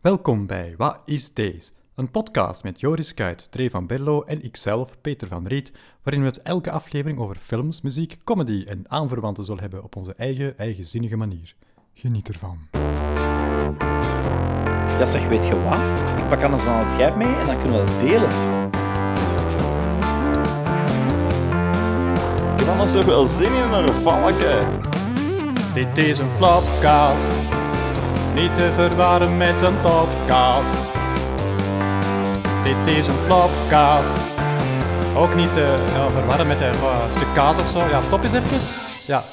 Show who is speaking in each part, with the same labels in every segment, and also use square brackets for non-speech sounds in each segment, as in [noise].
Speaker 1: Welkom bij Wat is Deze? Een podcast met Joris Kuit, Trey van Berlo en ikzelf, Peter van Riet, waarin we het elke aflevering over films, muziek, comedy en aanverwanten zullen hebben op onze eigen, eigenzinnige manier. Geniet ervan.
Speaker 2: Ja zeg, weet je wat? Ik pak anders dan een schijf mee en dan kunnen we dat delen.
Speaker 3: Ik heb anders toch wel zin in een valken.
Speaker 1: Dit is een flopcast, niet te verwarren met een podcast. Dit is een flopcast, ook niet te ja, verwarren met een eh, stuk kaas of zo. Ja, stop eens even. Ja,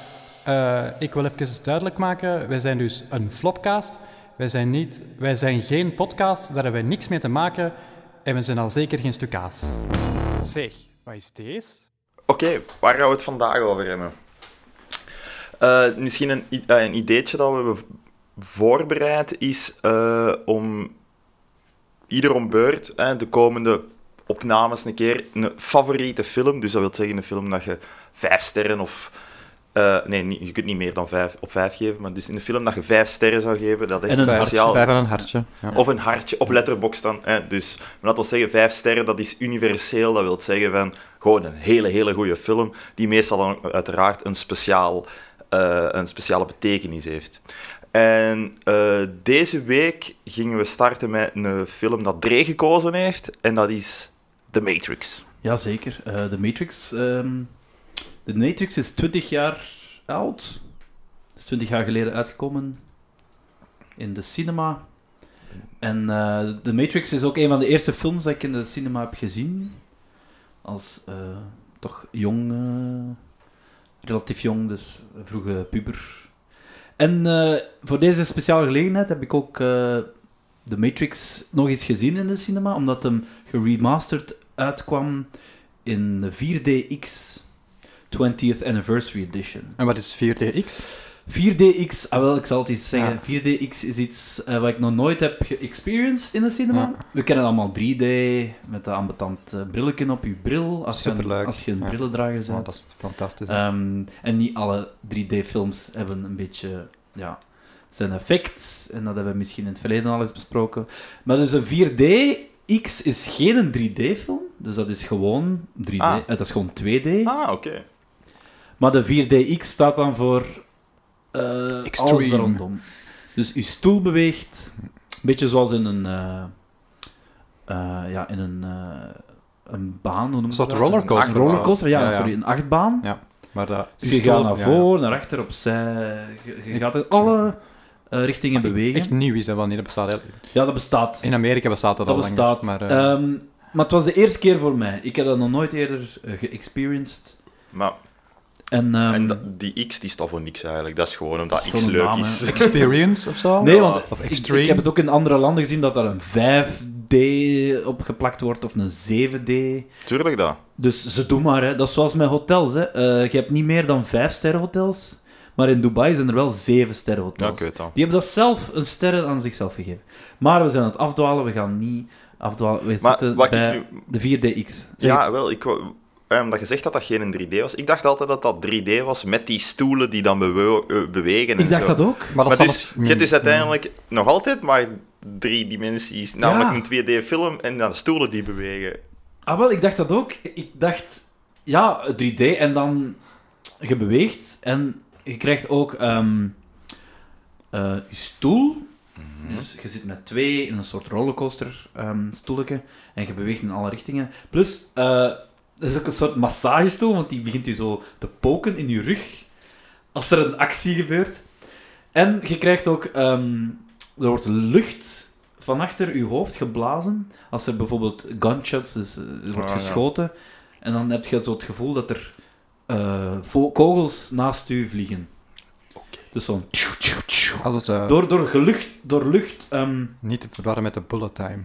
Speaker 1: eh, ik wil even duidelijk maken, wij zijn dus een flopcast. Wij zijn, niet, wij zijn geen podcast, daar hebben wij niks mee te maken. En we zijn al zeker geen stuk kaas. Zeg, wat is deze?
Speaker 3: Oké, waar gaan we het vandaag over hebben? Eh, misschien een, i- eh, een ideetje dat we hebben voorbereid is eh, om ieder om beurt eh, de komende opnames een keer een favoriete film, dus dat wil zeggen een film dat je vijf sterren of... eh, nee, niet- je kunt niet meer dan vijf, op vijf geven, maar dus in een film dat je vijf sterren zou geven, dat echt
Speaker 2: En een
Speaker 3: speciaal...
Speaker 4: en een hartje.
Speaker 3: Of een hartje op letterbox dan. Hè. Dus maar laten we zeggen, vijf sterren, dat is universeel. Dat wil zeggen van gewoon een hele, hele goede film. Die meestal dan uiteraard een, speciaal, eh, een speciale betekenis heeft. En eh, deze week gingen we starten met een film dat Dre gekozen heeft. En dat is The Matrix.
Speaker 5: Jazeker. Eh de Matrix. ehm, de Matrix is 20 jaar oud. Is 20 jaar geleden uitgekomen in de cinema. En eh, de Matrix is ook een van de eerste films dat ik in de cinema heb gezien. Als eh, toch jong, eh, relatief jong, dus vroege puber. En eh, voor deze speciale gelegenheid heb ik ook eh, de Matrix nog eens gezien in de cinema, omdat hem geremasterd uitkwam in 4DX 20th Anniversary Edition.
Speaker 1: En wat is 4DX?
Speaker 5: 4DX, ah wel, ik zal het eens zeggen.
Speaker 1: Ja.
Speaker 5: 4DX is iets eh, wat ik nog nooit heb geëxperienced in de cinema.
Speaker 1: Ja.
Speaker 5: We kennen allemaal 3D, met dat ambetant eh, brilletje op je bril, als je een,
Speaker 1: Superleuk.
Speaker 5: als je een
Speaker 1: Ja.
Speaker 5: brillendrager bent.
Speaker 1: dat is fantastisch.
Speaker 5: Ehm, en niet alle 3D-films hebben een beetje, ja, zijn effect. En dat hebben we misschien in het verleden al eens besproken. Maar dus een 4D-X is geen een 3D-film. Dus dat is gewoon 3D.
Speaker 3: Ah.
Speaker 5: eh, dat is gewoon 2D.
Speaker 3: Ah, oké.
Speaker 5: Maar de 4DX staat dan voor eh alles
Speaker 1: Extreme.
Speaker 5: er rondom. Dus je stoel beweegt, een beetje zoals in een, eh, eh, ja, in een, eh, een baan, hoe noem je
Speaker 4: soort
Speaker 5: dat?
Speaker 4: rollercoaster.
Speaker 5: Een rollercoaster, ja,
Speaker 4: Ja, ja.
Speaker 5: sorry, een achtbaan.
Speaker 4: Maar dat
Speaker 5: Dus je gaat naar voren, naar achter, opzij. Je, je gaat in alle eh, richtingen bewegen.
Speaker 4: Ah, Echt nieuw is dat wel niet. Dat bestaat heel-
Speaker 5: Ja, dat bestaat.
Speaker 4: In Amerika bestaat dat,
Speaker 5: Dat
Speaker 4: al
Speaker 5: bestaat.
Speaker 4: langer. Maar, eh,
Speaker 5: Ehm, maar het was de eerste keer voor mij. Ik heb dat nog nooit eerder eh, geëxperienced.
Speaker 3: Maar
Speaker 5: En, ehm,
Speaker 3: en dat- die X die staat voor niks eigenlijk. Dat is gewoon omdat
Speaker 5: Dat is
Speaker 3: X
Speaker 5: gewoon een
Speaker 3: leuk
Speaker 5: naam,
Speaker 3: is.
Speaker 5: hè.
Speaker 4: experience of zo?
Speaker 5: nee, want
Speaker 4: Oh, Of
Speaker 5: ik,
Speaker 4: extreme?
Speaker 5: ik heb het ook in andere landen gezien dat daar een 5D opgeplakt wordt of een 7D.
Speaker 3: Tuurlijk dat.
Speaker 5: Dus ze doen maar, hè. dat is zoals met hotels. Hè. Eh, je hebt niet meer dan 5-sterren hotels, maar in Dubai zijn er wel 7-sterren
Speaker 3: Ja,
Speaker 5: hotels.
Speaker 3: ik weet dat.
Speaker 5: Die hebben dat zelf een sterren aan zichzelf gegeven. Maar we zijn aan het afdwalen, we gaan niet afdwalen. We
Speaker 3: Maar
Speaker 5: zitten
Speaker 3: wat
Speaker 5: bij
Speaker 3: ik nu...
Speaker 5: de 4DX. Zeg
Speaker 3: ja,
Speaker 5: het.
Speaker 3: wel, ik wou- eh, omdat je zegt dat dat geen 3D was. Ik dacht altijd dat dat 3D was met die stoelen die dan bewe- eh, bewegen en
Speaker 5: ik dacht
Speaker 3: zo.
Speaker 5: dat ook.
Speaker 4: maar
Speaker 3: Maar
Speaker 4: dat
Speaker 3: dus, je hebt dus uiteindelijk nog altijd maar drie dimensies. Namelijk een 2D-film en dan stoelen die bewegen.
Speaker 5: Ah wel, ik dacht dat ook. Ik dacht, ja, 3D en dan je beweegt en je krijgt ook ehm, eh, je stoel.
Speaker 3: Mhm.
Speaker 5: Dus je zit met twee in een soort rollercoaster ehm stoeletje en je beweegt in alle richtingen. Plus, eh dat is ook een soort massagestoel, want die begint je zo te poken in je rug als er een actie gebeurt. En je krijgt ook, ehm, er wordt lucht van achter je hoofd geblazen als er bijvoorbeeld gunshots, dus eh, er wordt
Speaker 3: Ah, ja.
Speaker 5: geschoten. En dan heb je zo het gevoel dat er eh, vo- kogels naast u vliegen. Dus zo'n... tjoe, tjoe, tjoe.
Speaker 4: Als het, eh,
Speaker 5: Door, door, gelucht, door lucht... ehm,
Speaker 4: Niet te verwarren met de bullet time.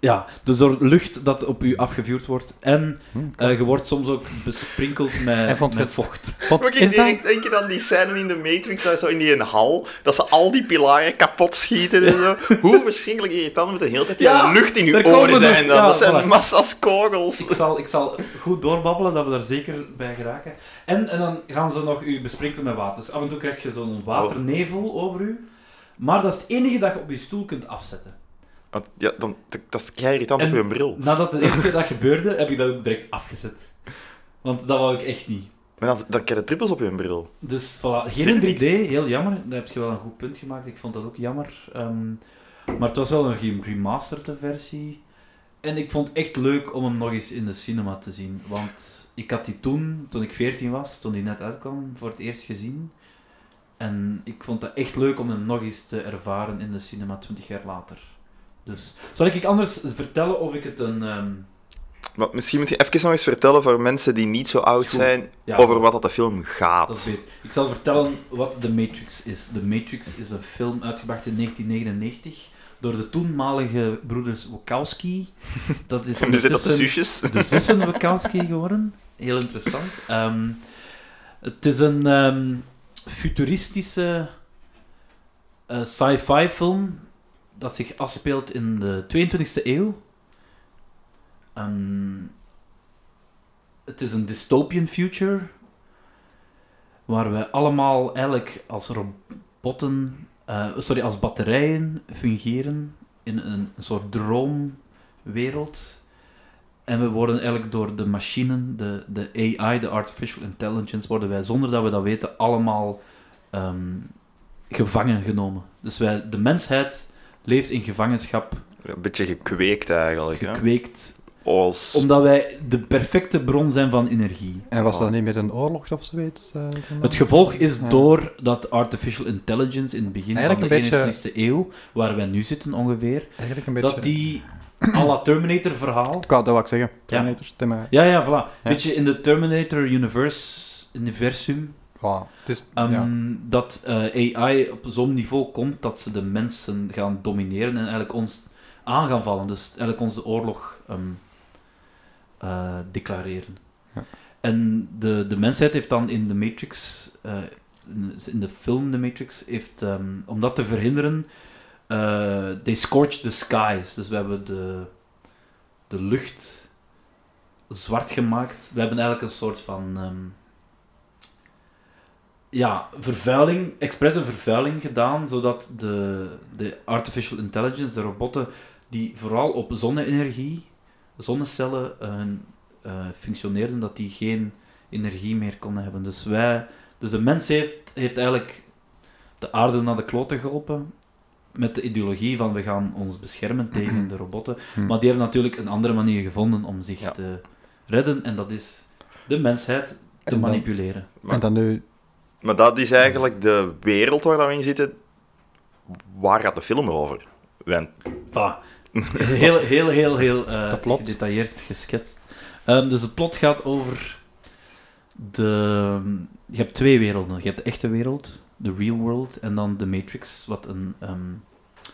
Speaker 5: ja, dus door lucht dat op u afgevuurd wordt. En
Speaker 4: Hm.
Speaker 5: eh, je wordt soms ook besprinkeld
Speaker 4: [laughs] Hij
Speaker 5: met,
Speaker 4: vond
Speaker 5: met
Speaker 4: het-
Speaker 5: vocht.
Speaker 4: Wat
Speaker 3: Moet ik
Speaker 4: is dat?
Speaker 3: direct denken aan die scène in de Matrix, dat zo in die hal, dat ze al die pilaren kapot schieten en
Speaker 5: [laughs]
Speaker 3: zo. Hoe verschrikkelijk irritant met de hele tijd die
Speaker 5: Ja,
Speaker 3: lucht in
Speaker 5: daar
Speaker 3: je
Speaker 5: komen we
Speaker 3: oren
Speaker 5: nog-
Speaker 3: zijn. Dan.
Speaker 5: ja,
Speaker 3: dat zijn
Speaker 5: voilà.
Speaker 3: massa's kogels.
Speaker 5: Ik zal, ik zal goed doorbabbelen, dat we daar zeker bij geraken. En, en dan gaan ze nog u besprinkelen met water. Dus
Speaker 4: Oh.
Speaker 5: af en toe krijg je zo'n waternevel over u. Maar dat is het enige dat je op je stoel kunt afzetten.
Speaker 3: Want Ja, dan, dat dat is kei irritant
Speaker 5: En-
Speaker 3: op je
Speaker 4: Oh.
Speaker 3: bril.
Speaker 5: Nadat de eerste keer dat gebeurde, heb ik dat ook direct afgezet. Want dat wou ik echt niet.
Speaker 3: Maar dan, dan krijg je trippels op je bril.
Speaker 5: Dus voilà, geen
Speaker 3: Zin
Speaker 5: 3D, heel jammer. Daar heb je wel een goed punt gemaakt, ik vond dat ook jammer. Ehm, maar het was wel een rem- remasterde versie. En ik vond het echt leuk om hem nog eens in de cinema te zien. Want ik had die toen, toen ik 14 was, toen die net uitkwam, voor het eerst gezien. En ik vond dat echt leuk om hem nog eens te ervaren in de cinema 20 jaar later. Dus, zal ik anders vertellen of ik het een... ehm,
Speaker 3: Maar misschien moet je even nog eens vertellen voor mensen die niet zo oud
Speaker 5: Is goed.
Speaker 3: zijn,
Speaker 5: ja,
Speaker 3: over wat dat de film
Speaker 5: Dat is
Speaker 3: gaat.
Speaker 5: beter. Ik zal vertellen wat The Matrix is. The Matrix is een film uitgebracht in 1999 door de toenmalige broeders
Speaker 3: [laughs]
Speaker 5: Wachowski. Dat is
Speaker 3: En [laughs] nu zit dat de
Speaker 5: ondertussen-
Speaker 3: zusjes.
Speaker 5: de zussen Wachowski geworden. Heel interessant. Ehm, het is een ehm, futuristische eh, sci-fi film dat zich afspeelt in de 22e eeuw. Ehm, het is een dystopian future waar we allemaal eigenlijk als robotten, eh, sorry, als batterijen fungeren in een soort droomwereld. En we worden eigenlijk door de machinen, de, de AI, de artificial intelligence, worden wij zonder dat we dat weten allemaal ehm, gevangen genomen. Dus wij, de mensheid leeft in gevangenschap,
Speaker 3: Een beetje gekweekt eigenlijk. hè?
Speaker 5: gekweekt,
Speaker 3: Als...
Speaker 5: omdat wij de perfecte bron zijn van energie.
Speaker 4: En was dat niet met een oorlog of zoiets? eh, vandaan?
Speaker 5: Het gevolg is
Speaker 4: Ja.
Speaker 5: door dat artificial intelligence in het begin
Speaker 4: Eigenlijk
Speaker 5: van
Speaker 4: een
Speaker 5: de
Speaker 4: beetje-
Speaker 5: 21ste eeuw, waar wij nu zitten ongeveer,
Speaker 4: Eigenlijk een beetje...
Speaker 5: dat die [clears throat] à la Terminator verhaal
Speaker 4: Ik wou- dat wil ik zeggen. Terminator, thema.
Speaker 5: Ja, ja, voilà.
Speaker 4: Ja.
Speaker 5: Beetje in de Terminator universe, universum.
Speaker 4: Ja, het is...
Speaker 5: ehm,
Speaker 4: ja.
Speaker 5: Dat eh, AI op zo'n niveau komt dat ze de mensen gaan domineren en eigenlijk ons aan gaan vallen. Dus eigenlijk onze oorlog ehm, eh, declareren.
Speaker 4: Ja.
Speaker 5: En de, de mensheid heeft dan in de Matrix, eh, in- in de film The Matrix, heeft, ehm, om dat te verhinderen, eh they scorched the skies. Dus we hebben de, de lucht zwart gemaakt. We hebben eigenlijk een soort van ehm, ja, vervuiling, expres een vervuiling gedaan, zodat de, de artificial intelligence, de robotten, die vooral op zonne-energie, zonnecellen eh, eh, functioneerden, dat die geen energie meer konden hebben. Dus wij, dus de mens heeft, heeft eigenlijk de aarde naar de kloten geholpen met de ideologie van we gaan ons beschermen tegen de robotten.
Speaker 4: Hmm.
Speaker 5: Maar die hebben natuurlijk een andere manier gevonden om zich
Speaker 3: Ja.
Speaker 5: te redden en dat is de mensheid
Speaker 4: En
Speaker 5: te
Speaker 4: dan-
Speaker 5: manipuleren.
Speaker 4: En dan nu...
Speaker 3: Maar dat is eigenlijk de wereld waar dat we in zitten. Waar gaat de film over? Want
Speaker 5: [laughs] Voilà. [laughs] Heel, heel, heel, heel eh,
Speaker 4: Dat plot.
Speaker 5: gedetailleerd geschetst. Ehm, dus het plot gaat over de... Je hebt twee werelden. Je hebt de echte wereld, de real world, en dan de Matrix, wat een, ehm,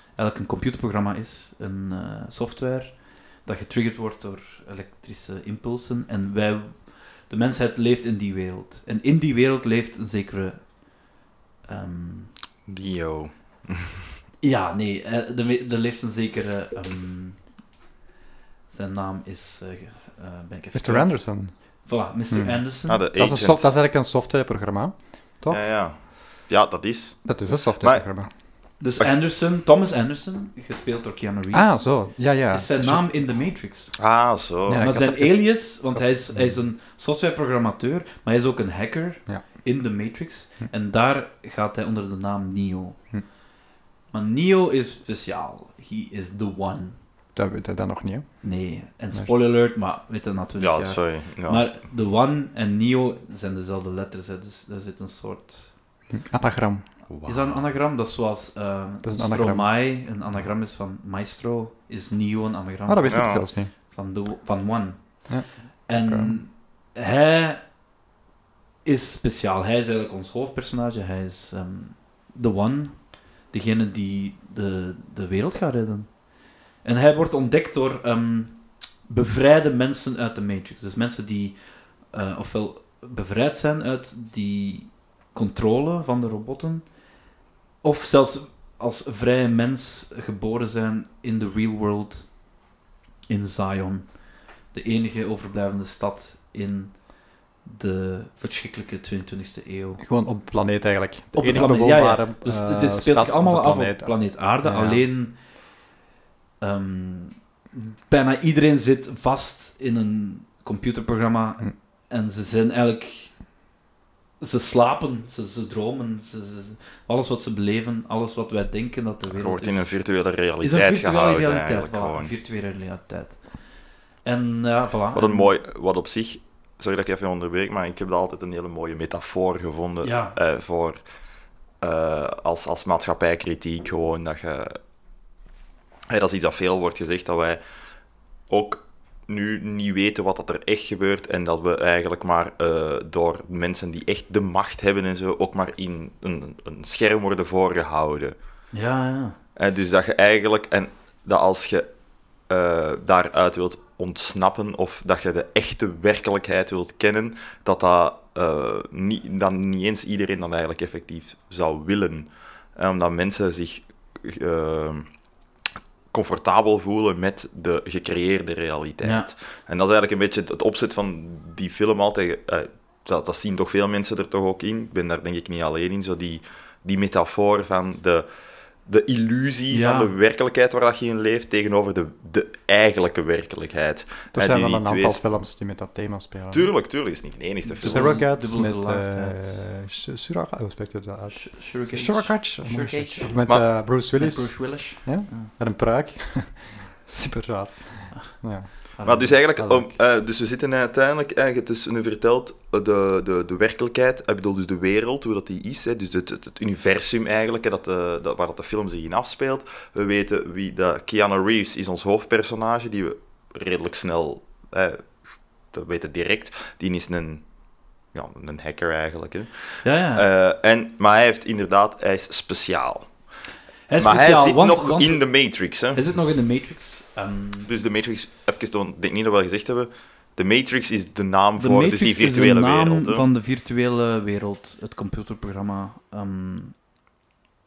Speaker 5: eigenlijk een computerprogramma is. Een eh, software dat getriggerd wordt door elektrische impulsen. En wij... De mensheid leeft in die wereld. En in die wereld leeft een zekere... ehm,
Speaker 3: Dio. Ah,
Speaker 5: ja, nee, eh, de, me- er leeft een zekere. ehm, zijn naam is. eh, ge- eh, ben ik even
Speaker 4: Mr. Anderson.
Speaker 5: Voilà, Mr.
Speaker 4: Hmm.
Speaker 5: Anderson.
Speaker 3: Ah, de
Speaker 4: Dat is, een
Speaker 3: agent.
Speaker 4: soft, dat is eigenlijk een softwareprogramma. toch?
Speaker 3: Ja, ja. ja, dat is.
Speaker 4: Dat is een softwareprogramma.
Speaker 5: dus
Speaker 3: Wacht.
Speaker 5: Anderson, Thomas Anderson, gespeeld door Keanu Reeves.
Speaker 4: Ah, zo. Ja, ja.
Speaker 5: Is zijn naam in The Matrix.
Speaker 3: Ah, zo.
Speaker 4: Ja, ik
Speaker 5: maar
Speaker 4: had
Speaker 5: zijn
Speaker 4: even-
Speaker 5: alias, want
Speaker 4: dat
Speaker 5: hij
Speaker 4: is-
Speaker 5: is, hij is een softwareprogrammateur, maar hij is ook een hacker
Speaker 4: Ja.
Speaker 5: in The Matrix.
Speaker 4: Hm.
Speaker 5: En daar gaat hij onder de naam Neo.
Speaker 4: Hm.
Speaker 5: Maar Neo is speciaal. He is the one.
Speaker 4: Dat weet hij dan nog niet, hè.
Speaker 5: Nee, en
Speaker 4: Maar-
Speaker 5: spoiler alert, maar weet je na 20
Speaker 3: Ja,
Speaker 5: jaar.
Speaker 3: sorry. Ja.
Speaker 5: Maar de One en Neo zijn dezelfde letters, hè, dus daar zit een soort...
Speaker 4: Atagram.
Speaker 5: Is dat een anagram? Dat is zoals eh
Speaker 4: Dat is een anagram.
Speaker 5: Stromae een anagram is van Maestro, is Neo een anagram
Speaker 4: Ah, dat wist ik
Speaker 3: Ja.
Speaker 4: zelfs niet.
Speaker 5: van, de, van One.
Speaker 4: Ja.
Speaker 5: En hij is speciaal. Hij is eigenlijk ons hoofdpersonage. Hij is ehm, de One, degene die de, de wereld gaat redden. En hij wordt ontdekt door ehm, bevrijde mensen uit de Matrix. Dus mensen die eh, ofwel bevrijd zijn uit die controle van de robotten, of zelfs als vrije mens geboren zijn in de real world in Zion. De enige overblijvende stad in de verschrikkelijke 22e eeuw.
Speaker 4: Gewoon op planeet eigenlijk. De
Speaker 5: Op de
Speaker 4: enige
Speaker 5: planeet, ja, ja.
Speaker 4: bewoonbare,
Speaker 5: Dus
Speaker 4: eh,
Speaker 5: het is- speelt
Speaker 4: stad
Speaker 5: zich allemaal
Speaker 4: op de
Speaker 5: af
Speaker 4: planeet.
Speaker 5: op planeet Aarde,
Speaker 4: Ja.
Speaker 5: alleen Ehm, bijna iedereen zit vast in een computerprogramma
Speaker 4: Hm.
Speaker 5: en ze zijn eigenlijk. Ze slapen, ze, ze dromen, ze, ze- ze- alles wat ze beleven, alles wat wij denken dat de
Speaker 3: Je
Speaker 5: wereld
Speaker 3: wordt
Speaker 5: is
Speaker 3: in een virtuele
Speaker 5: is
Speaker 3: realiteit
Speaker 5: een virtuele
Speaker 3: gehouden
Speaker 5: realiteit.
Speaker 3: eigenlijk
Speaker 5: voilà,
Speaker 3: gewoon.
Speaker 5: een virtuele realiteit. En ja, voilà.
Speaker 3: Wat een
Speaker 5: En-
Speaker 3: mooi, wat op zich, sorry dat ik even onderbreek, maar ik heb dat altijd een hele mooie metafoor gevonden
Speaker 5: Ja.
Speaker 3: eh, voor eh, als, als maatschappijkritiek gewoon dat je. hè, dat is iets dat veel wordt gezegd, dat wij ook nu niet weten wat dat er echt gebeurt en dat we eigenlijk maar eh, door mensen die echt de macht hebben en zo ook maar in een, een scherm worden voorgehouden.
Speaker 5: Ja, ja.
Speaker 3: Eh, dus dat je eigenlijk, en dat als je eh, daaruit wilt ontsnappen of dat je de echte werkelijkheid wilt kennen, dat dat eh, niet, dan niet eens iedereen dat eigenlijk effectief zou willen. Eh, omdat mensen zich eh, comfortabel voelen met de gecreëerde realiteit.
Speaker 5: Ja.
Speaker 3: En dat is eigenlijk een beetje het- het opzet van die film altijd. eh, dat, dat zien toch veel mensen er toch ook in. Ik ben daar denk ik niet alleen in. Zo die, die metafoor van de, de illusie
Speaker 5: Ja.
Speaker 3: van de werkelijkheid waar dat je in leeft tegenover de, de eigenlijke werkelijkheid.
Speaker 4: Er
Speaker 3: Eh,
Speaker 4: zijn
Speaker 3: die-
Speaker 4: wel
Speaker 3: die
Speaker 4: een
Speaker 3: twee-
Speaker 4: aantal films die met dat thema spelen.
Speaker 3: Tuurlijk, tuurlijk. is niet de enigste
Speaker 4: The
Speaker 3: film.
Speaker 5: Dubbele-
Speaker 4: Surrogates
Speaker 5: dubbele
Speaker 4: met...
Speaker 5: gelaagdheid.
Speaker 4: eh, Su- Surrogates, hoe spreekt u dat uit?
Speaker 5: Surrogates.
Speaker 4: Surrogates. of
Speaker 5: Surrogates.
Speaker 4: zoiets. Of met
Speaker 3: Maar-
Speaker 4: eh, Bruce
Speaker 5: Met
Speaker 4: Willis.
Speaker 5: Bruce Willis.
Speaker 4: Met een pruik. [laughs] Super raar. Ja.
Speaker 5: Ah,
Speaker 3: Maar dus eigenlijk, om,
Speaker 4: Eigenlijk.
Speaker 3: eh, dus we zitten uiteindelijk, eigenlijk, het is dus nu verteld, eh, de, de, de werkelijkheid, ik bedoel dus de wereld, hoe dat die is, hè, dus het, het, het universum eigenlijk, hè, dat de, dat, waar dat de film zich in afspeelt. We weten wie dat Keanu Reeves is ons hoofdpersonage, die we redelijk snel, eh, dat weten direct, die is een, ja, een hacker eigenlijk. Hè.
Speaker 5: Ja, ja.
Speaker 3: Eh, en, maar hij heeft inderdaad, hij is speciaal.
Speaker 5: hij is
Speaker 3: maar
Speaker 5: speciaal,
Speaker 3: hij zit
Speaker 5: want,
Speaker 3: nog
Speaker 5: want
Speaker 3: in de Matrix, hè.
Speaker 5: hij zit nog in de Matrix. ehm,
Speaker 3: Dus de Matrix, even, want ik denk niet dat we dat gezegd hebben. De Matrix is de naam
Speaker 5: de
Speaker 3: voor
Speaker 5: Matrix
Speaker 3: dus die
Speaker 5: is
Speaker 3: virtuele
Speaker 5: de naam
Speaker 3: wereld. hè.
Speaker 5: van de virtuele wereld. Het computerprogramma ehm,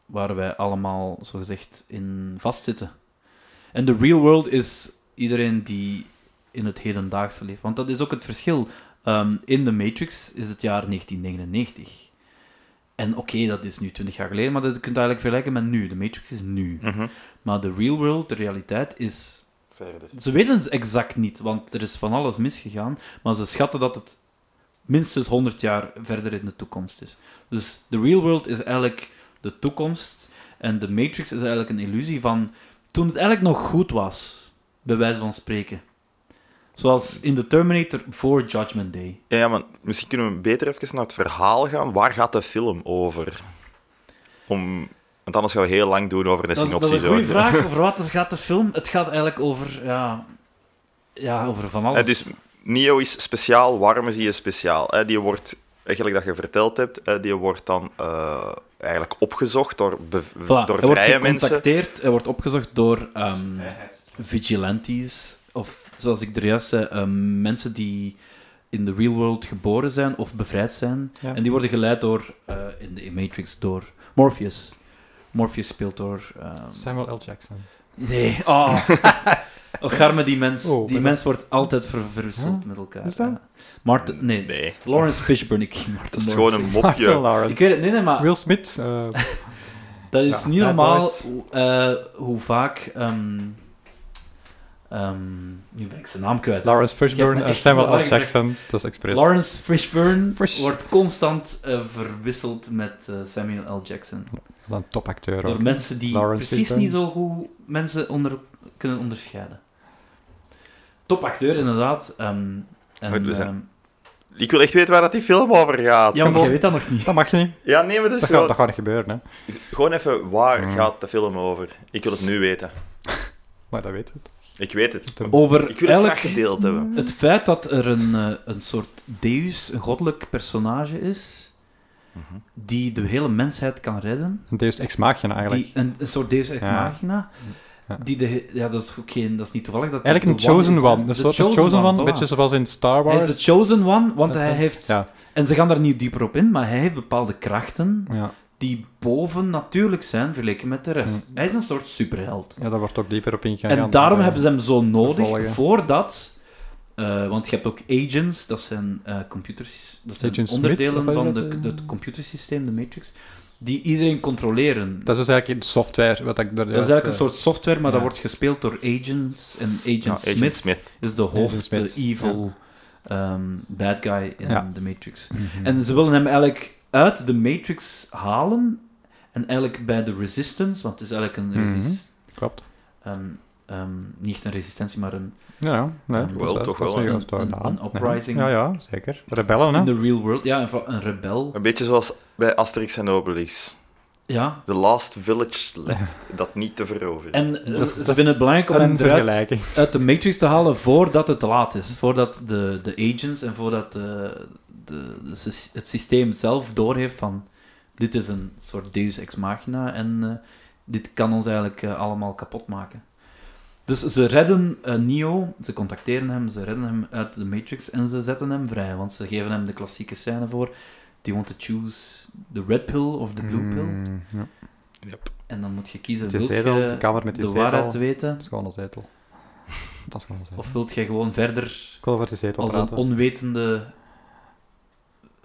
Speaker 5: waar wij allemaal zogezegd in vastzitten. En de real world is iedereen die in het hedendaagse leeft. Want dat is ook het verschil. Ehm, in de Matrix is het jaar 1999. En oké, dat is nu 20 jaar geleden, maar dat kunt je eigenlijk vergelijken met nu. De Matrix is nu.
Speaker 3: Mhm.
Speaker 5: Maar de real world, de realiteit, is
Speaker 3: Verder.
Speaker 5: ze weten het exact niet, want er is van alles misgegaan. Maar ze schatten dat het minstens 100 jaar verder in de toekomst is. Dus de real world is eigenlijk de toekomst. En de Matrix is eigenlijk een illusie van toen het eigenlijk nog goed was, bij wijze van spreken. Zoals in The Terminator voor Judgment Day.
Speaker 3: Ja, ja, maar misschien kunnen we beter even naar het verhaal gaan. Waar gaat de film over? Om, want anders gaan we heel lang doen over de
Speaker 5: Dat is, dat
Speaker 3: synopsis.
Speaker 5: is een goede
Speaker 3: hoor.
Speaker 5: vraag. Over wat gaat de film? Het gaat eigenlijk over, ja, ja, over van alles.
Speaker 3: Eh, dus Neo is speciaal, waarom is hij speciaal? Eh, die wordt, eigenlijk dat je verteld hebt, eh, die wordt dan eh, eigenlijk opgezocht door, bev-
Speaker 5: Voilà,
Speaker 3: door
Speaker 5: hij wordt
Speaker 3: vrije mensen.
Speaker 5: gecontacteerd, hij wordt opgezocht door ehm, vigilantes, of zoals ik er juist zei, ehm, mensen die in de real world geboren zijn of bevrijd zijn.
Speaker 4: Ja.
Speaker 5: En die worden geleid door, eh, in de Matrix, door Morpheus. Morpheus speelt door... ehm,
Speaker 4: Samuel L. Jackson.
Speaker 5: nee,
Speaker 4: [laughs]
Speaker 5: oh. Och, garme die mens.
Speaker 4: Oh, maar
Speaker 5: die
Speaker 4: dat
Speaker 5: mens wordt altijd ver- verwisseld
Speaker 4: Huh?
Speaker 5: met elkaar.
Speaker 4: Is dat?
Speaker 5: ja. Martin, nee,
Speaker 3: Nee,
Speaker 5: Lawrence Fishburne, ik
Speaker 3: dat is gewoon een mopje.
Speaker 4: Martin
Speaker 5: [laughs]
Speaker 4: Lawrence.
Speaker 5: Ik weet Ah. het, nee, nee, maar
Speaker 4: Will Smith. eh,
Speaker 5: [laughs] Dat is
Speaker 4: Ja,
Speaker 5: niet
Speaker 4: Bad
Speaker 5: normaal
Speaker 4: Boys.
Speaker 5: hoe, eh, hoe vaak. ehm, ehm, nu ben ik zijn naam kwijt.
Speaker 4: Lawrence
Speaker 5: Ik
Speaker 4: Fishburne.
Speaker 5: heb me
Speaker 4: eh,
Speaker 5: echt
Speaker 4: Samuel L.
Speaker 5: verwarring
Speaker 4: Jackson. Dat is expres.
Speaker 5: Lawrence Fishburne
Speaker 4: Fish.
Speaker 5: wordt constant eh, verwisseld met eh, Samuel L. Jackson.
Speaker 4: Wat een topacteur ook.
Speaker 5: Door mensen die
Speaker 4: Lawrence
Speaker 5: precies
Speaker 4: Fishburne.
Speaker 5: niet zo goed mensen onder, kunnen onderscheiden. Topacteur, inderdaad. ehm, en,
Speaker 3: Goed, we zijn-
Speaker 5: ehm,
Speaker 3: Ik wil echt weten waar dat die film over gaat.
Speaker 5: ja, maar jij weet dat nog niet.
Speaker 4: Dat mag niet.
Speaker 3: Ja, nee, maar dat is
Speaker 4: Dat
Speaker 3: wel-
Speaker 4: gaat, dat gaat niet gebeuren, hè.
Speaker 3: Gewoon even, waar
Speaker 4: Mm.
Speaker 3: gaat de film over? Ik wil het nu weten.
Speaker 4: Maar dat weet het.
Speaker 3: Ik weet het.
Speaker 5: Over
Speaker 3: Ik wil het
Speaker 5: elk
Speaker 3: graag gedeeld hebben.
Speaker 5: Het feit dat er een, eh, een soort deus, een goddelijk personage is,
Speaker 3: Mhm.
Speaker 5: die de hele mensheid kan redden.
Speaker 4: Een deus ex machina eigenlijk.
Speaker 5: Die, een, een soort deus ex
Speaker 4: Ja.
Speaker 5: machina.
Speaker 4: Ja.
Speaker 5: Die de, ja, dat is ook geen, dat is niet toevallig. Dat dat
Speaker 4: Eigenlijk
Speaker 5: de
Speaker 4: een chosen
Speaker 5: is, hè.
Speaker 4: one. Een
Speaker 5: De
Speaker 4: soort chosen, chosen one.
Speaker 5: voilà.
Speaker 4: Een beetje zoals in Star
Speaker 5: Hij is
Speaker 4: Wars.
Speaker 5: de chosen one, want
Speaker 4: Dat
Speaker 5: hij
Speaker 4: wel.
Speaker 5: heeft...
Speaker 4: Ja.
Speaker 5: En ze gaan daar niet dieper op in, maar hij heeft bepaalde krachten
Speaker 4: Ja.
Speaker 5: die boven natuurlijk zijn vergeleken met de rest.
Speaker 4: Mm.
Speaker 5: Hij is een soort superheld.
Speaker 4: ja, daar wordt ook dieper op ingegaan. Eh,
Speaker 5: en daarom hebben ze hem zo nodig
Speaker 4: vervolgen.
Speaker 5: voordat. eh, want je hebt ook agents, dat zijn eh, computers, dat zijn
Speaker 4: Agent Smith,
Speaker 5: onderdelen
Speaker 4: of wat
Speaker 5: van
Speaker 4: is dat,
Speaker 5: de,
Speaker 4: eh?
Speaker 5: het computersysteem, de Matrix. die iedereen controleren.
Speaker 4: Dat is dus eigenlijk een software. Wat ik daar eh,
Speaker 5: Dat is eigenlijk een soort software, maar dat
Speaker 4: ja.
Speaker 5: wordt gespeeld door agents. En Agent,
Speaker 3: Ja,
Speaker 5: Smith,
Speaker 3: Agent Smith.
Speaker 5: is de hoofd,
Speaker 4: Smith,
Speaker 5: eh, evil ehm, bad guy in
Speaker 4: Ja.
Speaker 5: The Matrix.
Speaker 4: Mhm.
Speaker 5: En ze willen hem eigenlijk uit de Matrix halen. En eigenlijk bij de Resistance, want het is eigenlijk een...
Speaker 4: Mhm.
Speaker 5: resist-
Speaker 4: Klopt.
Speaker 5: ehm, ehm, niet echt een resistentie, maar een...
Speaker 4: Ja, ja, nee,
Speaker 5: Wel,
Speaker 4: dat is-
Speaker 3: toch
Speaker 4: dat
Speaker 3: wel
Speaker 4: is
Speaker 3: een-
Speaker 4: juist
Speaker 5: een-
Speaker 4: daarna.
Speaker 5: een uprising.
Speaker 4: Ja, Oh, ja, zeker. Rebellen, hè?
Speaker 5: In the real world, ja, een, va- een rebel.
Speaker 3: Een beetje zoals bij Asterix en Obelix.
Speaker 5: Ja.
Speaker 3: The Last Village left dat niet te veroveren.
Speaker 5: En eh,
Speaker 4: Dat is-
Speaker 5: ze
Speaker 4: dat
Speaker 5: vinden
Speaker 4: is
Speaker 5: het belangrijk om
Speaker 4: Een
Speaker 5: hem eruit
Speaker 4: vergelijking.
Speaker 5: uit de Matrix te halen voordat het te laat is. Voordat de, de agents en voordat de, de, de sys- het systeem zelf doorheeft van dit is een soort deus ex machina en eh, dit kan ons eigenlijk eh, allemaal kapot maken. Dus ze redden eh, Neo, ze contacteren hem, ze redden hem uit de Matrix en ze zetten hem vrij. Want ze geven hem de klassieke scène voor. Do you want to choose the red pill of the blue pill?
Speaker 4: Mm, ja.
Speaker 5: En dan moet je kiezen,
Speaker 4: Die
Speaker 5: wilt je
Speaker 4: zetel, de kamer met die
Speaker 5: de
Speaker 4: zetel.
Speaker 5: waarheid
Speaker 4: Dat
Speaker 5: weten?
Speaker 4: is gewoon een zetel. Dat is gewoon een zetel.
Speaker 5: Of wilt jij gewoon verder
Speaker 4: Ik wil over die zetel
Speaker 5: als
Speaker 4: praten.
Speaker 5: een onwetende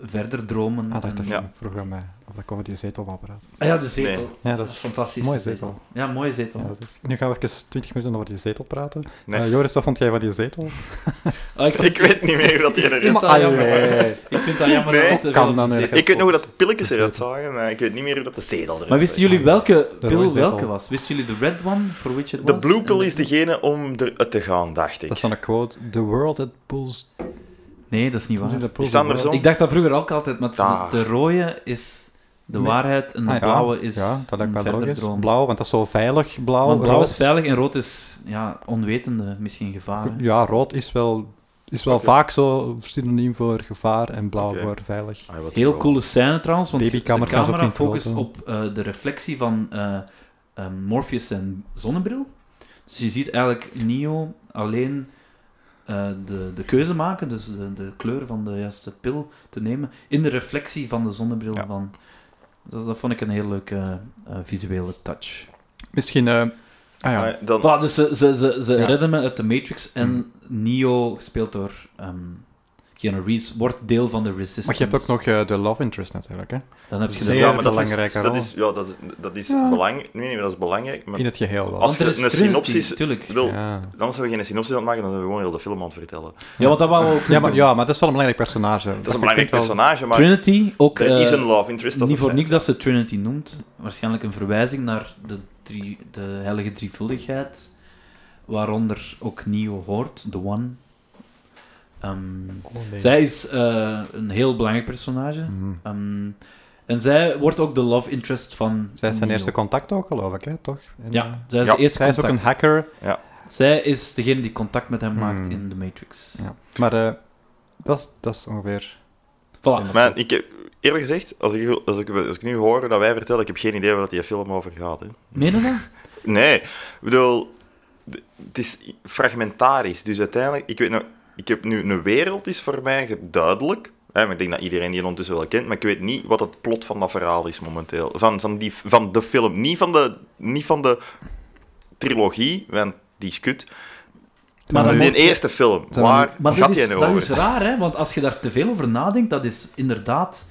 Speaker 5: verder dromen.
Speaker 4: Ah, dacht dat
Speaker 5: en-
Speaker 4: je
Speaker 3: Ja.
Speaker 4: vroeg aan mij of dat ik over die zetel wou praten.
Speaker 5: Ah ja, de zetel.
Speaker 3: Nee.
Speaker 4: Ja, dat
Speaker 5: Dat is
Speaker 4: is...
Speaker 5: fantastisch.
Speaker 4: mooie zetel.
Speaker 5: Ja, mooie zetel.
Speaker 4: Ja, dat is echt- Nu gaan we even 20 minuten over die zetel praten.
Speaker 3: Nee. [laughs]
Speaker 4: Eh, Joris, wat vond jij van die zetel?
Speaker 5: Ah, ik,
Speaker 3: Ik weet niet meer wat die erin
Speaker 5: vind
Speaker 3: zat.
Speaker 5: dat jammer. Ik vind dat jammer
Speaker 3: Nee,
Speaker 5: dat er altijd
Speaker 4: kan dan
Speaker 5: veel
Speaker 4: eigenlijk.
Speaker 5: zetel-
Speaker 3: Ik weet nog hoe dat de pilletjes eruit zagen, maar ik weet niet meer hoe dat de zedel eruit
Speaker 5: Maar wisten
Speaker 3: zag.
Speaker 5: jullie welke
Speaker 4: rode
Speaker 5: pil
Speaker 4: zetel.
Speaker 5: welke was? Wisten jullie de red one, voor which it was?
Speaker 3: De blue pill
Speaker 5: En
Speaker 3: is degene om eruit te gaan, dacht ik.
Speaker 4: Dat is dan een quote. The world that pulls...
Speaker 5: Nee, dat is niet waar.
Speaker 3: Is het andersom?
Speaker 5: Ik dacht dat vroeger ook altijd, maar het is-
Speaker 3: Daar.
Speaker 5: de rode is de
Speaker 4: Nee.
Speaker 5: waarheid en de
Speaker 4: Ah, ja.
Speaker 5: blauwe is
Speaker 4: Ja, dat
Speaker 5: een
Speaker 4: lijkt mij
Speaker 5: verder
Speaker 4: logisch.
Speaker 5: droom.
Speaker 4: Blauw, want dat is zo veilig. Blauw,
Speaker 5: Want blauw is
Speaker 4: rood.
Speaker 5: veilig en rood is ja, onwetende, misschien gevaar. hè.
Speaker 4: Ah, Ja, rood is wel, is wel
Speaker 3: Oké.
Speaker 4: vaak zo synoniem voor gevaar en blauw
Speaker 3: Oké.
Speaker 4: voor veilig.
Speaker 3: Ah, wat
Speaker 5: Heel
Speaker 3: wel.
Speaker 5: coole scène trouwens, want de
Speaker 4: Babykamer gaan ze
Speaker 5: camera
Speaker 4: ook niet
Speaker 5: focust
Speaker 4: groot,
Speaker 5: op eh, de reflectie van eh, eh, Morpheus zijn zonnebril. Dus je ziet eigenlijk Neo alleen eh, de, de keuze maken, dus de, de kleur van de juiste pil te nemen, in de reflectie van de zonnebril.
Speaker 3: Ja.
Speaker 5: Van, dat, dat vond ik een heel leuke eh, eh, visuele touch.
Speaker 4: Misschien... eh, ah ja,
Speaker 3: Maar dan,
Speaker 5: Voilà, dus ze, ze, ze, ze
Speaker 4: Ja.
Speaker 5: redden me uit de Matrix en Neo, gespeeld door ehm Keanu Reeves, wordt deel van de Resistance.
Speaker 4: maar je hebt ook nog eh, de love interest natuurlijk, hè?
Speaker 5: Dan heb je de
Speaker 4: zeer
Speaker 5: love interest.
Speaker 4: belangrijke
Speaker 3: dat
Speaker 4: rol.
Speaker 3: is, ja, dat is, dat is
Speaker 4: Ja.
Speaker 3: belangrijk. Nee, nee, dat is belangrijk. Maar
Speaker 4: In het geheel wel.
Speaker 3: Als
Speaker 5: Want er
Speaker 3: je
Speaker 5: is
Speaker 3: een
Speaker 5: Trinity,
Speaker 3: synopsis-
Speaker 5: tuurlijk.
Speaker 3: ik bedoel,
Speaker 4: Ja.
Speaker 3: dan zijn we geen synopsis aan het maken, dan zijn we gewoon heel de film aan het vertellen.
Speaker 5: Ja, want dat wou ook.
Speaker 4: Ja, maar, ja, maar dat is wel een belangrijk personage.
Speaker 3: Dat is een belangrijk personage, maar
Speaker 5: Trinity, ook
Speaker 3: er
Speaker 5: eh,
Speaker 3: is een love interest. dat is
Speaker 5: niet voor
Speaker 3: een
Speaker 5: niks dat ze Trinity noemt. Waarschijnlijk een verwijzing naar de, drie, de heilige drievuldigheid, waaronder ook Neo hoort, The One. Ehm, Zij is eh, een heel belangrijk personage.
Speaker 4: Mm.
Speaker 5: Ehm, en zij wordt ook de love interest van.
Speaker 4: Zij is zijn
Speaker 5: Neo.
Speaker 4: eerste contact ook, geloof ik, hè? toch? En, eh,
Speaker 5: Ja, zij is,
Speaker 3: Ja,
Speaker 5: de eerste
Speaker 4: Zij is ook
Speaker 5: contact.
Speaker 4: een hacker,
Speaker 5: zij is degene die contact met hem
Speaker 4: Hmm.
Speaker 5: maakt in The Matrix.
Speaker 4: ja. maar eh, dat, is, dat is ongeveer...
Speaker 5: Voilà.
Speaker 3: Maar ik heb, eerlijk gezegd, als ik, als, ik, als ik nu hoor dat wij vertellen, ik heb geen idee waar dat die film over gaat. Hè.
Speaker 5: Meen je dat?
Speaker 3: Nee, ik bedoel, d- het is fragmentarisch. Dus uiteindelijk, ik weet nog, ik heb nu een wereld is voor mij ge- duidelijk. Hè, maar ik denk dat iedereen die ondertussen wel kent, maar ik weet niet wat het plot van dat verhaal is momenteel. Van, van, die, van de film, niet van de, niet van de trilogie, want die is kut.
Speaker 5: Maar dan
Speaker 3: de
Speaker 5: moet je-
Speaker 3: eerste film,
Speaker 4: Zijn we
Speaker 3: waar
Speaker 5: Maar dat
Speaker 3: gaat
Speaker 5: is,
Speaker 3: die nou
Speaker 5: dat is
Speaker 3: over?
Speaker 5: raar, hè? want als je daar te veel over nadenkt, dat is inderdaad.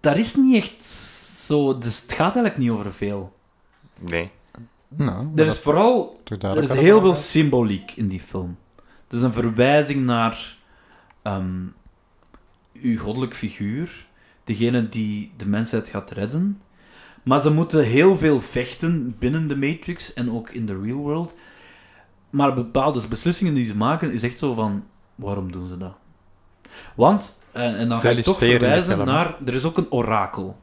Speaker 5: Daar is niet echt zo. Dus het gaat eigenlijk niet over veel.
Speaker 3: Nee.
Speaker 4: Nou, maar
Speaker 5: Er
Speaker 4: dat
Speaker 5: is vooral
Speaker 4: toch
Speaker 5: er
Speaker 4: duidelijk
Speaker 5: is
Speaker 4: wat
Speaker 5: heel veel
Speaker 4: belangrijk
Speaker 5: symboliek in die film. Het is een verwijzing naar ehm, uw goddelijk figuur, degene die de mensheid gaat redden. Maar ze moeten heel veel vechten binnen de Matrix en ook in de real world. Maar bepaalde beslissingen die ze maken, is echt zo van, waarom doen ze dat? Want, eh, en, en dan ga ik toch
Speaker 4: Feliciteren die
Speaker 5: verwijzen
Speaker 4: film, hè.
Speaker 5: naar, er is ook een orakel.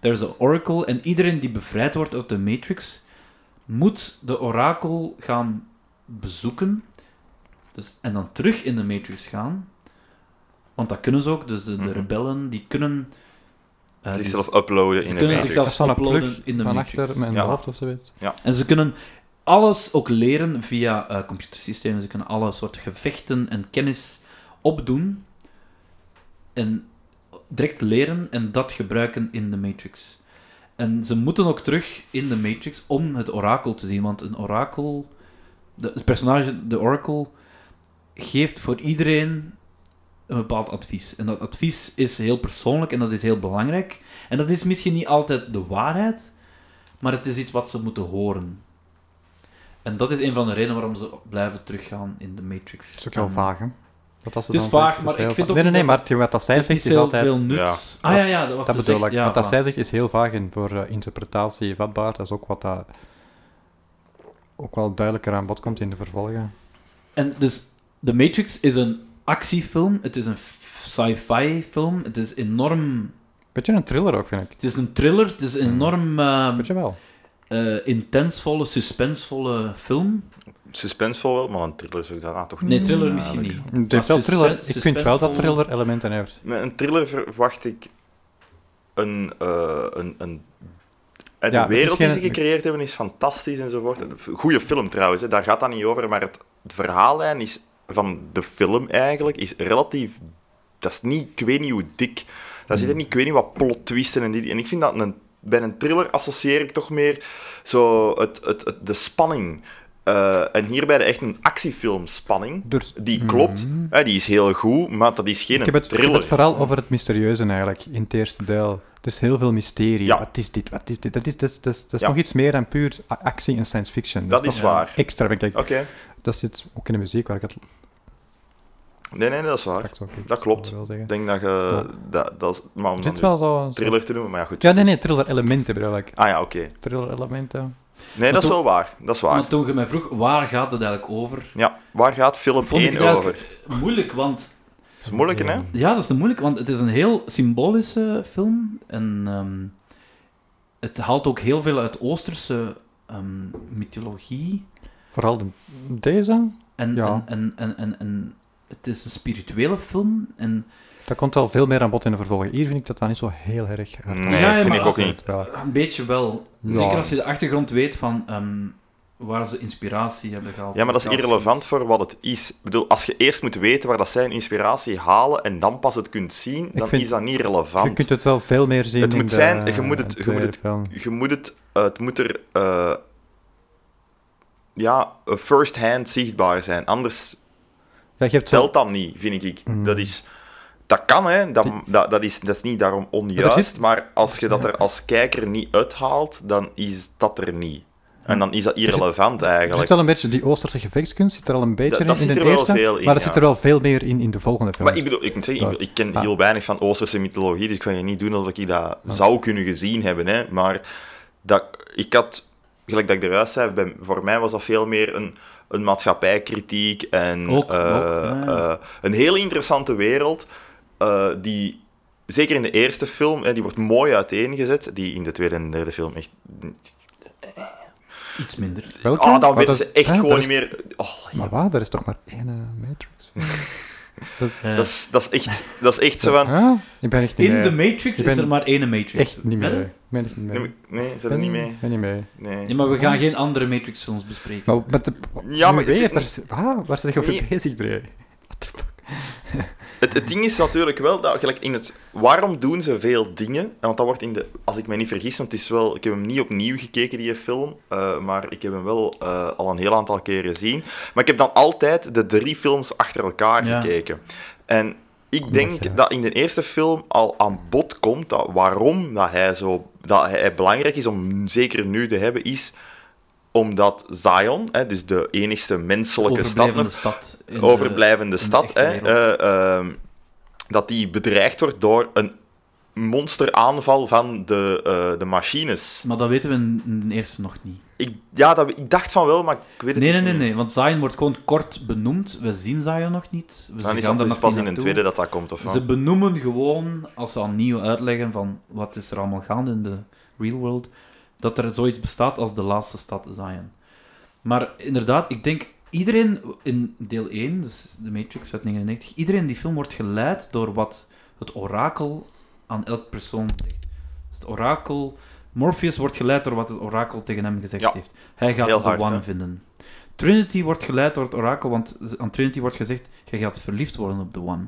Speaker 5: Er is een oracle en iedereen die bevrijd wordt uit de Matrix, moet de orakel gaan bezoeken dus, en dan terug in de Matrix gaan. Want dat kunnen ze ook, dus de, de
Speaker 3: Mhm.
Speaker 5: rebellen die kunnen eh, die-
Speaker 3: Zichzelf uploaden
Speaker 5: ze
Speaker 3: in de
Speaker 5: kunnen
Speaker 3: Matrix.
Speaker 5: zichzelf-
Speaker 4: Dat is zo'n
Speaker 5: uploaden
Speaker 4: plug
Speaker 5: in de
Speaker 4: van
Speaker 5: Matrix.
Speaker 4: achter mijn
Speaker 3: Ja.
Speaker 4: hoofd of zoiets.
Speaker 5: en ze kunnen alles ook leren via eh, computersystemen. Ze kunnen alle soorten gevechten en kennis opdoen en direct leren en dat gebruiken in de Matrix. En ze moeten ook terug in de Matrix om het orakel te zien, want een orakel, de, het personage, de oracle, geeft voor iedereen een bepaald advies. En dat advies is heel persoonlijk en dat is heel belangrijk. En dat is misschien niet altijd de waarheid, maar het is iets wat ze moeten horen. En dat is een van de redenen waarom ze blijven teruggaan in de Matrix.
Speaker 4: Dat is ook heel
Speaker 5: En-
Speaker 4: vaag, hè? Dat als ze
Speaker 5: Het is
Speaker 4: dan
Speaker 5: vaag,
Speaker 4: zegt,
Speaker 5: maar
Speaker 4: heel
Speaker 5: ik vind
Speaker 4: vaag.
Speaker 5: ook
Speaker 4: Nee, nee, nee,
Speaker 5: niet dat-
Speaker 4: maar het- wat dat zij
Speaker 5: Het
Speaker 4: zegt
Speaker 5: is
Speaker 4: is
Speaker 5: heel
Speaker 4: altijd...
Speaker 5: veel nut.
Speaker 3: Ja.
Speaker 5: Ah ja, ja, dat was
Speaker 4: Dat
Speaker 5: ze
Speaker 4: bedoel
Speaker 5: zegt,
Speaker 4: ik.
Speaker 5: ja,
Speaker 4: wat dat
Speaker 5: voilà.
Speaker 4: zij zegt is heel vaag en voor eh, interpretatie vatbaar. Dat is ook wat dat ook wel duidelijker aan bod komt in de vervolgen.
Speaker 5: En dus The Matrix is een actiefilm, het is een f- sci-fi film, het is enorm...
Speaker 4: Beetje een thriller ook, vind ik.
Speaker 5: Het is een thriller, het is een
Speaker 4: Hmm.
Speaker 5: enorm eh,
Speaker 4: Beetje wel.
Speaker 5: eh, intensvolle, suspensvolle film.
Speaker 3: Suspensevol wel, maar een thriller zou ik daarna toch niet.
Speaker 5: Nee, thriller misschien niet.
Speaker 4: Hmm. Het
Speaker 5: Maar
Speaker 4: heeft wel
Speaker 5: suspen-
Speaker 4: thriller. Ik vind wel dat
Speaker 5: suspensvolle-
Speaker 4: thriller elementen heeft.
Speaker 3: Met een thriller verwacht ik een. eh, een, een eh, de
Speaker 4: Ja, het is
Speaker 3: wereld die
Speaker 4: geen-
Speaker 3: ze gecreëerd hebben is fantastisch enzovoort. Goede film trouwens, hè, daar gaat dat niet over. Maar het, het verhaallijn is van de film eigenlijk is relatief. Dat is niet, ik weet niet hoe dik. Daar
Speaker 4: Hmm.
Speaker 3: zitten niet, ik weet niet wat plot twisten en die. En ik vind dat een, bij een thriller associeer ik toch meer zo het, het, het- de spanning. Eh, en hierbij de echt een actiefilm spanning.
Speaker 4: Dus-
Speaker 3: Die klopt, hè, die is heel goed, maar dat is geen
Speaker 4: Ik heb, het, ik heb
Speaker 3: thriller.
Speaker 4: het vooral over het mysterieuze eigenlijk, in het eerste deel. Het is heel veel mysterie.
Speaker 3: Ja.
Speaker 4: Wat is dit? Wat is dit? Dat is, dat is, dat is, dat is
Speaker 3: Ja.
Speaker 4: nog iets meer dan puur a- actie en science fiction.
Speaker 3: Dat is
Speaker 4: nog
Speaker 3: waar.
Speaker 4: Extra ben ik.
Speaker 3: Oké.
Speaker 4: Dat zit ook in de muziek, waar ik het
Speaker 3: Nee, nee, dat is waar.
Speaker 4: straks ook
Speaker 3: Dat klopt.
Speaker 4: wil
Speaker 3: Ik
Speaker 4: zeggen.
Speaker 3: denk dat je... Dat, dat is, maar om
Speaker 4: Er
Speaker 3: dan
Speaker 4: zit
Speaker 3: de
Speaker 4: wel zo... zo-
Speaker 3: thriller te noemen, maar ja, goed.
Speaker 4: Ja, nee, nee, thriller-elementen bedoel ik.
Speaker 3: Ah ja, oké.
Speaker 4: Thriller-elementen.
Speaker 3: Nee, dat is
Speaker 5: toen-
Speaker 3: wel waar. Dat is waar.
Speaker 5: Maar toen je mij vroeg, waar gaat het eigenlijk over?
Speaker 3: Ja, waar gaat film
Speaker 5: Vond ik
Speaker 3: 1
Speaker 5: het eigenlijk
Speaker 3: over?
Speaker 5: moeilijk, want
Speaker 3: Dat is moeilijk, hè?
Speaker 5: Ja, dat is te moeilijk, want het is een heel symbolische film. En ehm, het haalt ook heel veel uit Oosterse ehm, mythologie.
Speaker 4: Vooral de- deze,
Speaker 5: En,
Speaker 4: Ja.
Speaker 5: en, en, en, en, en het is een spirituele film. En
Speaker 4: dat komt wel veel meer aan bod in de vervolgen. Hier vind ik dat dan niet zo heel erg hard.
Speaker 3: Nee,
Speaker 5: Ja, ja,
Speaker 3: vind
Speaker 5: maar
Speaker 3: ik ook
Speaker 5: als
Speaker 3: niet.
Speaker 4: Ja.
Speaker 5: een beetje wel.
Speaker 4: Ja.
Speaker 5: Zeker als je de achtergrond weet van ehm, waar ze inspiratie hebben gehaald.
Speaker 3: Ja, maar dat is irrelevant voor wat het is. Ik bedoel, als je eerst moet weten waar dat zij hun inspiratie halen en dan pas het kunt zien, dan
Speaker 4: vind-
Speaker 3: is dat niet
Speaker 4: Je
Speaker 3: relevant.
Speaker 4: kunt het wel veel meer zien
Speaker 3: Het
Speaker 4: in
Speaker 3: moet
Speaker 4: de,
Speaker 3: zijn, je moet het-
Speaker 4: in de
Speaker 3: je moet het-
Speaker 4: tweede film.
Speaker 3: Je moet het... eh, het moet er... eh, ja, eh, first-hand zichtbaar zijn. Anders
Speaker 4: Ja, je hebt Hmm. zo...
Speaker 3: telt dat niet, vind ik. Dat is... Dat kan, hè. Dat, dat, dat, is, dat is niet daarom onjuist.
Speaker 4: Maar er zit-
Speaker 3: Maar als je dat er als kijker niet uithaalt, dan is dat er niet. En dan is dat
Speaker 4: Dus
Speaker 3: irrelevant,
Speaker 4: Er zit
Speaker 3: eigenlijk.
Speaker 4: wel een beetje, die Oosterse gevechtskunst zit er al een beetje
Speaker 3: Dat-
Speaker 4: in,
Speaker 3: dat
Speaker 4: in
Speaker 3: zit
Speaker 4: de
Speaker 3: er wel
Speaker 4: eerste,
Speaker 3: veel in,
Speaker 4: maar er
Speaker 3: ja.
Speaker 4: zit er wel veel meer in in de volgende film.
Speaker 3: Maar ik bedoel, ik moet zeggen, ik, ik ken heel weinig van Oosterse mythologie, dus ik kan je niet doen alsof ik dat zou kunnen gezien hebben, hè. Maar dat, ik had... Gelijk dat ik eruit zei, bij- voor mij was dat veel meer een, een maatschappijkritiek en
Speaker 5: Ook,
Speaker 3: eh,
Speaker 5: ook, ja.
Speaker 3: eh, een hele interessante wereld eh, die zeker in de eerste film, hè, die wordt mooi uiteengezet, die in de tweede en derde film echt...
Speaker 5: Iets minder.
Speaker 4: Welke?
Speaker 3: Ah,
Speaker 4: Maar
Speaker 3: dan weten
Speaker 4: dat-
Speaker 3: ze echt
Speaker 4: hè,
Speaker 3: gewoon
Speaker 4: dat
Speaker 3: niet
Speaker 4: is-
Speaker 3: meer... Oh,
Speaker 4: Maar waar? Er is toch maar één eh, Matrix?
Speaker 5: Eh,
Speaker 3: dat, is, dat, is echt, dat is echt zo van...
Speaker 4: Huh? Ik ben echt niet
Speaker 5: in
Speaker 4: mee.
Speaker 5: de Matrix
Speaker 4: Ik
Speaker 5: is
Speaker 4: ben
Speaker 5: er maar één Matrix.
Speaker 4: Echt niet
Speaker 5: Wel?
Speaker 4: meer. Ik ben echt niet mee.
Speaker 3: Nee, nee, zet er
Speaker 4: ben,
Speaker 3: niet mee.
Speaker 4: ben niet mee.
Speaker 3: Nee.
Speaker 5: Ja, maar we gaan geen andere Matrix-films bespreken.
Speaker 4: Maar met de...
Speaker 3: Ja,
Speaker 4: nu
Speaker 3: maar-
Speaker 4: weer? Daar is- ah, waar zijn je over
Speaker 3: Nee.
Speaker 4: bezig, Dre? What the fuck?
Speaker 3: Het, het ding is natuurlijk wel dat gelijk in het waarom doen ze veel dingen? En Want dat wordt in de als ik me niet vergis, want het is wel ik heb hem niet opnieuw gekeken die film, eh, maar ik heb hem wel eh, al een heel aantal keren gezien. Maar ik heb dan altijd de drie films achter elkaar
Speaker 5: Ja.
Speaker 3: gekeken. En ik denk
Speaker 4: ja.
Speaker 3: dat in de eerste film al aan bod komt dat waarom dat hij zo dat hij belangrijk is om zeker nu te hebben is omdat Zion, hè, dus de enigste menselijke stad,
Speaker 5: Overblijvende stad. in eh, de-
Speaker 3: overblijvende
Speaker 5: de
Speaker 3: stad,
Speaker 5: echte
Speaker 3: hè,
Speaker 5: wereld.
Speaker 3: eh, ehm, dat die bedreigd wordt door een monsteraanval van de, eh, de machines.
Speaker 5: Maar dat weten we in, in de eerste nog niet.
Speaker 3: Ik, ja, dat, ik dacht van wel, maar ik weet het
Speaker 5: Nee,
Speaker 3: dus
Speaker 5: nee, nee,
Speaker 3: niet.
Speaker 5: nee, want Zion wordt gewoon kort benoemd. We zien Zion nog niet. We
Speaker 3: Dan
Speaker 5: ze
Speaker 3: is
Speaker 5: gaan
Speaker 3: dat
Speaker 5: er
Speaker 3: dus
Speaker 5: nog
Speaker 3: pas
Speaker 5: niet
Speaker 3: in een
Speaker 5: naartoe.
Speaker 3: tweede dat dat komt, of wat?
Speaker 5: Ze benoemen gewoon, als ze opnieuw uitleggen van wat is er allemaal gaande in de real world, dat er zoiets bestaat als de laatste stad Zion. Maar inderdaad, ik denk iedereen in deel 1, dus de Matrix uit 99, iedereen in die film wordt geleid door wat het orakel aan elk persoon zegt. Dus het orakel, Morpheus wordt geleid door wat het orakel tegen hem gezegd
Speaker 3: Ja.
Speaker 5: heeft. Hij gaat
Speaker 3: Heel
Speaker 5: de
Speaker 3: hard,
Speaker 5: One
Speaker 3: hè?
Speaker 5: vinden. Trinity wordt geleid door het orakel, want aan Trinity wordt gezegd, jij gaat verliefd worden op de One.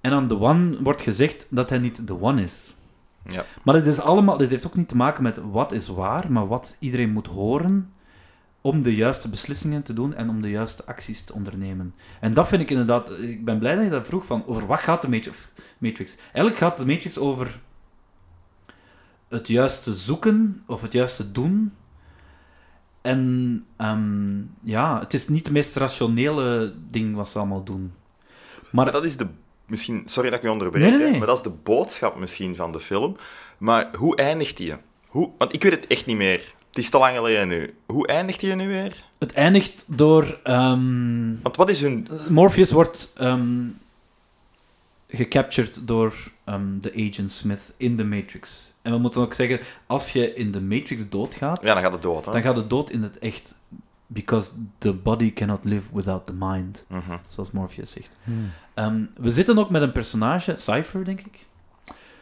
Speaker 5: En aan de One wordt gezegd dat hij niet de One is.
Speaker 3: Ja.
Speaker 5: Maar dit, is allemaal, dit heeft ook niet te maken met wat is waar, maar wat iedereen moet horen om de juiste beslissingen te doen en om de juiste acties te ondernemen. En dat vind ik inderdaad... Ik ben blij dat je dat vroeg, van over wat gaat de Matrix? Matrix. Eigenlijk gaat de Matrix over het juiste zoeken of het juiste doen. En ehm, ja, het is niet het meest rationele ding wat ze allemaal doen.
Speaker 3: Maar dat is de... Misschien, sorry dat ik je onderbreek,
Speaker 5: Nee, nee,
Speaker 3: hè,
Speaker 5: nee.
Speaker 3: maar dat is de boodschap misschien van de film. Maar hoe eindigt die? Hoe, want ik weet het echt niet meer. Het is te lang geleden nu. Hoe eindigt die nu weer?
Speaker 5: Het eindigt door... ehm,
Speaker 3: Want wat is hun...
Speaker 5: Morpheus wordt ehm, gecaptured door ehm, de Agent Smith in de Matrix. En we moeten ook zeggen, als je in de Matrix doodgaat,
Speaker 3: Ja, dan gaat het dood, hè?
Speaker 5: dan gaat het dood in het echt. Because the body cannot live without the mind,
Speaker 3: Mhm.
Speaker 5: zoals Morpheus zegt. Ehm, we zitten ook met een personage, Cypher denk ik,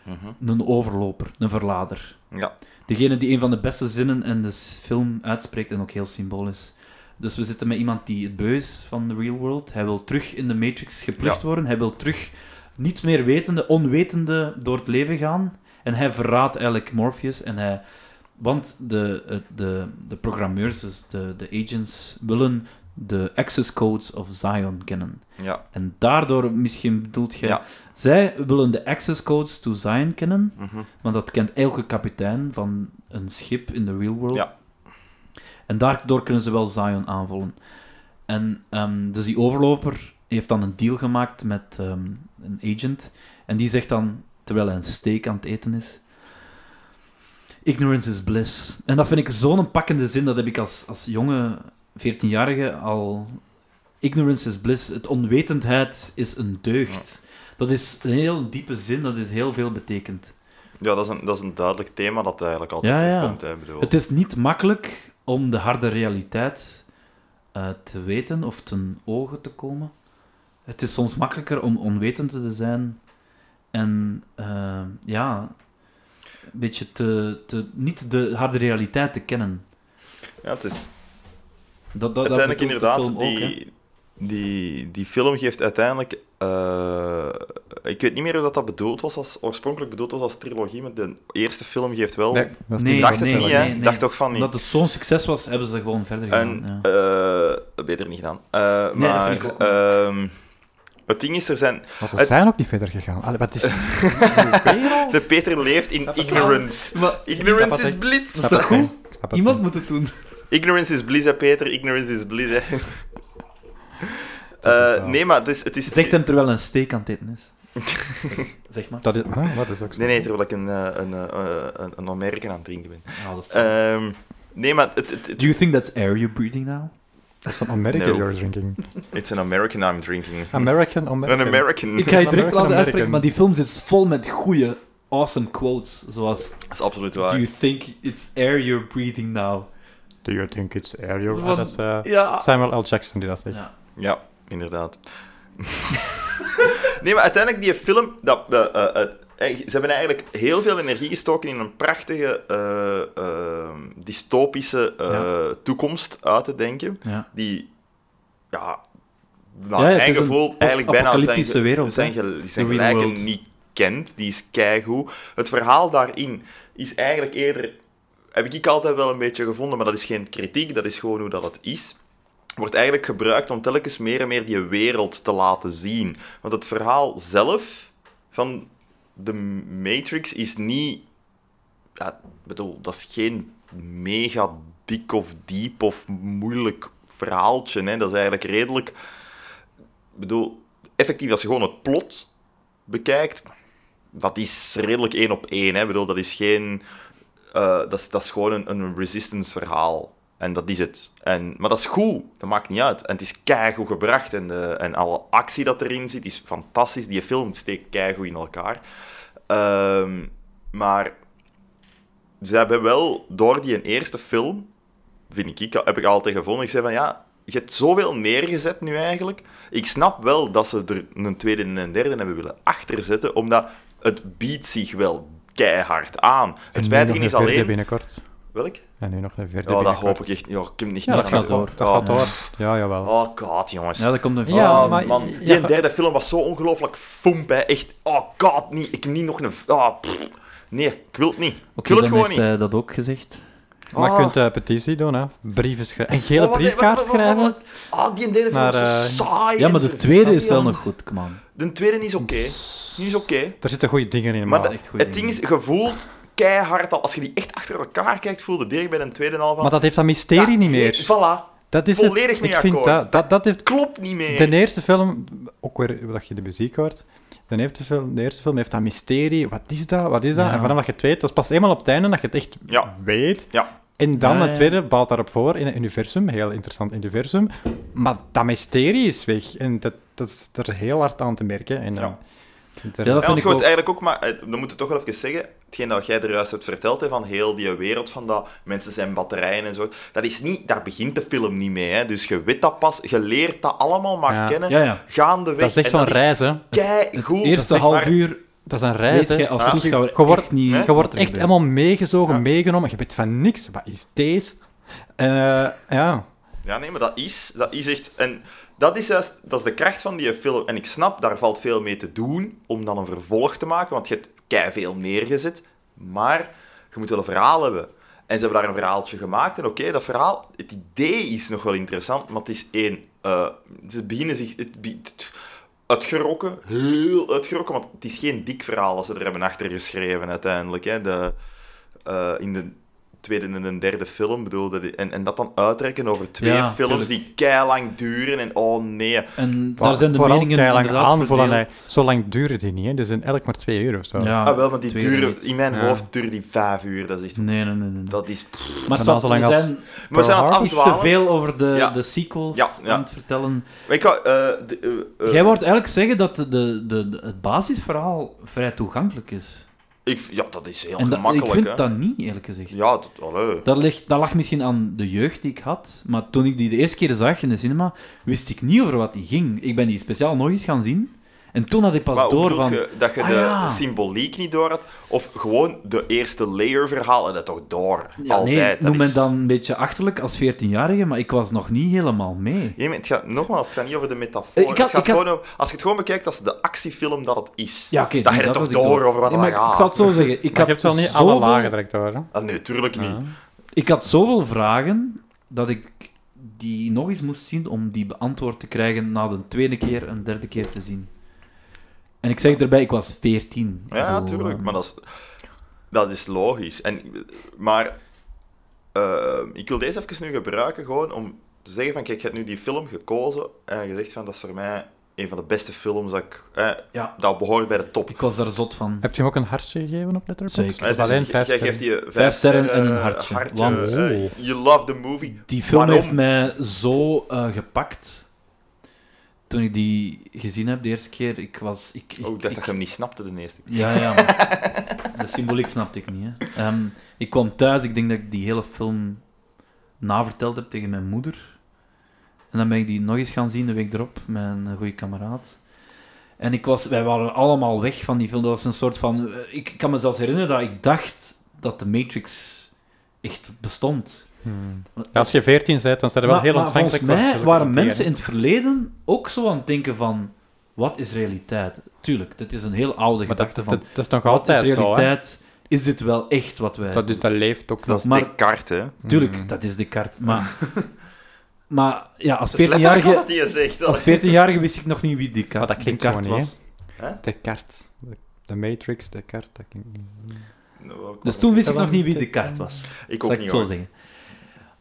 Speaker 3: Mhm.
Speaker 5: een overloper, een verlader.
Speaker 3: Ja.
Speaker 5: Degene die een van de beste zinnen in de s- film uitspreekt en ook heel symbool is. Dus we zitten met iemand die het beu is van de real world. Hij wil terug in de Matrix geplucht worden. Hij wil terug, niet meer wetende, onwetende, door het leven gaan. En hij verraadt eigenlijk Morpheus. En hij, want de, eh, de, de programmeurs, dus de, de agents, willen de access codes of Zion kennen.
Speaker 3: Ja.
Speaker 5: En daardoor, misschien bedoelt je...
Speaker 3: Ja.
Speaker 5: Zij willen de access codes to Zion kennen.
Speaker 3: Mhm.
Speaker 5: Want dat kent elke kapitein van een schip in de real world.
Speaker 3: Ja.
Speaker 5: En daardoor kunnen ze wel Zion aanvallen. En ehm, dus die overloper heeft dan een deal gemaakt met ehm, een agent. En die zegt dan, terwijl hij een steak aan het eten is... Ignorance is bliss. En dat vind ik zo'n pakkende zin. Dat heb ik als, als jonge 14-jarige al... Ignorance is bliss. Het onwetendheid is een deugd. Dat is een heel diepe zin. Dat is heel veel betekend.
Speaker 3: Ja, dat is, een, dat is een duidelijk thema dat eigenlijk altijd
Speaker 5: Ja, ja.
Speaker 3: terugkomt. Hè, ik bedoel.
Speaker 5: Het is niet makkelijk om de harde realiteit eh, te weten of ten ogen te komen. Het is soms makkelijker om onwetend te zijn en eh, ja, een beetje te, te, niet de harde realiteit te kennen.
Speaker 3: Ja, het is
Speaker 5: Dat, dat, dat
Speaker 3: uiteindelijk
Speaker 5: bedoelt de
Speaker 3: inderdaad...
Speaker 5: film ook, hè.
Speaker 3: die, die, die film geeft uiteindelijk... eh, ik weet niet meer of dat, dat bedoeld was, als, oorspronkelijk bedoeld was als trilogie, maar de eerste film geeft wel...
Speaker 4: Nee, dat is
Speaker 5: Nee,
Speaker 4: niet
Speaker 3: dacht het
Speaker 5: nee,
Speaker 3: niet,
Speaker 5: nee,
Speaker 3: hè?
Speaker 5: nee.
Speaker 3: Dacht toch van niet.
Speaker 5: Omdat het zo'n succes was, hebben ze dat gewoon verder gedaan.
Speaker 3: En,
Speaker 5: ja.
Speaker 3: eh, beter niet gedaan. Eh,
Speaker 5: Nee, dat
Speaker 3: maar,
Speaker 5: vind ik ook.
Speaker 3: ehm, het ding is, er zijn...
Speaker 4: Maar ze
Speaker 3: Het-
Speaker 4: zijn ook niet verder gegaan. Allee, wat
Speaker 3: [laughs]
Speaker 4: is
Speaker 3: De Peter leeft in ignorance.
Speaker 5: Maar
Speaker 4: wat
Speaker 3: Ignorance is
Speaker 4: ik-
Speaker 3: bliss.
Speaker 4: Snap het
Speaker 5: goed?
Speaker 4: niet. Ik snap het
Speaker 5: iemand
Speaker 4: niet.
Speaker 5: moet het doen.
Speaker 3: Ignorance is bliss, hè, Peter. Ignorance is [laughs] bliss, hè.
Speaker 4: Dat is
Speaker 3: Eh,
Speaker 4: wel-
Speaker 3: nee, maar het is... Het
Speaker 5: [laughs]
Speaker 3: is
Speaker 5: Zegt hem terwijl hij een steek aan het eten
Speaker 3: [laughs]
Speaker 5: is. Zeg maar.
Speaker 4: Dat is, ah, dat is ook zo.
Speaker 3: Nee, nee, terwijl ik een, eh, een, eh, een, een American aan het drinken ben.
Speaker 5: Ah, dat is-
Speaker 3: Ehm, nee, maar het, het, het-
Speaker 5: Do you think that's air you're breathing now?
Speaker 4: Dat is een American
Speaker 3: No.
Speaker 4: you're drinking.
Speaker 3: it's an American I'm drinking.
Speaker 4: American,
Speaker 3: Een
Speaker 4: American.
Speaker 3: Mhm. American.
Speaker 5: Ik ga je
Speaker 4: American
Speaker 5: direct laten uitspreken,
Speaker 4: American.
Speaker 5: maar die film zit vol met goede, awesome quotes. Zoals:
Speaker 3: Dat is absoluut
Speaker 5: Do
Speaker 3: waar.
Speaker 5: you think it's air you're breathing now?
Speaker 4: Do you think it's air you're...
Speaker 5: Zo
Speaker 4: Ah,
Speaker 5: van-
Speaker 4: dat is eh,
Speaker 5: Ja.
Speaker 4: Samuel L. Jackson die dat zegt.
Speaker 5: Ja.
Speaker 3: Ja, inderdaad. [laughs] nee, maar uiteindelijk die film... Dat, eh, eh, eh, eh, ze hebben eigenlijk heel veel energie gestoken in een prachtige eh, eh, dystopische eh, toekomst uit te denken.
Speaker 5: Ja.
Speaker 3: Die, ja,
Speaker 5: Ja,
Speaker 3: naar
Speaker 5: ja, het
Speaker 3: mijn
Speaker 5: is een
Speaker 3: gevoel eigenlijk bijna zijn,
Speaker 5: post-apocalyptische wereld,
Speaker 3: zijn,
Speaker 5: hè?
Speaker 3: gel- zijn
Speaker 5: The real
Speaker 3: gelijken
Speaker 5: world.
Speaker 3: niet kent. Die is keigoed. Het verhaal daarin is eigenlijk eerder... Heb ik altijd wel een beetje gevonden, maar dat is geen kritiek, dat is gewoon hoe dat het is wordt eigenlijk gebruikt om telkens meer en meer die wereld te laten zien. Want het verhaal zelf van de Matrix is niet... Ja, ik bedoel, dat is geen mega dik of diep of moeilijk verhaaltje. Hè? Dat is eigenlijk redelijk... Ik bedoel, effectief als je gewoon het plot bekijkt, dat is redelijk één op één. Hè? Ik bedoel, dat is geen... eh, dat, is, dat is gewoon een, een resistance verhaal. En dat is het. En, maar dat is goed, dat maakt niet uit. En het is keigoed gebracht. En, de, en alle actie dat erin zit is fantastisch. Die film steekt keigoed in elkaar. Ehm, maar ze hebben wel door die eerste film, vind ik, ik, heb ik altijd gevonden. Ik zei van ja, je hebt zoveel neergezet nu eigenlijk. Ik snap wel dat ze er een tweede en een derde hebben willen achterzetten, omdat het biedt zich wel keihard aan.
Speaker 4: En
Speaker 3: Het
Speaker 4: nu nog
Speaker 3: spijtige
Speaker 4: een
Speaker 3: is
Speaker 4: vierde
Speaker 3: alleen...
Speaker 4: binnenkort.
Speaker 3: Welk?
Speaker 4: En nu nog een vierde
Speaker 3: Ja, Oh, dat
Speaker 4: binnenkort.
Speaker 3: hoop ik echt niet. Ja, ik heb niet
Speaker 5: Ja, dat
Speaker 3: aan
Speaker 5: gaat
Speaker 3: de-
Speaker 5: door.
Speaker 4: Dat
Speaker 3: Oh,
Speaker 4: gaat door. Ja, jawel.
Speaker 3: Oh god, jongens.
Speaker 5: ja, dat komt een
Speaker 4: Ja,
Speaker 3: oh,
Speaker 4: maar-
Speaker 3: man. Die
Speaker 4: ja.
Speaker 3: derde film was zo ongelooflijk foemp, hè. Echt, oh god, niet. Ik niet nog een... ah, oh, pff. nee, ik wil het niet.
Speaker 5: Oké,
Speaker 3: ik wil het
Speaker 5: dan
Speaker 3: gewoon
Speaker 5: heeft eh,
Speaker 3: niet.
Speaker 5: hij dat ook gezegd.
Speaker 4: Maar
Speaker 3: Ah.
Speaker 4: je kunt eh, petitie doen, hè. Brieven schrijven. Een gele
Speaker 3: Oh, wat-
Speaker 4: briefkaart
Speaker 3: wat- wat- wat-
Speaker 4: schrijven.
Speaker 3: wat- Ah, die derde
Speaker 4: Maar,
Speaker 3: vond ik zo
Speaker 4: eh,
Speaker 3: saai.
Speaker 5: Ja, maar de tweede is wel
Speaker 3: Ja.
Speaker 5: nog goed, come on.
Speaker 3: De tweede is oké. Die is oké.
Speaker 4: Er zitten goede dingen in,
Speaker 3: Maar
Speaker 4: maar...
Speaker 3: dat-
Speaker 5: echt goed,
Speaker 3: het ding is, je voelt keihard al... Als je die echt achter elkaar kijkt, voelde direct bij de tweede al van...
Speaker 4: Maar dat heeft dat mysterie
Speaker 3: Ja,
Speaker 4: niet
Speaker 3: nee,
Speaker 4: meer.
Speaker 3: Voilà.
Speaker 4: dat is
Speaker 3: volledig
Speaker 4: het.
Speaker 3: mee
Speaker 4: Ik vind
Speaker 3: akkoord.
Speaker 4: dat, dat, dat heeft...
Speaker 3: Klopt niet meer.
Speaker 4: De eerste film, ook weer dat je de muziek hoort, dan heeft de, film, de eerste film heeft dat mysterie. Wat is dat? Wat is dat?
Speaker 5: Ja.
Speaker 4: En vanaf dat je het weet, dat is pas eenmaal op het einde dat je het echt
Speaker 3: Ja.
Speaker 4: weet.
Speaker 3: Ja.
Speaker 4: En dan
Speaker 5: Ja, ja.
Speaker 4: het tweede bouwt daarop voor in een universum, een heel interessant universum. Maar dat mysterie is weg. En dat, dat is er heel hard aan te merken. En,
Speaker 3: Ja.
Speaker 4: eh, daar-
Speaker 5: Ja, dat
Speaker 3: Ja, want
Speaker 5: vind
Speaker 3: je
Speaker 5: ik
Speaker 3: moet
Speaker 5: ook.
Speaker 3: eigenlijk ook, maar eh, we moeten toch wel even zeggen, hetgeen dat jij er juist hebt verteld, hè, van heel die wereld van dat mensen zijn batterijen en zo, dat is niet, daar begint de film niet mee. Hè. Dus je weet dat pas, je leert dat allemaal maar
Speaker 4: Ja.
Speaker 3: kennen,
Speaker 5: Ja, ja.
Speaker 3: gaandeweg.
Speaker 4: dat is echt
Speaker 3: en
Speaker 4: zo'n
Speaker 3: dat
Speaker 4: reis, hè.
Speaker 3: Keigoed.
Speaker 5: Het eerste
Speaker 4: dat is echt
Speaker 5: half
Speaker 3: waar.
Speaker 5: uur
Speaker 4: Dat is een
Speaker 5: weet
Speaker 4: reis, hè.
Speaker 5: je als
Speaker 3: Ah.
Speaker 5: toeschouwer
Speaker 4: Je wordt-
Speaker 5: echt niet...
Speaker 3: hè?
Speaker 4: Je wordt
Speaker 5: wat
Speaker 4: echt
Speaker 5: erin
Speaker 4: helemaal meegezogen,
Speaker 3: Ja.
Speaker 4: meegenomen. Je weet van niks. Wat is deze? En eh, ja,
Speaker 3: Ja, nee, maar dat is, dat is echt... En dat is juist, dat is de kracht van die film. En ik snap, daar valt veel mee te doen, om dan een vervolg te maken, want je hebt keiveel neergezet, maar je moet wel een verhaal hebben. En ze hebben daar een verhaaltje gemaakt, en oké, dat verhaal, het idee is nog wel interessant, maar het is één... eh, ze beginnen zich... Het, be- het, uitgerokken, heel uitgerokken, want het is geen dik verhaal dat ze er hebben achter geschreven uiteindelijk. Hè. De, eh, in de tweede en een derde film. Bedoel, dat en, en dat dan uitrekken over twee
Speaker 5: Ja,
Speaker 3: films
Speaker 5: tuurlijk. Ah,
Speaker 3: die keilang duren. En oh nee.
Speaker 5: En daar zijn de
Speaker 4: vooral
Speaker 5: meningen
Speaker 4: keilang
Speaker 5: inderdaad
Speaker 4: aanvoelen.
Speaker 5: verdeeld.
Speaker 4: hè. Zo lang duren die niet. Hè. Dus in elk maar twee uur of zo.
Speaker 5: Ja,
Speaker 3: ah wel, want die
Speaker 5: twee uur
Speaker 3: duren,
Speaker 5: niet.
Speaker 3: in mijn
Speaker 4: Ja.
Speaker 3: hoofd duren die vijf uur. Dat is echt...
Speaker 5: Nee, nee, nee. nee.
Speaker 3: Dat is...
Speaker 5: Maar
Speaker 4: dan
Speaker 5: stop,
Speaker 4: zolang
Speaker 5: we
Speaker 4: als-
Speaker 5: zijn
Speaker 3: We zijn aan het
Speaker 5: iets te
Speaker 3: afdwalen.
Speaker 5: veel over de,
Speaker 3: Ja.
Speaker 5: de sequels
Speaker 3: Ja, ja.
Speaker 5: aan het vertellen.
Speaker 3: Maar ik wou, eh, de- eh, eh,
Speaker 5: Jij wordt eigenlijk zeggen dat de, de, de- het basisverhaal vrij toegankelijk is.
Speaker 3: ik, ja, dat is heel
Speaker 5: en dat,
Speaker 3: gemakkelijk.
Speaker 5: ik vind
Speaker 3: hè.
Speaker 5: dat niet, eerlijk gezegd.
Speaker 3: Ja, dat, allee.
Speaker 5: Dat, ligt, dat lag misschien aan de jeugd die ik had, maar toen ik die de eerste keer zag in de cinema, wist ik niet over wat die ging. Ik ben die speciaal nog eens gaan zien, en toen had ik pas
Speaker 3: Maar hoe
Speaker 5: door
Speaker 3: bedoel
Speaker 5: van...
Speaker 3: je, dat je
Speaker 5: Ah,
Speaker 3: de
Speaker 5: ja.
Speaker 3: symboliek niet door had? Of gewoon de eerste layer verhalen dat toch door?
Speaker 5: Ja,
Speaker 3: Altijd.
Speaker 5: nee,
Speaker 3: dat
Speaker 5: noem me
Speaker 3: is-
Speaker 5: dan een beetje achterlijk als 14-jarige, maar ik was nog niet helemaal mee.
Speaker 3: Ja, maar het gaat, nogmaals, het gaat niet over de metafoor.
Speaker 5: Eh, ik had-
Speaker 3: het gaat
Speaker 5: ik had-
Speaker 3: gewoon over- als je het gewoon bekijkt als de actiefilm dat het is.
Speaker 5: Ja, oké.
Speaker 3: dat
Speaker 5: nee,
Speaker 3: je het toch
Speaker 5: was ik
Speaker 3: door over wat
Speaker 5: Ja,
Speaker 3: er
Speaker 5: maar ik, ik zal het zo zeggen. Ik
Speaker 4: Maar
Speaker 5: had
Speaker 4: je hebt wel niet alle
Speaker 5: zoveel-
Speaker 4: lagen direct door. Hè?
Speaker 3: Ah, nee, tuurlijk niet.
Speaker 5: Ik had zoveel vragen dat ik die nog eens moest zien om die beantwoord te krijgen na de tweede keer en derde keer te zien. En ik zeg erbij, ik was 14.
Speaker 3: Ja,
Speaker 5: Ik bedoel,
Speaker 3: tuurlijk.
Speaker 5: eh,
Speaker 3: Maar dat is, dat is logisch. En, maar eh, ik wil deze even nu gebruiken gewoon om te zeggen van, kijk, je hebt nu die film gekozen en je zegt van, dat is voor mij een van de beste films dat ik... Eh,
Speaker 5: Ja.
Speaker 3: Dat behoort bij de top.
Speaker 5: Ik was daar zot van.
Speaker 4: Heb je hem ook een hartje gegeven op Letterboxd?
Speaker 5: Zeker.
Speaker 3: Eh,
Speaker 4: Of
Speaker 3: dus
Speaker 4: alleen
Speaker 3: j-
Speaker 4: vijf
Speaker 3: jij
Speaker 4: sterren?
Speaker 3: geeft die vijf,
Speaker 5: Vijf sterren en een
Speaker 3: eh,
Speaker 5: hartje. Want-
Speaker 3: eh,
Speaker 4: Oh.
Speaker 3: you love the movie.
Speaker 5: Die film
Speaker 3: Waarom?
Speaker 5: heeft mij zo eh, gepakt. Toen ik die gezien heb de eerste keer, ik was... Ik, ik,
Speaker 3: Oh, ik dacht
Speaker 5: ik-
Speaker 3: dat je hem niet snapte de eerste keer.
Speaker 5: Ja, ja. maar [laughs] De symboliek snapte ik niet. Hè. Ehm, ik kwam thuis, ik denk dat ik die hele film naverteld heb tegen mijn moeder. En dan ben ik die nog eens gaan zien de week erop, met een goede kameraad. En ik was, wij waren allemaal weg van die film. Dat was een soort van. eh, Ik kan me zelfs herinneren dat ik dacht dat de Matrix echt bestond.
Speaker 4: Hmm. Ja, als je veertien bent, dan zijn er wel
Speaker 5: Maar-
Speaker 4: heel
Speaker 5: maar
Speaker 4: ontvankelijk.
Speaker 5: Volgens
Speaker 4: voor
Speaker 5: mij
Speaker 4: zulke
Speaker 5: waren
Speaker 4: dingen.
Speaker 5: mensen in het verleden ook zo aan het denken van... Wat is realiteit? Tuurlijk, dit is een heel oude
Speaker 4: Maar dat,
Speaker 5: gedachte
Speaker 4: dat,
Speaker 5: van...
Speaker 4: dat is nog
Speaker 5: Wat is
Speaker 4: altijd zo, hè?
Speaker 5: realiteit? Is dit wel echt wat wij...
Speaker 4: Dat, dus, dat leeft ook
Speaker 3: Dat
Speaker 4: nog.
Speaker 3: is
Speaker 5: Maar-
Speaker 3: de kaart, hè.
Speaker 5: Tuurlijk,
Speaker 4: Mm.
Speaker 5: dat is de kaart. Maar, maar ja, als
Speaker 3: Letterlijk wat
Speaker 5: 14-jarige...
Speaker 3: hij zegt.
Speaker 5: Als 14-jarige wist ik nog niet wie die kaart,
Speaker 4: Maar dat klinkt
Speaker 5: de kaart
Speaker 4: gewoon niet,
Speaker 5: was.
Speaker 4: De kaart. De, de Matrix, de kaart. Dat klinkt niet.
Speaker 3: Nou,
Speaker 5: Dus toen wist
Speaker 4: Dat
Speaker 5: ik nog
Speaker 4: was-
Speaker 5: niet wie de kaart was.
Speaker 3: Ik
Speaker 5: Zal ik
Speaker 3: ook
Speaker 5: het
Speaker 3: niet,
Speaker 5: zo
Speaker 3: hoor.
Speaker 5: zeggen.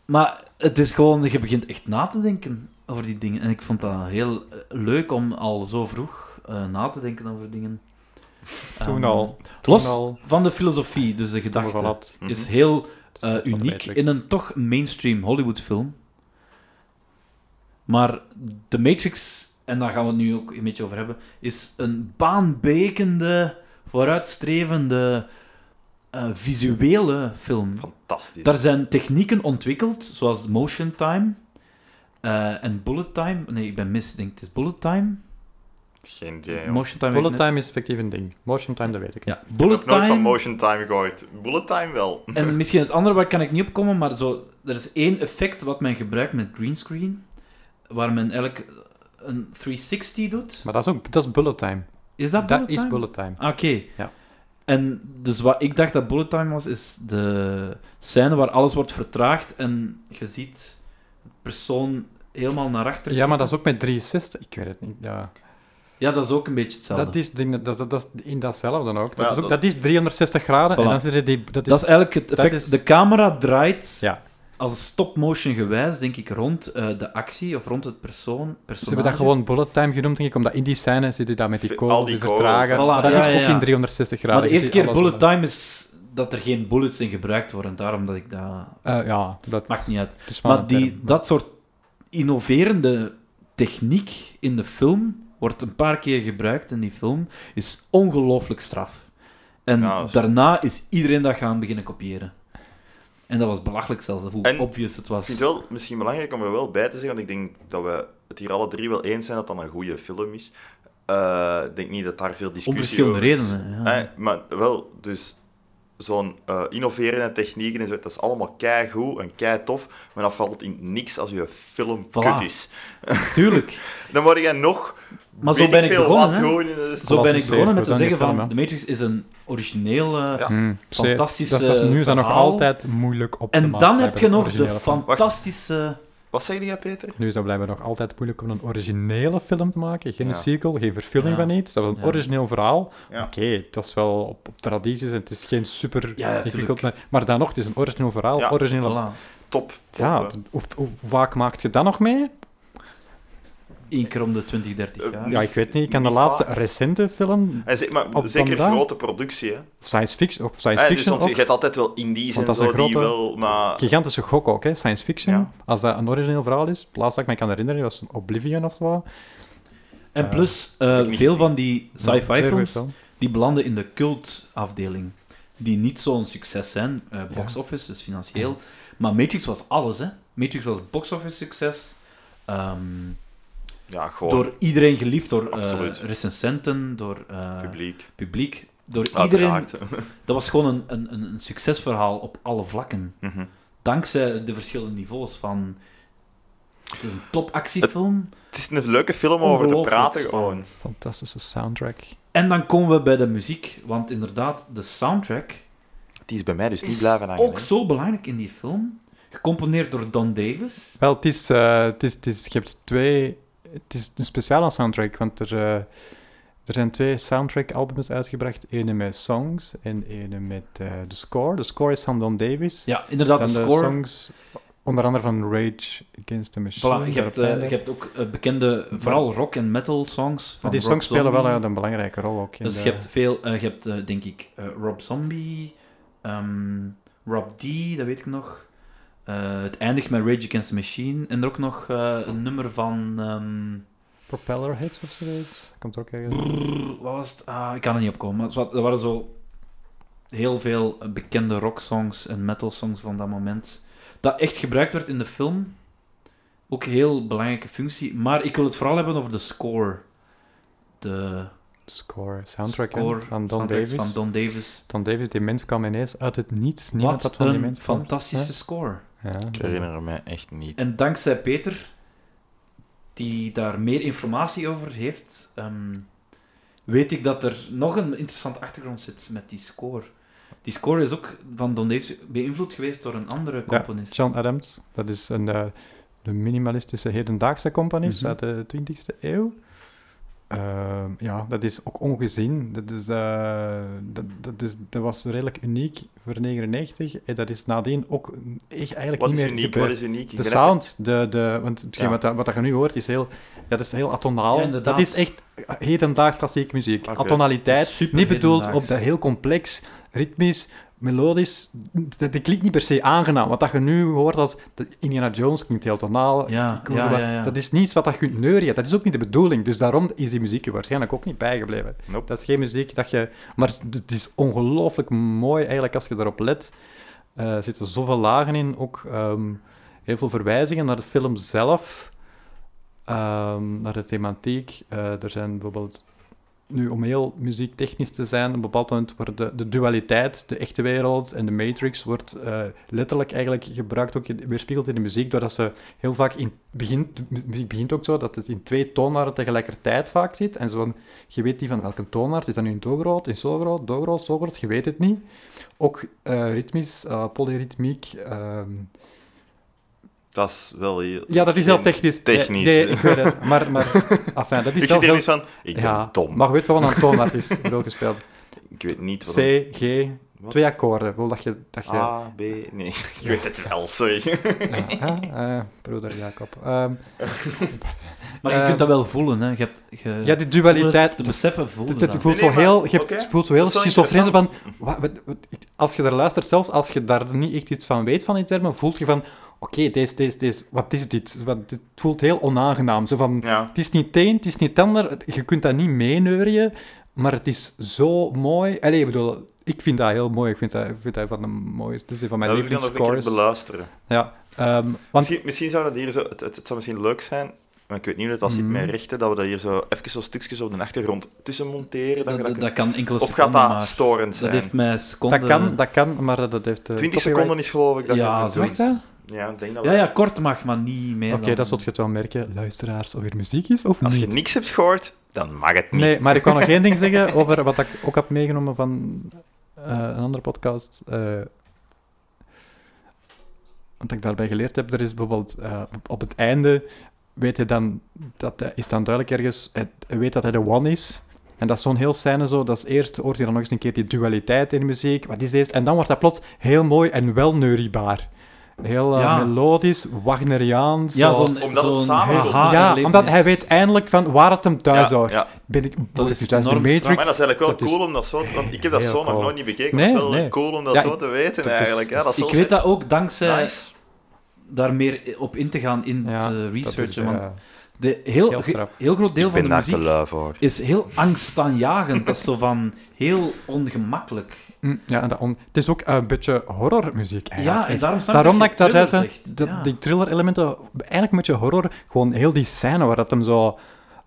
Speaker 5: Maar het is gewoon, je begint echt na te denken over die dingen. En ik vond dat heel eh, leuk om al zo vroeg eh, na te denken over dingen.
Speaker 4: Toen
Speaker 5: Ehm,
Speaker 4: al. Toen
Speaker 5: Los
Speaker 4: al.
Speaker 5: van de filosofie, dus de gedachte,
Speaker 4: Voilà.
Speaker 3: Mhm.
Speaker 5: is heel
Speaker 4: Het is
Speaker 5: eh,
Speaker 4: net van de
Speaker 5: uniek
Speaker 4: Matrix.
Speaker 5: in een toch mainstream Hollywood film. Maar de Matrix, en daar gaan we het nu ook een beetje over hebben, is een baanbrekende, vooruitstrevende, eh, visuele film.
Speaker 3: Fantastisch.
Speaker 5: Daar zijn technieken ontwikkeld, zoals motion time eh, en bullet time. Nee, ik ben mis, ik denk het is bullet time.
Speaker 3: Geen idee, joh.
Speaker 5: Motion time. weet
Speaker 4: Bullet
Speaker 5: ik
Speaker 4: time is effectief een ding. Motion time, dat weet ik.
Speaker 5: niet. Ja,
Speaker 3: Ik heb
Speaker 5: bullet
Speaker 3: nog nooit van
Speaker 5: time.
Speaker 3: motion time gehoord. Bullet time wel.
Speaker 5: En misschien het andere waar kan ik niet op komen, maar zo, er is één effect wat men gebruikt met greenscreen, waar men eigenlijk een 360 doet.
Speaker 4: Maar dat is ook dat is bullet time.
Speaker 5: Is dat
Speaker 4: dat
Speaker 5: bullet
Speaker 4: is
Speaker 5: time?
Speaker 4: bullet time.
Speaker 5: Ah, Oké.
Speaker 4: Ja.
Speaker 5: En dus wat ik dacht dat bullet time was, is de scène waar alles wordt vertraagd en je ziet de persoon helemaal naar achter.
Speaker 4: Ja, maar dat is ook met 360. Ik weet het niet. Ja.
Speaker 5: Ja, dat is ook een beetje hetzelfde.
Speaker 4: Dat is, ding- dat, dat, dat is in datzelfde ook. Dat,
Speaker 3: Ja,
Speaker 4: is ook
Speaker 3: dat-
Speaker 4: dat... is 360 graden. En
Speaker 5: Voilà.
Speaker 4: dan zit er die, dat is,
Speaker 5: Dat is eigenlijk het
Speaker 4: dat
Speaker 5: effect.
Speaker 4: is-
Speaker 5: De camera draait
Speaker 4: Ja.
Speaker 5: als stop-motion gewijs, denk ik, rond eh, de actie of rond het persoon.
Speaker 4: ze hebben dat
Speaker 5: personage.
Speaker 4: gewoon bullet time genoemd, denk ik, omdat in die scène zit je dat met die
Speaker 3: Al
Speaker 4: kogels
Speaker 3: die
Speaker 4: die vertragen.
Speaker 5: kogels. Voilà,
Speaker 4: Maar dat
Speaker 5: ja,
Speaker 4: is
Speaker 5: ja,
Speaker 4: ook
Speaker 5: ja.
Speaker 4: in 360 graden.
Speaker 5: Maar de
Speaker 4: Je
Speaker 5: eerste
Speaker 4: ziet
Speaker 5: keer
Speaker 4: alles
Speaker 5: bullet
Speaker 4: wat-
Speaker 5: time is dat er geen bullets in gebruikt worden. Daarom dat ik dat...
Speaker 4: Eh, ja, dat
Speaker 5: Maakt niet
Speaker 3: Ah,
Speaker 5: uit.
Speaker 4: is
Speaker 5: Maar
Speaker 4: een
Speaker 5: die,
Speaker 4: term.
Speaker 5: dat soort innoverende techniek in de film wordt een paar keer gebruikt in die film, is ongelooflijk straf. En
Speaker 3: Ja, dat is-
Speaker 5: daarna is iedereen dat gaan beginnen kopiëren. En dat was belachelijk zelfs, hoe
Speaker 3: En-
Speaker 5: obvious het was.
Speaker 3: Ik vind het wel misschien belangrijk om er wel bij te zeggen, want ik denk dat we het hier alle drie wel eens zijn dat dat een goede film is. Eh, ik denk niet dat daar veel
Speaker 5: Om
Speaker 3: discussie
Speaker 5: verschillende
Speaker 3: over
Speaker 5: redenen. Ja.
Speaker 3: Eh, maar wel, dus zo'n eh, innoverende technieken en zo, dat is allemaal keigoed en kei tof, maar dat valt in niks als je film kut is. [laughs]
Speaker 5: Tuurlijk.
Speaker 3: Dan word jij nog.
Speaker 5: Maar
Speaker 3: weet
Speaker 5: zo ben ik
Speaker 3: veel
Speaker 5: begonnen.
Speaker 3: wat
Speaker 5: hè.
Speaker 3: gewoon in de-
Speaker 5: Zo ben ik
Speaker 4: Klassiek,
Speaker 5: begonnen met
Speaker 4: we
Speaker 5: te
Speaker 4: zijn
Speaker 5: zeggen
Speaker 4: die
Speaker 5: van,
Speaker 4: film,
Speaker 5: The Matrix is een origineel eh,
Speaker 4: Hmm, zeer.
Speaker 5: fantastische
Speaker 4: Dat is, dat is nu is dat nog
Speaker 5: verhaal.
Speaker 4: altijd moeilijk op te
Speaker 5: En
Speaker 4: maken,
Speaker 5: dan heb je
Speaker 4: blijkbaar,
Speaker 5: nog de
Speaker 4: originele film.
Speaker 5: fantastische...
Speaker 3: Wat zei jij, Peter?
Speaker 4: Nu is dat blijkbaar nog altijd moeilijk om een originele film te maken. Geen
Speaker 3: Ja.
Speaker 4: sequel, geen verfilming
Speaker 5: Ja.
Speaker 4: van iets. Dat was een
Speaker 5: Ja.
Speaker 4: origineel verhaal.
Speaker 3: Ja.
Speaker 4: Oké, het was wel op, op tradities en het is geen super
Speaker 5: Ja, ja,
Speaker 4: ingewikkeld.
Speaker 5: tuurlijk.
Speaker 4: Maar, maar dan nog, het is een origineel verhaal.
Speaker 3: Ja,
Speaker 4: originele...
Speaker 5: Voilà.
Speaker 3: Top. top,
Speaker 4: Ja,
Speaker 3: hè.
Speaker 4: het- hoe, hoe vaak maakt je dat nog mee?
Speaker 5: Eén keer om de 20,
Speaker 3: Eh,
Speaker 5: 30 jaar.
Speaker 4: Ja, ik weet niet. Ik kan de
Speaker 3: Niet
Speaker 4: laatste
Speaker 3: vaak.
Speaker 4: recente film,
Speaker 3: En ze- maar
Speaker 4: Op
Speaker 3: zeker
Speaker 4: vandaag?
Speaker 3: grote productie, hè?
Speaker 4: science fiction, of science
Speaker 3: Eh, dus
Speaker 4: fiction
Speaker 3: want je
Speaker 4: ook.
Speaker 3: hebt altijd wel indies
Speaker 4: Want
Speaker 3: en
Speaker 4: dat is
Speaker 3: zo
Speaker 4: een
Speaker 3: die
Speaker 4: grote-
Speaker 3: wel, maar
Speaker 4: Gigantische gok ook, hè? science fiction.
Speaker 3: Ja.
Speaker 4: Als dat een origineel verhaal is, het laatste dat ik me kan herinneren was een Oblivion of zo.
Speaker 5: En plus, eh,
Speaker 3: ik niet
Speaker 5: veel van die sci-fi
Speaker 4: Zeer goed
Speaker 5: films,
Speaker 4: film.
Speaker 5: die belanden in de cult-afdeling. Die niet zo'n succes zijn. eh box office, dus financieel. Maar Matrix was alles, hè. Matrix was box office succes. ehm,
Speaker 3: ja, gewoon
Speaker 5: door iedereen geliefd, door eh,
Speaker 3: Absoluut.
Speaker 5: recensenten, door eh,
Speaker 3: publiek.
Speaker 5: publiek. Door iedereen.
Speaker 3: Uiteraard.
Speaker 5: Dat was gewoon een, een, een, een succesverhaal op alle vlakken.
Speaker 3: [laughs] Mhm.
Speaker 5: Dankzij de verschillende niveaus van... Het is een topactiefilm.
Speaker 3: Het is een leuke film om over te
Speaker 5: Ongelooflijk
Speaker 3: praten,
Speaker 5: spannend.
Speaker 3: gewoon.
Speaker 4: Fantastische soundtrack.
Speaker 5: En dan komen we bij de muziek, want inderdaad, de soundtrack
Speaker 3: Die is bij mij dus niet
Speaker 5: is
Speaker 3: blijven hangen.
Speaker 5: ook
Speaker 3: hè.
Speaker 5: zo belangrijk in die film. Gecomponeerd door Don Davis.
Speaker 4: Wel, het is, eh, het is, het is, je hebt twee... Het is een speciale soundtrack, want er, eh, er zijn twee soundtrack-albums uitgebracht. Ene met songs en ene met eh, de score. De score is van Don Davis.
Speaker 5: Ja, inderdaad,
Speaker 4: Dan
Speaker 5: de
Speaker 4: de
Speaker 5: score.
Speaker 4: songs, onder andere van Rage Against the Machine.
Speaker 5: Voilà, je,
Speaker 4: daar op
Speaker 5: hebt,
Speaker 4: het
Speaker 5: eh,
Speaker 4: einde.
Speaker 5: je hebt ook eh, bekende, vooral rock- en metal-songs.
Speaker 4: maar die songs spelen wel eh, een belangrijke rol ook. In
Speaker 5: Dus
Speaker 4: de-
Speaker 5: je hebt veel, eh, je hebt eh, denk ik eh, Rob Zombie, ehm, Rob D, dat weet ik nog. Eh, het eindigt met Rage Against the Machine. En er ook nog eh, een nummer van. ehm,
Speaker 4: Propeller hits of zoiets. Komt er ook ergens.
Speaker 5: Brrr, wat was het? Ah, ik kan er niet op komen. Maar het wa- er waren zo heel veel bekende rocksongs en metalsongs van dat moment. Dat echt gebruikt werd in de film. Ook een heel belangrijke functie. Maar ik wil het vooral hebben over de score. De
Speaker 4: Score, soundtrack hè,
Speaker 5: score
Speaker 4: van Don
Speaker 5: soundtracks
Speaker 4: Davis.
Speaker 5: van Don Davis.
Speaker 4: Don Davis, die mens kwam ineens uit het niets. Niemand had
Speaker 5: Wat
Speaker 4: van die
Speaker 5: een
Speaker 4: mens gehoord.
Speaker 5: fantastische score.
Speaker 4: Ja,
Speaker 3: Ik herinner me echt niet.
Speaker 5: En dankzij Peter, die daar meer informatie over heeft, ehm, weet ik dat er nog een interessante achtergrond zit met die score. Die score is ook van Don Davis beïnvloed geweest door een andere
Speaker 4: Ja,
Speaker 5: componist.
Speaker 4: John Adams, dat is een, eh, de minimalistische hedendaagse componist
Speaker 5: Mhm.
Speaker 4: uit de 20e eeuw. Ehm, ja, dat is ook ongezien. Dat, is, eh, dat, dat, is, dat was redelijk uniek voor 99. En dat is nadien ook echt eigenlijk
Speaker 3: Wat
Speaker 4: niet
Speaker 3: is
Speaker 4: meer
Speaker 3: uniek?
Speaker 4: gebeurd.
Speaker 3: Wat is uniek? Ik
Speaker 4: De
Speaker 3: ben
Speaker 4: sound, de, de, want hetgeen
Speaker 3: Ja.
Speaker 4: wat, dat- wat dat je nu hoort is heel, ja, dat is heel atonaal.
Speaker 5: Ja, inderdaad.
Speaker 4: dat is echt hedendaags klassieke muziek.
Speaker 3: Oké.
Speaker 4: Atonaliteit,
Speaker 5: Dat is super
Speaker 4: niet bedoeld op
Speaker 5: hedendaags.
Speaker 4: dat heel complex, ritmisch, melodisch. Dat, dat klinkt niet per se aangenaam. Wat dat je nu hoort, dat, dat Indiana Jones klinkt heel tonaal.
Speaker 5: Ja,
Speaker 4: Ik hoorde
Speaker 5: ja,
Speaker 4: wat-
Speaker 5: ja, ja.
Speaker 4: Dat is niets wat dat je kunt neurien. Dat is ook niet de bedoeling. Dus daarom is die muziek je waarschijnlijk ook niet bijgebleven.
Speaker 3: Nope.
Speaker 4: Dat is geen muziek dat je... Maar het is ongelooflijk mooi eigenlijk als je erop let. Eh, Er zitten zoveel lagen in, ook ehm, heel veel verwijzingen naar de film zelf, ehm, naar de thematiek. Eh, er zijn bijvoorbeeld nu, om heel muziektechnisch te zijn, op een bepaald moment wordt de, de dualiteit, de echte wereld en de Matrix, wordt eh, letterlijk eigenlijk gebruikt, ook in- weerspiegeld in de muziek, doordat ze heel vaak in, begint, de muziek begint ook zo, dat het in twee toonaarden tegelijkertijd vaak zit. En zo van, je weet niet van welke toonaard, is dat nu in do groot, in zo groot, do groot, zo groot, je weet het niet. Ook eh, ritmisch, eh, polyritmiek. ehm.
Speaker 3: Dat is wel heel...
Speaker 4: ja, dat is heel
Speaker 3: geen
Speaker 4: technisch. Nee,
Speaker 3: technisch.
Speaker 4: Nee, ik weet het.
Speaker 3: [laughs]
Speaker 4: Maar, maar enfin, dat is
Speaker 3: Ik zit
Speaker 4: wel
Speaker 3: er
Speaker 4: heel...
Speaker 3: niet van, ik ben dom.
Speaker 4: Maar je weet wel wat een toonaard is, wel gespeeld.
Speaker 3: [laughs] Ik weet niet wat...
Speaker 4: C, G,
Speaker 3: Wat? Ah.
Speaker 4: twee akkoorden. Ik Wil dat je... Dat je
Speaker 3: A, B... Nee, [laughs] ik weet het wel, sorry.
Speaker 4: ja, ja, eh, broeder Jacob. Ehm,
Speaker 5: Maar je
Speaker 4: Eh,
Speaker 5: kunt dat wel voelen, hè. Je hebt, je,
Speaker 4: ja, die
Speaker 5: het
Speaker 4: dualiteit...
Speaker 5: te beseffen voelen.
Speaker 4: Het, het
Speaker 5: dat.
Speaker 4: voelt
Speaker 3: Nee,
Speaker 4: zo
Speaker 3: nee,
Speaker 4: heel,
Speaker 3: maar-
Speaker 4: je
Speaker 3: oké.
Speaker 4: het voelt zo heel
Speaker 3: Dat is wel
Speaker 4: schizofreen. zo Van, wa- wat- wat- ik- als je daar luistert, zelfs als je daar niet echt iets van weet van die termen, voelt je van, oké, deze, deze, deze, wat is dit? Wat, dit voelt heel onaangenaam. Zo van,
Speaker 3: Ja.
Speaker 4: Het is niet het een, het is niet het ander. Het- Je kunt dat niet meeneurien, maar het is zo mooi. Allee, ik bedoel, ik vind dat heel mooi. Ik vind dat, ik vind dat van de mooiste. Dit is een van mijn
Speaker 3: dat wil ik dan nog een keer
Speaker 4: lievelingsscores.
Speaker 3: beluisteren.
Speaker 4: Ja, ehm, want
Speaker 3: Misschien, misschien zou dat hier zo... Het, het, het zou misschien leuk zijn, maar ik weet niet hoe dat zit
Speaker 4: Mhm.
Speaker 3: met rechten, dat we dat hier zo even zo stukjes op de achtergrond tussen monteren. Dat,
Speaker 5: Dat,
Speaker 3: je
Speaker 5: dat,
Speaker 3: dat
Speaker 5: dat kan enkele
Speaker 3: kunt- of
Speaker 5: seconden,
Speaker 3: gaat dat
Speaker 5: maar
Speaker 3: storend
Speaker 5: dat
Speaker 3: zijn?
Speaker 5: heeft mij seconden...
Speaker 4: dat kan, dat kan, maar dat heeft... eh,
Speaker 3: 20
Speaker 4: copyright.
Speaker 3: seconden is geloof ik dat
Speaker 5: Ja,
Speaker 3: je-
Speaker 5: zo-
Speaker 4: Mag dat?
Speaker 3: Ja, ik denk dat
Speaker 5: Ja,
Speaker 3: wel.
Speaker 5: ja, kort mag, maar niet meer
Speaker 4: Oké,
Speaker 5: dan-
Speaker 4: dat zult je het wel merken, luisteraars, of er muziek is of
Speaker 3: Als je
Speaker 4: niet.
Speaker 3: niks hebt gehoord, dan mag het niet.
Speaker 4: Nee, maar ik kan nog één ding zeggen over wat ik ook heb meegenomen van eh, een andere podcast. eh, wat ik daarbij geleerd heb, er is bijvoorbeeld eh, op- op het einde weet hij dan, dat hij- is dan duidelijk ergens, hij hij weet dat hij de one is. En dat is zo'n heel scène zo, dat is eerst hoort hij dan nog eens een keer die dualiteit in de muziek, wat is deze? En dan wordt dat plots heel mooi en wel neuriebaar. Heel eh,
Speaker 5: Ja.
Speaker 4: melodisch, Wagneriaans.
Speaker 5: Ja,
Speaker 4: zo.
Speaker 5: zo'n
Speaker 3: Omdat het
Speaker 5: zo'n
Speaker 3: samenkomt.
Speaker 5: aha
Speaker 4: ja
Speaker 5: erlevenis.
Speaker 4: omdat hij weet eindelijk van waar het hem thuis hoort.
Speaker 3: ja.
Speaker 4: Ben ik,
Speaker 5: Dat
Speaker 4: dat
Speaker 5: is
Speaker 4: is thuis de
Speaker 5: enorm
Speaker 4: Matrix.
Speaker 3: Maar dat is eigenlijk wel
Speaker 4: Dat is
Speaker 3: cool om dat zo... Want ik heb dat
Speaker 4: heel
Speaker 3: zo nog
Speaker 4: cool.
Speaker 3: nooit niet bekeken, maar het is
Speaker 4: Nee,
Speaker 3: wel
Speaker 4: nee.
Speaker 3: cool om dat
Speaker 4: Ja,
Speaker 3: zo
Speaker 4: ik-
Speaker 3: te weten
Speaker 4: dat is-
Speaker 3: eigenlijk. ja,
Speaker 4: dat
Speaker 3: dat is
Speaker 5: Dus Ik
Speaker 3: wel
Speaker 5: weet dat eh, ook dankzij
Speaker 3: nice.
Speaker 5: daar meer op in te gaan in
Speaker 4: Ja,
Speaker 5: het eh,
Speaker 4: Dat
Speaker 5: researchen.
Speaker 4: is,
Speaker 5: want
Speaker 4: eh,
Speaker 5: de, heel,
Speaker 4: heel
Speaker 5: ge- heel,
Speaker 4: straf.
Speaker 5: groot deel van
Speaker 3: ik ben
Speaker 5: de
Speaker 3: daar
Speaker 5: muziek
Speaker 3: te lui voor.
Speaker 5: is heel angstaanjagend. dat is zo van heel ongemakkelijk.
Speaker 4: mm, ja, en dat on- het is ook eh, een beetje horrormuziek eigenlijk.
Speaker 5: Ja, en daarom snap
Speaker 4: Daarom dat ik
Speaker 5: je
Speaker 4: dat juist
Speaker 5: thriller
Speaker 4: zei,
Speaker 5: zegt.
Speaker 4: dat
Speaker 5: Ja.
Speaker 4: die thriller-elementen, eigenlijk een beetje horror, gewoon heel die scène waar dat hem zo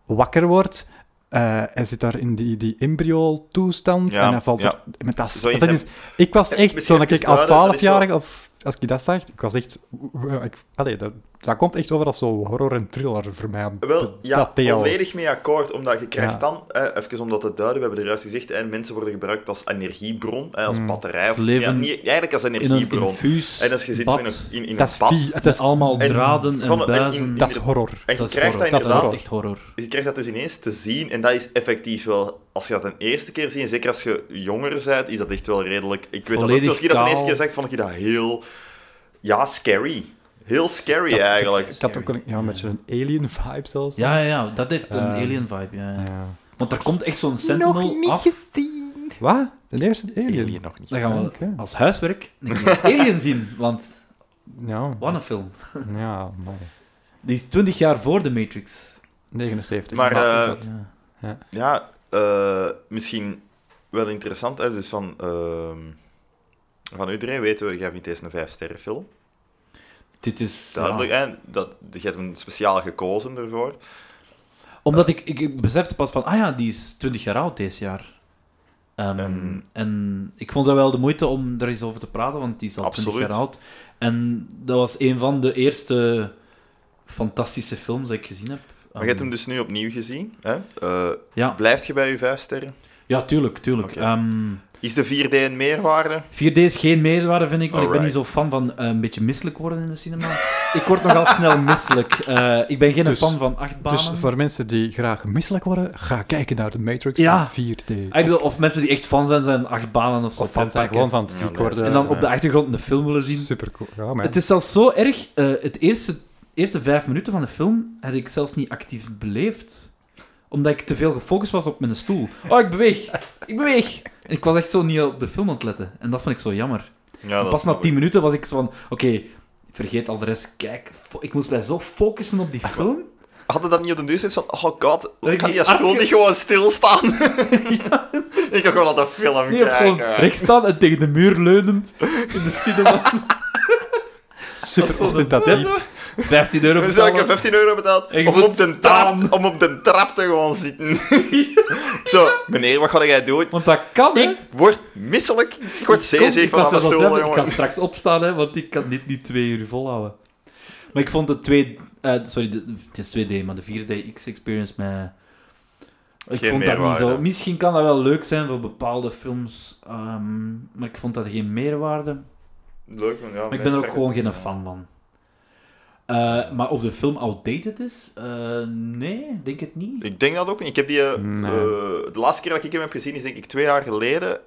Speaker 4: wakker wordt. eh, hij zit daar in die, die embryo-toestand
Speaker 3: Ja,
Speaker 4: en hij valt
Speaker 3: ja.
Speaker 4: er- met dat,
Speaker 3: Zoiets
Speaker 4: dat
Speaker 3: heb-
Speaker 4: is, Ik was
Speaker 3: heb-
Speaker 4: echt,
Speaker 3: Eh, misschien
Speaker 4: toen ik
Speaker 3: heb je
Speaker 4: als
Speaker 3: het duidelijk, dat is zo-
Speaker 4: 12-jarige, of als ik dat zag, ik was echt... eh, Ik, allee, dat, dat komt echt over als zo horror en thriller voor mij.
Speaker 3: Wel,
Speaker 4: dat,
Speaker 3: ja,
Speaker 4: dat deel.
Speaker 3: volledig mee akkoord, omdat je krijgt
Speaker 4: Ja.
Speaker 3: dan, eh, even om dat te duiden, we hebben er juist gezegd, eh, mensen worden gebruikt als energiebron, eh,
Speaker 4: Mm.
Speaker 3: als batterij, of,
Speaker 5: Als leven
Speaker 3: ja, niet, eigenlijk als
Speaker 5: In een
Speaker 3: energiebron.
Speaker 5: infuus,
Speaker 3: en als je zit zo
Speaker 5: bad,
Speaker 3: in een, in, in
Speaker 4: Dat
Speaker 3: een
Speaker 4: is
Speaker 3: bad,
Speaker 4: vie- het
Speaker 5: met
Speaker 4: is-
Speaker 5: allemaal
Speaker 3: en
Speaker 5: draden en
Speaker 3: van- en in-
Speaker 5: buizen.
Speaker 3: in-
Speaker 4: dat is horror.
Speaker 3: en je
Speaker 5: dat is
Speaker 3: krijgt dat
Speaker 5: horror.
Speaker 4: inderdaad-
Speaker 5: Dat is echt horror.
Speaker 3: je krijgt dat dus ineens te zien, en dat is effectief wel, als je dat een eerste keer ziet, en zeker als je jonger bent, is dat echt wel redelijk, ik weet dat ook,
Speaker 5: Volledig
Speaker 3: toen ik dat de eerste
Speaker 5: kaal.
Speaker 3: keer zag, vond ik dat heel, ja, scary. Heel scary eigenlijk.
Speaker 4: Ik had ook een, ja, een beetje een alien vibe zelfs.
Speaker 5: Ja, ja, ja, dat heeft een
Speaker 4: Eh,
Speaker 5: alien vibe. Ja, ja.
Speaker 4: Ja.
Speaker 5: Want daar komt echt zo'n sentinel af.
Speaker 4: Wat? De eerste alien?
Speaker 3: Alien nog niet.
Speaker 5: Dan gaan we
Speaker 4: Oké.
Speaker 5: als huiswerk een keer alien zien. Want,
Speaker 4: Ja,
Speaker 5: wat een film.
Speaker 4: ja, mooi.
Speaker 5: Die is 20 jaar voor de Matrix.
Speaker 4: 79.
Speaker 3: Maar, eh,
Speaker 5: Ja.
Speaker 3: Ja, eh, misschien wel interessant. Hè? Dus van, ehm, van iedereen weten we, jij vindt deze een vijfsterrenfilm.
Speaker 5: Dit is... ja.
Speaker 3: Duidelijk, hè? Dat, je hebt hem speciaal gekozen ervoor.
Speaker 5: Omdat ik, ik, ik besefte pas van, ah ja, die is 20 jaar oud deze jaar. Ehm,
Speaker 3: En-
Speaker 5: En ik vond dat wel de moeite om er eens over te praten, want die is al
Speaker 3: Absoluut.
Speaker 5: 20 jaar oud. En dat was een van de eerste fantastische films die ik gezien heb. Ehm,
Speaker 3: Maar je hebt hem dus nu opnieuw gezien. Hè? Eh,
Speaker 5: Ja.
Speaker 3: Blijft je bij je vijf sterren?
Speaker 5: Ja, tuurlijk, tuurlijk.
Speaker 3: Oké.
Speaker 5: Ehm,
Speaker 3: Is de 4D een meerwaarde?
Speaker 5: 4D is geen meerwaarde, vind ik, want ik ben
Speaker 3: Alright.
Speaker 5: niet zo fan van eh, een beetje misselijk worden in de cinema. [laughs] ik word nogal snel misselijk. Eh, ik ben geen
Speaker 4: Dus-
Speaker 5: fan van achtbanen.
Speaker 4: dus voor mensen die graag misselijk worden, ga kijken naar de Matrix
Speaker 5: Ja.
Speaker 4: in 4D.
Speaker 5: Ah, ik bedoel, of mensen die echt fan zijn, zijn achtbanen of zo.
Speaker 4: Of van zijn
Speaker 5: pakken.
Speaker 4: gewoon van het
Speaker 3: Ja,
Speaker 4: ziek
Speaker 3: nee.
Speaker 4: worden. eh,
Speaker 5: En dan op de achtergrond een film willen zien.
Speaker 4: Supercool. Ja, man.
Speaker 5: Het is zelfs zo erg. eh, het eerste, eerste vijf minuten van de film had ik zelfs niet actief beleefd. Omdat ik te veel gefocust was op mijn stoel. Oh, ik beweeg. Ik beweeg. En ik was echt zo niet op de film aan het letten. En dat vond ik zo jammer.
Speaker 3: Ja,
Speaker 5: Pas na
Speaker 3: snap ik.
Speaker 5: tien minuten was ik zo van... Oké, vergeet al de rest. Kijk, fo- ik moest mij zo focussen op die film.
Speaker 3: Hadden dat niet op de duur zitten van, oh god,
Speaker 5: ik
Speaker 3: kan
Speaker 5: die
Speaker 3: die stoel
Speaker 5: afge-
Speaker 3: niet gewoon
Speaker 5: [laughs]
Speaker 3: stilstaan? [laughs] Ik ga gewoon naar de film
Speaker 5: Nee, of gewoon
Speaker 3: kijken.
Speaker 5: recht staan en tegen
Speaker 3: [laughs]
Speaker 5: de muur leunend in de cinema. dat
Speaker 4: super
Speaker 5: is zo-
Speaker 4: ostentatief.
Speaker 5: 15 euro
Speaker 3: Dus ja, ik
Speaker 5: betalen.
Speaker 3: heb 15 euro betaald
Speaker 5: Ik
Speaker 3: om
Speaker 5: moet
Speaker 3: op, de
Speaker 5: staan.
Speaker 3: trap, om op de trap te gewoon
Speaker 5: [laughs]
Speaker 3: zitten. Zo, meneer, wat ga jij doen?
Speaker 5: Want dat kan, hè?
Speaker 3: Ik word misselijk. Ik word
Speaker 5: Kom,
Speaker 3: zeezeeg
Speaker 5: ik
Speaker 3: van
Speaker 5: was
Speaker 3: alle
Speaker 5: zelfs aan het
Speaker 3: stoelen,
Speaker 5: hebben, Ik
Speaker 3: jongen.
Speaker 5: kan straks opstaan, hè, want ik kan dit niet twee uur volhouden. Maar ik vond de twee... eh, sorry, de, het is 2D, maar de 4D X-experience mij... Ik
Speaker 3: Geen
Speaker 5: vond dat niet
Speaker 3: meerwaarde.
Speaker 5: zo... Misschien kan dat wel leuk zijn voor bepaalde films, ehm, maar ik vond dat geen meerwaarde.
Speaker 3: [laughs] Leuk, man, ja,
Speaker 5: Maar ik ben
Speaker 3: mensen
Speaker 5: er ook
Speaker 3: kijken.
Speaker 5: gewoon geen fan van. Eh, maar of de film outdated is? Eh, nee, denk het niet.
Speaker 3: Ik denk dat ook niet. Ik heb die... eh,
Speaker 4: Nee.
Speaker 3: eh, de laatste keer dat ik hem heb gezien is denk ik twee jaar geleden.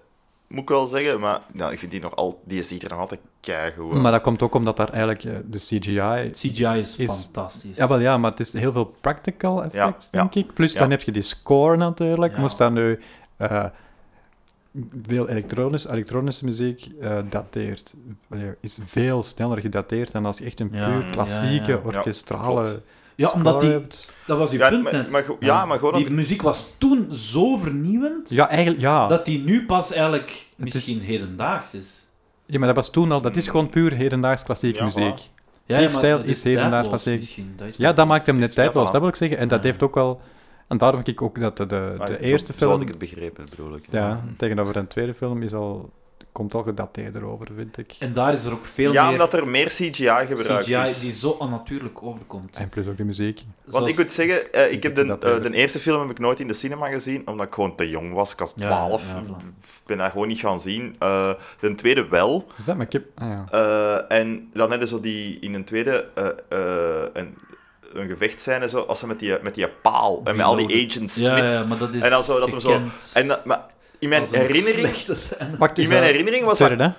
Speaker 3: Moet ik wel zeggen. Maar ja, ik vind die nog al... Die ziet er nog altijd keigoed uit.
Speaker 4: Maar dat komt ook omdat daar eigenlijk eh, de CGI...
Speaker 5: CGI is,
Speaker 4: Is-
Speaker 5: fantastisch.
Speaker 4: Ja, wel ja, maar het is heel veel practical effects,
Speaker 3: Ja, ja.
Speaker 4: denk ik. Plus
Speaker 3: Ja.
Speaker 4: dan heb je die score natuurlijk.
Speaker 5: Ja.
Speaker 4: Moest daar nu... eh, veel elektronisch, elektronische muziek eh, dateert, eh, is veel sneller gedateerd dan als je echt een
Speaker 5: Ja,
Speaker 4: puur
Speaker 5: ja,
Speaker 4: klassieke,
Speaker 5: ja.
Speaker 4: orkestrale
Speaker 3: Ja,
Speaker 5: ja omdat
Speaker 4: score
Speaker 5: die...
Speaker 4: hebt.
Speaker 5: Dat was uw
Speaker 3: Ja,
Speaker 5: punt
Speaker 3: maar,
Speaker 5: net.
Speaker 3: maar, go- ja, maar gewoon...
Speaker 5: Die muziek was toen zo vernieuwend
Speaker 4: Ja, eigenlijk, ja.
Speaker 5: dat die nu pas eigenlijk
Speaker 4: Het is-
Speaker 5: misschien hedendaags is.
Speaker 4: ja. Maar dat was toen al, dat is gewoon puur hedendaags klassieke
Speaker 3: Ja, voilà.
Speaker 5: Ja,
Speaker 4: muziek. Die
Speaker 5: maar
Speaker 4: stijl
Speaker 5: dat
Speaker 4: is hedendaags
Speaker 5: tijdloos
Speaker 4: klassiek.
Speaker 5: misschien, is
Speaker 4: Ja, dat maakt hem net
Speaker 3: Ja,
Speaker 4: tijdloos,
Speaker 3: voilà.
Speaker 4: dat wil ik zeggen. En dat
Speaker 5: Ja.
Speaker 4: heeft ook wel... En daarom vind ik ook dat de, de,
Speaker 3: Ah,
Speaker 4: de
Speaker 3: zo-
Speaker 4: eerste
Speaker 3: Zo had
Speaker 4: film...
Speaker 3: ik het begrepen, bedoel ik.
Speaker 4: Ja, tegenover een tweede film is al, komt al gedateerder over, vind ik.
Speaker 5: En daar is er ook veel
Speaker 3: ja,
Speaker 5: meer
Speaker 3: omdat er meer CGI gebruikt
Speaker 5: CGI
Speaker 3: is.
Speaker 5: die zo onnatuurlijk overkomt.
Speaker 4: En plus ook de muziek.
Speaker 3: Want
Speaker 5: Zoals-
Speaker 3: ik moet zeggen, eh, ik heb de,
Speaker 4: dat
Speaker 3: eh,
Speaker 4: even-
Speaker 3: de eerste film heb ik nooit in de cinema gezien, omdat ik gewoon te jong was. Ik was
Speaker 5: Ja,
Speaker 3: 12.
Speaker 5: ja,
Speaker 3: Ik
Speaker 5: voilà.
Speaker 3: ben dat gewoon niet gaan zien. Eh, de tweede wel.
Speaker 4: Is dat maar ik heb... Ah, ja.
Speaker 3: Eh, en dan hadden zo die in een tweede eh, eh, een, een gevecht zijn en zo, als ze met die, met die paal en met al die
Speaker 5: Reloaded.
Speaker 3: agents
Speaker 5: ja,
Speaker 3: Smiths.
Speaker 5: ja, maar dat is
Speaker 3: en dan zo, dat hem zo-
Speaker 5: gekend
Speaker 3: En dat, maar in mijn
Speaker 5: als een
Speaker 3: herinnering,
Speaker 5: slechte scène.
Speaker 4: Wacht,
Speaker 3: in
Speaker 4: is
Speaker 3: mijn
Speaker 4: dat-
Speaker 3: herinnering was dat.
Speaker 4: tweede, hè?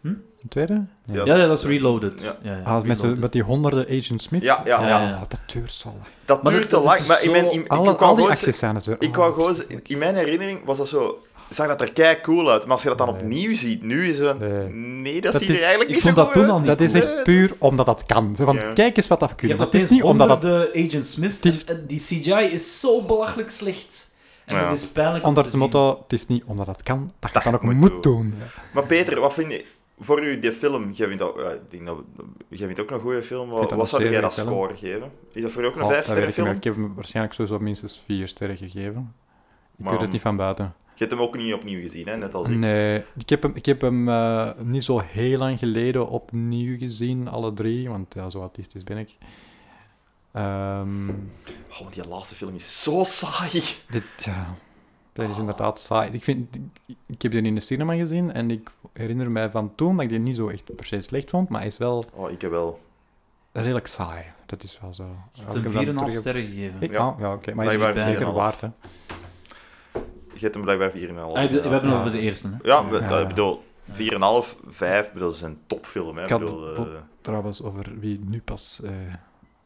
Speaker 5: Hm?
Speaker 4: Een tweede? Ja.
Speaker 3: Ja.
Speaker 5: Ja, ja, dat is Reloaded.
Speaker 3: Ja.
Speaker 5: Ja. Ja,
Speaker 4: Ah, met, zo-
Speaker 5: Reloaded.
Speaker 4: met die honderden Agent Smith?
Speaker 3: Ja, ja,
Speaker 5: Ja,
Speaker 3: ja.
Speaker 5: ja.
Speaker 1: Oh,
Speaker 4: Ah, dat duurt zo lang.
Speaker 3: dat
Speaker 5: Maar dat-
Speaker 3: duurt te
Speaker 5: dat
Speaker 3: lang.
Speaker 5: is
Speaker 3: Maar in mijn,
Speaker 5: zo-
Speaker 3: in, ik
Speaker 4: Alle,
Speaker 3: wou
Speaker 4: al die
Speaker 3: gewoon-
Speaker 4: acties zijn het.
Speaker 3: Ik
Speaker 1: Oh,
Speaker 3: wou gewoon, z- in mijn herinnering was dat zo, zag dat er kei cool uit, maar als je dat dan
Speaker 4: Nee.
Speaker 3: opnieuw ziet, nu is het,
Speaker 4: Nee.
Speaker 3: nee, dat,
Speaker 4: Dat
Speaker 3: ziet
Speaker 4: is-
Speaker 3: er eigenlijk
Speaker 5: ik
Speaker 3: niet
Speaker 5: vond
Speaker 3: zo
Speaker 5: dat
Speaker 3: goed
Speaker 5: toen
Speaker 3: uit.
Speaker 5: al
Speaker 4: Dat is echt puur omdat dat kan. Zo Van,
Speaker 3: Ja.
Speaker 4: kijk eens wat dat
Speaker 5: Je
Speaker 4: kunnen.
Speaker 5: hebt
Speaker 4: Dat
Speaker 5: opeens
Speaker 4: is niet omdat dat...
Speaker 5: honderden Agent Smith
Speaker 4: Het is-
Speaker 5: en, en die CGI is zo belachelijk slecht. En
Speaker 3: Ja.
Speaker 5: dat is pijnlijk om
Speaker 4: Onder
Speaker 5: te
Speaker 4: het
Speaker 5: zien.
Speaker 4: motto, het is niet omdat dat kan, dat je
Speaker 3: Dat
Speaker 4: het dan ook
Speaker 3: je moet
Speaker 4: moet doen.
Speaker 3: Maar Peter, wat vind je, voor u die film, jij vindt, dat, ja, ik denk dat, jij vindt ook een goede film,
Speaker 4: vind
Speaker 3: wat,
Speaker 4: dat
Speaker 3: wat zou
Speaker 4: een
Speaker 3: jij dat
Speaker 4: zeer goede
Speaker 3: score geven? Is dat voor u ook een
Speaker 4: Oh, dat
Speaker 3: 5
Speaker 4: weet
Speaker 3: sterren
Speaker 4: ik niet
Speaker 3: film?
Speaker 4: meer. Ik heb hem waarschijnlijk sowieso minstens vier sterren gegeven. Ik
Speaker 3: Maar,
Speaker 4: weet het niet van buiten.
Speaker 3: Je hebt hem ook niet opnieuw gezien, hè? net als ik.
Speaker 4: Nee, ik heb hem, ik heb hem eh, niet zo heel lang geleden opnieuw gezien, alle drie, want ja, zo autistisch ben ik. Ehm,
Speaker 3: Oh, want die laatste film is zo saai.
Speaker 4: dit, ja, dat is inderdaad saai. Ik, vind, ik, ik heb die in de cinema gezien en ik herinner mij van toen dat ik die niet zo echt per se slecht vond, maar hij is wel
Speaker 3: Oh, ik heb wel.
Speaker 4: redelijk saai. Dat is wel zo.
Speaker 5: Ik heb
Speaker 4: Als ik hem
Speaker 5: hem
Speaker 4: dan
Speaker 5: 4,5
Speaker 4: terug heb-
Speaker 5: sterren gegeven.
Speaker 4: Ik-
Speaker 3: Ja.
Speaker 4: ah, ja, oké, maar hij is
Speaker 3: Blijkbaar
Speaker 4: het zeker
Speaker 3: 4,5.
Speaker 4: waard, hè.
Speaker 3: Je hebt hem blijkbaar 4,5.
Speaker 5: Ah, we, we hebben het
Speaker 4: Ja.
Speaker 5: over de eerste. Hè?
Speaker 3: Ja, we-
Speaker 4: Ja.
Speaker 3: dat- ik bedoel, 4,5, 5, bedoel, dat is een topfilm, hè?
Speaker 4: Ik had-
Speaker 3: bedoel, eh,
Speaker 4: Trouwens, over wie nu pas eh,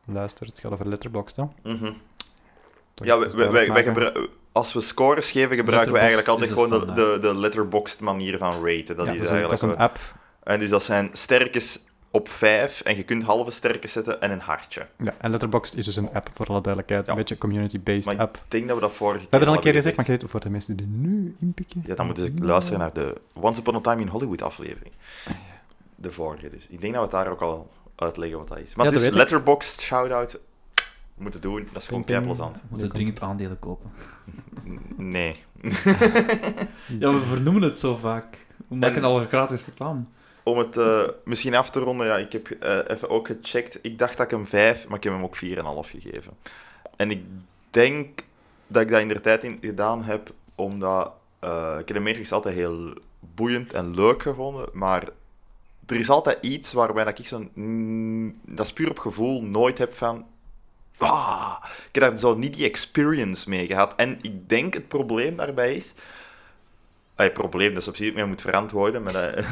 Speaker 4: luistert, het gaat over Letterboxd, hè.
Speaker 3: mhm. Ja,
Speaker 4: Toch even
Speaker 3: we, we,
Speaker 4: duidelijk
Speaker 3: wij
Speaker 4: maken.
Speaker 3: gebru- als we scores geven, gebruiken we eigenlijk altijd
Speaker 5: Letterboxd
Speaker 3: gewoon
Speaker 5: is
Speaker 3: de,
Speaker 5: de
Speaker 3: de, de letterboxed manier van raten. Dat is
Speaker 4: Ja, dus dat is een- dat
Speaker 3: eigenlijk
Speaker 4: is een
Speaker 3: wel-
Speaker 4: app
Speaker 3: En dus dat zijn sterkes op 5 en je kunt halve sterkes zetten en een hartje.
Speaker 4: Ja, en Letterboxd is dus een app, voor alle duidelijkheid.
Speaker 3: Ja.
Speaker 4: Een beetje community-based
Speaker 3: Maar
Speaker 4: app.
Speaker 3: ik denk dat we dat vorige
Speaker 4: We hebben het al een keer
Speaker 3: hadden
Speaker 4: gezegd, maar ik weet het voor de mensen die nu inpikken.
Speaker 3: Ja, dan moeten ze luisteren naar de Once Upon a Time in Hollywood aflevering.
Speaker 4: Ah,
Speaker 3: De vorige dus. Ik denk dat we het daar ook al uitleggen wat dat is. Maar
Speaker 4: Ja, dat
Speaker 3: dus
Speaker 4: weet ik.
Speaker 3: letterboxed, shout-out, moeten doen. Dat is gewoon kei
Speaker 4: Ping, ping.
Speaker 3: plezant.
Speaker 5: We moeten dringend aandelen kopen.
Speaker 3: N- Nee.
Speaker 5: Ja, we vernoemen het zo vaak. We maken
Speaker 3: En-
Speaker 5: al een gratis reclame.
Speaker 3: Om het eh, misschien af te ronden, ja, ik heb eh, even ook gecheckt. Ik dacht dat ik hem 5, maar ik heb hem ook 4,5 gegeven. En ik denk dat ik dat in de tijd in gedaan heb, omdat eh, ik heb de Matrix altijd heel boeiend en leuk gevonden, maar er is altijd iets waarbij dat ik zo'n... mm, dat is puur op gevoel, nooit heb van... Ah, ik heb daar zo niet die experience mee gehad. En ik denk het probleem daarbij is... Ah, het probleem, dat is op zich mee moet verantwoorden, maar... dat- [laughs]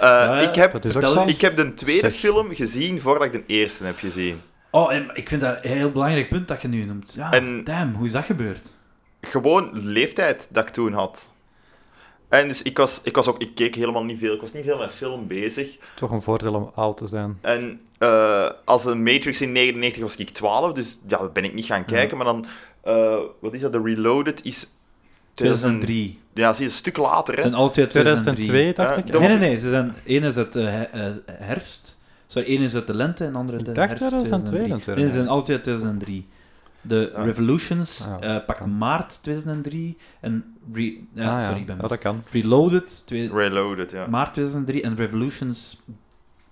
Speaker 3: Eh,
Speaker 5: Ja,
Speaker 3: ik, heb,
Speaker 4: dat is ook
Speaker 5: vertel
Speaker 4: zo.
Speaker 5: eens.
Speaker 3: ik heb de tweede
Speaker 4: Zeg.
Speaker 3: film gezien voordat ik de eerste heb gezien.
Speaker 5: Oh, en ik vind dat een heel belangrijk punt dat je nu noemt. Ja,
Speaker 3: En-
Speaker 5: damn, hoe is dat gebeurd?
Speaker 3: gewoon leeftijd dat ik toen had. En dus ik was, ik was ook, ik keek helemaal niet veel, ik was niet veel met film bezig.
Speaker 4: Toch een voordeel om oud te zijn.
Speaker 3: En eh, als een Matrix in 99 was ik 12, dus ja, dat ben ik niet gaan kijken.
Speaker 5: Mhm.
Speaker 3: Maar dan, eh, wat is dat, de Reloaded is...
Speaker 5: 2003.
Speaker 3: Ja, zie je, een stuk later,
Speaker 5: Ze
Speaker 3: hè.
Speaker 5: zijn alle twee 2003.
Speaker 4: 2002, dacht
Speaker 3: Ja,
Speaker 4: ik.
Speaker 3: dat
Speaker 5: Nee,
Speaker 4: hè?
Speaker 5: nee, nee. Ze zijn, één is uit eh, he- eh, herfst. Sorry, één is uit de lente en de andere uit de
Speaker 1: Ik dacht
Speaker 5: herfst
Speaker 1: 2002 en
Speaker 5: 2003. Nee, ze zijn altijd uit 2003. De
Speaker 3: Ah.
Speaker 5: Revolutions
Speaker 1: Ah,
Speaker 5: eh, pakt maart 2003 en... Re-
Speaker 1: Ah,
Speaker 5: ja, sorry, ik ben
Speaker 4: Oh,
Speaker 1: Ja, dat kan.
Speaker 5: Reloaded twee-
Speaker 3: Reloaded, ja.
Speaker 5: maart 2003 en Revolutions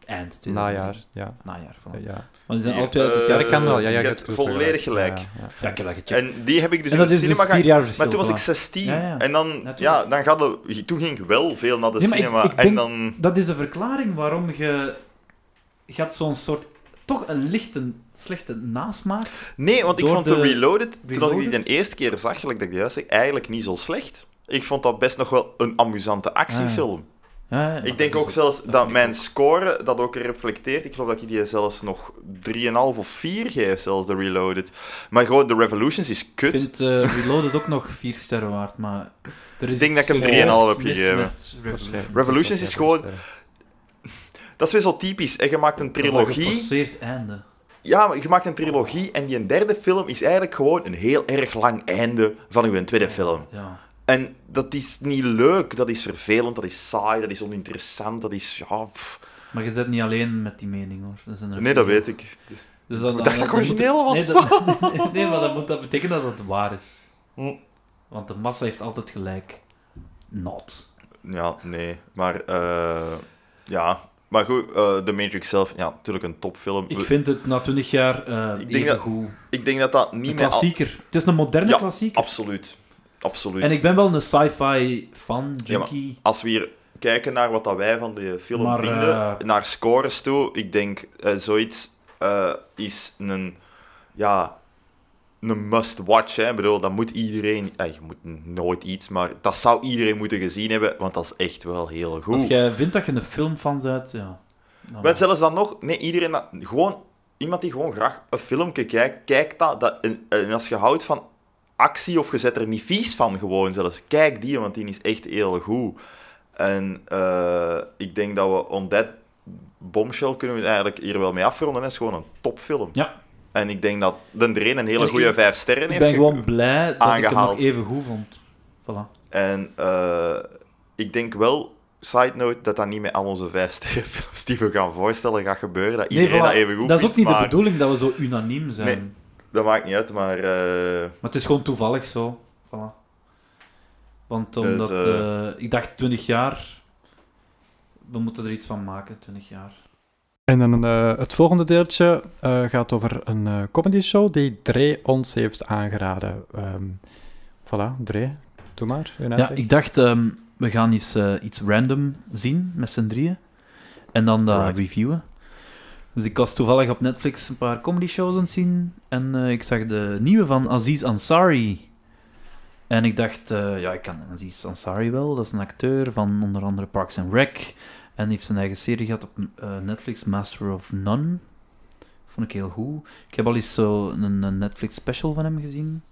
Speaker 5: eind 2003.
Speaker 1: Najaar, ja.
Speaker 5: Najaar, voilà.
Speaker 1: Ja, ja.
Speaker 5: Want die zijn
Speaker 3: Hier,
Speaker 5: altijd uit het
Speaker 3: eh,
Speaker 1: ja,
Speaker 5: jaar...
Speaker 1: dat kan wel. Ja, ja,
Speaker 3: je
Speaker 1: ik
Speaker 3: hebt
Speaker 1: heb het
Speaker 3: volledig gelijk.
Speaker 1: Ja, ja.
Speaker 5: Ja, ik heb dat gecheckt.
Speaker 3: En die heb ik dus
Speaker 5: En
Speaker 3: in
Speaker 5: dat
Speaker 3: de
Speaker 5: is
Speaker 3: cinema
Speaker 5: dus
Speaker 3: gaan
Speaker 5: vier jaar verschil.
Speaker 3: Maar toen was ik
Speaker 5: voilà.
Speaker 3: 16.
Speaker 5: Ja, ja.
Speaker 3: En dan, ja,
Speaker 5: Natuurlijk.
Speaker 3: dan gaat het- toen ging ik wel veel naar de
Speaker 5: Nee, maar ik-
Speaker 3: cinema.
Speaker 5: ik
Speaker 3: en
Speaker 5: denk-
Speaker 3: dan...
Speaker 5: Dat is de verklaring waarom je... Je had zo'n soort... Toch een lichte, slechte nasmaak.
Speaker 3: Nee, want ik
Speaker 5: Door
Speaker 3: vond de,
Speaker 5: de
Speaker 3: Reloaded, toen ik die de
Speaker 5: Reloaded?
Speaker 3: eerste keer zag, gelijk dat ik juist zei, eigenlijk niet zo slecht. Ik vond dat best nog wel een amusante actiefilm.
Speaker 5: Ja, Ah, ja,
Speaker 3: ik denk ook zelfs dat, mijn score dat ook reflecteert. Ik geloof dat ik die zelfs nog 3,5 of 4 geef, zelfs de Reloaded. Maar gewoon, de Revolutions is
Speaker 5: Ik
Speaker 3: kut.
Speaker 5: vind eh, Reloaded ook nog 4 sterren waard, maar... Er is
Speaker 3: Ik denk dat ik hem
Speaker 5: iets
Speaker 3: 3,5 heb
Speaker 5: mis met
Speaker 3: gegeven.
Speaker 5: Revolution.
Speaker 3: Revolutions is gewoon... [laughs] Dat is weer zo typisch. En je maakt een
Speaker 5: Dat is
Speaker 3: trilogie.
Speaker 5: een geforceerd einde.
Speaker 3: Ja, maar je maakt een trilogie en die derde film is eigenlijk gewoon een heel erg lang einde van uw tweede film.
Speaker 5: Ja.
Speaker 3: En dat is niet leuk, dat is vervelend, dat is saai, dat is oninteressant, dat is... Ja, pff.
Speaker 5: Maar je zit niet alleen met die mening, hoor. Er zijn er
Speaker 3: Nee, dat weet ik.
Speaker 5: Dus dan,
Speaker 3: Ik dacht dat ik origineel was.
Speaker 5: Nee,
Speaker 3: [laughs]
Speaker 5: dat- [laughs] nee, maar dat moet dat betekenen dat het waar is.
Speaker 3: Hm.
Speaker 5: Want de massa heeft altijd gelijk. Not.
Speaker 3: Ja, nee, maar... eh, ja, maar goed, eh, The Matrix zelf, ja, natuurlijk een topfilm.
Speaker 5: Ik vind het na 20 jaar eh
Speaker 3: Ik denk
Speaker 5: even
Speaker 3: dat-
Speaker 5: goed.
Speaker 3: Ik denk dat dat
Speaker 5: Een
Speaker 3: niet meer... al-
Speaker 5: klassieker. Het is een moderne
Speaker 3: Ja,
Speaker 5: klassieker.
Speaker 3: Absoluut. Absoluut.
Speaker 5: En ik ben wel een sci-fi fan,
Speaker 3: Ja, maar-
Speaker 5: junkie.
Speaker 3: Als we hier kijken naar wat dat wij van de film
Speaker 5: Maar,
Speaker 3: vinden,
Speaker 5: eh,
Speaker 3: naar scores toe, ik denk eh, zoiets eh, is een, ja, een must-watch. hè. Ik bedoel, dat moet iedereen... eh, je moet nooit iets, maar dat zou iedereen moeten gezien hebben, want dat is echt wel heel goed.
Speaker 5: Als jij vindt dat je een filmfan bent, Ah, ja. Dan-
Speaker 3: Maar zelfs dan nog, nee, iedereen dat, gewoon, iemand die gewoon graag een filmpje kijkt, kijkt dat, dat en, en als je houdt van actie of je zet er niet vies van gewoon zelfs, kijk die, want die is echt heel goed. En eh, ik denk dat we on that bombshell kunnen we eigenlijk hier wel mee afronden. Dat is gewoon een topfilm.
Speaker 5: Ja.
Speaker 3: En ik denk dat Den Dreen een hele
Speaker 5: En
Speaker 3: goede
Speaker 5: ik-
Speaker 3: vijf sterren
Speaker 5: ik
Speaker 3: heeft.
Speaker 5: ben
Speaker 3: ge-
Speaker 5: gewoon blij dat ik hem
Speaker 3: aangehaald.
Speaker 5: nog even goed vond. Voilà.
Speaker 3: En eh, ik denk wel, side note, dat dat niet met al onze vijf sterrenfilms die we gaan voorstellen gaat gebeuren. Dat iedereen
Speaker 5: voilà.
Speaker 3: dat even goed
Speaker 5: dat is ook
Speaker 3: vindt,
Speaker 5: niet de
Speaker 3: maar-
Speaker 5: bedoeling dat we zo unaniem zijn.
Speaker 3: Nee. Dat maakt niet uit, maar eh,
Speaker 5: Maar het is gewoon toevallig zo. Voilà. Want
Speaker 3: Dus,
Speaker 5: omdat...
Speaker 3: eh,
Speaker 5: eh, ik dacht 20 jaar... We moeten er iets van maken, 20 jaar.
Speaker 1: En dan eh, het volgende deeltje eh, gaat over een eh, comedy show die Dre ons heeft aangeraden. Ehm voilà, Dre, doe maar. uw
Speaker 5: Ja,
Speaker 1: uitleg.
Speaker 5: ik dacht, ehm, we gaan eens, eh, iets random zien met z'n drieën. En dan dat
Speaker 3: Alright.
Speaker 5: reviewen. Dus ik was toevallig op Netflix een paar comedy shows aan het zien. En eh, ik zag de nieuwe van Aziz Ansari. En ik dacht, eh, ja, ik kan Aziz Ansari wel. Dat is een acteur van onder andere Parks and Rec. En heeft zijn eigen serie gehad op eh, Netflix, Master of None. Vond ik heel goed. Ik heb al eens zo een, een Netflix special van hem gezien.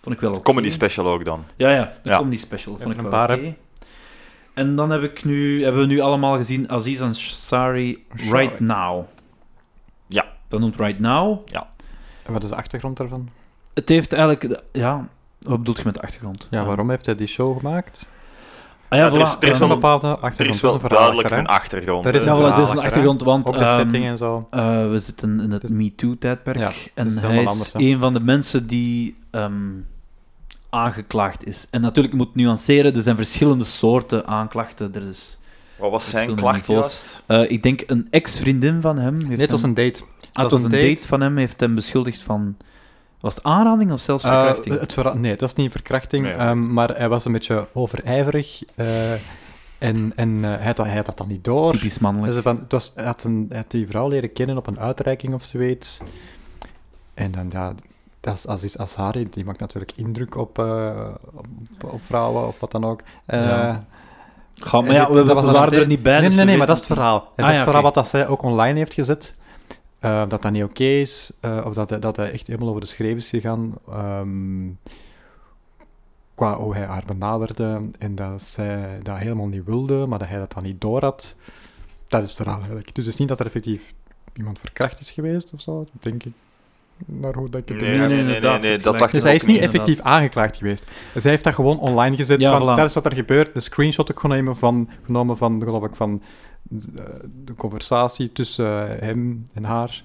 Speaker 5: Vond ik wel oké.
Speaker 3: comedy special ook dan.
Speaker 5: Ja, ja, de
Speaker 3: Ja.
Speaker 5: comedy special vond
Speaker 1: Even
Speaker 5: ik wel
Speaker 1: een paar, hè.
Speaker 5: oké. En dan heb ik nu, hebben we nu allemaal gezien Aziz Ansari
Speaker 1: Sorry.
Speaker 5: Right Now.
Speaker 3: Ja.
Speaker 5: Dat noemt Right Now.
Speaker 1: En wat is de achtergrond daarvan?
Speaker 5: Het heeft eigenlijk... Ja, wat bedoelt je met de achtergrond?
Speaker 1: Ja, waarom heeft hij die show gemaakt?
Speaker 5: Ah, ja,
Speaker 3: Ja, er
Speaker 5: voilà.
Speaker 3: is- er is
Speaker 1: een
Speaker 3: wel
Speaker 5: Ja,
Speaker 1: bepaalde
Speaker 3: Er
Speaker 1: achtergrond.
Speaker 3: is wel
Speaker 1: dat een verhaal
Speaker 3: duidelijk
Speaker 1: achter, hè?
Speaker 3: een achtergrond. eh.
Speaker 1: Er is
Speaker 3: hè.
Speaker 1: een
Speaker 5: ja, voilà, dit is een
Speaker 1: hè?
Speaker 5: achtergrond, want
Speaker 1: Ook de
Speaker 5: ehm,
Speaker 1: setting en zo.
Speaker 5: eh, we zitten in het
Speaker 1: Dus-
Speaker 5: MeToo-tijdperk.
Speaker 1: Ja,
Speaker 5: en
Speaker 1: is
Speaker 5: hij
Speaker 1: helemaal
Speaker 5: is
Speaker 1: anders, hè.
Speaker 5: een van de mensen die ehm, aangeklaagd is. En natuurlijk, je moet nuanceren, er zijn verschillende soorten aanklachten. Er is...
Speaker 3: Wat was zijn
Speaker 5: verschillende
Speaker 3: klacht
Speaker 5: niveaus.
Speaker 3: juist?
Speaker 5: Eh, ik denk een ex-vriendin van hem. Heeft
Speaker 1: Nee, het was
Speaker 5: hem-
Speaker 1: een date.
Speaker 5: Ah, het was een date. van hem, heeft hem beschuldigd van... Was het aanrading of zelfs
Speaker 1: Eh,
Speaker 5: verkrachting?
Speaker 1: het verra- nee, dat was niet verkrachting,
Speaker 3: Nee.
Speaker 1: ehm, maar hij was een beetje overijverig eh, en, en eh, hij, had, dat- hij had dat dan niet door.
Speaker 5: Typisch mannelijk.
Speaker 1: Dus van, het was, hij, had een, hij had die vrouw leren kennen op een uitreiking of zoiets. En dan, ja, dat is Aziz Azari, die maakt natuurlijk indruk op, eh, op, op vrouwen of wat dan ook. Eh,
Speaker 5: Ja. Ga- maar
Speaker 1: en
Speaker 5: ja,
Speaker 1: dit-
Speaker 5: we, we
Speaker 1: dat was dan
Speaker 5: waren
Speaker 1: het-
Speaker 5: er niet bij.
Speaker 1: Nee,
Speaker 5: dus
Speaker 1: nee,
Speaker 5: we
Speaker 1: nee, maar dat is
Speaker 5: weten
Speaker 1: het verhaal. Ah En dat
Speaker 5: ja,
Speaker 1: is het verhaal
Speaker 5: oké.
Speaker 1: wat dat zij ook online heeft gezet. eh, dat dat niet oké is, eh, of dat, hij- dat hij echt helemaal over de schreef is gegaan. ehm, qua hoe hij haar benaderde en dat zij dat helemaal niet wilde, maar dat hij dat dan niet door had. Dat is het verhaal eigenlijk. Dus het is niet dat er effectief iemand verkracht is geweest of zo, denk ik. Naar hoe dat ik het
Speaker 3: Nee,
Speaker 1: begrijp.
Speaker 3: nee, nee, nee, nee,
Speaker 5: inderdaad,
Speaker 3: dat
Speaker 5: het
Speaker 3: dacht
Speaker 1: Dus
Speaker 3: ik
Speaker 1: hij
Speaker 3: ook
Speaker 1: is niet
Speaker 5: inderdaad.
Speaker 1: effectief aangeklaagd geweest. Dus hij heeft dat gewoon online gezet.
Speaker 5: Ja,
Speaker 1: van,
Speaker 5: voilà.
Speaker 1: Dat is wat er gebeurt. De screenshot ook genomen van, genomen van geloof ik, van
Speaker 4: de, eh, de conversatie tussen hem en haar.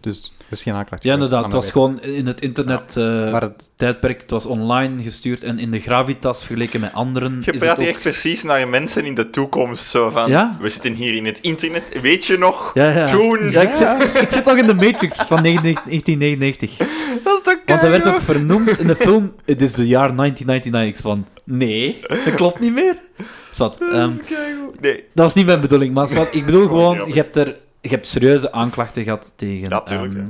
Speaker 4: Dus dat is geen aanklacht.
Speaker 5: Ja, inderdaad. Het was gewoon in het internet eh,
Speaker 4: Maar het,
Speaker 5: tijdperk. Het was online gestuurd en in de gravitas vergeleken met anderen.
Speaker 3: Je
Speaker 5: is
Speaker 3: praat
Speaker 5: het ook...
Speaker 3: hier echt precies naar mensen in de toekomst. Zo van,
Speaker 5: Ja?
Speaker 3: we zitten hier in het internet. Weet je nog?
Speaker 5: Ja, ja.
Speaker 3: Toen.
Speaker 5: Ja, ik, zit, ik zit nog in de Matrix van 19- 1999.
Speaker 3: Dat is toch
Speaker 5: Want dat werd
Speaker 3: keihard?
Speaker 5: ook vernoemd in de film. Het is de jaar 1999. Ik van, nee, dat klopt niet meer. Zwat, ehm,
Speaker 3: Nee,
Speaker 5: dat is niet mijn bedoeling, maar zwat, ik bedoel
Speaker 3: Dat is gewoon
Speaker 5: gewoon, je hebt, er, je hebt serieuze aanklachten gehad tegen
Speaker 3: Ja, tuurlijk,
Speaker 5: ehm,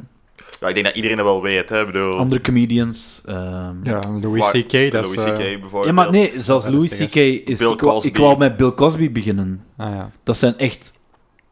Speaker 3: ja, ik denk dat iedereen dat wel weet. Hè. Ik bedoel,
Speaker 5: andere comedians. ehm.
Speaker 4: ja, eh, Louis
Speaker 3: waar-
Speaker 4: C.K. dat is...
Speaker 3: Louis
Speaker 4: eh,
Speaker 3: C.K. bijvoorbeeld.
Speaker 5: Ja, maar nee, zelfs
Speaker 4: Ja, dat is
Speaker 5: Louis C.K. is...
Speaker 3: Bill
Speaker 5: ik, wou- ik
Speaker 3: Cosby.
Speaker 5: wou met Bill Cosby beginnen.
Speaker 4: ah, ja.
Speaker 5: Dat zijn echt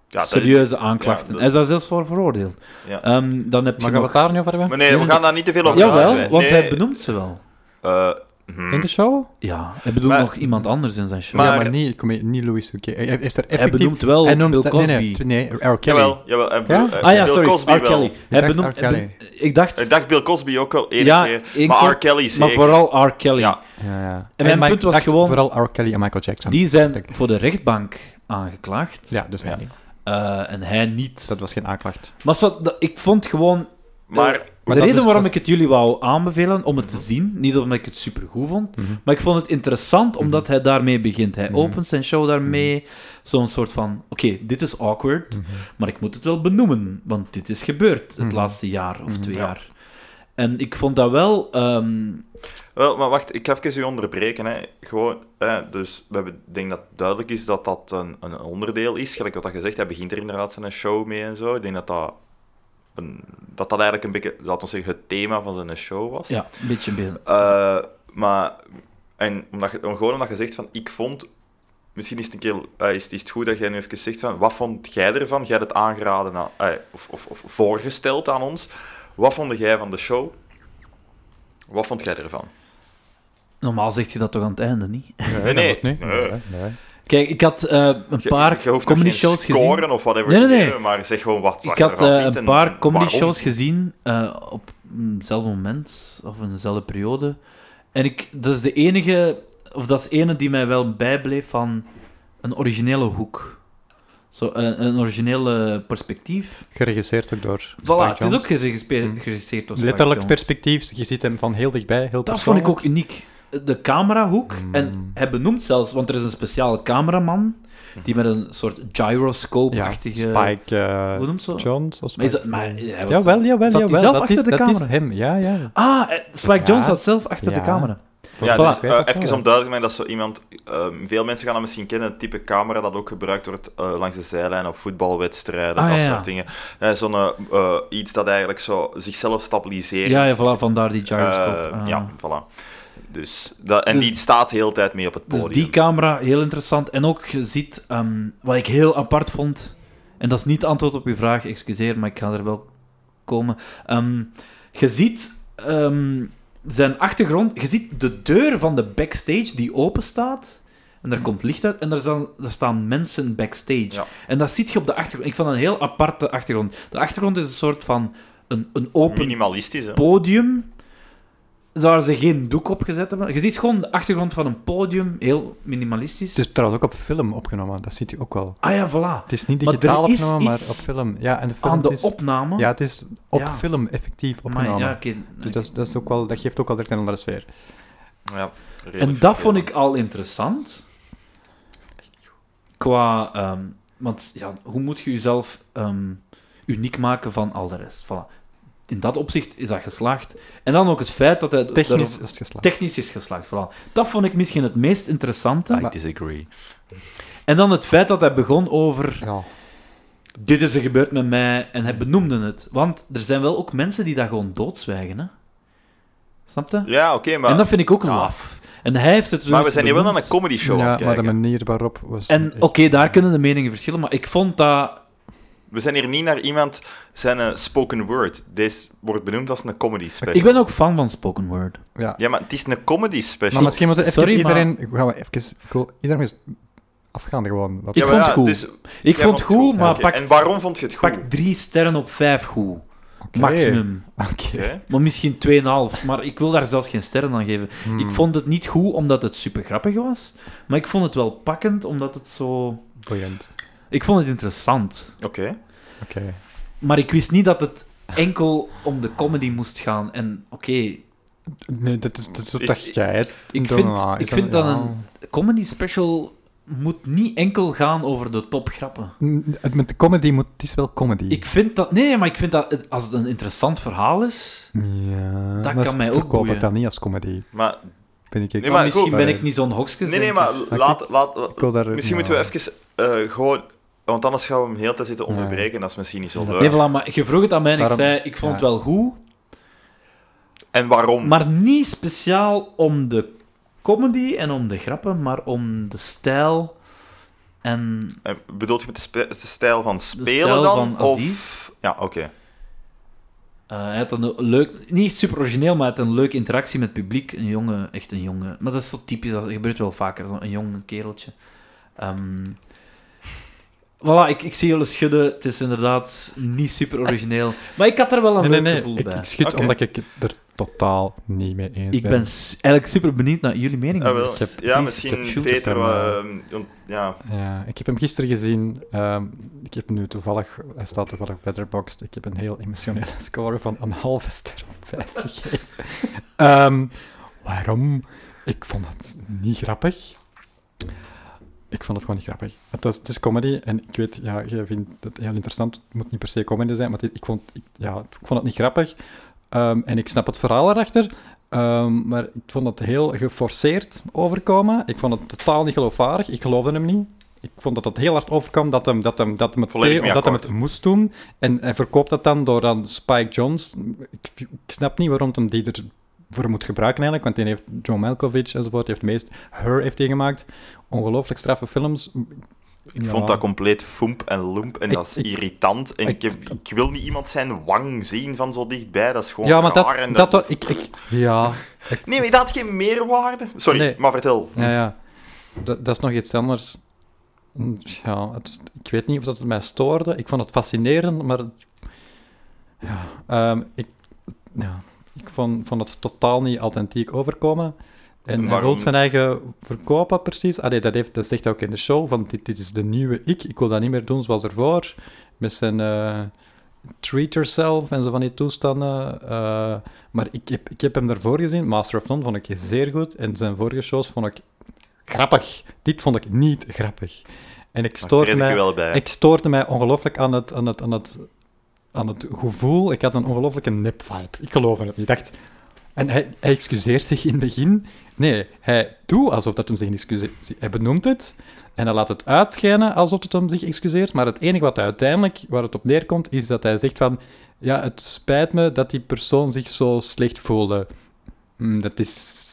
Speaker 3: Ja, dat-
Speaker 5: serieuze aanklachten.
Speaker 3: dat-
Speaker 5: Hij zou zelfs voor veroordeeld.
Speaker 3: Ja.
Speaker 5: Ehm, dan heb je
Speaker 4: Maar gaan we
Speaker 5: nog...
Speaker 4: het daar nu over hebben?
Speaker 3: Maar nee,
Speaker 5: Nee,
Speaker 3: we
Speaker 5: nee.
Speaker 3: gaan daar niet te veel over
Speaker 5: Jawel,
Speaker 3: uitweiden.
Speaker 5: want
Speaker 3: Nee,
Speaker 5: hij benoemt ze wel.
Speaker 3: eh, hm.
Speaker 4: In de show?
Speaker 5: Ja, hij bedoelt
Speaker 3: Maar-
Speaker 5: nog iemand anders in zijn show.
Speaker 3: Maar-
Speaker 4: ja, maar niet, kom, hier, niet Louis C.K. Hij heeft er
Speaker 5: hij
Speaker 4: effectief...
Speaker 5: benoemt wel
Speaker 4: hij noemt
Speaker 5: Bill
Speaker 4: dat-
Speaker 5: Cosby.
Speaker 4: Nee, nee, nee, R. Kelly.
Speaker 3: Jawel, jawel. hij
Speaker 4: Ja?
Speaker 3: be- eh,
Speaker 5: Ah ja,
Speaker 3: Bill
Speaker 5: sorry,
Speaker 3: Cosby
Speaker 5: R.
Speaker 3: wel.
Speaker 5: Kelly. Hij
Speaker 4: dacht
Speaker 5: benoemt,
Speaker 4: R. Kelly.
Speaker 5: hij ben- ik dacht,
Speaker 3: Ik dacht Bill Cosby ook wel één
Speaker 5: Ja,
Speaker 3: keer.
Speaker 5: één
Speaker 3: Maar
Speaker 5: keer.
Speaker 3: R. Kelly zeker.
Speaker 5: maar vooral R. Kelly.
Speaker 3: Ja.
Speaker 4: Ja, ja.
Speaker 5: mijn
Speaker 4: maar
Speaker 5: punt
Speaker 4: ik
Speaker 5: was
Speaker 4: dacht
Speaker 5: gewoon-
Speaker 4: Vooral R. Kelly en Michael Jackson.
Speaker 5: Die zijn voor de rechtbank aangeklaagd
Speaker 4: Ja, dus hij niet.
Speaker 5: eh, en hij niet.
Speaker 4: Dat was geen aanklacht.
Speaker 5: Maar zo, dat- ik vond gewoon
Speaker 3: Maar
Speaker 4: Maar
Speaker 5: de
Speaker 4: dat dus
Speaker 5: reden
Speaker 4: is-
Speaker 5: waarom
Speaker 4: dat-
Speaker 5: ik het jullie wou aanbevelen om het te zien, niet omdat ik het supergoed vond, maar ik vond het interessant
Speaker 4: Mhm.
Speaker 5: omdat hij daarmee begint. Hij opent zijn show daarmee, zo'n soort van, oké, dit is awkward,
Speaker 4: Mhm.
Speaker 5: maar ik moet het wel benoemen, want dit is gebeurd het laatste jaar of twee
Speaker 3: Mhm. Ja.
Speaker 5: jaar. En ik vond dat wel... ehm,
Speaker 3: Wel, maar wacht, ik ga even u onderbreken. Hè. Gewoon, hè, dus we hebben, ik denk dat het duidelijk is dat dat een, een onderdeel is. Gelijk wat dat gezegd, hij begint er inderdaad zijn show mee en zo. Ik denk dat dat, een, dat, dat eigenlijk een beetje, laten we zeggen, het thema van zijn show was.
Speaker 5: ja, een beetje... een beetje-
Speaker 3: Eh, maar, en omdat, je- om- gewoon omdat je zegt van, ik vond... Misschien is het, een keer, eh, is, het- is het goed dat jij nu even zegt van, wat vond jij ervan? Jij hebt het aangeraden aan, eh, of, of, of voorgesteld aan ons. Wat vond jij van de show? Wat vond jij ervan?
Speaker 5: Normaal zeg je dat toch aan het einde, niet? [laughs]
Speaker 3: Nee, nee.
Speaker 4: Nee,
Speaker 3: nee.
Speaker 4: nee, nee.
Speaker 5: Kijk, ik had eh, een
Speaker 3: Je-
Speaker 5: paar
Speaker 3: je hoeft toch
Speaker 5: comedy
Speaker 3: geen
Speaker 5: shows
Speaker 3: scoren
Speaker 5: gezien.
Speaker 3: of whatever
Speaker 5: Nee, nee,
Speaker 3: te
Speaker 5: nee.
Speaker 3: geven, maar zeg gewoon wat. wat
Speaker 5: Ik
Speaker 3: je
Speaker 5: had
Speaker 3: ervan
Speaker 5: eh,
Speaker 3: vindt
Speaker 5: een
Speaker 3: en
Speaker 5: paar comedy
Speaker 3: waarom.
Speaker 5: shows gezien eh, op eenzelfde moment of in dezelfde periode. En ik, dat is de enige, of dat is ene die mij wel bijbleef van een originele hoek. Zo, eh, een, een originele perspectief.
Speaker 4: Geregisseerd ook door
Speaker 5: Voilà,
Speaker 4: Spike
Speaker 5: het is
Speaker 4: Jonze.
Speaker 5: ook geregispe- geregisseerd door Spike
Speaker 4: Letterlijk
Speaker 5: Jonze.
Speaker 4: perspectief. Je ziet hem van heel dichtbij, heel
Speaker 5: Dat vond ik
Speaker 4: persoonlijk.
Speaker 5: ook uniek. De camerahoek. En hij benoemt zelfs, want er is een speciale cameraman die met een soort gyroscope-achtige...
Speaker 4: Ja, Spike eh,
Speaker 5: Hoe noemt ze?
Speaker 4: Jones of
Speaker 5: Maar is
Speaker 4: Spike-
Speaker 5: dat- maar hij was-
Speaker 4: Jawel, jawel,
Speaker 5: Zat hij
Speaker 4: jawel.
Speaker 5: zelf
Speaker 4: dat
Speaker 5: achter
Speaker 4: is,
Speaker 5: de
Speaker 4: dat
Speaker 5: camera?
Speaker 4: is hem, ja, ja.
Speaker 5: Ah, eh, Spike
Speaker 4: Ja.
Speaker 5: Jones zat zelf achter de
Speaker 4: Ja.
Speaker 5: camera.
Speaker 3: Ja,
Speaker 4: Voilà.
Speaker 3: dus,
Speaker 4: Ik
Speaker 3: eh,
Speaker 4: weet het wel,
Speaker 3: even
Speaker 4: ja.
Speaker 3: om duidelijk te maken dat zo iemand... ehm, veel mensen gaan dat misschien kennen, het type camera dat ook gebruikt wordt eh, langs de zijlijn op voetbalwedstrijden,
Speaker 5: Ah,
Speaker 3: dat
Speaker 5: ja, ja.
Speaker 3: soort dingen. Eh, Zo'n eh, eh, iets dat eigenlijk zo zichzelf stabiliseert.
Speaker 5: Ja, ja, voilà, vandaar die gyroscope.
Speaker 3: Eh,
Speaker 5: Ah.
Speaker 3: Ja, voilà. Dus dat, en
Speaker 5: Dus-
Speaker 3: die staat de hele tijd mee op het
Speaker 5: Dus
Speaker 3: podium.
Speaker 5: die camera, heel interessant. En ook, je ziet, ehm, wat ik heel apart vond... En dat is niet antwoord op uw vraag, excuseer, maar ik ga er wel komen. Ehm, je ziet ehm, zijn achtergrond... Je ziet de deur van de backstage die open staat. En daar komt licht uit. En daar staan, daar staan mensen backstage.
Speaker 3: Ja.
Speaker 5: En dat ziet je op de achtergrond. Ik vond dat een heel aparte achtergrond. De achtergrond is een soort van... Een, een open
Speaker 3: Minimalistisch, hè.
Speaker 5: podium waar ze geen doek op gezet hebben. Je ziet gewoon de achtergrond van een podium, heel minimalistisch.
Speaker 4: Het is trouwens ook op film opgenomen, dat ziet u ook wel.
Speaker 5: ah ja, voilà.
Speaker 4: Het is niet
Speaker 5: Maar er
Speaker 4: digitaal
Speaker 5: is
Speaker 4: opgenomen, maar
Speaker 5: iets
Speaker 4: op film. Ja, en de film
Speaker 5: Aan de
Speaker 4: is,
Speaker 5: opname.
Speaker 4: Ja, het is op
Speaker 5: Ja.
Speaker 4: film effectief
Speaker 5: Amai,
Speaker 4: opgenomen.
Speaker 5: ja, oké.
Speaker 4: Dus dat, is- dat, is ook wel, dat geeft ook wel direct een andere sfeer.
Speaker 3: Ja, redelijk
Speaker 5: En dat vond
Speaker 3: vervelend.
Speaker 5: ik al interessant. Qua... ehm, want ja, hoe moet je jezelf ehm, uniek maken van al de rest? Voilà. In dat opzicht is dat geslaagd. En dan ook het feit dat hij...
Speaker 4: Technisch
Speaker 5: daarop-
Speaker 4: is het geslaagd.
Speaker 5: technisch is geslaagd, vooral. Dat vond ik misschien het meest interessante.
Speaker 3: I disagree.
Speaker 5: En dan het feit dat hij begon over...
Speaker 4: Ja.
Speaker 5: dit is er gebeurd met mij en hij benoemde het. Want er zijn wel ook mensen die dat gewoon doodzwijgen, hè? Snap je?
Speaker 3: Ja, oké, maar...
Speaker 5: en dat vind ik ook
Speaker 3: ja.
Speaker 5: laf. En hij heeft het
Speaker 3: Maar
Speaker 5: dus
Speaker 3: we zijn hier wel aan
Speaker 5: benoemd.
Speaker 3: een comedy show aan
Speaker 4: ja,
Speaker 3: het
Speaker 4: maar de
Speaker 3: kijken.
Speaker 4: manier waarop was...
Speaker 5: En oké, daar kunnen de meningen verschillen, maar ik vond dat...
Speaker 3: We zijn hier niet naar iemand zijn eh, spoken word. Deze wordt benoemd als een comedy special.
Speaker 5: Ik ben ook fan van spoken word.
Speaker 4: Ja.
Speaker 3: Ja, maar het is een comedy special.
Speaker 4: Maar misschien moeten we even
Speaker 5: Sorry, maar-
Speaker 4: iedereen... Gaan we even, ik wil iedereen eens afgaan gewoon. Wat
Speaker 5: Ik
Speaker 3: ja, maar
Speaker 5: vond het
Speaker 3: ja,
Speaker 5: goed.
Speaker 3: dus-
Speaker 5: Ik
Speaker 3: jij
Speaker 5: vond het goed, maar
Speaker 3: Oké,
Speaker 5: pak,
Speaker 3: En waarom vond je het goed?
Speaker 5: pak drie sterren op vijf goed. Maximum.
Speaker 4: [laughs] Oké.
Speaker 3: Oké.
Speaker 5: Maar misschien 2,5. Maar ik wil daar zelfs geen sterren aan geven.
Speaker 1: Hmm.
Speaker 5: Ik vond het niet goed omdat het super grappig was. Maar ik vond het wel pakkend omdat het zo.
Speaker 4: Boeiend.
Speaker 5: Ik vond het interessant.
Speaker 3: Oké.
Speaker 1: Oké.
Speaker 5: Maar ik wist niet dat het enkel om de comedy moest gaan. En oké,
Speaker 1: Nee, dat is, dat is wat
Speaker 3: Is-
Speaker 1: dat jij het
Speaker 5: ik
Speaker 1: doen,
Speaker 5: vind-
Speaker 1: maar
Speaker 5: ik
Speaker 1: is
Speaker 5: vind dat
Speaker 1: ah, ja.
Speaker 5: een- comedy special moet niet enkel gaan over de topgrappen.
Speaker 1: Mm, het- Met de comedy moet... Het is wel comedy.
Speaker 5: Ik vind dat... Nee, maar ik vind dat het- als het een interessant verhaal is...
Speaker 1: Ja,
Speaker 5: Dat
Speaker 1: maar
Speaker 5: kan mij ook
Speaker 1: verkoop
Speaker 5: boeien.
Speaker 1: het dan niet als comedy,
Speaker 3: Maar,
Speaker 1: vind ik.
Speaker 3: Nee,
Speaker 5: maar
Speaker 3: maar
Speaker 5: misschien
Speaker 3: goed.
Speaker 5: ben ik niet zo'n hokskes.
Speaker 3: nee, nee,
Speaker 5: denk
Speaker 3: maar
Speaker 5: ik.
Speaker 3: laat, laat, laat-
Speaker 1: Ik wil daar-
Speaker 3: misschien
Speaker 1: ja.
Speaker 3: moeten we even eh, gewoon... Want anders gaan we hem heel de tijd zitten onderbreken. Dat is misschien niet zo leuk.
Speaker 5: Nee, voilà, maar je vroeg het aan mij en
Speaker 1: Daarom-
Speaker 5: ik zei, ik vond
Speaker 1: ja.
Speaker 5: het wel goed,
Speaker 3: En waarom?
Speaker 5: maar niet speciaal om de comedy en om de grappen, maar om de stijl en
Speaker 3: Eh, Bedoelt je met de, spe- de stijl van
Speaker 5: de
Speaker 3: spelen
Speaker 5: stijl
Speaker 3: dan?
Speaker 5: van
Speaker 3: of...
Speaker 5: Aziz.
Speaker 3: Ja, oké.
Speaker 5: Eh, hij had een leuk, niet echt super origineel, maar hij had een leuke interactie met het publiek. Een jonge, echt een jonge. Maar dat is zo typisch, dat gebeurt wel vaker, zo een jong kereltje. Ehm, voilà, ik, ik zie jullie schudden. Het is inderdaad niet super origineel. Maar ik had er wel
Speaker 1: Nee,
Speaker 5: een
Speaker 1: nee,
Speaker 5: leuk
Speaker 1: nee.
Speaker 5: gevoel
Speaker 1: Ik,
Speaker 5: bij.
Speaker 1: ik
Speaker 5: Ik,
Speaker 1: schud
Speaker 3: Oké.
Speaker 1: omdat ik het er totaal niet mee eens ben.
Speaker 5: ben s- eigenlijk super benieuwd naar jullie Dus mening.
Speaker 3: Ah, wel.
Speaker 1: Ik heb-
Speaker 3: ja,
Speaker 1: ik
Speaker 3: misschien
Speaker 1: heb
Speaker 3: beter...
Speaker 1: shooter,
Speaker 3: eh, want- ja,
Speaker 1: Ja, ik heb hem gisteren gezien. ehm, ik heb nu toevallig... Hij staat toevallig bij Letterboxd. Ik heb een heel emotionele [laughs] score van een halve ster op vijf [laughs] gegeven. Ehm, waarom? Ik vond het niet grappig. Ik vond het gewoon niet grappig. Het, was, het is comedy en ik weet, ja, je vindt het heel interessant. Het moet niet per se comedy zijn, maar dit- ik, vond, ik, ja, ik vond het niet grappig. Ehm, en ik snap het verhaal erachter, ehm, maar ik vond het heel geforceerd overkomen. Ik vond het totaal niet geloofwaardig. Ik geloofde hem niet. Ik vond dat het heel hard overkwam dat hem, dat hem, dat hem, het,
Speaker 3: Volledig
Speaker 1: deed,
Speaker 3: mee
Speaker 1: of dat hem het
Speaker 3: akkoord.
Speaker 1: moest doen. En hij verkoopt dat dan door aan Spike Jones. Ik, ik snap niet waarom hem die ervoor moet gebruiken eigenlijk, want die heeft John Malkovich enzovoort. Die heeft meest Her heeft hij gemaakt. Ongelooflijk straffe films.
Speaker 3: ik vond dat compleet foemp en loemp. En
Speaker 1: Ik-
Speaker 3: dat is
Speaker 1: ik-
Speaker 3: irritant. En
Speaker 1: ik-
Speaker 3: ik, heb- ik wil niet iemand zijn wang zien van zo dichtbij. Dat is gewoon
Speaker 1: Ja, maar dat...
Speaker 3: raar en
Speaker 1: dat, wa- ik, ik, ja,
Speaker 3: Nee, maar dat had geen meerwaarde. Sorry,
Speaker 1: Nee.
Speaker 3: maar vertel.
Speaker 1: Ja, ja. Dat, dat is nog iets anders. Ja, het, ik weet niet of dat het mij stoorde. Ik vond het fascinerend, maar... Ja, ehm, ik, ja, ik vond, vond het totaal niet authentiek overkomen. En hij
Speaker 3: Waarom?
Speaker 1: wil zijn eigen verkopen, precies. Allee, dat, heeft, dat zegt hij ook in de show, want dit, dit is de nieuwe ik. Ik wil dat niet meer doen zoals ervoor. Met zijn eh, treat yourself en zo van die toestanden. Eh, maar ik heb, ik heb hem daarvoor gezien. Master of None vond ik zeer goed. En zijn vorige shows vond ik grappig. Dit vond ik niet grappig. En ik
Speaker 3: Daar
Speaker 1: stoorde
Speaker 3: treed ik je
Speaker 1: mij...
Speaker 3: wel bij.
Speaker 1: Ik stoorde mij ongelooflijk aan het, aan, het, aan, het, aan het gevoel. Ik had een ongelooflijke nep-vibe. Ik geloofde het niet. Ik dacht... En hij, hij excuseert zich in het begin. Nee, hij doet alsof dat hem zich niet excuseert. Hij benoemt het en hij laat het uitschijnen alsof het hem zich excuseert. Maar het enige wat hij uiteindelijk, waar het op neerkomt, is dat hij zegt van... Ja, het spijt me dat die persoon zich zo slecht voelde. Hm, dat is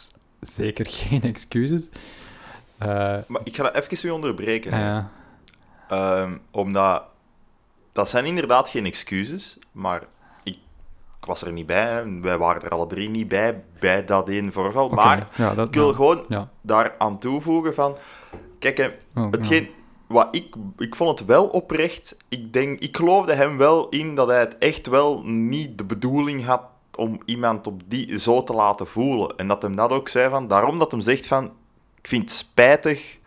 Speaker 1: zeker [laughs] geen excuses. Eh,
Speaker 3: Maar ik ga dat even weer onderbreken. hè.
Speaker 1: ja.
Speaker 3: Ehm, omdat... Dat zijn inderdaad geen excuses, maar ik, ik was er niet bij. hè. Wij waren er alle drie niet bij, bij dat één voorval.
Speaker 1: Oké,
Speaker 3: Maar
Speaker 1: ja, dat,
Speaker 3: ik wil
Speaker 1: ja.
Speaker 3: gewoon
Speaker 1: Ja.
Speaker 3: daaraan toevoegen van... Kijk, hè,
Speaker 1: Oh,
Speaker 3: hetgeen... Wat ik, ik vond het wel oprecht. Ik, denk, ik geloofde hem wel in dat hij het echt wel niet de bedoeling had om iemand op die, zo te laten voelen. En dat hem dat ook zei van... Daarom dat hem zegt van... Ik vind het spijtig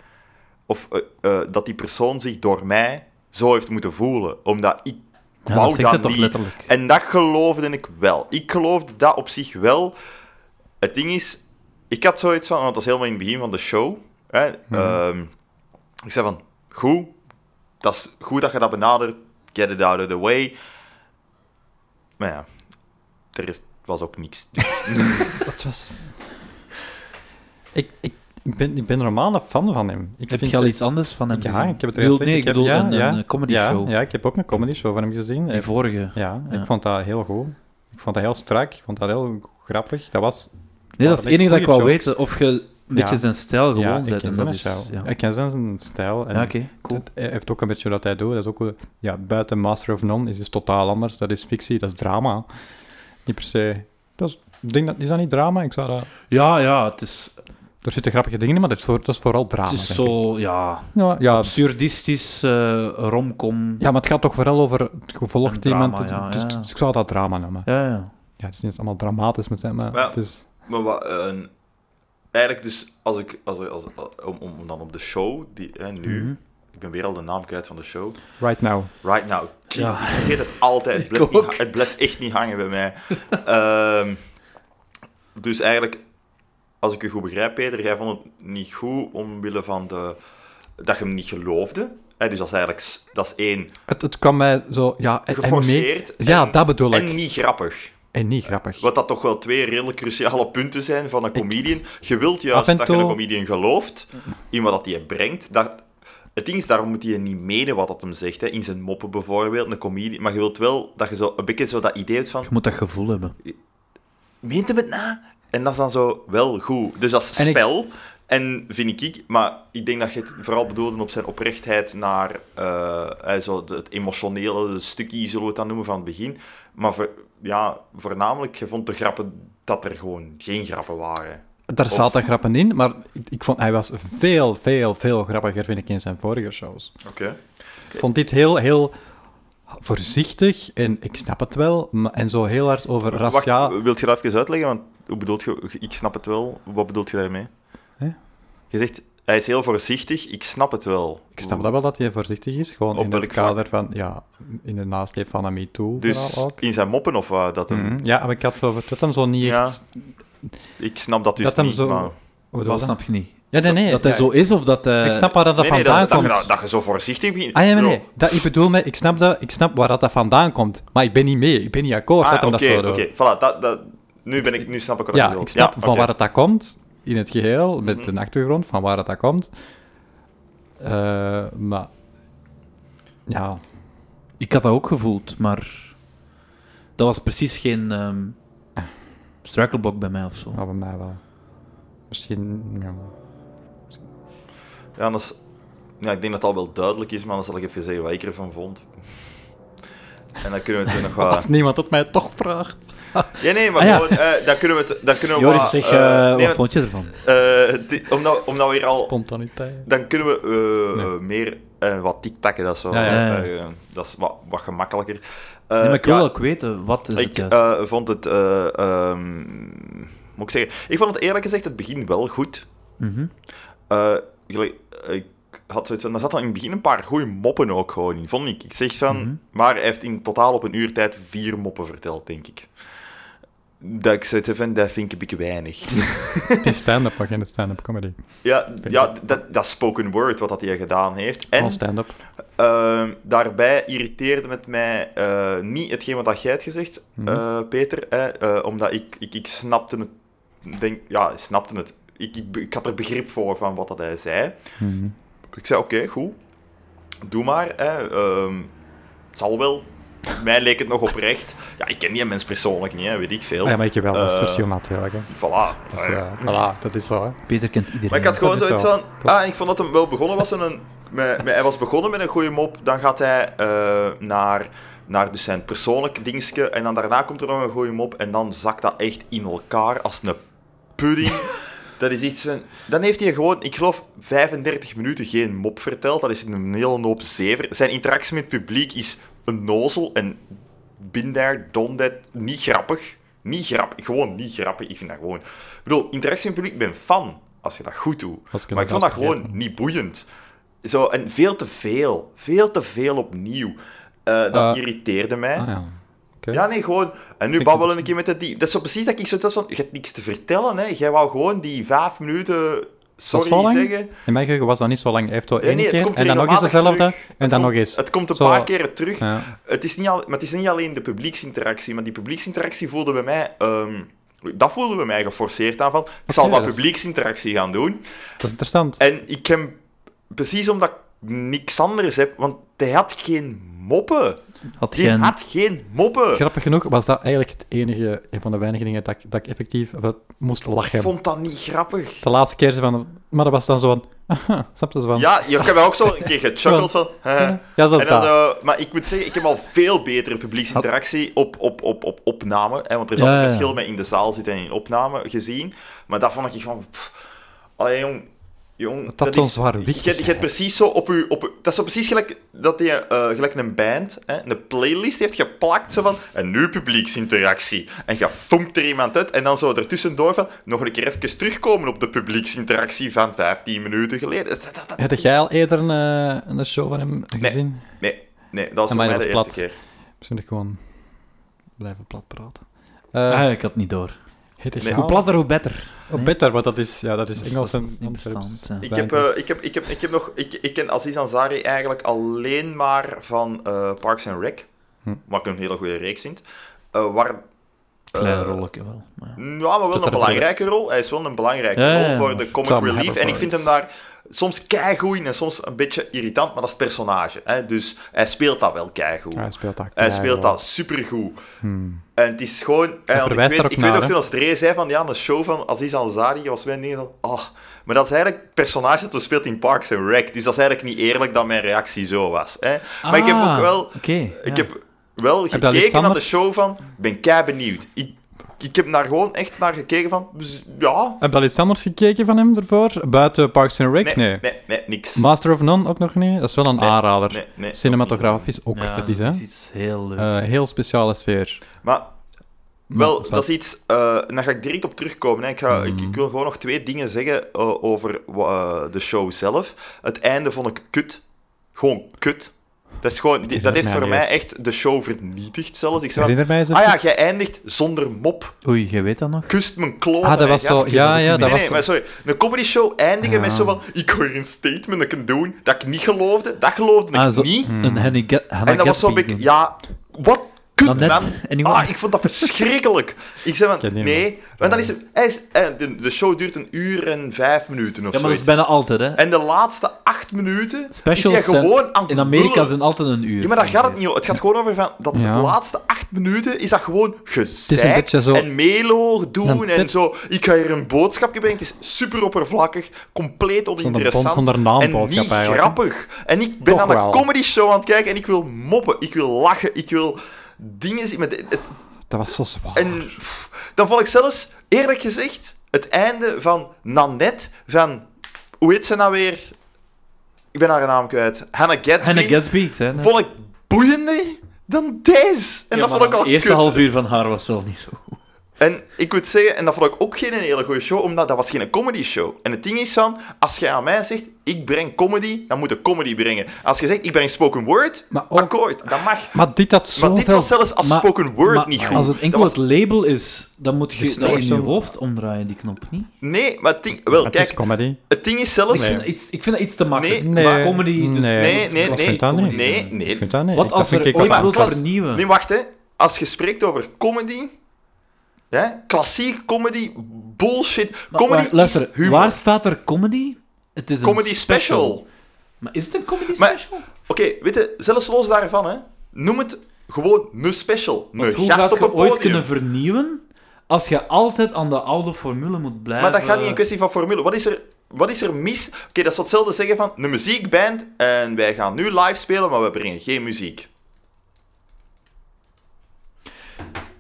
Speaker 3: of, eh, eh, dat die persoon zich door mij zo heeft moeten voelen. Omdat ik
Speaker 5: Ja,
Speaker 3: wou
Speaker 5: dat zegt het
Speaker 3: dat
Speaker 5: toch
Speaker 3: niet.
Speaker 5: letterlijk.
Speaker 3: En dat geloofde ik wel. Ik geloofde dat op zich wel. Het ding is, ik had zoiets van, want dat is helemaal in het begin van de show. Hè, ehm, ik zei van, goed, dat is goed dat je dat benadert. Get it out of the way. Maar ja, er is, was ook niks.
Speaker 1: Het was... Ik, ik, ik, ben, ik ben normaal een fan van hem. Ik
Speaker 5: Heb
Speaker 1: vind
Speaker 5: je al
Speaker 1: het-
Speaker 5: iets anders van hem
Speaker 1: Ja,
Speaker 5: gezien?
Speaker 1: ik heb het
Speaker 5: Bedoel,
Speaker 1: gezien.
Speaker 5: Nee, ik
Speaker 1: heb-
Speaker 5: bedoel
Speaker 1: ja,
Speaker 5: een,
Speaker 1: ja,
Speaker 5: een comedy
Speaker 1: ja,
Speaker 5: show.
Speaker 1: Ja, ik heb ook een comedy show van hem gezien.
Speaker 5: Die vorige.
Speaker 1: Ja, ik
Speaker 5: Ja.
Speaker 1: vond dat heel goed. Ik vond dat heel strak. Ik vond dat heel grappig. Dat was...
Speaker 5: Nee, dat is het
Speaker 1: Waarlijk
Speaker 5: enige dat ik wou
Speaker 1: goeie
Speaker 5: weten. Of je een beetje zijn stijl gewoon
Speaker 1: ja, ik
Speaker 5: bent.
Speaker 1: ken
Speaker 5: en
Speaker 1: zijn
Speaker 5: dat is,
Speaker 1: stijl.
Speaker 5: ja.
Speaker 1: Ik ken zijn stijl. En
Speaker 5: Ja, oké, cool.
Speaker 1: het- Hij heeft ook een beetje wat hij doet. Dat is ook... wel- Ja, buiten Master of None is het totaal anders. Dat is fictie, dat is drama. Niet per se... Dat is, ik denk dat, is dat niet drama? Ik zou dat...
Speaker 5: Ja, ja, het is,
Speaker 1: Er zitten grappige dingen in, maar dat is, voor, dat is vooral drama.
Speaker 5: het is
Speaker 1: denk ik.
Speaker 5: zo, ja,
Speaker 1: Ja, ja,
Speaker 5: absurdistisch eh, romcom.
Speaker 1: Ja, maar het gaat toch vooral over het gevolg
Speaker 5: Een
Speaker 1: die iemand...
Speaker 5: drama, ja,
Speaker 1: dus,
Speaker 5: ja, ja.
Speaker 1: dus ik zou dat drama noemen.
Speaker 5: Ja, ja.
Speaker 1: Ja, het is niet allemaal dramatisch met hem, maar
Speaker 3: Ja.
Speaker 1: het is...
Speaker 3: [laughs] Maar wat, eh, eigenlijk dus, als ik, als, ik- als, om, om dan op de show, die, hè, nu, Ik ben weer al de naam kwijt van de show.
Speaker 1: Right now.
Speaker 3: Right Now. Jezus, Ik vergeet het altijd.
Speaker 1: [laughs]
Speaker 3: Het
Speaker 5: Ik
Speaker 3: blijft, niet,
Speaker 5: ook.
Speaker 3: ha- het blijft echt niet hangen bij mij. Ehm, dus eigenlijk, als ik u goed begrijp, Peter, jij vond het niet goed omwille van de, dat je hem niet geloofde. Hè, dus dat is eigenlijk s- dat is één.
Speaker 1: Het, het kwam mij zo... Ja, en, en mee...
Speaker 3: Geforceerd en,
Speaker 1: Ja, dat bedoel ik.
Speaker 3: en niet grappig.
Speaker 1: En niet grappig.
Speaker 3: Wat dat toch wel twee redelijk cruciale punten zijn van een comedian. Je wilt
Speaker 1: Af
Speaker 3: juist
Speaker 1: en
Speaker 3: dat je
Speaker 1: toe-
Speaker 3: een comedian gelooft in wat dat hij brengt. Dat, het ding is, daarom moet hij niet menen wat dat hem zegt. Hè. In zijn moppen bijvoorbeeld, een comedian. Maar je wilt wel dat je zo een beetje zo dat idee hebt van...
Speaker 5: Je moet dat gevoel hebben.
Speaker 3: Meent hem het na? En dat is dan zo wel goed. Dus dat is
Speaker 1: En ik-
Speaker 3: spel. En vind ik, maar ik denk dat je het vooral bedoelde op zijn oprechtheid naar eh, hè, zo de- het emotionele stukje, zullen we het dan noemen, van het begin. Maar voor, ja, voornamelijk, je vond de grappen dat er gewoon geen grappen waren.
Speaker 1: Daar
Speaker 3: Of-
Speaker 1: zaten grappen in, maar ik, ik vond hij was veel, veel, veel grappiger, vind ik, in zijn vorige shows.
Speaker 3: Oké.
Speaker 1: Ik vond dit heel, heel voorzichtig en ik snap het wel, maar, en zo heel hard over
Speaker 3: Wacht,
Speaker 1: racia.
Speaker 3: wilt je dat even uitleggen? Want hoe bedoelt je, ik snap het wel. Wat bedoelt je daarmee?
Speaker 1: Hè?
Speaker 3: Je zegt, hij is heel voorzichtig, ik snap het wel.
Speaker 1: Ik snap dat wel dat hij voorzichtig is, gewoon
Speaker 3: Op
Speaker 1: in het
Speaker 3: welk
Speaker 1: kader van, ja, in de nasleep van een
Speaker 3: Dus
Speaker 1: MeToo-verhaal ook.
Speaker 3: in zijn moppen of wat? dat hem...
Speaker 1: Mhm. Ja, maar ik had zo, dat hem zo niet
Speaker 3: Ja.
Speaker 1: echt...
Speaker 3: Ik snap dat dus
Speaker 1: Dat hem
Speaker 3: niet,
Speaker 1: zo-
Speaker 3: maar...
Speaker 1: Hoe bedoel
Speaker 5: Dat
Speaker 1: je
Speaker 5: snap je niet.
Speaker 1: Ja, nee, nee.
Speaker 5: dat hij
Speaker 1: ja,
Speaker 5: zo is of dat hij...
Speaker 1: Ik snap waar dat, dat
Speaker 3: Nee, nee,
Speaker 1: vandaan
Speaker 3: dat, dat,
Speaker 1: komt.
Speaker 3: je dat, dat je zo voorzichtig begint.
Speaker 1: Ah ja, maar nee.
Speaker 3: Bro.
Speaker 1: Dat, ik bedoel, me, ik snap, dat, ik snap waar dat, dat vandaan komt. Maar ik ben niet mee. Ik ben niet akkoord dat
Speaker 3: Ah,
Speaker 1: hem
Speaker 3: oké,
Speaker 1: dat zo
Speaker 3: oké.
Speaker 1: doet.
Speaker 3: Voilà, dat, dat, nu, ben ik, nu snap ik wat je
Speaker 1: Ja,
Speaker 3: bedoelt.
Speaker 1: ik snap
Speaker 3: Ja,
Speaker 1: van
Speaker 3: oké. Mhm.
Speaker 1: waar dat, dat komt, in het geheel, met een achtergrond van waar dat, dat komt. Eh, maar, ja,
Speaker 5: Ik had dat ook gevoeld, maar dat was precies geen ehm
Speaker 1: Ah.
Speaker 5: struikelblok bij mij of zo.
Speaker 1: nou, bij mij wel. Misschien, ja.
Speaker 3: Ja, dat is, ja, ik denk dat dat wel duidelijk is, maar dan zal ik even zeggen wat ik ervan vond. En dan kunnen
Speaker 5: [laughs]
Speaker 3: we het nog
Speaker 1: Als
Speaker 3: wat...
Speaker 1: niemand het mij toch vraagt.
Speaker 3: Ja, nee, maar
Speaker 5: Ah, ja.
Speaker 3: gewoon, eh, daar kunnen we het... Daar kunnen we
Speaker 5: Joris,
Speaker 3: wat,
Speaker 5: zeg,
Speaker 3: eh,
Speaker 5: eh,
Speaker 3: nee,
Speaker 5: wat
Speaker 3: maar,
Speaker 5: vond je ervan?
Speaker 3: eh, di- omdat, omdat we hier al...
Speaker 1: Spontaniteit.
Speaker 3: Dan kunnen we eh,
Speaker 1: Nee.
Speaker 3: meer eh, wat tiktakken, dat is, wel,
Speaker 1: Ja,
Speaker 5: ja.
Speaker 3: eh, eh, dat is wat, wat gemakkelijker. Eh,
Speaker 5: nee, maar ik wil
Speaker 3: ja,
Speaker 5: ook weten, wat is het
Speaker 3: Ik
Speaker 5: Dus juist?
Speaker 3: eh, vond het... eh, ehm, moet ik zeggen... Ik vond het eerlijk gezegd het begin wel goed.
Speaker 5: Mhm.
Speaker 3: Eh, gelijk, ik had zoiets van... Daar zat dan in het begin een paar goede moppen ook gewoon in, vond ik. Ik zeg van...
Speaker 5: Mhm.
Speaker 3: Maar hij heeft in totaal op een uur tijd vier moppen verteld, denk ik. Dat ik zoiets heb van, dat vind ik een beetje
Speaker 5: [laughs]
Speaker 3: weinig.
Speaker 1: Het is stand-up, maar geen stand-up comedy.
Speaker 3: ja,
Speaker 1: Vind
Speaker 3: ja dat, dat spoken word, wat dat hij gedaan heeft. En
Speaker 1: Gewoon stand-up.
Speaker 3: Ehm, daarbij irriteerde het mij eh, niet hetgeen wat dat jij hebt gezegd,
Speaker 1: Mhm.
Speaker 3: eh, Peter. Hè, eh, omdat ik, ik, ik snapte het. Denk, ja, snapte het. Ik, ik, ik had er begrip voor van wat dat hij zei.
Speaker 1: Mhm.
Speaker 3: Ik zei, oké, goed. Doe maar. Hè, ehm, het zal wel. Mij leek het nog oprecht. Ja, ik ken die mens persoonlijk niet, hè, weet ik veel.
Speaker 1: Ah, ja, maar ik heb wel, dat is het
Speaker 3: Eh,
Speaker 1: verschil natuurlijk. Hè.
Speaker 3: Voilà.
Speaker 1: Dus,
Speaker 3: Eh,
Speaker 1: eh, voilà, dat is zo, hè.
Speaker 5: Peter kent iedereen.
Speaker 3: Maar ik had gewoon
Speaker 1: dat is
Speaker 3: zoiets
Speaker 1: wel.
Speaker 3: van... Ah, ik vond dat hem wel begonnen was met een... Met, met- hij was begonnen met een goede mop. Dan gaat hij eh, naar, naar dus zijn persoonlijk dingetje. En dan daarna komt er nog een goede mop. En dan zakt dat echt in elkaar als een pudding. Dat is iets van... Dan heeft hij gewoon, ik geloof, 35 minuten geen mop verteld. Dat is een hele hoop zever. Zijn interactie met het publiek is een nozel. En been there, done that. Niet grappig. Niet grappig. Gewoon niet grappig. Ik vind dat gewoon... Ik bedoel, interactie met het publiek, ik ben fan. Als je dat goed doet.
Speaker 1: Als ik
Speaker 3: Maar ik vond dat gewoon
Speaker 1: vergeten.
Speaker 3: niet boeiend. Zo, en veel te veel. Veel te veel opnieuw. Eh, dat
Speaker 1: Eh,
Speaker 3: irriteerde mij.
Speaker 1: Ah, ja. Oké.
Speaker 3: Ja, nee, gewoon. En nu
Speaker 1: Ik-
Speaker 3: babbelen een keer met het die. Dat is zo precies dat ik zo was van. Je hebt niks te vertellen, hè? Jij wou gewoon die vijf minuten. Sorry
Speaker 1: zo lang?
Speaker 3: zeggen.
Speaker 1: In mijn geheugen was dat niet zo lang. Hij heeft zo
Speaker 3: Nee,
Speaker 1: één
Speaker 3: nee, het
Speaker 1: keer
Speaker 3: komt
Speaker 1: en dan nog eens
Speaker 3: regelmatig
Speaker 1: dezelfde
Speaker 3: terug.
Speaker 1: en dan
Speaker 3: komt-
Speaker 1: nog eens.
Speaker 3: Het komt een
Speaker 1: Zo.
Speaker 3: paar keren terug.
Speaker 1: Ja.
Speaker 3: Het is niet al, maar het is niet alleen de publieksinteractie, maar die publieksinteractie voelde bij mij. ehm, dat voelde bij mij geforceerd aan van. Ik zal
Speaker 1: Oké, dus-
Speaker 3: wat
Speaker 1: dat is-
Speaker 3: publieksinteractie gaan doen.
Speaker 1: Dat is interessant.
Speaker 3: En ik heb precies omdat ik niks anders heb, want hij had geen moppen.
Speaker 5: Had
Speaker 3: Hij
Speaker 5: jij een-
Speaker 3: had geen moppen.
Speaker 1: Grappig genoeg was dat eigenlijk het enige, een van de weinige dingen dat ik, dat ik effectief wel moest
Speaker 3: Ik
Speaker 1: lachen.
Speaker 3: vond dat niet grappig.
Speaker 1: De laatste keer zo van, maar dat was dan zo'n,
Speaker 4: [laughs]
Speaker 1: aha, snap je zo van?
Speaker 3: Ja, ik heb ook zo een keer gechuckled van... hè.
Speaker 1: ja zo
Speaker 3: En dan,
Speaker 1: dat.
Speaker 3: zo- maar ik moet zeggen, ik heb al veel betere publieksinteractie op, op, op, op opname. Hè, want er is
Speaker 5: Ja, ja,
Speaker 3: altijd een
Speaker 5: ja.
Speaker 3: verschil met in de zaal zitten en in opname gezien. Maar dat vond ik van... pff, allee, jong, Jong,
Speaker 4: Dat had ons waar
Speaker 3: Je, hebt- je hebt precies zo op je... Op, uw- dat is zo precies gelijk dat die, eh, gelijk een band hè, een playlist heeft geplakt. Zo van, en nu publieksinteractie. En je fomt er iemand uit. En dan zo ertussendoor van, nog een keer even terugkomen op de publieksinteractie van 15 minuten geleden. Dat- dat- dat-
Speaker 4: Heb jij al eerder een, eh, een show van hem gezien?
Speaker 3: Nee, nee, dat was
Speaker 4: En
Speaker 3: voor mij
Speaker 4: mij was
Speaker 3: de
Speaker 4: plat.
Speaker 3: eerste keer.
Speaker 4: Misschien dat ik gewoon blijven plat praten. Eh,
Speaker 5: ah, ik had niet door.
Speaker 4: het is
Speaker 3: nee.
Speaker 5: Hoe platter, hoe beter.
Speaker 4: Oh, beter, want dat is, ja, dat is
Speaker 5: Dat is-
Speaker 4: Engels
Speaker 5: dat
Speaker 4: en
Speaker 5: is niet
Speaker 4: Antwerps.
Speaker 5: bestaan,
Speaker 3: Ik heb, eh, ik, heb, ik, heb, ik heb nog... Ik, ik ken Aziz Ansari eigenlijk alleen maar van eh, Parks and Rec.
Speaker 4: Hm.
Speaker 3: Wat ik een hele goede reeks vind. Eh, waar... eh,
Speaker 5: Kleine rolletje wel. Maar ja.
Speaker 3: Ja, maar wel
Speaker 4: Dat
Speaker 3: een
Speaker 4: er
Speaker 3: belangrijke rol. Hij is wel een belangrijke
Speaker 5: Ja, ja,
Speaker 3: rol
Speaker 5: ja.
Speaker 3: voor de comic
Speaker 4: Tom
Speaker 3: relief. En ik
Speaker 4: Haverford.
Speaker 3: vind hem daar soms keigoed in en soms een beetje irritant, maar dat is personage. Hè? Dus hij speelt dat wel keigoed.
Speaker 4: Ja, hij speelt dat.
Speaker 3: hij
Speaker 4: keihard.
Speaker 3: speelt dat supergoed.
Speaker 4: Hmm.
Speaker 3: En het is gewoon... eh, want ik
Speaker 4: verwijst
Speaker 3: weet,
Speaker 4: daar ook
Speaker 3: ik weet
Speaker 4: naar,
Speaker 3: ook
Speaker 4: hè.
Speaker 3: toen als Dre zei van, ja, een show van Aziz Ansari was mijn ding van, ah. Maar dat is eigenlijk het personage dat we speelt in Parks and Rec. Dus dat is eigenlijk niet eerlijk dat mijn reactie zo was. Hè? Maar ik heb
Speaker 5: Ah,
Speaker 3: ook wel...
Speaker 5: Oké.
Speaker 3: Ik
Speaker 5: ja.
Speaker 3: heb wel
Speaker 4: je al iets
Speaker 3: gekeken naar de
Speaker 4: anders?
Speaker 3: show van... Ik ben kei benieuwd. Ik, ik heb daar gewoon echt naar gekeken van... z- Ja...
Speaker 4: Heb je al iets anders gekeken van hem ervoor? Buiten Parks and Rec?
Speaker 3: Nee,
Speaker 4: Nee.
Speaker 3: nee, nee, niks.
Speaker 4: Master of None ook nog niet? Dat is wel een
Speaker 3: Nee,
Speaker 4: aanrader.
Speaker 3: nee, nee,
Speaker 4: Cinematografisch ook,
Speaker 5: Ja,
Speaker 4: dat is hè.
Speaker 5: iets heel leuk.
Speaker 4: Eh, heel speciale sfeer.
Speaker 3: Maar wel,
Speaker 4: Maar-
Speaker 3: dat is iets... eh daar ga ik direct op terugkomen. Hè. Ik, ga, ik,
Speaker 4: Mhm.
Speaker 3: ik wil gewoon nog twee dingen zeggen eh, over wa- eh, de show zelf. Het einde vond ik kut. Gewoon kut. Dat, is gewoon, die- dat heeft voor
Speaker 4: herinner
Speaker 3: mij
Speaker 4: mij
Speaker 3: echt de show vernietigd zelfs. Ik zei van,
Speaker 4: Herinner mij eens
Speaker 3: ah ja,
Speaker 4: even-
Speaker 3: jij eindigt zonder mop.
Speaker 4: Eh,
Speaker 5: Oei, jij weet dat nog?
Speaker 3: Kust mijn kloot.
Speaker 4: Ah, dat was zo... Ja, ja, dat
Speaker 3: nee,
Speaker 4: was
Speaker 3: nee, maar sorry. Een comedy show eindigen
Speaker 4: Ja.
Speaker 3: met zo van... Ik wil hier een statement dat ik kan doen, dat ik niet geloofde. Dat geloofde ik
Speaker 5: Ah, zo-
Speaker 3: niet.
Speaker 4: Hmm.
Speaker 5: Een Henny Ga- Hannah
Speaker 3: En dat was zo'n
Speaker 5: Gatsby
Speaker 3: beetje...
Speaker 5: doen.
Speaker 3: Ja, wat kut,
Speaker 5: Nanette,
Speaker 3: man.
Speaker 5: anyone?
Speaker 3: Ah, ik vond dat verschrikkelijk. Ik zei van,
Speaker 4: ken die
Speaker 3: nee. Want dan is het... Hij is, eh, de, de show duurt een uur en vijf minuten of
Speaker 5: Ja, maar dat
Speaker 3: zoiets.
Speaker 5: is bijna altijd, hè.
Speaker 3: En de laatste acht minuten
Speaker 5: Specials
Speaker 3: is hij
Speaker 5: zijn-
Speaker 3: gewoon aan het
Speaker 5: In Amerika
Speaker 3: lullen.
Speaker 5: zijn altijd een uur.
Speaker 3: Ja, maar daar gaat het niet om. Het gaat gewoon over van, dat
Speaker 4: Ja.
Speaker 3: de laatste acht minuten is dat gewoon gezeik
Speaker 4: beetje zo-
Speaker 3: en melo doen
Speaker 4: Een
Speaker 3: en
Speaker 4: tip-
Speaker 3: zo. Ik ga hier een boodschapje brengen. Het is super oppervlakkig, compleet
Speaker 4: band
Speaker 3: oninteressant
Speaker 4: van haar
Speaker 3: en
Speaker 4: naamboodschap
Speaker 3: niet
Speaker 4: eigenlijk, hè.
Speaker 3: grappig. En ik ben
Speaker 4: Toch
Speaker 3: aan een
Speaker 4: wel.
Speaker 3: comedy show aan het kijken en ik wil moppen, ik wil lachen, ik wil dingen zien. Maar dit- het-
Speaker 4: Dat was zo zwaar.
Speaker 3: en pff, dan vond ik zelfs, eerlijk gezegd, het einde van Nanette, van... Hoe heet ze nou weer? Ik ben haar naam kwijt. Hannah Gatsby.
Speaker 5: Hannah Gatsby, ik zei net.
Speaker 3: Vond ik boeiender dan deze. En
Speaker 5: Ja,
Speaker 3: dat
Speaker 5: maar
Speaker 3: vond ik al
Speaker 5: de eerste
Speaker 3: kut.
Speaker 5: half uur van haar was wel niet zo.
Speaker 3: En ik moet zeggen, en dat vond ik ook geen een hele goede show, omdat dat was geen comedy show. En het ding is dan, als jij aan mij zegt, ik breng comedy, dan moet ik comedy brengen. Als je zegt, ik breng spoken word,
Speaker 4: Maar ook-
Speaker 3: akkoord, dat mag.
Speaker 4: Maar dit had
Speaker 3: Maar
Speaker 4: zoveel...
Speaker 3: dit was zelfs als
Speaker 5: Maar-
Speaker 3: spoken word
Speaker 5: maar
Speaker 3: niet goed.
Speaker 5: Als het enkel
Speaker 3: Dat was-
Speaker 5: het label is, dan moet je dat in je
Speaker 3: Distortion.
Speaker 5: hoofd omdraaien, die knop, niet?
Speaker 3: Nee, maar het ding... Wel,
Speaker 4: Het is
Speaker 3: kijk,
Speaker 4: comedy.
Speaker 3: het ding is zelfs...
Speaker 5: Ik, vind dat iets, ik vind dat iets te makkelijk.
Speaker 3: Nee,
Speaker 5: Het is
Speaker 4: nee,
Speaker 5: comedy, dus...
Speaker 4: nee.
Speaker 3: Nee, nee,
Speaker 4: Ik
Speaker 3: nee.
Speaker 4: vind dat niet.
Speaker 3: Nee, nee.
Speaker 4: Ik vind dat niet.
Speaker 5: Wat
Speaker 4: Ik-
Speaker 5: als
Speaker 4: dat
Speaker 5: er
Speaker 4: vind ik
Speaker 5: ooit
Speaker 3: wel
Speaker 5: wil
Speaker 3: klas.
Speaker 5: vernieuwen?
Speaker 3: Nee, wacht, hè. Als je spreekt over comedy... Hè, klassiek comedy, bullshit.
Speaker 5: Maar-
Speaker 3: comedy
Speaker 5: maar luister,
Speaker 3: is humor.
Speaker 5: waar staat er comedy? Het is
Speaker 3: Comedy
Speaker 5: een
Speaker 3: special.
Speaker 5: Maar is het een comedy
Speaker 3: Maar-
Speaker 5: special?
Speaker 3: Oké, weet je, zelfs los daarvan, hè. Noem het gewoon een special. Een
Speaker 5: Want hoe
Speaker 3: gast
Speaker 5: gaat
Speaker 3: op
Speaker 5: je
Speaker 3: een
Speaker 5: ooit
Speaker 3: podium.
Speaker 5: kunnen vernieuwen als je altijd aan de oude formule moet blijven?
Speaker 3: Maar dat gaat niet in kwestie van formule. Wat is er, wat is er mis? Oké, dat is hetzelfde zeggen van een muziekband en wij gaan nu live spelen, maar we brengen geen muziek.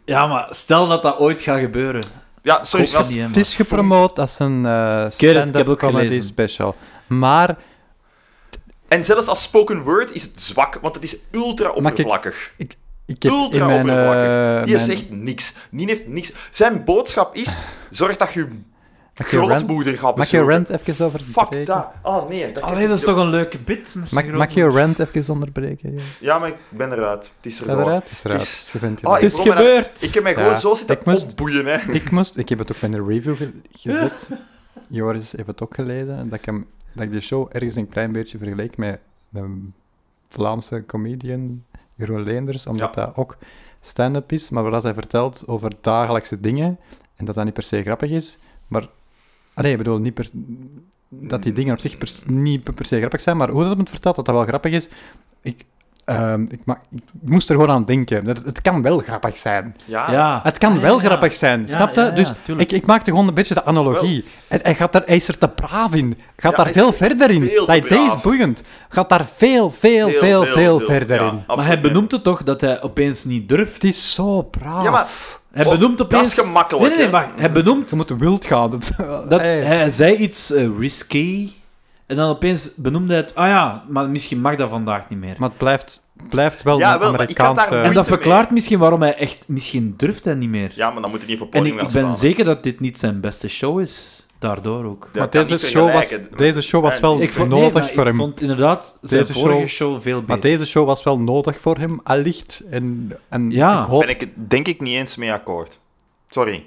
Speaker 5: Ja, maar stel dat dat ooit gaat gebeuren.
Speaker 3: Ja, sorry,
Speaker 5: Kost
Speaker 3: dat
Speaker 5: niet, hè,
Speaker 4: Het
Speaker 5: man.
Speaker 4: is gepromoot als een eh
Speaker 5: heb
Speaker 4: stand-up
Speaker 5: ook
Speaker 4: comedy
Speaker 5: gelezen.
Speaker 4: special. Maar
Speaker 3: En zelfs als spoken word is het zwak, want het is ultra
Speaker 4: Maar kijk,
Speaker 3: oppervlakkig.
Speaker 4: ik, ik heb in
Speaker 3: ultra
Speaker 4: mijn... eh,
Speaker 3: oppervlakkig. Die
Speaker 4: mijn-
Speaker 3: zegt niks. Die heeft niks. Zijn boodschap is, zorg dat je
Speaker 4: Mag je rant-
Speaker 3: grootmoeder gaat
Speaker 4: Mag je
Speaker 3: bezoeken.
Speaker 4: rent even over
Speaker 3: Fuck dat. Oh nee. Dat
Speaker 5: Allee, dat is toch een leuke bit? met zijn
Speaker 4: Mag, mag je
Speaker 5: grote-
Speaker 4: rent even onderbreken? joh?
Speaker 3: Ja, maar ik ben eruit. Het is
Speaker 4: Ja,
Speaker 3: erdoor.
Speaker 4: eruit is eruit.
Speaker 3: Het is-
Speaker 4: Je vindt
Speaker 3: Ah,
Speaker 4: het
Speaker 3: ik
Speaker 5: Het is
Speaker 3: wil me dat-
Speaker 5: gebeurd!
Speaker 3: Ik heb mij gewoon
Speaker 4: Ja,
Speaker 3: zo zitten
Speaker 4: ik moest-
Speaker 3: opboeien, hè.
Speaker 4: Ik moest... Ik heb het ook in een review ge- gezet. Joris heeft het ook gelezen. en Dat ik, hem, dat ik de show ergens een klein beetje vergeleek met een Vlaamse comedian, Jeroen Leenders. Omdat dat ook stand-up is, maar wat hij vertelt over dagelijkse dingen. En dat dat niet per se grappig is. Maar... ah, Nee, ik bedoel, niet per... Dat die dingen op zich per, s- niet per se grappig zijn, maar hoe dat hem het vertelt, dat dat wel grappig is. Ik, ehm, ik, ma- ik moest er gewoon aan denken. Het, het kan wel grappig zijn.
Speaker 3: Ja.
Speaker 5: Ja.
Speaker 4: Het kan
Speaker 5: Ja,
Speaker 4: wel
Speaker 5: ja, ja.
Speaker 4: grappig zijn,
Speaker 5: Ja,
Speaker 4: snap je?
Speaker 5: ja, ja,
Speaker 4: dus
Speaker 3: Hm.
Speaker 5: tuurlijk.
Speaker 4: ik, ik maakte gewoon een beetje de analogie. En hij gaat daar, hij is er te braaf in. Gaat
Speaker 3: Ja,
Speaker 4: daar
Speaker 3: hij
Speaker 4: veel
Speaker 3: is
Speaker 4: verder in.
Speaker 3: veel te
Speaker 4: dat deze
Speaker 3: braaf.
Speaker 4: is boeiend. Gaat daar veel, veel, veel, veel, verder
Speaker 3: ja,
Speaker 4: in.
Speaker 5: Maar
Speaker 3: absoluut.
Speaker 5: hij benoemt het toch dat hij opeens niet durft?
Speaker 4: Het is zo braaf.
Speaker 3: Ja, maar
Speaker 5: Hij
Speaker 3: Oh,
Speaker 5: benoemt
Speaker 3: dat
Speaker 5: opeens...
Speaker 3: is gemakkelijk,
Speaker 5: Nee, nee, nee,
Speaker 3: hè?
Speaker 5: wacht. Hij benoemt
Speaker 4: [laughs] Ah, Je moet wild gaan.
Speaker 5: dat...
Speaker 4: Hey.
Speaker 5: Hij zei iets eh, risky En dan opeens benoemde hij het, ah ja, maar misschien mag dat vandaag niet meer.
Speaker 4: Maar het blijft, blijft wel
Speaker 3: Ja,
Speaker 4: een
Speaker 3: wel, maar ik had daar
Speaker 4: Amerikaanse...
Speaker 5: en
Speaker 3: moeite
Speaker 5: dat
Speaker 3: mee.
Speaker 5: verklaart misschien waarom hij echt, misschien durft hij niet meer.
Speaker 3: Ja, maar dan moet er niet op het
Speaker 5: en
Speaker 3: podium
Speaker 5: ik,
Speaker 3: gaan
Speaker 5: ik ben
Speaker 3: staan.
Speaker 5: zeker dat dit niet zijn beste show is, daardoor ook.
Speaker 3: Dat
Speaker 4: maar
Speaker 3: kan
Speaker 4: deze
Speaker 3: niet
Speaker 4: show, was,
Speaker 3: vergelijken.
Speaker 4: deze show was
Speaker 3: En-
Speaker 4: wel
Speaker 5: Ik vond, nee,
Speaker 4: nodig
Speaker 5: maar
Speaker 4: voor hem.
Speaker 5: Ik vond inderdaad zijn
Speaker 4: Deze
Speaker 5: vorige
Speaker 4: show-
Speaker 5: show, veel
Speaker 4: Maar
Speaker 5: beter.
Speaker 4: deze show was wel nodig voor hem, allicht. En, en
Speaker 5: Ja.
Speaker 4: ik hoop...
Speaker 3: ben ik het denk ik niet eens mee akkoord. Sorry.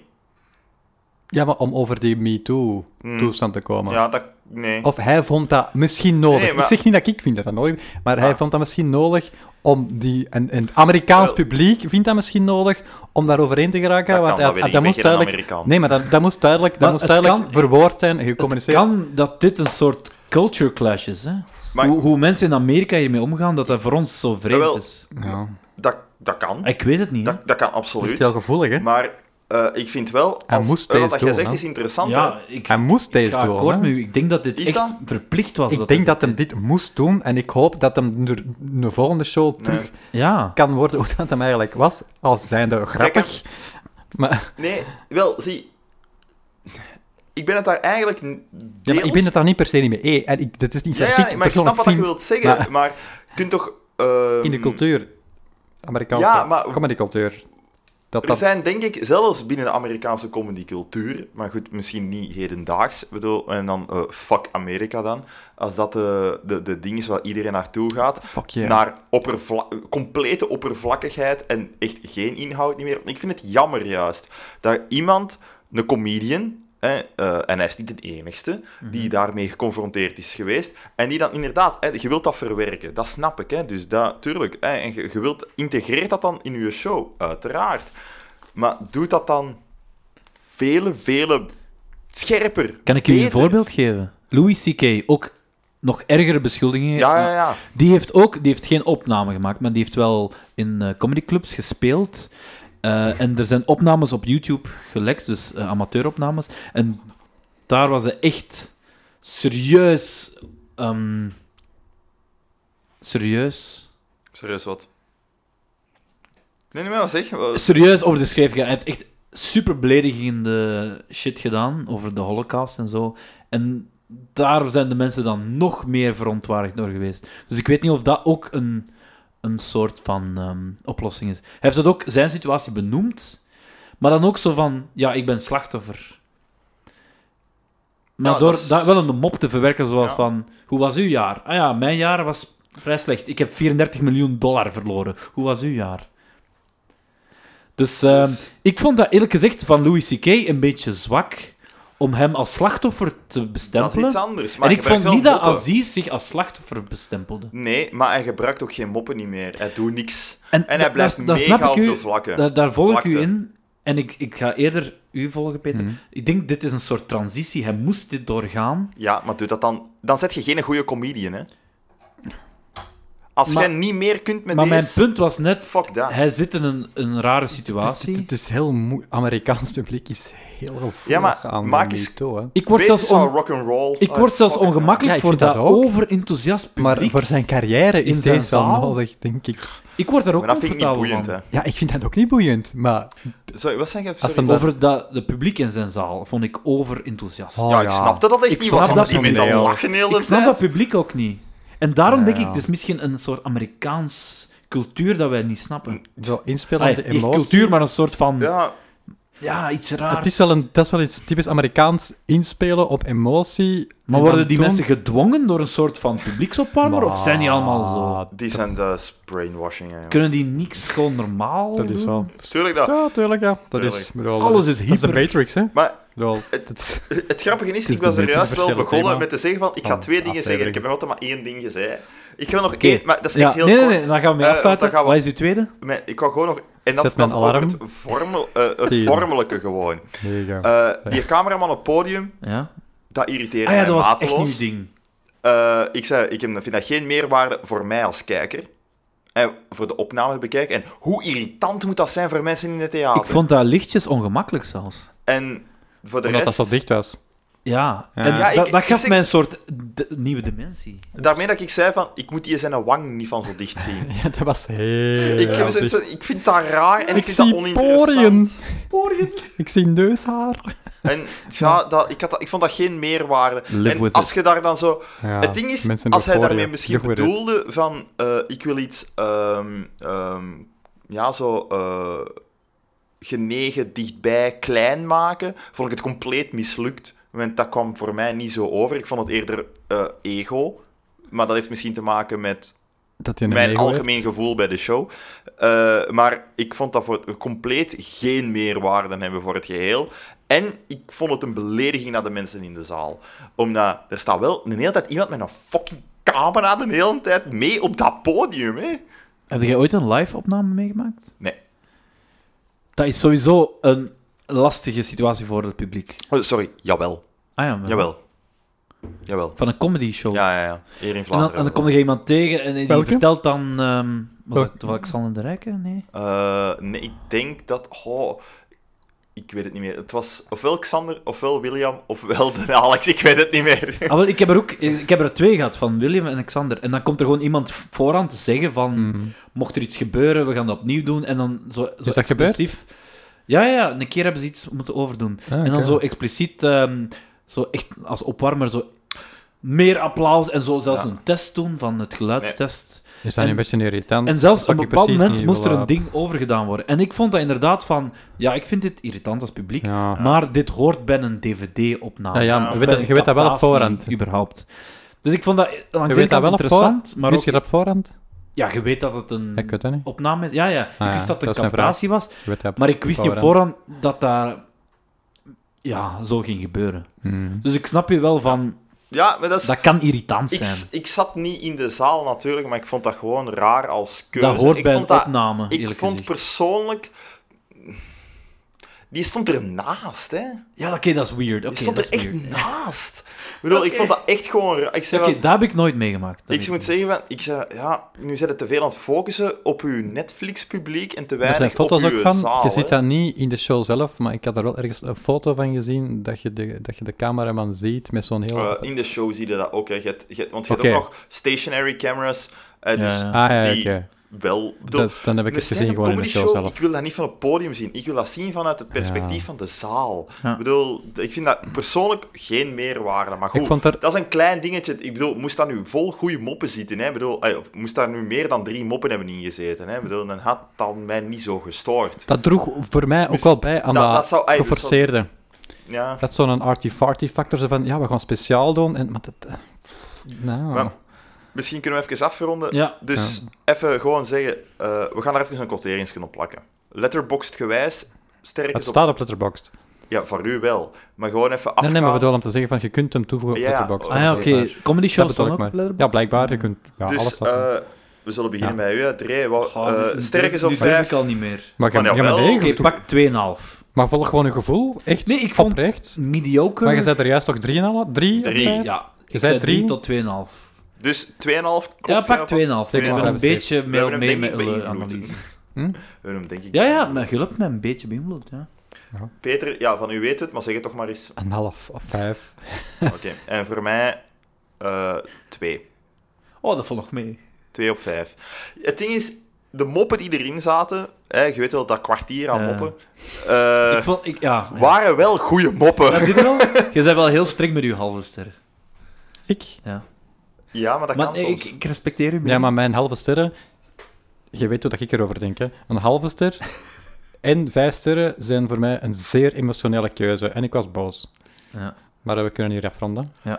Speaker 4: Ja, maar om over die MeToo-toestand te komen.
Speaker 3: Hmm. Ja, dat... Nee.
Speaker 4: Of hij vond dat misschien nodig.
Speaker 3: Nee, maar-
Speaker 4: Ik zeg niet dat ik vind dat dat nodig maar hij
Speaker 3: Ah.
Speaker 4: vond dat misschien nodig om die... En, en het Amerikaans
Speaker 3: Wel-
Speaker 4: publiek vindt dat misschien nodig om daar overheen te geraken.
Speaker 3: Dat
Speaker 4: want
Speaker 3: kan,
Speaker 4: hij-
Speaker 3: dat weet ik. Ik
Speaker 4: dat
Speaker 3: ben
Speaker 4: moest
Speaker 3: geen
Speaker 4: duidelijk...
Speaker 3: Amerikaan.
Speaker 4: Nee, maar dat, dat moest duidelijk, dat
Speaker 5: Maar
Speaker 4: moest
Speaker 5: het
Speaker 4: duidelijk
Speaker 5: kan-
Speaker 4: verwoord zijn en
Speaker 5: het
Speaker 4: gecommuniceerd.
Speaker 5: kan dat dit een soort culture clash is. Hè?
Speaker 3: Maar-
Speaker 5: hoe, hoe mensen in Amerika hiermee omgaan, dat dat voor ons zo vreemd
Speaker 3: Jawel.
Speaker 5: is.
Speaker 4: Ja.
Speaker 3: Dat, dat kan.
Speaker 5: Ik weet het niet. hè.
Speaker 3: Dat, dat kan
Speaker 4: Dat is
Speaker 3: absoluut.
Speaker 4: heel gevoelig, hè?
Speaker 3: Maar eh, ik vind wel... Als,
Speaker 4: Hij moest
Speaker 3: eh, wat
Speaker 4: deze
Speaker 3: dat jij
Speaker 4: doen,
Speaker 3: zegt
Speaker 4: hè?
Speaker 3: is interessant,
Speaker 5: ja,
Speaker 3: hè.
Speaker 5: ik,
Speaker 4: Hij moest
Speaker 5: ik
Speaker 4: deze
Speaker 5: ga
Speaker 4: doen.
Speaker 5: akkoord
Speaker 4: hè?
Speaker 5: met u. Ik denk dat dit
Speaker 3: Is
Speaker 5: echt
Speaker 3: dat-
Speaker 5: verplicht was.
Speaker 4: Ik denk dat hem dit moest doen en ik hoop dat hem er in de volgende show terug
Speaker 5: Ja.
Speaker 4: kan worden hoe dat hem eigenlijk was, al zijnde grappig. Maar,
Speaker 3: Nee, wel, zie... Ik ben het daar eigenlijk...
Speaker 4: ja, maar ik ben het daar niet per se niet mee eens. En ik, dit is niet
Speaker 3: Ja,
Speaker 4: wat
Speaker 3: ja,
Speaker 4: ik
Speaker 3: nee, maar ik snap
Speaker 4: persoonlijk
Speaker 3: wat je
Speaker 4: vind,
Speaker 3: wilt zeggen, maar,
Speaker 4: maar
Speaker 3: je kunt toch... ehm,
Speaker 4: in de cultuur, Amerikaanse
Speaker 3: Ja, maar-
Speaker 4: comedycultuur, dat
Speaker 3: Er
Speaker 4: dat...
Speaker 3: zijn denk ik, zelfs binnen de Amerikaanse comedycultuur, maar goed, misschien niet hedendaags, bedoel, en dan eh, fuck Amerika dan, als dat de, de, de ding is waar iedereen naartoe gaat,
Speaker 4: Fuck yeah.
Speaker 3: naar oppervla- complete oppervlakkigheid en echt geen inhoud niet meer. Ik vind het jammer juist dat iemand, een comedian, hè, eh, en hij is niet de enigste,
Speaker 5: Mhm.
Speaker 3: die daarmee geconfronteerd is geweest, en die dan inderdaad, hè, je wilt dat verwerken, dat snap ik, hè, dus dat, tuurlijk, hè, en je, je wilt, integreer dat dan in je show, uiteraard. Maar doe dat dan vele, vele scherper.
Speaker 5: Kan ik u een
Speaker 3: beter.
Speaker 5: voorbeeld geven? Louis C.K., ook nog ergere beschuldigingen.
Speaker 3: Ja, ja, ja.
Speaker 5: Die heeft ook die heeft geen opname gemaakt, maar die heeft wel in eh, comedyclubs gespeeld. Eh, en er zijn opnames op YouTube gelekt, dus eh, amateuropnames. En daar was hij echt serieus. ehm, serieus.
Speaker 3: Serieus wat. Nee, nee, maar zeg. eh,
Speaker 5: Serieus over de schreef gegaan. Hij heeft echt super beledigende shit gedaan over de Holocaust en zo. En daar zijn de mensen dan nog meer verontwaardigd door geweest. Dus ik weet niet of dat ook een, een soort van ehm, oplossing is. Hij heeft dat ook zijn situatie benoemd, maar dan ook zo van: ja, ik ben slachtoffer. Maar
Speaker 3: Ja,
Speaker 5: door
Speaker 3: dat is-
Speaker 5: dat wel een mop te verwerken, zoals
Speaker 3: Ja.
Speaker 5: van: hoe was uw jaar? Ah ja, mijn jaar was vrij slecht. Ik heb 34 miljoen dollar verloren. Hoe was uw jaar? Dus ehm, ik vond dat eerlijk gezegd van Louis C.K. een beetje zwak om hem als slachtoffer te
Speaker 3: Dat is
Speaker 5: bestempelen.
Speaker 3: iets anders. Maar
Speaker 5: en ik
Speaker 3: hij
Speaker 5: vond
Speaker 3: gebruikt
Speaker 5: niet
Speaker 3: wel
Speaker 5: dat
Speaker 3: moppen.
Speaker 5: Aziz zich als slachtoffer bestempelde.
Speaker 3: Nee, maar hij gebruikt ook geen moppen niet meer. Hij doet niks.
Speaker 5: En,
Speaker 3: En
Speaker 5: da-
Speaker 3: hij blijft
Speaker 5: daar- daar
Speaker 3: mega
Speaker 5: snap
Speaker 3: op
Speaker 5: ik u-
Speaker 3: de vlakken.
Speaker 5: Daar, daar volg ik u
Speaker 3: Vlakte.
Speaker 5: in. En ik, ik ga eerder u volgen, Peter.
Speaker 4: Mhm.
Speaker 5: Ik denk, dit is een soort transitie. Hij moest dit doorgaan.
Speaker 3: Ja, maar doe dat dan... Dan zet je geen goede comedian, hè. Als
Speaker 5: Maar-
Speaker 3: jij niet meer kunt met
Speaker 5: Maar mijn
Speaker 3: deze...
Speaker 5: punt was net...
Speaker 3: Fuck dat.
Speaker 5: Hij zit in een, een rare
Speaker 4: Het is-
Speaker 5: situatie.
Speaker 4: Het is heel moe... Amerikaans publiek is heel gevoelig
Speaker 3: Ja, maar
Speaker 4: aan
Speaker 3: maak
Speaker 4: de
Speaker 3: eens-
Speaker 4: MeToo, hè.
Speaker 5: Ik word
Speaker 3: Wees
Speaker 5: zelfs,
Speaker 3: eens wel
Speaker 5: on-
Speaker 3: rock'n'roll.
Speaker 5: ik
Speaker 3: Ah,
Speaker 5: word zelfs
Speaker 3: fuck it, man.
Speaker 4: Ja,
Speaker 5: ongemakkelijk
Speaker 4: ik
Speaker 5: voor
Speaker 4: vind dat
Speaker 5: dat
Speaker 4: ook.
Speaker 5: overenthousiast
Speaker 4: Maar
Speaker 5: publiek.
Speaker 4: voor zijn carrière is
Speaker 5: In zijn
Speaker 4: deze wel
Speaker 5: zaal?
Speaker 4: nodig, denk ik.
Speaker 5: Ik word daar ook
Speaker 3: Maar dat vind ik niet
Speaker 5: comfortabel
Speaker 3: boeiend,
Speaker 5: van.
Speaker 3: hè.
Speaker 4: Ja, ik vind dat ook niet boeiend, maar...
Speaker 3: Sorry, wat zeg je?
Speaker 4: Als
Speaker 3: Sorry.
Speaker 4: hem dat-
Speaker 5: Over dat, de publiek in zijn zaal vond ik overenthousiast.
Speaker 4: Oh,
Speaker 3: Ja, ik snapte dat echt
Speaker 5: Ik
Speaker 3: niet,
Speaker 5: snap
Speaker 3: want anders
Speaker 5: dat
Speaker 3: die met
Speaker 4: van
Speaker 3: dat
Speaker 4: jou.
Speaker 3: lachen heel de
Speaker 5: ik snap dat
Speaker 3: tijd.
Speaker 5: publiek ook niet. En daarom
Speaker 4: Ja,
Speaker 5: denk ik,
Speaker 4: ja.
Speaker 5: het is misschien een soort Amerikaans cultuur dat wij niet snappen.
Speaker 4: Zo
Speaker 5: Ah, ja,
Speaker 4: inspelende
Speaker 5: niet
Speaker 4: emotie.
Speaker 5: cultuur, maar een soort van... Ja,
Speaker 3: Ja,
Speaker 5: iets raars.
Speaker 4: Het is wel een, dat is wel iets typisch Amerikaans, inspelen op emotie.
Speaker 5: Maar
Speaker 4: en
Speaker 5: worden
Speaker 4: dan
Speaker 5: die
Speaker 4: doen-
Speaker 5: mensen gedwongen door een soort van publieksopwarmer? Of zijn die allemaal zo?
Speaker 3: die zijn de brainwashing, hè.
Speaker 5: Kunnen die niks gewoon normaal
Speaker 4: Dat is
Speaker 5: doen?
Speaker 4: wel...
Speaker 3: Tuurlijk dat.
Speaker 4: Ja, tuurlijk, ja. Dat is...
Speaker 3: Tuurlijk.
Speaker 4: bedoel,
Speaker 5: Alles is
Speaker 4: Dat is de
Speaker 5: hyper.
Speaker 4: Matrix, hè.
Speaker 3: Maar
Speaker 4: Bedoel,
Speaker 3: Het-
Speaker 4: dat is-
Speaker 3: Het grappige is,
Speaker 4: is
Speaker 3: ik was
Speaker 4: de
Speaker 3: er juist wel
Speaker 4: multiversele
Speaker 3: begonnen
Speaker 4: thema
Speaker 3: met te zeggen van, ik ga
Speaker 4: van
Speaker 3: twee
Speaker 4: de
Speaker 3: dingen zeggen. Ik heb
Speaker 4: aflevering.
Speaker 3: nog altijd maar één ding gezegd. Ik wil nog
Speaker 5: Oké.
Speaker 3: één, maar dat is echt
Speaker 5: Ja,
Speaker 3: heel
Speaker 5: nee, nee,
Speaker 3: kort.
Speaker 5: nee, dan gaan we mee
Speaker 3: Eh,
Speaker 5: afsluiten.
Speaker 3: dan gaan we-
Speaker 5: Wat is uw tweede?
Speaker 3: Mijn- ik wou gewoon nog... En dat,
Speaker 4: Zet
Speaker 3: is- dat is
Speaker 4: mijn
Speaker 3: over
Speaker 4: alarm.
Speaker 3: het, vormel, eh, het
Speaker 4: Tien.
Speaker 3: vormelijke gewoon.
Speaker 4: Nee, ja.
Speaker 3: Eh, Die cameraman op podium,
Speaker 5: Ja.
Speaker 3: dat irriteert
Speaker 5: Ah ja,
Speaker 3: mij
Speaker 5: dat was echt
Speaker 3: mateloos.
Speaker 5: nieuw ding.
Speaker 3: Eh, ik, zei, ik heb- vind dat geen meerwaarde voor mij als kijker. En voor de opname te bekijken. En hoe irritant moet dat zijn voor mensen in het theater?
Speaker 5: Ik vond dat lichtjes ongemakkelijk zelfs.
Speaker 3: En voor de
Speaker 4: Omdat dat
Speaker 3: rest...
Speaker 4: zo dicht was.
Speaker 5: Ja,
Speaker 4: Ja.
Speaker 5: en
Speaker 4: Ja,
Speaker 3: ik-
Speaker 5: dat, dat
Speaker 3: ik
Speaker 5: gaf
Speaker 3: zeg-
Speaker 5: mij een soort d- nieuwe dimensie.
Speaker 3: Daarmee dat ik zei van, ik moet die zijn wang niet van zo dicht zien.
Speaker 4: Ja, [laughs] dat was heel
Speaker 3: ik, heb zoiets
Speaker 4: dicht.
Speaker 3: van, ik vind dat raar en ik,
Speaker 4: Ik
Speaker 3: vind
Speaker 4: zie
Speaker 3: dat oninteressant.
Speaker 4: poriën. Ik zie neushaar.
Speaker 3: En ja, dat, ik, had dat, ik vond dat geen meerwaarde.
Speaker 6: Live
Speaker 3: en
Speaker 6: with
Speaker 3: als je daar dan zo...
Speaker 4: Ja,
Speaker 3: het ding is,
Speaker 4: mensen
Speaker 3: als hij
Speaker 4: door
Speaker 3: daarmee
Speaker 4: poriën.
Speaker 3: misschien
Speaker 4: Live with it.
Speaker 3: bedoelde van... eh, ik wil iets... ehm, ehm, ja, zo... eh, genegen, dichtbij, klein maken, vond ik het compleet mislukt. Want dat kwam voor mij niet zo over. Ik vond het eerder eh, ego. Maar dat heeft misschien te maken met
Speaker 4: Dat hij een
Speaker 3: mijn
Speaker 4: ego heeft.
Speaker 3: algemeen gevoel bij de show. Eh, maar ik vond dat voor compleet geen meerwaarde hebben voor het geheel. En ik vond het een belediging naar de mensen in de zaal. Omdat er staat wel een hele tijd iemand met een fucking camera de hele tijd mee op dat podium. Hè?
Speaker 5: Heb jij ooit een live-opname meegemaakt?
Speaker 3: Nee.
Speaker 5: Dat is sowieso een lastige situatie voor het publiek.
Speaker 3: Oh, sorry, jawel.
Speaker 5: Ah ja, maar-
Speaker 3: Jawel. Jawel.
Speaker 5: Van een comedy show.
Speaker 3: Ja, ja, ja. Hier
Speaker 5: en,
Speaker 3: in
Speaker 5: dan,
Speaker 3: Vlaanderen.
Speaker 5: en dan kom je iemand tegen en die
Speaker 4: Welke?
Speaker 5: vertelt dan... ehm was
Speaker 4: Welke?
Speaker 5: dat toevallig Xander de Rijke? Nee.
Speaker 3: Eh, nee, ik denk dat... Oh, ik weet het niet meer. Het was ofwel Xander, ofwel William, ofwel de Alex. Ik weet het niet meer. [laughs]
Speaker 5: Ah, wel, ik heb er ook ik heb er twee gehad, van William en Xander. En dan komt er gewoon iemand voorhand te zeggen van...
Speaker 4: Mhm.
Speaker 5: Mocht er iets gebeuren, we gaan dat opnieuw doen. En dan zo, zo
Speaker 4: dat gebeurd?
Speaker 5: explicief- Ja, ja, een keer hebben ze iets moeten overdoen.
Speaker 4: Ah,
Speaker 5: En dan
Speaker 4: oké.
Speaker 5: zo expliciet, ehm, zo echt als opwarmer, zo meer applaus en zo zelfs
Speaker 3: Ja.
Speaker 5: een test doen van het geluidstest.
Speaker 4: Is dat
Speaker 5: en-
Speaker 4: een beetje irritant?
Speaker 5: En zelfs op
Speaker 4: Dat
Speaker 5: een
Speaker 4: ik
Speaker 5: bepaald
Speaker 4: precies
Speaker 5: moment
Speaker 4: niet
Speaker 5: moest er
Speaker 4: wil
Speaker 5: een ding overgedaan worden. En ik vond dat inderdaad van, ja, ik vind dit irritant als publiek,
Speaker 4: Ja.
Speaker 5: maar dit hoort bij een dvd-opname.
Speaker 4: Ja, Ah ja,
Speaker 3: of
Speaker 4: je weet, dat- je weet dat wel op voorhand. Je
Speaker 5: Überhaupt. Dus ik vond dat langs de ene
Speaker 4: weet
Speaker 5: kant
Speaker 4: dat wel op
Speaker 5: interessant, maar
Speaker 4: Wist je
Speaker 5: ook,
Speaker 4: dat op voorhand?
Speaker 5: ja, je weet dat het een
Speaker 4: Ja, Ik weet dat niet. Ah,
Speaker 5: opname is. Ja, ja, ik
Speaker 4: ja,
Speaker 5: wist dat het
Speaker 4: dat
Speaker 5: een
Speaker 4: is mijn vraag.
Speaker 5: captatie was,
Speaker 4: Je weet dat op
Speaker 5: maar ik wist niet op
Speaker 4: voorhand.
Speaker 5: voorhand dat daar ja, zo ging gebeuren.
Speaker 4: Mhm.
Speaker 5: Dus ik snap je wel van,
Speaker 3: Ja, maar dat is...
Speaker 5: dat kan irritant
Speaker 3: Ik,
Speaker 5: zijn.
Speaker 3: ik zat niet in de zaal natuurlijk, maar ik vond dat gewoon raar als keuze.
Speaker 5: Dat hoort
Speaker 3: ik
Speaker 5: bij een
Speaker 3: vond dat-
Speaker 5: opname,
Speaker 3: Ik
Speaker 5: eerlijk
Speaker 3: vond
Speaker 5: gezegd.
Speaker 3: persoonlijk... Die stond ernaast, hè. Die
Speaker 5: Ja, oké, dat is weird. Oké,
Speaker 3: stond
Speaker 5: dat
Speaker 3: er
Speaker 5: is
Speaker 3: echt
Speaker 5: weird.
Speaker 3: naast. Ik bedoel, ik vond dat echt gewoon... raar. Ik zei,
Speaker 5: Oké,
Speaker 3: van-
Speaker 5: dat heb ik nooit meegemaakt. Dat
Speaker 3: ik
Speaker 5: weet
Speaker 3: moet zeggen, van, ik zei, ja, nu zit het te veel aan het focussen op uw Netflix-publiek en te
Speaker 4: Er
Speaker 3: weinig
Speaker 4: zijn foto's
Speaker 3: op
Speaker 4: ook
Speaker 3: uw
Speaker 4: van.
Speaker 3: zaal.
Speaker 4: je
Speaker 3: hè.
Speaker 4: ziet dat niet in de show zelf, maar ik had er wel ergens een foto van gezien dat je de, dat je de cameraman ziet met zo'n heel...
Speaker 3: Eh, in de show zie je dat ook, hè. Je hebt- je hebt- want je
Speaker 4: Oké.
Speaker 3: hebt ook nog stationary cameras. eh, dus
Speaker 5: ja.
Speaker 4: ah ja, oké.
Speaker 3: die wel... ik bedoel,
Speaker 4: Dat- Dan heb ik
Speaker 3: Een
Speaker 4: het gezien gewoon in de show
Speaker 3: stand-up comedy
Speaker 4: zelf.
Speaker 3: Ik wil dat niet van het podium zien. Ik wil dat zien vanuit het perspectief
Speaker 4: Ja.
Speaker 3: van de zaal.
Speaker 5: Ja.
Speaker 3: Ik bedoel, ik vind dat persoonlijk geen meerwaarde. Maar goed,
Speaker 4: Ik vond er...
Speaker 3: dat is een klein dingetje. Ik bedoel, moest daar nu vol goede moppen zitten? Hè? Ik bedoel, ay, of moest daar nu meer dan drie moppen hebben ingezeten? Hè? Ik bedoel, dan had dat mij niet zo gestoord.
Speaker 4: Dat droeg voor mij ook
Speaker 3: Dus
Speaker 4: wel bij aan
Speaker 3: dat-
Speaker 4: dat,
Speaker 3: dat zou- ey, dus dat-
Speaker 4: geforceerde.
Speaker 3: Ja.
Speaker 4: Dat is zo'n arty-farty factor, zo van, ja, we gaan speciaal doen, en, maar dat... eh, Nou...
Speaker 3: Maar- Misschien kunnen we even afronden.
Speaker 5: ik. Ja,
Speaker 3: Dus even gewoon zeggen, eh, we gaan er even een quoteringsje op plakken. Letterboxd gewijs,
Speaker 4: Het
Speaker 3: sterretjes op...
Speaker 4: staat op Letterboxd.
Speaker 3: Ja, voor u wel. Maar gewoon even
Speaker 4: Nee,
Speaker 3: afgaan.
Speaker 4: nee, maar bedoel om te zeggen van je kunt hem toevoegen op
Speaker 3: Ja,
Speaker 4: Letterboxd.
Speaker 5: Ah ja, oké.
Speaker 4: Blijkbaar.
Speaker 5: Comedy
Speaker 4: Dat
Speaker 5: shows
Speaker 4: bedoel
Speaker 5: staan
Speaker 4: ik
Speaker 5: ook
Speaker 4: maar.
Speaker 5: op Letterboxd?
Speaker 4: Ja, blijkbaar. Je kunt ja,
Speaker 3: dus
Speaker 4: alles wat...
Speaker 3: eh, we zullen beginnen bij u, hè. Dre. Wat,
Speaker 5: Goh,
Speaker 3: eh,
Speaker 5: nu
Speaker 3: sterk is
Speaker 5: durf-
Speaker 3: op
Speaker 5: nu durf ik
Speaker 3: 5.
Speaker 5: al niet meer.
Speaker 4: maar, je,
Speaker 3: maar
Speaker 4: ja, maar,
Speaker 3: jawel.
Speaker 4: nee,
Speaker 5: Oké,
Speaker 4: je-
Speaker 5: pak 2,5.
Speaker 4: maar volg gewoon je gevoel. Echt
Speaker 5: Nee, ik vond
Speaker 4: oprecht.
Speaker 5: mediocre.
Speaker 4: Maar je zei er juist toch drie en alle? Drie? op
Speaker 3: Drie,
Speaker 4: vijf?
Speaker 5: Ja, ik
Speaker 4: zei
Speaker 5: zei 3
Speaker 4: drie?
Speaker 5: tot 2,5.
Speaker 3: Dus 2,5. klopt,
Speaker 5: Ja, pak 2,5.
Speaker 3: 2,5.
Speaker 5: Ik
Speaker 4: Twee
Speaker 5: ben
Speaker 4: en een
Speaker 5: een
Speaker 4: half
Speaker 5: beetje
Speaker 3: We hebben
Speaker 5: mee, mee
Speaker 3: hem denk
Speaker 5: met
Speaker 3: ik
Speaker 5: de
Speaker 3: beïnvloed.
Speaker 5: analyse.
Speaker 4: Hm?
Speaker 3: We hebben hem denk ik
Speaker 5: Ja, ja,
Speaker 3: beïnvloed.
Speaker 5: maar je hebt mij een beetje beïnvloed, ja.
Speaker 3: Peter, ja, van u weet het, maar zeg het toch maar
Speaker 4: [laughs]
Speaker 3: eens.
Speaker 4: Een half op vijf.
Speaker 3: Oké. En voor mij 2.
Speaker 5: Oh, dat valt nog mee.
Speaker 3: 2 op 5. Het ding is, de moppen die erin zaten, hè, je weet wel, dat kwartier aan
Speaker 5: Ja.
Speaker 3: moppen, eh,
Speaker 5: ik vond, ik, ja. ja.
Speaker 3: waren wel goede
Speaker 5: Dat
Speaker 3: moppen.
Speaker 5: zit wel. Je bent wel heel streng met je halve ster.
Speaker 4: Ik?
Speaker 3: Ja, maar dat
Speaker 5: Maar
Speaker 3: kan
Speaker 5: nee, ik,
Speaker 3: soms.
Speaker 5: ik respecteer je.
Speaker 4: Ja, maar mijn halve sterren... Je weet hoe dat ik erover denk, hè. Een halve ster
Speaker 3: [laughs]
Speaker 4: en vijf sterren zijn voor mij een zeer emotionele keuze. En ik was boos.
Speaker 5: Ja.
Speaker 4: Maar eh, we kunnen hier afronden.
Speaker 3: Mm.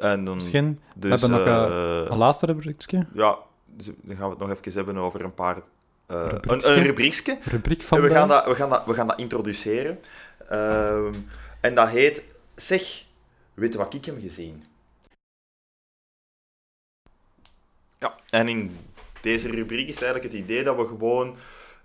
Speaker 3: En dan,
Speaker 4: Misschien
Speaker 3: dus,
Speaker 4: hebben nog, eh,
Speaker 3: eh,
Speaker 4: een laatste rubriekje.
Speaker 3: Ja, dus dan gaan we het nog even hebben over een paar... eh, een,
Speaker 4: Rubriekske?
Speaker 3: een rubriekske.
Speaker 4: Rubriek van
Speaker 3: En we
Speaker 4: de-
Speaker 3: gaan dat, we gaan dat, we gaan dat introduceren. Ehm, en dat heet... Zeg, weet je wat ik hem gezien? Ja, en in deze rubriek is eigenlijk het idee dat we gewoon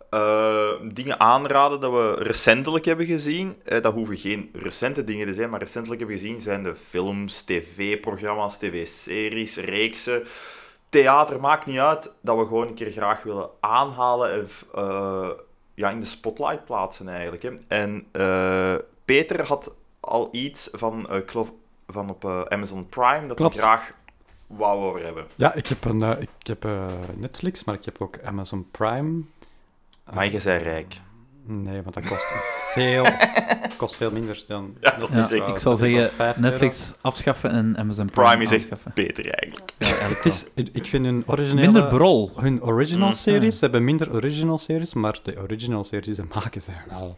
Speaker 3: eh, dingen aanraden dat we recentelijk hebben gezien. Eh, dat hoeven geen recente dingen te zijn, maar recentelijk hebben gezien zijn de films, tv-programma's, tv-series, reeksen. Theater maakt niet uit, dat we gewoon een keer graag willen aanhalen en eh, ja, in de spotlight plaatsen eigenlijk. Hè. En eh, Peter had al iets van, eh, ik geloof van op eh, Amazon Prime dat
Speaker 1: Klopt.
Speaker 3: ik graag wou over hebben.
Speaker 1: Ja, ik heb, een, eh, ik heb eh, Netflix, maar ik heb ook Amazon Prime. Ah.
Speaker 3: Maar je bent rijk.
Speaker 1: Nee, want dat kost
Speaker 3: [laughs]
Speaker 1: veel, kost veel minder dan
Speaker 3: Ja, dat
Speaker 5: Ja,
Speaker 3: is echt
Speaker 5: ik zal
Speaker 1: Dat is wel
Speaker 5: zeggen,
Speaker 1: €5
Speaker 5: Netflix afschaffen en Amazon Prime,
Speaker 3: Prime is echt
Speaker 5: afschaffen.
Speaker 3: beter eigenlijk.
Speaker 1: Het is, ik ik vind hun originele...
Speaker 5: Minder brol.
Speaker 1: Hun original
Speaker 6: Mhm.
Speaker 1: series, ze hebben minder original series, maar de original series die ze maken zijn wel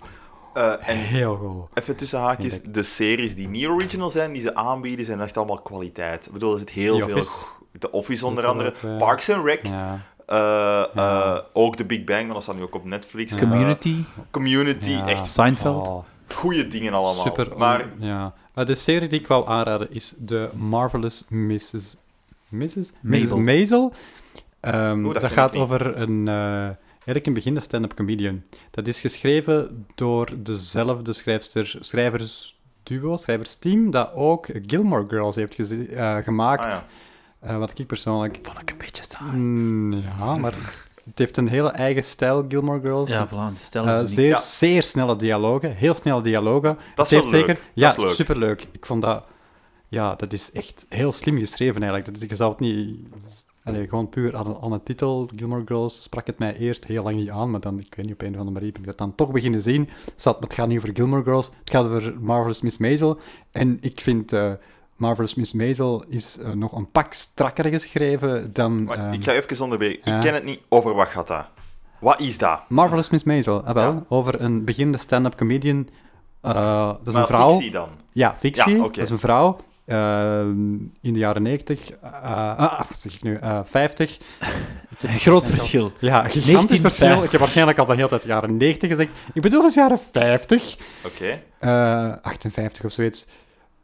Speaker 3: Eh, en
Speaker 1: heel goed.
Speaker 3: even tussen haakjes, de series die niet original zijn, die ze aanbieden, zijn echt allemaal kwaliteit. Ik bedoel, er zit heel
Speaker 1: The
Speaker 3: veel...
Speaker 1: Office.
Speaker 3: De Office onder
Speaker 1: Dat
Speaker 3: andere,
Speaker 1: ook, ja.
Speaker 3: Parks and Rec,
Speaker 1: Ja.
Speaker 3: eh, eh, ook The Big Bang, want dat staat nu ook op Netflix.
Speaker 5: Community,
Speaker 3: Eh, community,
Speaker 1: Ja.
Speaker 3: echt
Speaker 5: Seinfeld.
Speaker 1: Oh,
Speaker 3: goede dingen allemaal.
Speaker 1: super.
Speaker 3: maar ah,
Speaker 1: ja. Eh, de serie die ik wou aanraden is de Marvelous Mrs. Mrs. Mrs.
Speaker 5: Maisel.
Speaker 1: Maisel. Ehm,
Speaker 3: Oeh,
Speaker 1: dat
Speaker 3: dat ken ik
Speaker 1: gaat
Speaker 3: niet.
Speaker 1: over een, eh, eigenlijk een beginnende stand-up comedian. Dat is geschreven door dezelfde schrijfster, schrijversduo, schrijversteam, dat ook Gilmore Girls heeft geze- eh, gemaakt.
Speaker 3: Ah, ja.
Speaker 1: Eh, wat ik persoonlijk
Speaker 3: vond ik een beetje saai.
Speaker 1: Mm, ja, maar het heeft een hele eigen stijl, Gilmore Girls.
Speaker 5: Ja, voilà, stel
Speaker 1: Eh,
Speaker 5: eens
Speaker 1: zeer,
Speaker 3: Ja.
Speaker 1: zeer snelle dialogen, heel snelle dialogen.
Speaker 3: Dat is
Speaker 1: Het heeft
Speaker 3: wel leuk.
Speaker 1: zeker,
Speaker 3: Dat
Speaker 1: Ja,
Speaker 3: is leuk.
Speaker 1: superleuk. Ik vond dat... Ja, dat is echt heel slim geschreven eigenlijk. Dat, je zou het niet... Allee, gewoon puur aan, aan de titel, Gilmore Girls, sprak het mij eerst heel lang niet aan, maar dan, ik weet niet, op een of andere manier ben ik dat dan toch beginnen zien. Zat, het gaat niet over Gilmore Girls, het gaat over Marvelous Miss Maisel. En ik vind eh, Marvelous Miss Maisel is eh, nog een pak strakker geschreven dan...
Speaker 3: Maar
Speaker 1: ehm,
Speaker 3: ik ga even onderbreken.
Speaker 1: ja.
Speaker 3: Ik ken het niet. Over wat gaat dat? Wat is dat?
Speaker 1: Marvelous Miss Maisel, ah, wel,
Speaker 3: Ja.
Speaker 1: over een beginnende stand-up comedian. Eh, dat is
Speaker 3: Maar
Speaker 1: een vrouw.
Speaker 3: fictie dan?
Speaker 1: Ja, fictie.
Speaker 3: Ja, oké.
Speaker 1: Dat is een vrouw. eh, in de jaren 90, eh, ah, wat zeg ik nu, Eh, 50.
Speaker 5: Groot verschil.
Speaker 1: Ja, gigantisch
Speaker 5: 1950.
Speaker 1: verschil. Ik heb waarschijnlijk al de hele tijd jaren 90 gezegd. Ik bedoel dus jaren 50,
Speaker 3: Oké.
Speaker 1: eh, 58 of zoiets.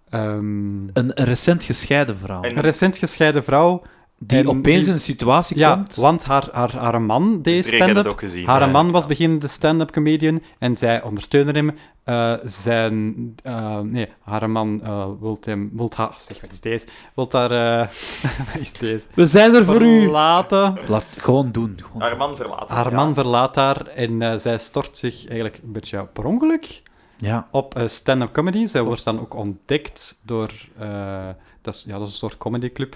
Speaker 1: Ehm,
Speaker 5: Een, een recent gescheiden vrouw.
Speaker 3: En-
Speaker 1: een recent gescheiden vrouw.
Speaker 5: die
Speaker 1: en
Speaker 5: opeens
Speaker 1: die-
Speaker 5: in een situatie
Speaker 1: Ja,
Speaker 5: komt.
Speaker 1: want haar, haar, haar man deed
Speaker 3: Iedereen heeft het
Speaker 1: stand-up.
Speaker 3: ook gezien.
Speaker 1: Haar
Speaker 3: Ja,
Speaker 1: man
Speaker 3: ja.
Speaker 1: was beginnende stand-up comedian en zij ondersteunde hem. Eh, zijn, eh, nee, haar man eh wilt hem, wilt haar, zeg wat is deze? Wilt haar, eh, [laughs] wat is deze?
Speaker 5: We zijn er voor u.
Speaker 1: Verlaten.
Speaker 5: Laat gewoon doen. Gewoon.
Speaker 3: Haar man verlaten.
Speaker 1: Haar
Speaker 3: ja.
Speaker 1: man verlaat haar en eh, zij stort zich eigenlijk een beetje per ongeluk
Speaker 5: Ja.
Speaker 1: op eh, stand-up comedy. Zij wordt dan ook ontdekt door, eh, dat, is, ja, dat is een soort comedyclub.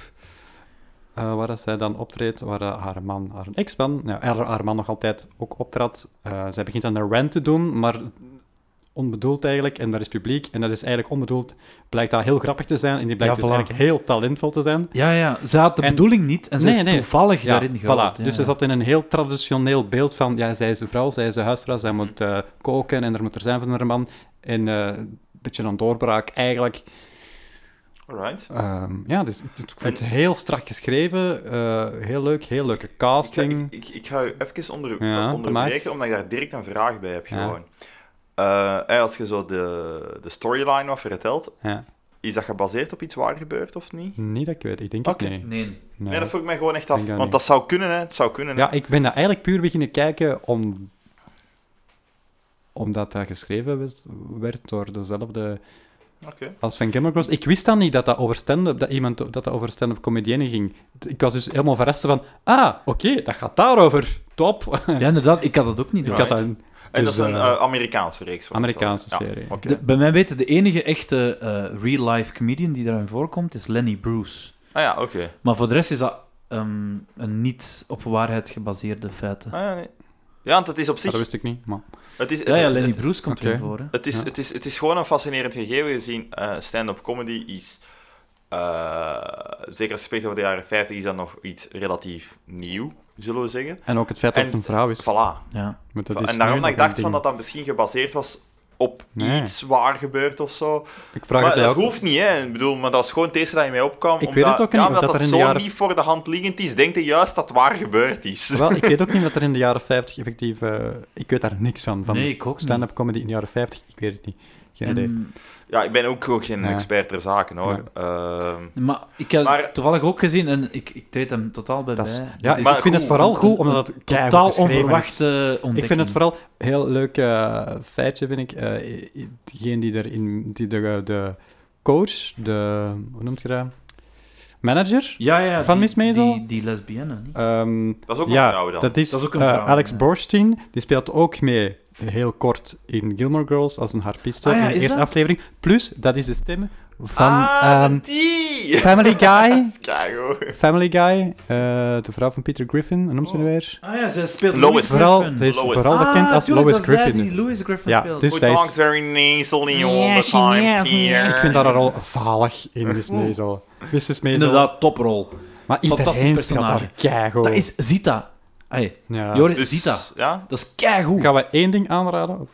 Speaker 1: eh, waar dat zij dan optreedt, waar eh, haar man, haar ex-man, nou, haar, haar man nog altijd ook optrad. Eh, zij begint dan een rant te doen, maar onbedoeld eigenlijk, en daar is publiek, en dat is eigenlijk onbedoeld, blijkt dat heel grappig te zijn, en die blijkt
Speaker 5: Ja,
Speaker 1: dus
Speaker 5: voilà.
Speaker 1: eigenlijk heel talentvol te zijn.
Speaker 5: ja, ja. Ze had de
Speaker 1: En-
Speaker 5: bedoeling niet en ze
Speaker 1: Nee,
Speaker 5: is
Speaker 1: nee.
Speaker 5: toevallig daarin
Speaker 1: voilà.
Speaker 5: gerold. Ja,
Speaker 1: Dus ze
Speaker 5: ja.
Speaker 1: zat in een heel traditioneel beeld van, ja, zij is de vrouw, zij is de huisvrouw, zij moet eh, koken en er moet er zijn van haar man. En eh, een beetje een doorbraak eigenlijk.
Speaker 3: Alright.
Speaker 1: Ehm, ja, dus ik, ik vind het heel strak geschreven, eh, heel leuk, heel leuke
Speaker 3: Ik ga,
Speaker 1: casting.
Speaker 3: ik, ik, ik ga u even onder,
Speaker 1: Ja,
Speaker 3: eh,
Speaker 1: maar
Speaker 3: onderbreken, omdat ik daar direct een vraag bij heb.
Speaker 1: Ja.
Speaker 3: Gewoon. Eh, eh, als je zo de, de storyline wat vertelt,
Speaker 1: Ja.
Speaker 3: is dat gebaseerd op iets waar gebeurt of niet?
Speaker 1: Niet dat ik weet, ik denk
Speaker 3: Oké.
Speaker 1: het niet.
Speaker 5: Nee.
Speaker 1: Nee.
Speaker 3: Nee, dat vroeg ik mij gewoon echt af.
Speaker 1: Denk dat
Speaker 3: Want
Speaker 1: niet.
Speaker 3: dat zou kunnen, hè. Het zou kunnen, hè.
Speaker 1: Ja, ik ben dat eigenlijk puur beginnen kijken om... omdat dat geschreven was- werd door dezelfde
Speaker 3: Oké.
Speaker 1: als van Gilmore Girls. Ik wist dan niet dat dat over stand-up, dat iemand dat dat over stand-up comedienne ging. Ik was dus helemaal verrast van, ah, oké, dat gaat daarover. Top. [laughs]
Speaker 5: Ja, inderdaad. Ik had dat ook niet.
Speaker 1: Ik
Speaker 5: door.
Speaker 1: had dat een-
Speaker 3: En
Speaker 1: dus,
Speaker 3: dat is een
Speaker 1: eh,
Speaker 3: eh, Amerikaanse reeks. hoor.
Speaker 1: Amerikaanse
Speaker 3: Ja,
Speaker 1: serie.
Speaker 3: oké.
Speaker 5: De- bij mij weten de enige echte eh, real-life comedian die daarin voorkomt is Lenny Bruce.
Speaker 3: Ah ja, oké.
Speaker 5: Maar voor de rest is dat ehm, een niet op waarheid gebaseerde feiten.
Speaker 3: Ah, ja, nee. ja, want het is op
Speaker 1: dat
Speaker 3: zich...
Speaker 1: wist ik niet, maar...
Speaker 3: Het is,
Speaker 5: Ja, ja,
Speaker 3: het-
Speaker 5: Lenny
Speaker 3: het-
Speaker 5: Bruce komt
Speaker 1: Eh, oké.
Speaker 5: erin voor. Hè.
Speaker 3: Het is,
Speaker 1: Ja.
Speaker 3: het, is, het is gewoon een fascinerend gegeven gezien eh, stand-up comedy is, eh, zeker als je spreekt over de jaren 50, is dat nog iets relatief nieuw, zullen we zeggen.
Speaker 1: En ook het feit dat
Speaker 3: En-
Speaker 1: het een vrouw is.
Speaker 3: Voilà.
Speaker 5: Ja.
Speaker 1: Want Dus dat is
Speaker 3: en daarom
Speaker 1: nu
Speaker 3: dat ik
Speaker 1: nog een
Speaker 3: dacht van
Speaker 1: ding.
Speaker 3: dat dat misschien gebaseerd was op
Speaker 1: Nee.
Speaker 3: iets waar gebeurt of zo.
Speaker 1: Ik vraag
Speaker 3: maar
Speaker 1: het mij
Speaker 3: dat
Speaker 1: ook.
Speaker 3: hoeft niet, hè. Ik bedoel, maar dat is gewoon het eerste dat in mij opkwam.
Speaker 1: Ik
Speaker 3: omdat,
Speaker 1: weet het ook
Speaker 3: ja,
Speaker 1: niet,
Speaker 3: omdat
Speaker 1: of dat
Speaker 3: dat,
Speaker 1: er in de
Speaker 3: zo
Speaker 1: jaren-
Speaker 3: niet voor de hand liggend is, denk je juist dat waar gebeurd is.
Speaker 1: Wel, ik weet ook niet wat er in de jaren 50 effectief... eh, ik weet daar niks van. van
Speaker 5: Nee, ik ook niet.
Speaker 1: Stand-up comedy in de jaren 50, ik weet het niet. Geen idee.
Speaker 5: En-
Speaker 3: Ja, ik ben ook gewoon geen
Speaker 1: Ja.
Speaker 3: expert ter zaken, hoor. Ehm,
Speaker 5: maar ik heb
Speaker 3: Maar-
Speaker 5: toevallig ook gezien en ik, ik treed hem totaal bij
Speaker 1: Dat is-
Speaker 5: bij.
Speaker 1: ja,
Speaker 5: Dit
Speaker 1: ik
Speaker 5: is
Speaker 3: maar
Speaker 1: vind het
Speaker 3: goed,
Speaker 1: vooral
Speaker 5: een-
Speaker 1: goed,
Speaker 5: een-
Speaker 1: omdat het keihard
Speaker 5: totaal
Speaker 1: geschreven is.
Speaker 5: onverwachte ontdekking.
Speaker 1: Ik vind het vooral een heel leuk eh, feitje, vind ik. eh, i- i- degene die, erin, die de, de coach, de... Hoe noemt je dat? Manager?
Speaker 5: Ja, ja,
Speaker 1: Van
Speaker 5: die-
Speaker 1: Miss Maisel?
Speaker 5: Die, die lesbienne, niet?
Speaker 1: Ehm,
Speaker 3: dat is ook een
Speaker 1: ja,
Speaker 3: vrouw dan.
Speaker 1: dat is,
Speaker 5: Dat is ook een
Speaker 1: eh,
Speaker 5: vrouw,
Speaker 1: Alex
Speaker 5: ja.
Speaker 1: Borstein, die speelt ook mee.
Speaker 4: heel kort in Gilmore Girls als een harpiste
Speaker 6: Ah ja,
Speaker 4: in de
Speaker 6: is
Speaker 4: eerste
Speaker 6: dat?
Speaker 4: aflevering. Plus, dat is de stem van
Speaker 3: ah,
Speaker 4: ehm,
Speaker 3: die! [laughs]
Speaker 4: Family Guy.
Speaker 3: Kago.
Speaker 4: Family Guy, eh, de vrouw van Peter Griffin, hoe noemt ze nu
Speaker 3: Oh.
Speaker 4: weer?
Speaker 6: Ah ja, zij speelt
Speaker 3: Lois.
Speaker 6: Louis
Speaker 4: Vooral,
Speaker 6: Griffin.
Speaker 4: ze is
Speaker 3: Lois.
Speaker 4: vooral
Speaker 6: Ah,
Speaker 4: bekend als
Speaker 6: tuurlijk,
Speaker 4: Lois
Speaker 6: dat zij
Speaker 4: Griffin.
Speaker 6: die Louis Griffin
Speaker 4: Ja,
Speaker 6: speelt.
Speaker 4: dus
Speaker 3: Who
Speaker 4: zij is-
Speaker 3: talks very nasally all the time here.
Speaker 4: ik vind dat haar al zalig in
Speaker 1: dus
Speaker 4: Miss Maisel. Mrs. Maisel.
Speaker 6: Inderdaad, toprol.
Speaker 4: Maar iedereen
Speaker 6: fantastisch
Speaker 4: speelt haar keigoed.
Speaker 1: Oh.
Speaker 6: Dat is Zita. Hey,
Speaker 4: Ja.
Speaker 6: Joris,
Speaker 3: Dus,
Speaker 6: Zita.
Speaker 3: Ja?
Speaker 6: Dat is keigoed.
Speaker 4: Gaan we één ding aanraden? Of-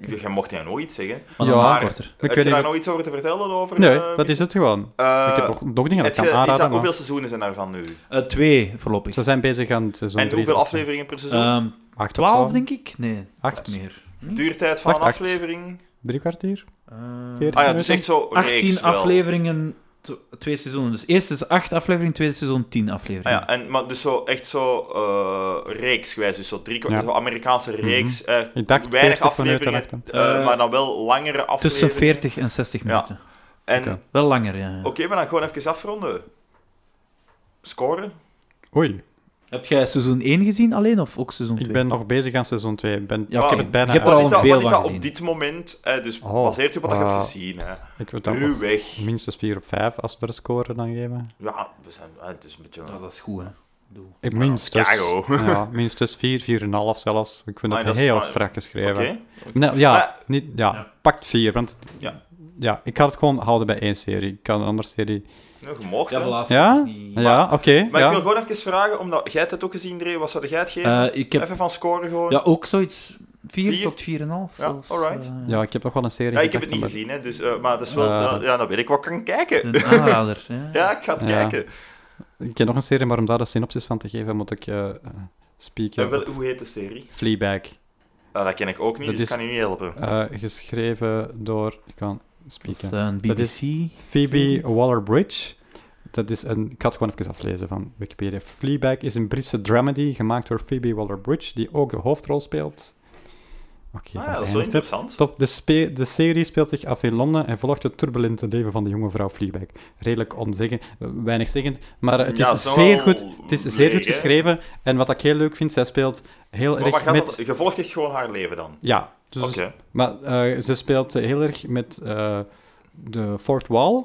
Speaker 3: Je mocht jij nog iets zeggen.
Speaker 6: Maar
Speaker 4: Ja.
Speaker 6: dan
Speaker 3: Maar-
Speaker 6: nog korter.
Speaker 3: Heb
Speaker 4: weet
Speaker 3: je
Speaker 4: niet-
Speaker 3: daar nog iets over te vertellen? Over,
Speaker 4: Nee,
Speaker 3: eh,
Speaker 4: dat is het gewoon.
Speaker 3: eh,
Speaker 4: ik heb nog, nog dingen dat
Speaker 3: heb je-
Speaker 4: ik kan
Speaker 3: is dat-
Speaker 4: aanraden, maar
Speaker 3: hoeveel seizoenen zijn daarvan nu?
Speaker 6: Eh, twee voorlopig.
Speaker 4: ze zijn bezig aan het seizoen
Speaker 3: en
Speaker 4: drie. Eh,
Speaker 3: hoeveel afleveringen per seizoen?
Speaker 6: Ehm,
Speaker 4: Acht of
Speaker 6: twaalf,
Speaker 4: zo.
Speaker 6: denk ik? Nee,
Speaker 4: Acht.
Speaker 6: meer.
Speaker 3: Duurtijd van een
Speaker 4: wacht, acht.
Speaker 3: aflevering?
Speaker 4: Drie kwartier?
Speaker 6: Eh,
Speaker 4: Veertien
Speaker 3: Ah ja, dus
Speaker 4: minuten?
Speaker 3: echt zo
Speaker 6: 18
Speaker 3: reeks wel.
Speaker 6: afleveringen, tw- twee seizoenen. Dus eerst is 8 afleveringen, tweede seizoen 10
Speaker 3: Ah
Speaker 6: afleveringen.
Speaker 3: ja, en, maar dus zo, echt zo eh reeksgewijs, dus zo drie kwart,
Speaker 4: Ja. Mhm.
Speaker 3: zo Amerikaanse reeks. eh,
Speaker 4: Ik dacht
Speaker 3: weinig
Speaker 4: 40 vanuit de
Speaker 3: afleveringen,
Speaker 4: achter.
Speaker 3: eh,
Speaker 6: Eh,
Speaker 3: maar dan wel langere afleveringen.
Speaker 6: Tussen 40 en 60
Speaker 3: Ja. Oh.
Speaker 6: minuten.
Speaker 3: En
Speaker 6: Oké. Wel langer, ja.
Speaker 3: oké, maar dan gewoon even afronden. Scoren?
Speaker 4: Oei,
Speaker 6: Heb jij seizoen 1 gezien alleen of ook seizoen 2?
Speaker 4: ik ben nog bezig aan seizoen 2. Ik, ben,
Speaker 6: Ja,
Speaker 4: ik
Speaker 3: oké.
Speaker 4: heb het bijna
Speaker 6: Je hebt er
Speaker 4: uit.
Speaker 6: al
Speaker 3: Wat is dat,
Speaker 6: veel van
Speaker 3: wat is dat op
Speaker 6: gezien.
Speaker 3: dit moment? Eh, dus
Speaker 4: Oh,
Speaker 3: baseert u op wat je
Speaker 4: eh,
Speaker 3: hebt gezien. Hè.
Speaker 4: Ik wil dat
Speaker 3: Ruw
Speaker 4: nog
Speaker 3: weg.
Speaker 4: minstens 4 op 5 als ze er een score dan geven.
Speaker 3: Ja, we zijn, eh, het is een beetje...
Speaker 6: Ja, Ah, dat is goed, hè.
Speaker 4: Ik minstens.
Speaker 3: keigo.
Speaker 4: Ja, minstens 4, 4,5 zelfs. Ik vind
Speaker 3: Ah,
Speaker 4: het
Speaker 3: dat is-
Speaker 4: heel
Speaker 3: ah,
Speaker 4: strak geschreven.
Speaker 3: Oké.
Speaker 4: Nou, ja,
Speaker 3: Maar-
Speaker 4: niet, ja,
Speaker 6: Ja.
Speaker 4: pakt 4, want
Speaker 3: Ja.
Speaker 4: ja. ik had het gewoon houden bij één serie. Ik kan een andere serie...
Speaker 3: Nou, je mocht, hè.
Speaker 4: Ja? Ja, oké.
Speaker 3: Maar
Speaker 4: ja.
Speaker 3: ik wil gewoon even vragen, omdat jij hebt het ook gezien, Dre. Wat zou jij het geven?
Speaker 6: Eh, ik heb
Speaker 3: Even van scoren gewoon.
Speaker 6: ja, ook zoiets 4
Speaker 3: Vier?
Speaker 6: tot 4,5.
Speaker 3: Ja,
Speaker 6: zelfs,
Speaker 3: alright.
Speaker 6: eh,
Speaker 4: ja, ik heb nog wel een serie
Speaker 3: Ja, ik heb het
Speaker 4: gedacht,
Speaker 3: niet
Speaker 4: maar-
Speaker 3: gezien, hè, dus, eh, maar dat is wel,
Speaker 4: Eh,
Speaker 3: dat- ja, dan weet ik wat ik kan kijken.
Speaker 6: Een aanrader. Ja.
Speaker 3: Ja, ik ga het
Speaker 4: Ja.
Speaker 3: kijken.
Speaker 4: Ik heb nog een serie, maar om daar een synopsis van te geven, moet ik eh
Speaker 3: Eh,
Speaker 4: spieken.
Speaker 3: wel, hoe heet de serie?
Speaker 4: Fleabag.
Speaker 3: Ah, dat ken ik ook niet,
Speaker 4: Dat
Speaker 3: dus ik
Speaker 4: is-
Speaker 3: kan u niet helpen.
Speaker 4: Eh, geschreven door... Ik kan
Speaker 6: Dat is
Speaker 4: spieken.
Speaker 6: eh, een
Speaker 4: Dat is-
Speaker 6: BBC.
Speaker 4: Phoebe Waller-Bridge. Dat is een... Ik ga het gewoon even aflezen van Wikipedia. Fleabag is een Britse dramedy gemaakt door Phoebe Waller-Bridge, die ook de hoofdrol speelt. Oké,
Speaker 3: Ah, ja,
Speaker 4: daar
Speaker 3: dat is wel
Speaker 4: eindigt het.
Speaker 3: interessant.
Speaker 4: Top. De, spe- de serie speelt zich af in Londen en volgt het turbulente leven van de jonge vrouw Fleabag. Redelijk onzeggen, weinigzeggend, maar eh, het is,
Speaker 3: Ja, het is wel
Speaker 4: zeer, goed, het is zeer
Speaker 3: leeg,
Speaker 4: goed
Speaker 3: hè?
Speaker 4: geschreven. En wat ik heel leuk vind, zij speelt heel
Speaker 3: Maar wat
Speaker 4: erg
Speaker 3: gaat
Speaker 4: met...
Speaker 3: dat? Je volgt echt gewoon haar leven dan?
Speaker 4: Ja, dus,
Speaker 3: Oké.
Speaker 4: maar eh, ze speelt heel erg met eh, de fourth wall.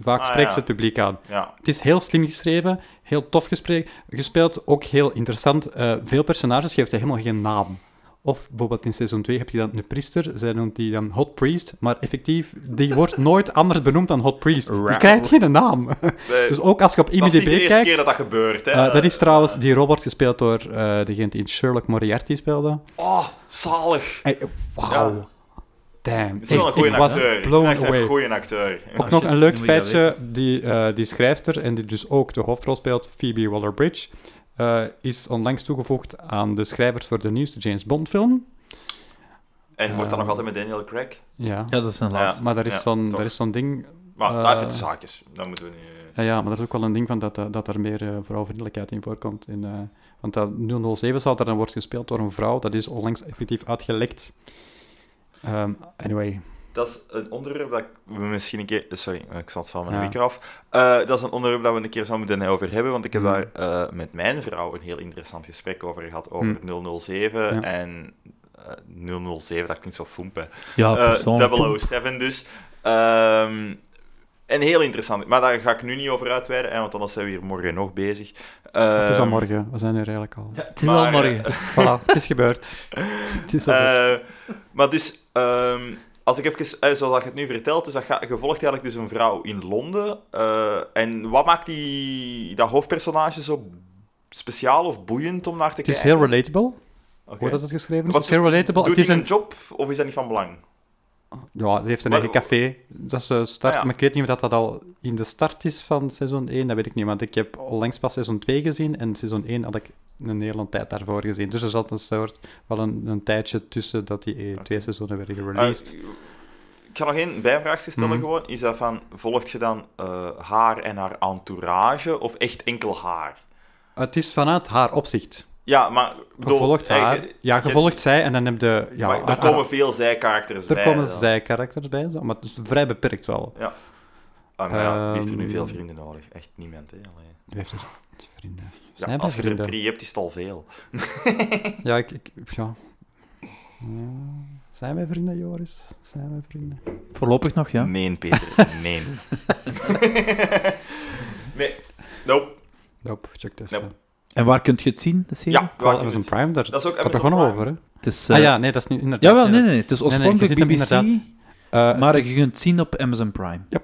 Speaker 4: Vaak
Speaker 3: Ah,
Speaker 4: spreekt
Speaker 3: ja.
Speaker 4: ze het publiek aan.
Speaker 3: Ja.
Speaker 4: Het is heel slim geschreven, heel tof gespre- gespeeld, ook heel interessant. Eh, veel personages geeft hij helemaal geen naam. Of bijvoorbeeld in seizoen 2 heb je dan een priester, zij noemt die dan Hot Priest, maar effectief, die wordt nooit anders benoemd dan Hot Priest. Die krijgt geen naam.
Speaker 3: Eh,
Speaker 4: Dus ook als je op
Speaker 3: dat is niet de
Speaker 4: IMDb
Speaker 3: eerste
Speaker 4: kijkt...
Speaker 3: keer dat dat gebeurt, hè.
Speaker 4: eh, dat is trouwens, die robot gespeeld door eh, degene die in Sherlock Moriarty speelde.
Speaker 3: Oh, zalig.
Speaker 4: Hey, Wauw.
Speaker 3: Ja.
Speaker 4: Damn.
Speaker 3: Het is wel een
Speaker 4: Echt,
Speaker 3: goede
Speaker 4: ik was
Speaker 3: acteur. Ik
Speaker 4: blown
Speaker 3: vind echt een
Speaker 4: away.
Speaker 3: goede acteur. Ja.
Speaker 4: Ook nog
Speaker 6: shit,
Speaker 4: een leuk
Speaker 6: nu moet je dat
Speaker 4: feitje, die, eh, die schrijfster en die dus ook de hoofdrol speelt, Phoebe Waller-Bridge, eh, is onlangs toegevoegd aan de schrijvers voor de nieuwste James Bond film.
Speaker 3: En wordt dat
Speaker 4: eh,
Speaker 3: nog altijd met Daniel Craig?
Speaker 4: Ja,
Speaker 6: Ja, dat is een laatste.
Speaker 4: maar daar is
Speaker 3: ja,
Speaker 4: zo'n
Speaker 3: toch.
Speaker 4: daar is zo'n ding...
Speaker 3: Maar
Speaker 4: eh,
Speaker 3: daar vindt de zaakjes. Dat moeten we niet... eh,
Speaker 4: Ja, ja, maar dat is ook wel een ding van dat, eh, dat er meer eh, vrouwvriendelijkheid in voorkomt. In, eh, want dat 007 zal daar dan wordt gespeeld door een vrouw, dat is onlangs effectief uitgelekt. Ehm, anyway,
Speaker 3: Dat is een onderwerp dat ik- we misschien een keer... eh, Sorry, ik zat van mijn
Speaker 4: Ja.
Speaker 3: micro af. Eh, dat is een onderwerp dat we een keer zouden moeten over hebben, want ik heb
Speaker 4: Hmm.
Speaker 3: daar eh, met mijn vrouw een heel interessant gesprek over gehad, over 007
Speaker 4: Hmm. Ja.
Speaker 3: en... eh, 007, dat klinkt zo foempen.
Speaker 6: Ja,
Speaker 4: Ah,
Speaker 3: Eh,
Speaker 6: persoonlijk.
Speaker 3: 007 dus. Ehm, en heel interessant. Maar daar ga ik nu niet over uitweiden, hè, want anders zijn we hier morgen nog bezig.
Speaker 4: het is al
Speaker 3: Ehm,
Speaker 4: morgen, we zijn er eigenlijk al.
Speaker 6: Ja, het is
Speaker 3: maar,
Speaker 6: al morgen.
Speaker 4: Voilà, het is gebeurd. Het is al gebeurd.
Speaker 3: Eh, maar dus, ehm, als ik even, eh, zoals dat je het nu vertelt, dus dat ga, je volgt eigenlijk dus een vrouw in Londen. eh, en wat maakt die, dat hoofdpersonage zo speciaal of boeiend om naar te
Speaker 4: Het is
Speaker 3: kijken?
Speaker 4: heel relatable.
Speaker 3: Oké.
Speaker 4: Hoe dat het geschreven is.
Speaker 3: Wat
Speaker 4: het is heel relatable.
Speaker 3: Doet
Speaker 4: Het is
Speaker 3: hij een
Speaker 4: een...
Speaker 3: job of is dat niet van belang?
Speaker 4: Ja, ze heeft een
Speaker 3: Maar-
Speaker 4: eigen café. Dat ze start.
Speaker 3: Ah, ja.
Speaker 4: Maar ik weet niet of dat, dat al in de start is van seizoen 1. Dat weet ik niet. Want ik heb onlangs pas seizoen 2 gezien. En seizoen 1 had ik een Nederland tijd daarvoor gezien. Dus er zat een soort. wel een, een tijdje tussen dat die eh, twee seizoenen werden gereleased.
Speaker 3: Eh, ik ga nog één bijvraagje stellen
Speaker 4: Mhm.
Speaker 3: gewoon. Is dat van, volgt je dan eh, haar en haar entourage of echt enkel haar?
Speaker 4: het is vanuit haar opzicht.
Speaker 3: Ja, maar... bedoel,
Speaker 4: Gevolgd
Speaker 3: eh,
Speaker 4: haar.
Speaker 3: je-
Speaker 4: ja,
Speaker 3: je-
Speaker 4: gevolgd zij. En dan heb je. Ja,
Speaker 3: maar er
Speaker 4: haar-
Speaker 3: komen veel zijkarakters
Speaker 4: er
Speaker 3: bij.
Speaker 4: komen
Speaker 3: dan.
Speaker 4: zij-karakters bij. Zo, maar het is vrij beperkt wel.
Speaker 3: Ah, maar ja, die heeft er nu
Speaker 4: Ehm,
Speaker 3: veel vrienden nodig. Echt niemand, hè. alleen.
Speaker 4: Wie heeft er vrienden?
Speaker 3: Ja,
Speaker 4: Zijn er
Speaker 3: als je er
Speaker 4: vrienden?
Speaker 3: drie hebt, is het al veel.
Speaker 4: Ja, ik, ik- ja. Ja. Zijn wij vrienden, Joris? Zijn wij vrienden?
Speaker 5: Voorlopig nog,
Speaker 3: [laughs]
Speaker 5: ja.
Speaker 3: Nee,
Speaker 4: [laughs]
Speaker 3: Peter. Nee. nee. Nope.
Speaker 4: Nope, check this.
Speaker 3: Nope.
Speaker 5: En waar kunt je het zien, de serie?
Speaker 3: Ja,
Speaker 4: Wel,
Speaker 3: waar
Speaker 4: Amazon
Speaker 3: is
Speaker 4: Prime, daar
Speaker 3: Dat is ook
Speaker 4: gaat er
Speaker 3: Amazon
Speaker 4: gewoon
Speaker 3: Prime.
Speaker 4: over, hè?
Speaker 5: Het is,
Speaker 4: ah
Speaker 5: eh,
Speaker 4: ja, nee, dat is niet inderdaad.
Speaker 5: Jawel, nee,
Speaker 4: ja.
Speaker 5: nee, nee. Het is
Speaker 4: nee, je
Speaker 5: oorspronkelijk
Speaker 4: ziet hem
Speaker 5: BBC,
Speaker 4: Eh,
Speaker 5: maar
Speaker 4: het
Speaker 5: je
Speaker 4: is-
Speaker 5: kunt het zien op Amazon Prime.
Speaker 4: Yep.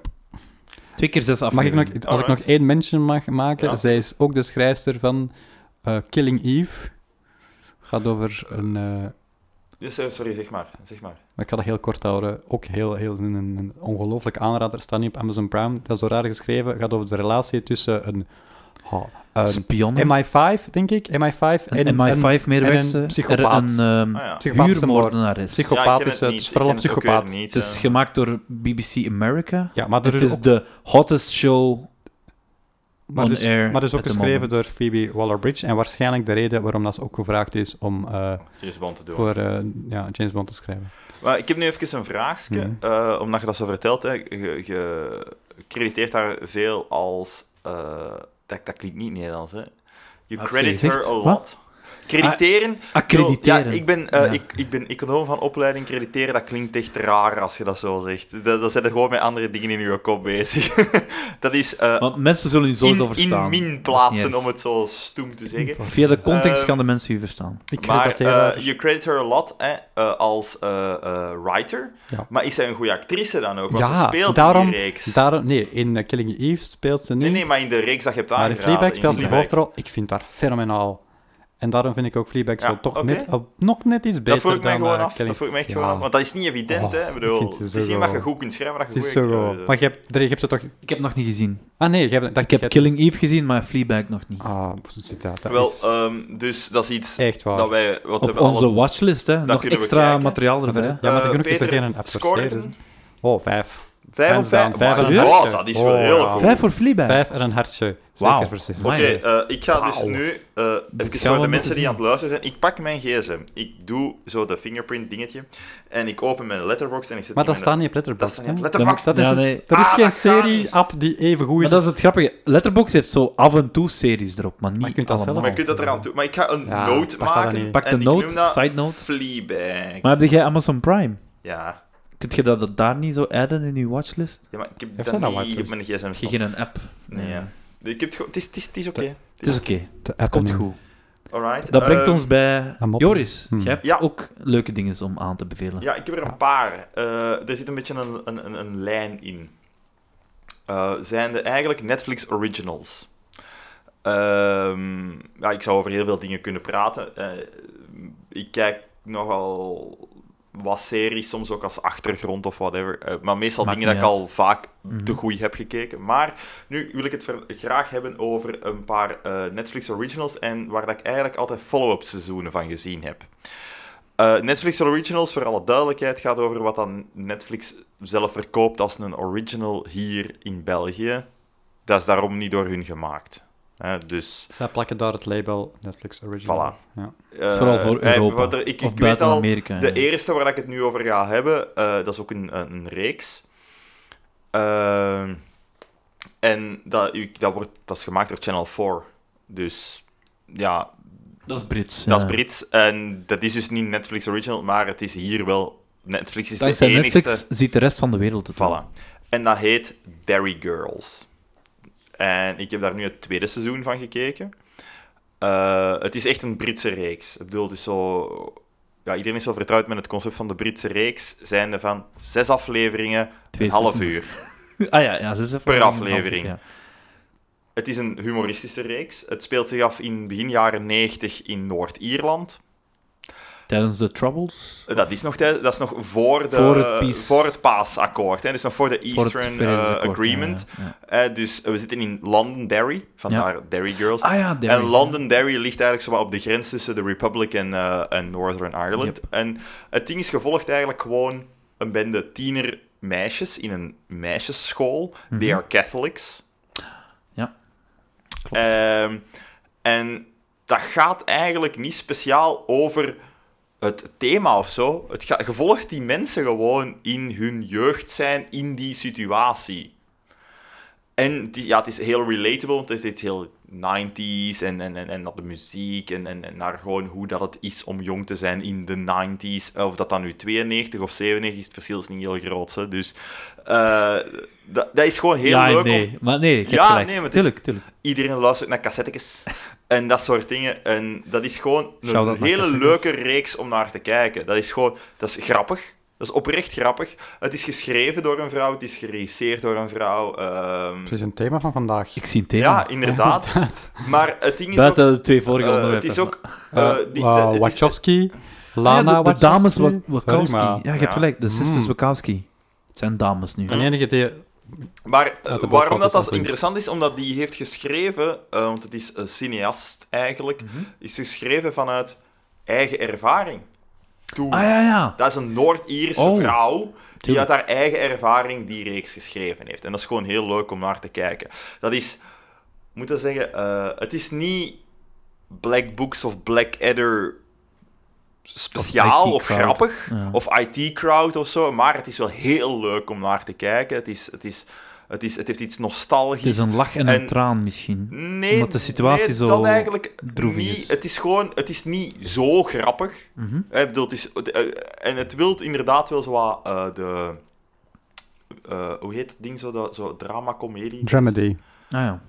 Speaker 5: Twee keer zes
Speaker 4: eh, Mag ik
Speaker 5: afleveringen.
Speaker 4: nog, als ik nog
Speaker 3: Alright.
Speaker 4: één mention mag maken,
Speaker 3: Ja.
Speaker 4: zij is ook de schrijfster van eh, Killing Eve. Gaat over een... eh,
Speaker 3: Dus, eh, sorry, zeg maar. Zeg maar.
Speaker 4: Maar ik ga dat heel kort houden. Ook heel, heel een, een een ongelooflijk aanrader. Staat niet op Amazon Prime. Dat is door haar geschreven. gaat over de relatie tussen een, ha, een
Speaker 5: Spionnen.
Speaker 4: MI5, denk ik. MI5 eh, en
Speaker 5: Een MI5-medewerker.
Speaker 4: en een psychopaat.
Speaker 5: Een ehm,
Speaker 3: Ah, ja.
Speaker 4: psychopathische moord.
Speaker 5: huurmoordenaar is.
Speaker 4: Psycho-
Speaker 3: Ja, ik ken
Speaker 4: psychopaat is, eh, het
Speaker 3: niet.
Speaker 4: is vooral
Speaker 3: Ik ken
Speaker 4: een
Speaker 3: ook weer
Speaker 4: psychopaat.
Speaker 3: niet,
Speaker 5: Het is
Speaker 3: eh.
Speaker 5: gemaakt door BBC America.
Speaker 4: Ja, maar er
Speaker 5: het
Speaker 4: is,
Speaker 5: is
Speaker 4: ook,
Speaker 5: de hottest show
Speaker 4: maar
Speaker 5: on
Speaker 4: er is-
Speaker 5: air.
Speaker 4: maar er is ook
Speaker 5: at the
Speaker 4: geschreven
Speaker 5: moment.
Speaker 4: door Phoebe Waller-Bridge. En waarschijnlijk de reden waarom dat ze ook gevraagd is om eh,
Speaker 3: James Bond te doen.
Speaker 4: voor eh, ja, James Bond te schrijven.
Speaker 3: Maar ik heb nu even een vraagje,
Speaker 4: Mhm.
Speaker 3: eh, omdat je dat zo vertelt. Hè. Je, je crediteert haar veel als... eh, dat, dat klinkt niet Nederlands, hè. You
Speaker 5: Had je
Speaker 3: credit her
Speaker 5: gezegd?
Speaker 3: a
Speaker 5: Wat?
Speaker 3: lot. Crediteren...
Speaker 4: Ah.
Speaker 5: Accrediteren.
Speaker 3: Ja, ik ben, eh,
Speaker 5: Ja.
Speaker 3: Ik, ik ben econoom van opleiding. Crediteren, dat klinkt echt raar als je dat zo zegt. Dat, dat zijn er gewoon met andere dingen in je kop bezig. [laughs] dat is eh,
Speaker 5: Want mensen zullen je sowieso
Speaker 3: in,
Speaker 5: verstaan.
Speaker 3: in
Speaker 5: Dat is
Speaker 3: min
Speaker 5: niet
Speaker 3: plaatsen,
Speaker 5: erg.
Speaker 3: om het zo stoem te zeggen.
Speaker 5: Via de context
Speaker 4: Eh,
Speaker 3: Ehm,
Speaker 5: gaan de mensen je verstaan.
Speaker 4: Ik
Speaker 3: maar eh,
Speaker 4: crediteer haar.
Speaker 3: je credit her a lot hè, eh, als eh, eh, writer.
Speaker 4: Ja.
Speaker 3: Maar is zij een goede actrice dan ook? Want ze
Speaker 4: ja,
Speaker 3: speelt in
Speaker 4: daarom,
Speaker 3: die reeks.
Speaker 4: daarom... Nee, in eh, Killing Eve speelt ze niet.
Speaker 3: Nee, nee, maar in de reeks dat je hebt
Speaker 4: Maar in
Speaker 3: aangeraden.
Speaker 4: Fleabag speelt ze de
Speaker 3: Fleabag.
Speaker 4: hoofdrol. Ik vind haar fenomenaal. En daarom vind ik ook Fleabag
Speaker 3: Ja,
Speaker 4: zo toch
Speaker 3: oké.
Speaker 4: net, op- nog net iets beter
Speaker 3: Dat voel ik mij
Speaker 4: dan
Speaker 3: gewoon
Speaker 4: eh,
Speaker 3: af.
Speaker 4: Killing-
Speaker 3: Dat voel ik mij echt
Speaker 4: Ja.
Speaker 3: gewoon af. Want dat is niet evident,
Speaker 4: Oh,
Speaker 3: hè. Ik
Speaker 4: ik
Speaker 3: bedoel,
Speaker 4: vind ze
Speaker 3: het is
Speaker 4: zo
Speaker 3: niet
Speaker 4: goed.
Speaker 3: dat je goed kunt schrijven, maar dat
Speaker 4: Het
Speaker 3: je
Speaker 4: is
Speaker 3: goed
Speaker 4: zo
Speaker 3: kunt eh,
Speaker 4: gewoon. Maar je hebt, je hebt ze toch...
Speaker 5: Ik heb nog niet gezien.
Speaker 4: Ah nee, je hebt... Dat,
Speaker 5: Ik heb Killing Eve gezien, maar Fleabag nog niet.
Speaker 4: Ah, hoe zit dat? Dat
Speaker 3: Wel,
Speaker 4: is
Speaker 3: ehm, dus dat is iets
Speaker 4: echt waar.
Speaker 3: dat wij... Wat
Speaker 5: Op
Speaker 3: hebben alle-
Speaker 5: onze watchlist, hè. Nog
Speaker 3: kunnen we
Speaker 5: extra
Speaker 3: kijken.
Speaker 5: materiaal
Speaker 4: Maar er
Speaker 5: erbij.
Speaker 4: is- ja, maar
Speaker 3: Eh,
Speaker 4: de genoeg is er
Speaker 3: Peter,
Speaker 4: geen app voor
Speaker 3: scoren?
Speaker 4: steeds, dus- Oh, vijf.
Speaker 3: Vijf of
Speaker 4: Hands down,
Speaker 3: vijf?
Speaker 4: vijf
Speaker 3: Maar-
Speaker 5: en een
Speaker 3: Oh,
Speaker 4: hartje.
Speaker 3: dat is wel
Speaker 4: Oh,
Speaker 3: heel
Speaker 4: ja.
Speaker 3: goed.
Speaker 5: Vijf voor Fleabag.
Speaker 4: Vijf en een hartje. Zeker
Speaker 5: Wauw.
Speaker 4: voor zes.
Speaker 3: Oké,
Speaker 5: Amai.
Speaker 3: eh, ik ga dus
Speaker 4: Wauw.
Speaker 3: nu, eh even
Speaker 5: gaan
Speaker 3: voor
Speaker 5: we
Speaker 3: de
Speaker 5: moeten
Speaker 3: mensen die
Speaker 5: zien.
Speaker 3: aan het luisteren zijn, ik pak mijn gsm, ik doe zo de fingerprint dingetje, en ik open mijn letterbox en ik zet
Speaker 4: Maar
Speaker 3: die
Speaker 4: dat staat
Speaker 3: mijn-
Speaker 4: niet op Letterboxd,
Speaker 3: Dat staat niet op
Speaker 4: hè?
Speaker 3: Letterboxd.
Speaker 4: Dat is,
Speaker 5: Ja, nee.
Speaker 4: dat is
Speaker 3: Ah,
Speaker 4: geen
Speaker 3: dat kan niet.
Speaker 4: serie-app die even goed
Speaker 5: Maar
Speaker 4: is.
Speaker 5: dat is het grappige. Letterboxd heeft zo af en toe series erop, maar niet
Speaker 4: je kunt dat
Speaker 5: allemaal.
Speaker 4: zelf-
Speaker 3: Maar je kunt dat eraan toe... Maar ik ga een
Speaker 4: Ja,
Speaker 3: note
Speaker 4: dat gaat dan
Speaker 3: maken.
Speaker 4: niet.
Speaker 5: Pak de
Speaker 3: en ik
Speaker 5: note,
Speaker 3: noem dat
Speaker 5: side note.
Speaker 3: Fleabag.
Speaker 5: Maar heb jij Amazon Prime?
Speaker 3: Ja.
Speaker 5: Kunt je dat daar niet zo adden in je watchlist?
Speaker 3: ja, maar ik heb
Speaker 4: Heeft
Speaker 3: dat
Speaker 4: dat nou
Speaker 3: niet op
Speaker 4: whitelist?
Speaker 3: mijn gsm
Speaker 5: Heb je
Speaker 3: staan.
Speaker 5: geen een app?
Speaker 3: Nee, ja. Ik heb het gewoon... Het is, het is, het is oké.
Speaker 5: Het is oké,
Speaker 4: De
Speaker 5: het komt
Speaker 4: app-
Speaker 5: goed.
Speaker 3: Alright.
Speaker 5: Dat brengt
Speaker 3: eh,
Speaker 5: ons bij
Speaker 4: aan moppen.
Speaker 5: Joris.
Speaker 4: Hmm.
Speaker 5: Jij hebt
Speaker 3: Ja.
Speaker 5: ook leuke dingen om aan te bevelen.
Speaker 3: Ja, ik heb er een paar. Eh, er zit een beetje een, een, een, een lijn in. Eh, zijn er eigenlijk Netflix Originals? Ehm, ja, ik zou over heel veel dingen kunnen praten. Eh, ik kijk nogal wat series, soms ook als achtergrond of whatever. Eh, maar meestal
Speaker 5: Maakt
Speaker 3: dingen dat
Speaker 5: niet
Speaker 3: ik al vaak
Speaker 5: Mhm.
Speaker 3: te goeie heb gekeken. Maar nu wil ik het ver- graag hebben over een paar eh, Netflix Originals en waar dat ik eigenlijk altijd follow-up seizoenen van gezien heb. Eh, Netflix Originals, voor alle duidelijkheid, gaat over wat dan Netflix zelf verkoopt als een original hier in België. Dat is daarom niet door hun gemaakt. Hè, dus,
Speaker 4: Zij plakken daar het label Netflix Original. Voilà. Ja.
Speaker 3: eh,
Speaker 5: Vooral voor
Speaker 3: eh,
Speaker 5: Europa.
Speaker 3: wat er- ik,
Speaker 5: of
Speaker 3: ik weet
Speaker 5: buiten
Speaker 3: al,
Speaker 5: Amerika.
Speaker 3: de
Speaker 5: ja.
Speaker 3: eerste waar ik het nu over ga hebben, eh, dat is ook een, een, een reeks. Ehm, en dat, u- dat, wordt, dat is gemaakt door Channel 4. Dus ja,
Speaker 5: Dat is Brits.
Speaker 3: dat
Speaker 5: ja.
Speaker 3: is Brits. En dat is dus niet Netflix Original, maar het is hier wel... Netflix is
Speaker 5: Dankzij
Speaker 3: de enigste...
Speaker 5: Netflix ziet de rest van de wereld het wel. [laughs]
Speaker 3: Voilà. En dat heet Dairy Girls. En ik heb daar nu het tweede seizoen van gekeken. Eh, het is echt een Britse reeks. Ik bedoel, het is zo... Ja, iedereen is wel vertrouwd met het concept van de Britse reeks. Zijnde van zes afleveringen,
Speaker 5: Twee
Speaker 3: een half
Speaker 5: seizoenen.
Speaker 3: uur.
Speaker 5: Ah ja, ja ze is even-
Speaker 3: Per aflevering.
Speaker 5: Ja.
Speaker 3: Het is een humoristische reeks. Het speelt zich af in begin jaren 90 in Noord-Ierland.
Speaker 5: Tijdens de Troubles.
Speaker 3: Eh, Dat is nog, tij- dat is nog voor, de,
Speaker 5: Voor het peace-
Speaker 3: voor het paasakkoord. Hè? Dus nog voor de
Speaker 5: voor het
Speaker 3: Eastern eh,
Speaker 5: Vredesakkoord, ja,
Speaker 3: Agreement.
Speaker 5: ja, ja.
Speaker 3: Eh, dus eh, we zitten in Londonderry, vandaar Derry Girls.
Speaker 5: Ah ja, Derry.
Speaker 3: En Londonderry ligt eigenlijk zowel op de grens tussen de Republic en, eh, en Northern Ireland.
Speaker 5: Yep.
Speaker 3: En het ding is gevolgd eigenlijk gewoon een bende tiener meisjes in een meisjesschool.
Speaker 5: Mhm.
Speaker 3: They are Catholics.
Speaker 5: Ja, klopt.
Speaker 3: Ehm, en dat gaat eigenlijk niet speciaal over het thema of zo. Het ga, je volgt die mensen gewoon in hun jeugd zijn in die situatie. En het is, ja, het is heel relatable, want het is heel 90s en, en, en, en naar de muziek en, en, en naar gewoon hoe dat het is om jong te zijn in de 90s. Of dat dan nu 92 of 97 is, het verschil is niet heel groot. Hè. Dus eh, dat, dat is gewoon heel
Speaker 5: ja,
Speaker 3: leuk. om-
Speaker 5: nee. Maar nee, ik heb
Speaker 3: Ja,
Speaker 5: gelijk.
Speaker 3: nee, maar het is-
Speaker 5: tuurlijk, tuurlijk.
Speaker 3: Iedereen luistert naar cassettekes en dat soort dingen. En dat is gewoon
Speaker 5: Shout-out
Speaker 3: een
Speaker 5: naar
Speaker 3: hele
Speaker 5: cassettes.
Speaker 3: leuke reeks om naar te kijken. Dat is gewoon, dat is grappig. Dat is oprecht grappig. Het is geschreven door een vrouw, het is geregisseerd door een vrouw. ehm,
Speaker 4: Het is een thema van vandaag.
Speaker 5: Ik zie een thema.
Speaker 3: ja, inderdaad. Maar het ding is ook...
Speaker 5: Buiten de twee vorige
Speaker 3: eh,
Speaker 5: onderwerpen.
Speaker 3: het is ook...
Speaker 4: Eh,
Speaker 3: eh, [laughs] die-
Speaker 4: Wa-
Speaker 3: het is-
Speaker 4: Wachowski,
Speaker 5: Ah,
Speaker 4: Lana
Speaker 5: ja, de, de
Speaker 4: Wachowski.
Speaker 5: dames Wa-
Speaker 4: Sorry,
Speaker 5: Wachowski.
Speaker 4: maar
Speaker 5: ja, je hebt
Speaker 3: Ja.
Speaker 5: gelijk. De sisters
Speaker 4: Mm.
Speaker 5: Wachowski. Het zijn dames nu.
Speaker 4: Van enige die...
Speaker 3: Maar eh,
Speaker 4: boot
Speaker 3: waarom
Speaker 4: valt
Speaker 3: dat,
Speaker 4: het
Speaker 3: dat
Speaker 4: als links.
Speaker 3: interessant is, omdat die heeft geschreven, eh, want het is een cineast eigenlijk,
Speaker 5: Mhm.
Speaker 3: is geschreven vanuit eigen ervaring. Toen,
Speaker 5: Ah ja, ja.
Speaker 3: Dat is een Noord-Ierse
Speaker 5: Oh,
Speaker 3: vrouw die uit
Speaker 5: tuurlijk.
Speaker 3: haar eigen ervaring die reeks geschreven heeft. En dat is gewoon heel leuk om naar te kijken. Dat is, ik moet dat zeggen, eh, het is niet Black Books of Black Adder speciaal
Speaker 5: IT
Speaker 3: of,
Speaker 5: crowd.
Speaker 3: grappig
Speaker 5: Ja.
Speaker 3: of IT crowd of zo, maar het is wel heel leuk om naar te kijken. Het is, het is, het is, het heeft iets nostalgisch.
Speaker 5: Het is een lach en een
Speaker 3: En-
Speaker 5: traan misschien.
Speaker 3: Nee,
Speaker 5: Omdat de situatie
Speaker 3: nee,
Speaker 5: zo
Speaker 3: dat eigenlijk
Speaker 5: droevig
Speaker 3: niet.
Speaker 5: is.
Speaker 3: Het is gewoon, het is niet zo grappig.
Speaker 5: Mhm.
Speaker 3: Ik bedoel, het is, het, eh, en het wilt inderdaad wel zo wat eh, de. eh, hoe heet het ding zo? Dat, zo drama, comedie.
Speaker 4: Dramedy.
Speaker 5: Ah ja.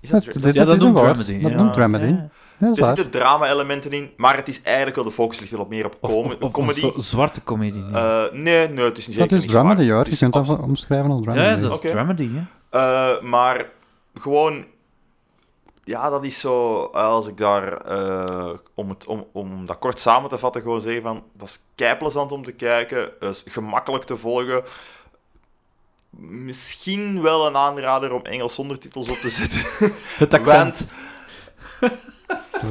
Speaker 3: Is
Speaker 4: Dat,
Speaker 3: dat,
Speaker 4: dat,
Speaker 3: dra-
Speaker 5: Ja,
Speaker 4: dat is een
Speaker 5: noemt
Speaker 4: woord.
Speaker 5: dramedy,
Speaker 4: Dat
Speaker 5: ja.
Speaker 4: noemt dramedy.
Speaker 5: Ja, ja.
Speaker 4: Dat is
Speaker 3: er
Speaker 4: waar.
Speaker 3: zitten drama-elementen in, maar het is eigenlijk wel de focus ligt wel op meer op
Speaker 5: Of,
Speaker 3: com-
Speaker 5: of, of
Speaker 3: comedy.
Speaker 5: een zo- zwarte comedie. nee.
Speaker 3: Eh, nee, nee, het is niet
Speaker 4: Dat
Speaker 3: zeker
Speaker 4: is
Speaker 3: niet
Speaker 4: dramedy
Speaker 3: zwart.
Speaker 4: hoor.
Speaker 3: Het
Speaker 4: Je
Speaker 3: is
Speaker 4: kunt dat
Speaker 3: absolu-
Speaker 4: wel omschrijven als dramedy.
Speaker 5: ja, ja, dat is
Speaker 3: Oké.
Speaker 5: dramedy. Hè.
Speaker 3: Eh, maar gewoon, ja, dat is zo. Als ik daar, eh, om, het, om, om dat kort samen te vatten, gewoon zeggen van dat is keiplezant om te kijken, dat is gemakkelijk te volgen. Misschien wel een aanrader om Engels ondertitels op te zetten.
Speaker 5: Het
Speaker 3: [laughs]
Speaker 5: accent.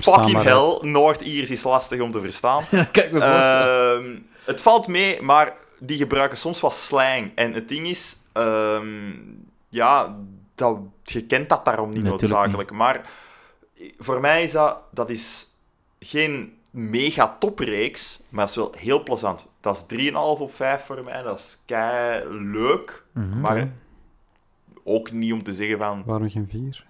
Speaker 3: Fucking hell, Noord-Iers is lastig om te verstaan.
Speaker 5: Kijk, me vast.
Speaker 3: Ehm, het valt mee, maar die gebruiken soms wat slang. En het ding is, ehm, ja, dat, je kent dat daarom niet
Speaker 5: Nee, tuurlijk
Speaker 3: noodzakelijk. Maar voor mij is dat, dat is geen mega topreeks, maar dat is wel heel plezant. Dat is 3,5 op 5 voor mij, dat is kei leuk.
Speaker 5: Mhm.
Speaker 3: Maar ook niet om te zeggen van,
Speaker 4: Waarom geen vier?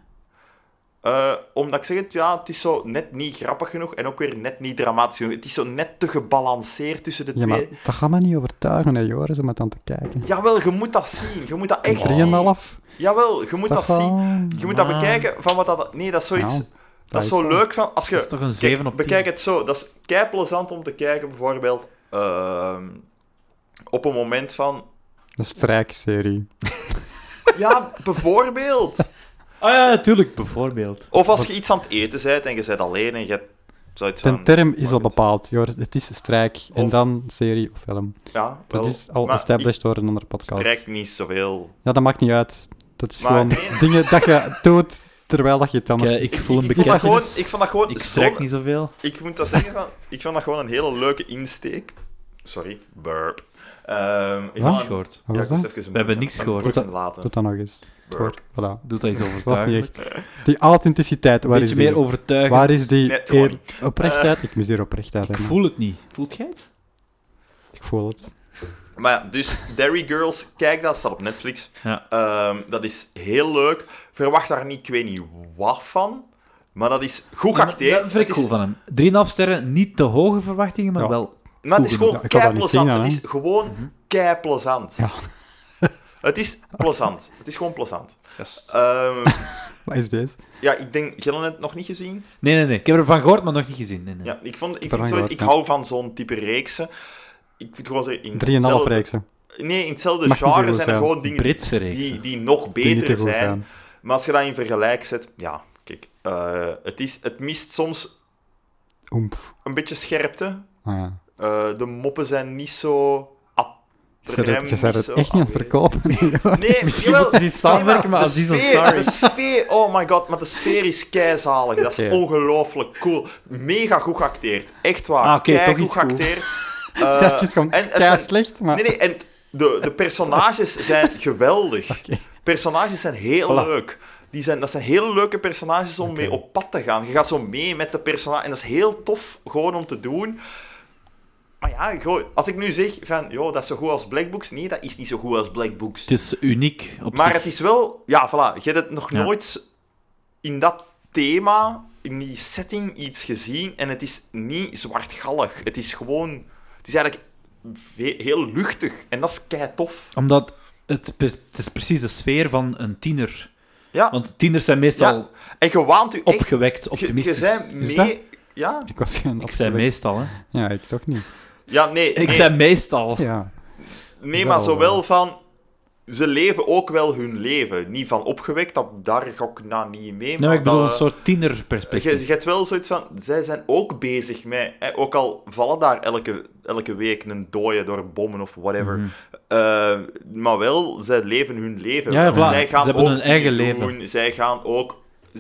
Speaker 3: eh, omdat ik zeg het, ja, het is zo net niet grappig genoeg en ook weer net niet dramatisch genoeg. Het is zo net te gebalanceerd tussen de
Speaker 4: Ja, maar
Speaker 3: twee.
Speaker 4: dat gaat me niet overtuigen, hè, Joris, om het aan te kijken.
Speaker 3: Jawel, je moet dat zien. Je Oh. moet dat echt zien.
Speaker 4: 3,5.
Speaker 3: Jawel, je moet dat, zien. Je moet dat
Speaker 5: Maar-
Speaker 3: bekijken van wat dat... Nee, dat is zoiets...
Speaker 4: Nou,
Speaker 3: dat is zo
Speaker 4: wel-
Speaker 3: leuk van... Als je,
Speaker 5: Dat is toch een
Speaker 3: Kijk,
Speaker 5: 7 op 10.
Speaker 3: Bekijk het zo. Dat is keiplezant om te kijken, bijvoorbeeld... ehm, op een moment van...
Speaker 4: Een strijkserie.
Speaker 3: Ja, [laughs] bijvoorbeeld.
Speaker 5: Ah ja, tuurlijk, bijvoorbeeld.
Speaker 3: Of als je iets aan het eten bent en je bent alleen en je... hebt zoiets
Speaker 4: De
Speaker 3: van-
Speaker 4: term is al
Speaker 3: Wat-
Speaker 4: bepaald, Joris. Het is strijk en
Speaker 3: Of-
Speaker 4: dan serie of film.
Speaker 3: Ja, wel,
Speaker 4: Dat is al
Speaker 3: maar
Speaker 4: established door een andere
Speaker 3: Ik
Speaker 4: podcast.
Speaker 3: trek niet zoveel...
Speaker 4: Ja, dat maakt niet uit. Dat is
Speaker 3: Maar- [laughs]
Speaker 4: gewoon
Speaker 3: nee.
Speaker 4: dingen dat je doet terwijl dat je het anders...
Speaker 5: Kijk, ik voel een
Speaker 3: Ik, vond dat gewoon,
Speaker 5: bekentenis.
Speaker 3: ik vond dat gewoon
Speaker 5: Ik
Speaker 3: zo'n-
Speaker 5: strijk niet zoveel.
Speaker 3: ik moet dat zeggen, van, ik vond dat gewoon een hele leuke insteek. Sorry, burp. Ehm, ik
Speaker 4: Wat?
Speaker 3: vond-
Speaker 5: Gehoord.
Speaker 4: Wat
Speaker 3: Ja,
Speaker 4: was
Speaker 3: ik moest
Speaker 4: dat?
Speaker 3: even een-
Speaker 5: We hebben niks
Speaker 3: een-
Speaker 5: gehoord.
Speaker 3: een- een- laten.
Speaker 4: Doe dat nog eens. Het woord.
Speaker 3: Burp.
Speaker 4: Voilà.
Speaker 5: Doet dat iets
Speaker 4: Het was niet
Speaker 5: overtuigend.
Speaker 4: echt. Die authenticiteit, waar
Speaker 5: Een
Speaker 4: is
Speaker 5: beetje
Speaker 4: die?
Speaker 5: meer overtuigend.
Speaker 4: Waar is die
Speaker 3: Nee, gewoon
Speaker 4: eer-
Speaker 3: niet.
Speaker 4: oprechtheid? Ik mis hier oprechtheid.
Speaker 5: Ik
Speaker 4: hè, man.
Speaker 5: voel het niet. Voelt jij het?
Speaker 4: Ik voel het.
Speaker 3: Maar ja, dus Dairy Girls, kijk dat, staat op Netflix.
Speaker 5: Ja.
Speaker 3: Ehm, dat is heel leuk. Verwacht daar niet, ik weet niet wat van. Maar dat is goed geacteerd.
Speaker 5: Dat vind ik
Speaker 3: Het
Speaker 5: cool
Speaker 3: is,
Speaker 5: van hem. 3,5 sterren, niet te hoge verwachtingen, maar
Speaker 4: Ja.
Speaker 5: wel.
Speaker 3: maar het is
Speaker 5: Goed
Speaker 3: gewoon
Speaker 4: genoeg. Ik had dat niet
Speaker 3: keiplezant.
Speaker 4: zien,
Speaker 3: Het
Speaker 4: hè. Mhm.
Speaker 3: is gewoon keiplezant.
Speaker 4: Ja.
Speaker 3: [laughs] het is plezant. Het is gewoon plezant.
Speaker 5: Yes.
Speaker 3: Ehm,
Speaker 4: Wat is deze?
Speaker 3: ja, ik denk... Gillen het nog niet gezien?
Speaker 5: Nee, nee, nee. Ik heb ervan gehoord, maar nog niet gezien. Nee, nee.
Speaker 3: Ja, ik, vond, ik,
Speaker 4: heb
Speaker 3: vind
Speaker 4: ervan
Speaker 3: zo,
Speaker 4: gehoord,
Speaker 3: ik
Speaker 4: ja.
Speaker 3: hou van zo'n type reeksen. Ik vind gewoon zo in
Speaker 4: 3,5
Speaker 3: hetzelfde-
Speaker 4: reeksen.
Speaker 3: Nee, in hetzelfde
Speaker 4: Mag niet zo
Speaker 3: genre
Speaker 4: goed
Speaker 3: zijn er
Speaker 4: zijn.
Speaker 3: gewoon dingen
Speaker 5: Britse reeks.
Speaker 3: die, die nog
Speaker 4: Die niet te
Speaker 3: beter
Speaker 4: goed
Speaker 3: zijn.
Speaker 4: zijn.
Speaker 3: Maar als je dat in vergelijk zet, ja, kijk, eh, het, is, het mist soms
Speaker 4: Oemf.
Speaker 3: een beetje scherpte.
Speaker 4: Ah, ja.
Speaker 3: Eh, de moppen zijn niet zo.
Speaker 4: Je zei
Speaker 3: Rem
Speaker 4: het, je zei
Speaker 3: is
Speaker 4: het
Speaker 3: zo
Speaker 4: echt niet aan het verkopen. [laughs] joh.
Speaker 3: Nee,
Speaker 5: Misschien
Speaker 3: jawel,
Speaker 5: moeten ze niet samenwerken, maar
Speaker 3: de
Speaker 5: Aziz
Speaker 3: sfeer-
Speaker 5: Ansari.
Speaker 3: De sfeer, oh my god, maar de sfeer is keizalig. Dat is
Speaker 4: Oké.
Speaker 3: ongelooflijk cool. Mega goed geacteerd. Echt waar.
Speaker 5: Ah, oké, toch
Speaker 3: Keigoed
Speaker 5: iets cool. [laughs]
Speaker 3: geacteerd.
Speaker 4: Zeg,
Speaker 3: Eh,
Speaker 4: het is gewoon
Speaker 3: en het
Speaker 4: kei
Speaker 3: zijn-
Speaker 4: slecht, maar...
Speaker 3: Nee, nee, en de, de
Speaker 5: [laughs]
Speaker 3: personages zijn geweldig.
Speaker 4: Oké.
Speaker 3: Personages zijn heel
Speaker 5: Voilà.
Speaker 3: leuk. Die zijn, dat zijn hele leuke personages om mee op pad te gaan. Je gaat zo mee met de personage. En dat is heel tof gewoon om te doen. Maar ja, goh, als ik nu zeg van, joh, dat is zo goed als Black Books. Nee, dat is niet zo goed als Black Books.
Speaker 5: Het is uniek op
Speaker 3: maar
Speaker 5: zich.
Speaker 3: het is wel... Ja, voilà. Je hebt het nog
Speaker 5: Ja.
Speaker 3: nooit in dat thema, in die setting, iets gezien. En het is niet zwartgallig. Het is gewoon... Het is eigenlijk ve- heel luchtig. En dat is kei tof.
Speaker 5: Omdat het, pre- het is precies de sfeer van een tiener.
Speaker 3: Ja.
Speaker 5: Want tieners zijn meestal
Speaker 3: Ja, En je waant u echt...
Speaker 5: opgewekt,
Speaker 3: Je,
Speaker 5: optimistisch.
Speaker 3: je bent
Speaker 4: Is
Speaker 3: mee... Ja?
Speaker 4: Ik was geen
Speaker 5: Ik zei
Speaker 4: afgewekt-
Speaker 5: meestal, hè.
Speaker 4: Ja, ik toch niet.
Speaker 3: Ja, nee.
Speaker 5: Ik
Speaker 3: nee.
Speaker 5: zei meestal.
Speaker 4: Ja.
Speaker 3: Nee,
Speaker 4: Wel,
Speaker 3: maar zowel
Speaker 4: eh.
Speaker 3: van... Ze leven ook wel hun leven. Niet van opgewekt, dat, daar ga ik nou niet mee.
Speaker 5: Nee, maar ik bedoel
Speaker 3: dat- eh,
Speaker 5: een soort
Speaker 3: Je,
Speaker 5: tienerperspectief.
Speaker 3: je hebt wel zoiets van... Zij zijn ook bezig met... Hè, ook al vallen daar elke, elke week een dooie door bommen of whatever. eh, maar wel, zij leven hun leven.
Speaker 5: Ja, ja, voilà.
Speaker 3: Zij gaan
Speaker 5: Ze hebben
Speaker 3: ook
Speaker 5: hun eigen
Speaker 3: dingen
Speaker 5: leven.
Speaker 3: doen. Zij gaan ook...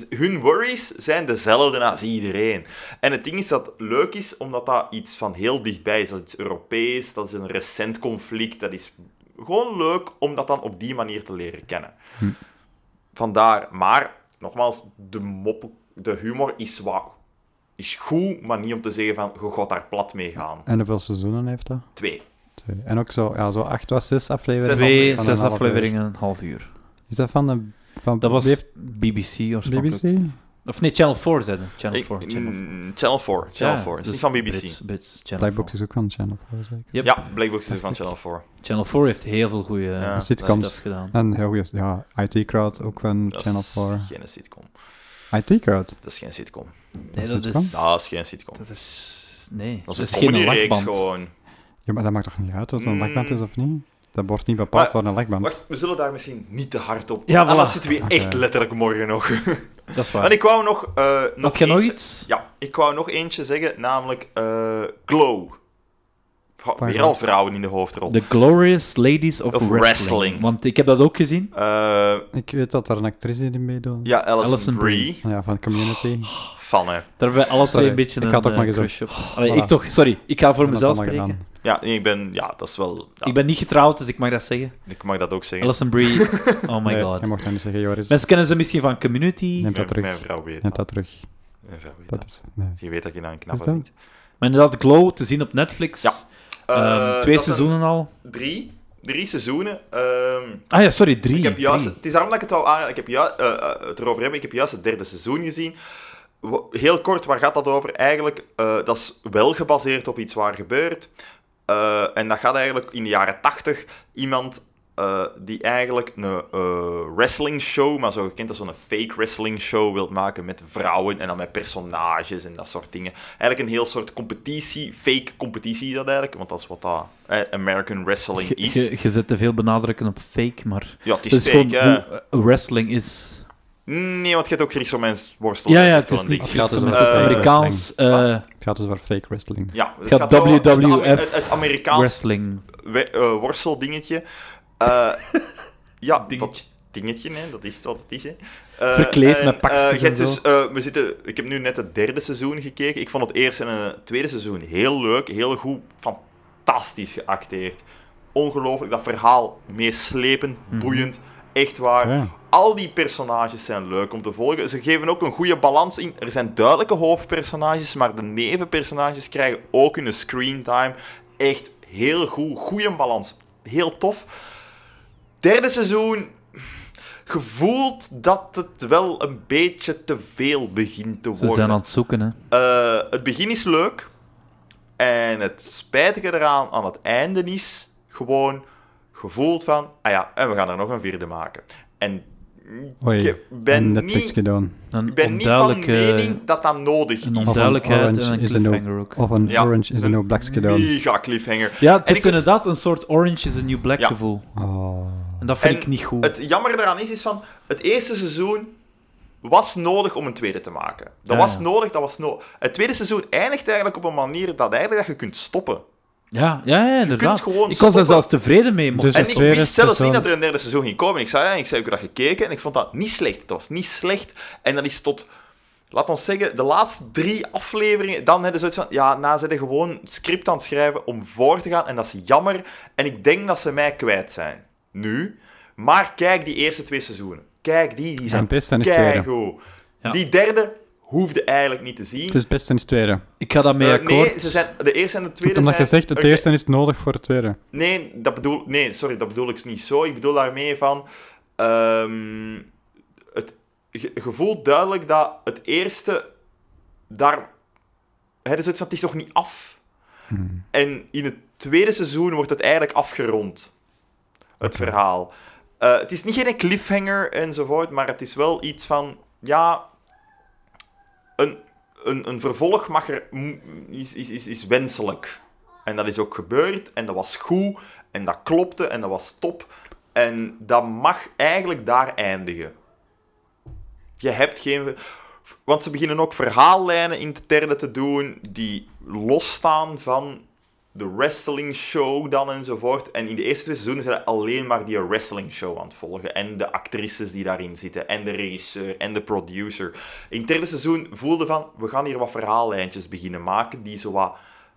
Speaker 3: Hun worries zijn dezelfde als iedereen. En het ding is dat het leuk is, omdat dat iets van heel dichtbij is. Dat is iets Europees, dat is een recent conflict. Dat is gewoon leuk om dat dan op die manier te leren kennen.
Speaker 5: Hm.
Speaker 3: Vandaar, maar nogmaals, de, mop, de humor is, wa- is goed, maar niet om te zeggen van je gaat daar plat mee gaan.
Speaker 4: En hoeveel seizoenen heeft dat?
Speaker 3: Twee.
Speaker 4: Twee. En ook zo, ja, zo acht was zes afleveringen.
Speaker 3: Zes
Speaker 5: Twee,
Speaker 4: van
Speaker 5: zes
Speaker 4: een half uur.
Speaker 5: afleveringen, een half uur.
Speaker 4: Is dat van de... Van
Speaker 5: Dat was
Speaker 4: heeft
Speaker 5: BBC oorspronkelijk.
Speaker 4: BBC?
Speaker 5: Of nee, Channel 4 zeiden. Channel
Speaker 3: Ik-
Speaker 5: 4.
Speaker 3: mm,
Speaker 5: Channel 4.
Speaker 3: Channel 4. Channel
Speaker 5: Ja,
Speaker 3: 4. Het
Speaker 5: dus
Speaker 3: is niet van BBC.
Speaker 5: Brits, Brits, Channel
Speaker 4: Blackbox
Speaker 5: 4.
Speaker 4: is ook van Channel 4, zeker.
Speaker 5: Yep.
Speaker 3: Ja, Blackbox is van Channel 4.
Speaker 5: Channel 4 heeft heel veel goede
Speaker 3: Ja.
Speaker 4: Sitcoms.
Speaker 5: stuff gedaan.
Speaker 4: En heel goed, ja, IT Crowd ook van
Speaker 3: Dat
Speaker 4: Channel
Speaker 3: is
Speaker 4: 4.
Speaker 3: geen sitcom.
Speaker 4: IT Crowd?
Speaker 3: Dat is geen sitcom.
Speaker 5: Nee, dat
Speaker 4: sitcom?
Speaker 5: is...
Speaker 3: Dat is geen sitcom.
Speaker 5: Dat is... Nee,
Speaker 3: Dat is een
Speaker 5: geen
Speaker 3: comedyreeks
Speaker 5: lachband.
Speaker 3: gewoon.
Speaker 4: Ja, maar dat maakt toch niet uit of het
Speaker 5: Hmm.
Speaker 4: een
Speaker 3: Mm.
Speaker 4: lakband is of niet? Dat wordt niet
Speaker 3: Maar-
Speaker 4: bepaald door een lakband.
Speaker 3: Wacht, we zullen daar misschien niet te hard op.
Speaker 5: Ja,
Speaker 3: Ah,
Speaker 5: voilà.
Speaker 3: dat zitten we hier echt
Speaker 4: Oké.
Speaker 3: letterlijk
Speaker 5: [laughs]
Speaker 3: morgen nog.
Speaker 5: Dat is
Speaker 3: En
Speaker 5: waar.
Speaker 3: ik wou nog... eh nog
Speaker 5: Had jij nog
Speaker 3: eentje-
Speaker 5: iets?
Speaker 3: Ja, ik wou nog eentje zeggen, namelijk eh, Glow. Goh,
Speaker 4: Waar
Speaker 3: Weer
Speaker 4: was-
Speaker 3: al vrouwen in de hoofdrol.
Speaker 5: The Glorious Ladies of,
Speaker 3: Of
Speaker 5: wrestling.
Speaker 3: Wrestling.
Speaker 5: Want ik heb dat ook gezien.
Speaker 3: Eh,
Speaker 4: Ik weet dat er een actrice die meedoet.
Speaker 3: ja, Alison,
Speaker 5: Alison
Speaker 3: Brie.
Speaker 4: Ja, van
Speaker 5: Oh,
Speaker 4: Community.
Speaker 3: Van, hè.
Speaker 5: Daar hebben we alle twee
Speaker 4: Sorry,
Speaker 5: een beetje
Speaker 4: ik
Speaker 5: een
Speaker 4: had ook
Speaker 5: eh,
Speaker 4: maar gezegd. Oh,
Speaker 5: crush op. Allee,
Speaker 4: Voilà.
Speaker 5: ik toch, sorry. Ik ga voor
Speaker 4: Ik heb dat
Speaker 5: mezelf
Speaker 4: allemaal
Speaker 5: spreken.
Speaker 4: gedaan.
Speaker 3: Ja, nee, ik ben... Ja, dat is wel... ja,
Speaker 5: Ik ben niet getrouwd, dus ik mag dat zeggen.
Speaker 3: Ik mag dat ook zeggen.
Speaker 5: Alison
Speaker 3: [laughs]
Speaker 5: Brie, oh my
Speaker 4: Nee,
Speaker 5: god.
Speaker 4: Je mag dat niet zeggen, Joris.
Speaker 5: Mensen kennen ze misschien van Community.
Speaker 4: Neem dat
Speaker 3: Mijn, mijn
Speaker 4: terug.
Speaker 3: vrouw weet
Speaker 4: Neem
Speaker 3: dat.
Speaker 4: dat terug.
Speaker 3: Mijn vrouw weet dat.
Speaker 4: Dat is... Nee.
Speaker 3: Je weet dat je nou een
Speaker 4: Is
Speaker 3: knappe
Speaker 4: dat-
Speaker 3: vindt.
Speaker 5: Maar inderdaad, Glow, te zien op Netflix.
Speaker 3: Ja.
Speaker 5: Ehm,
Speaker 3: Eh,
Speaker 5: twee
Speaker 3: dat zijn
Speaker 5: seizoenen al.
Speaker 3: Drie. Drie seizoenen. Ehm,
Speaker 5: Ah ja, sorry, drie.
Speaker 3: ik heb juist,
Speaker 5: Drie.
Speaker 3: het is daarom dat ik het wou aanraden. Ik heb juist, eh, eh, het erover hebben. Ik heb juist het derde seizoen gezien. Wa- Heel kort, waar gaat dat over? Eigenlijk, eh, dat is wel gebaseerd op iets waar gebeurt. Eh, en dat gaat eigenlijk in de jaren tachtig. Iemand eh, die eigenlijk een eh wrestling show, maar zo gekend als zo'n fake wrestling show, wilt maken met vrouwen en dan met personages en dat soort dingen. Eigenlijk een heel soort competitie, fake competitie is dat eigenlijk, want dat is wat dat eh, American wrestling
Speaker 5: Je-
Speaker 3: is.
Speaker 5: Je, je zet te veel benadrukken op fake, maar
Speaker 3: ja, het is,
Speaker 5: het is gewoon
Speaker 3: fake, hè.
Speaker 5: hoe eh, wrestling is.
Speaker 3: Nee, want je hebt ook Grieks Romeins worstel.
Speaker 5: Ja,
Speaker 3: Dat
Speaker 5: ja,
Speaker 3: is
Speaker 5: het is
Speaker 3: gewoon een
Speaker 5: niet
Speaker 4: Gaat
Speaker 5: Griekse,
Speaker 4: het
Speaker 5: maar
Speaker 3: om-
Speaker 5: het is
Speaker 3: eh,
Speaker 5: Amerikaans eh,
Speaker 4: Het gaat dus over fake wrestling.
Speaker 3: ding. Ja, het
Speaker 5: gaat
Speaker 3: zo- het Amer-
Speaker 5: WWF
Speaker 3: Het, het Amerikaans
Speaker 5: wrestling.
Speaker 3: we- eh, worsteldingetje.
Speaker 5: [laughs]
Speaker 3: Eh, ja,
Speaker 5: Dingetje.
Speaker 3: dat dingetje, hè, dat is het wat het is. Hè. Eh,
Speaker 5: Verkleed met
Speaker 3: eh,
Speaker 5: pakjes
Speaker 3: je hebt
Speaker 5: en
Speaker 3: dus, eh, we zitten, ik heb nu net het derde seizoen gekeken. Ik vond het eerste en het tweede seizoen heel leuk, heel goed, fantastisch geacteerd. Ongelooflijk, dat verhaal meeslepend, boeiend, echt waar.
Speaker 4: Ja.
Speaker 3: Al die personages zijn leuk om te volgen. Ze geven ook een goede balans in. Er zijn duidelijke hoofdpersonages, maar de nevenpersonages krijgen ook hun screentime. Echt heel goed. Goede balans. Heel tof. Derde seizoen. Gevoeld dat het wel een beetje te veel begint te
Speaker 5: Ze
Speaker 3: worden.
Speaker 5: zijn aan het zoeken, hè.
Speaker 3: Eh, het begin is leuk. En het spijtige eraan aan het einde is gewoon gevoeld van, ah ja, en we gaan er nog een vierde maken. En
Speaker 4: Oei,
Speaker 3: ik ben
Speaker 4: en Netflix
Speaker 3: niet,
Speaker 4: gedaan.
Speaker 5: Een
Speaker 3: ik ben niet van
Speaker 5: onduidelijke...
Speaker 3: mening dat dat nodig
Speaker 5: een
Speaker 4: Of
Speaker 3: is.
Speaker 4: een
Speaker 5: Duidelijkheid en
Speaker 4: Orange
Speaker 5: een
Speaker 4: is the New-
Speaker 5: cliffhanger ook.
Speaker 4: Of een
Speaker 3: Ja,
Speaker 4: Orange is the
Speaker 3: een
Speaker 4: New Black gedaan.
Speaker 3: Mega cliffhanger.
Speaker 5: Ja, het
Speaker 3: En
Speaker 5: heeft
Speaker 3: ik-
Speaker 5: inderdaad een soort Orange is the New Black
Speaker 3: Ja.
Speaker 5: gevoel.
Speaker 4: Oh.
Speaker 5: En dat vind
Speaker 3: En
Speaker 5: ik niet goed.
Speaker 3: Het jammer eraan is, is van, het eerste seizoen was nodig om een tweede te maken.
Speaker 5: Ja,
Speaker 3: Dat was
Speaker 5: ja.
Speaker 3: nodig, dat was nodig. Het tweede seizoen eindigt eigenlijk op een manier dat, eigenlijk dat je kunt stoppen.
Speaker 5: Ja, ja, ja, inderdaad.
Speaker 3: kunt gewoon
Speaker 5: Ik was daar
Speaker 3: stoppen.
Speaker 5: zelfs tevreden mee. mocht-
Speaker 4: Dus
Speaker 5: en
Speaker 4: het
Speaker 3: en ik
Speaker 4: tweede
Speaker 3: wist zelfs niet
Speaker 4: seizoen-
Speaker 3: dat er een derde seizoen ging komen. Ik zei, ja, ik zei, ik heb dat gekeken en ik vond dat niet slecht. Het was niet slecht. En dat is tot, laat ons zeggen, de laatste drie afleveringen. Dan hebben ze het van, ja, na zijn ze gewoon het script aan het schrijven om voor te gaan. En dat is jammer. En ik denk dat ze mij kwijt zijn. Nu. Maar kijk die eerste twee seizoenen. Kijk die, die zijn
Speaker 4: het beste en is het tweede.
Speaker 3: keigoed.
Speaker 5: Ja.
Speaker 3: Die derde, hoefde eigenlijk niet te zien.
Speaker 4: Dus het beste is het tweede.
Speaker 5: Ik ga daarmee
Speaker 3: Eh,
Speaker 5: akkoord.
Speaker 3: nee, ze zijn, de eerste en de tweede
Speaker 4: Omdat je
Speaker 3: zijn...
Speaker 4: zegt, het
Speaker 3: Oké,
Speaker 4: eerste is nodig voor het tweede.
Speaker 3: Nee, dat bedoel, nee, sorry, dat bedoel ik niet zo. Ik bedoel daarmee van... ehm, het ge- je voelt duidelijk dat het eerste daar... Hè, dus het, het is nog niet af. En in het tweede seizoen wordt het eigenlijk afgerond. Het verhaal. Eh, het is niet geen cliffhanger enzovoort, maar het is wel iets van... Ja, een, een, een vervolg mag er, m- is, is, is, is wenselijk. En dat is ook gebeurd, en dat was goed, en dat klopte, en dat was top. En dat mag eigenlijk daar eindigen. Je hebt geen... Want ze beginnen ook verhaallijnen in het derde te doen die losstaan van de wrestling show dan enzovoort. En in de eerste twee seizoenen zijn ze alleen maar die wrestling show aan het volgen. En de actrices die daarin zitten. En de regisseur. En de producer. In het derde seizoen voelden van, we gaan hier wat verhaallijntjes beginnen maken. Die zo wat,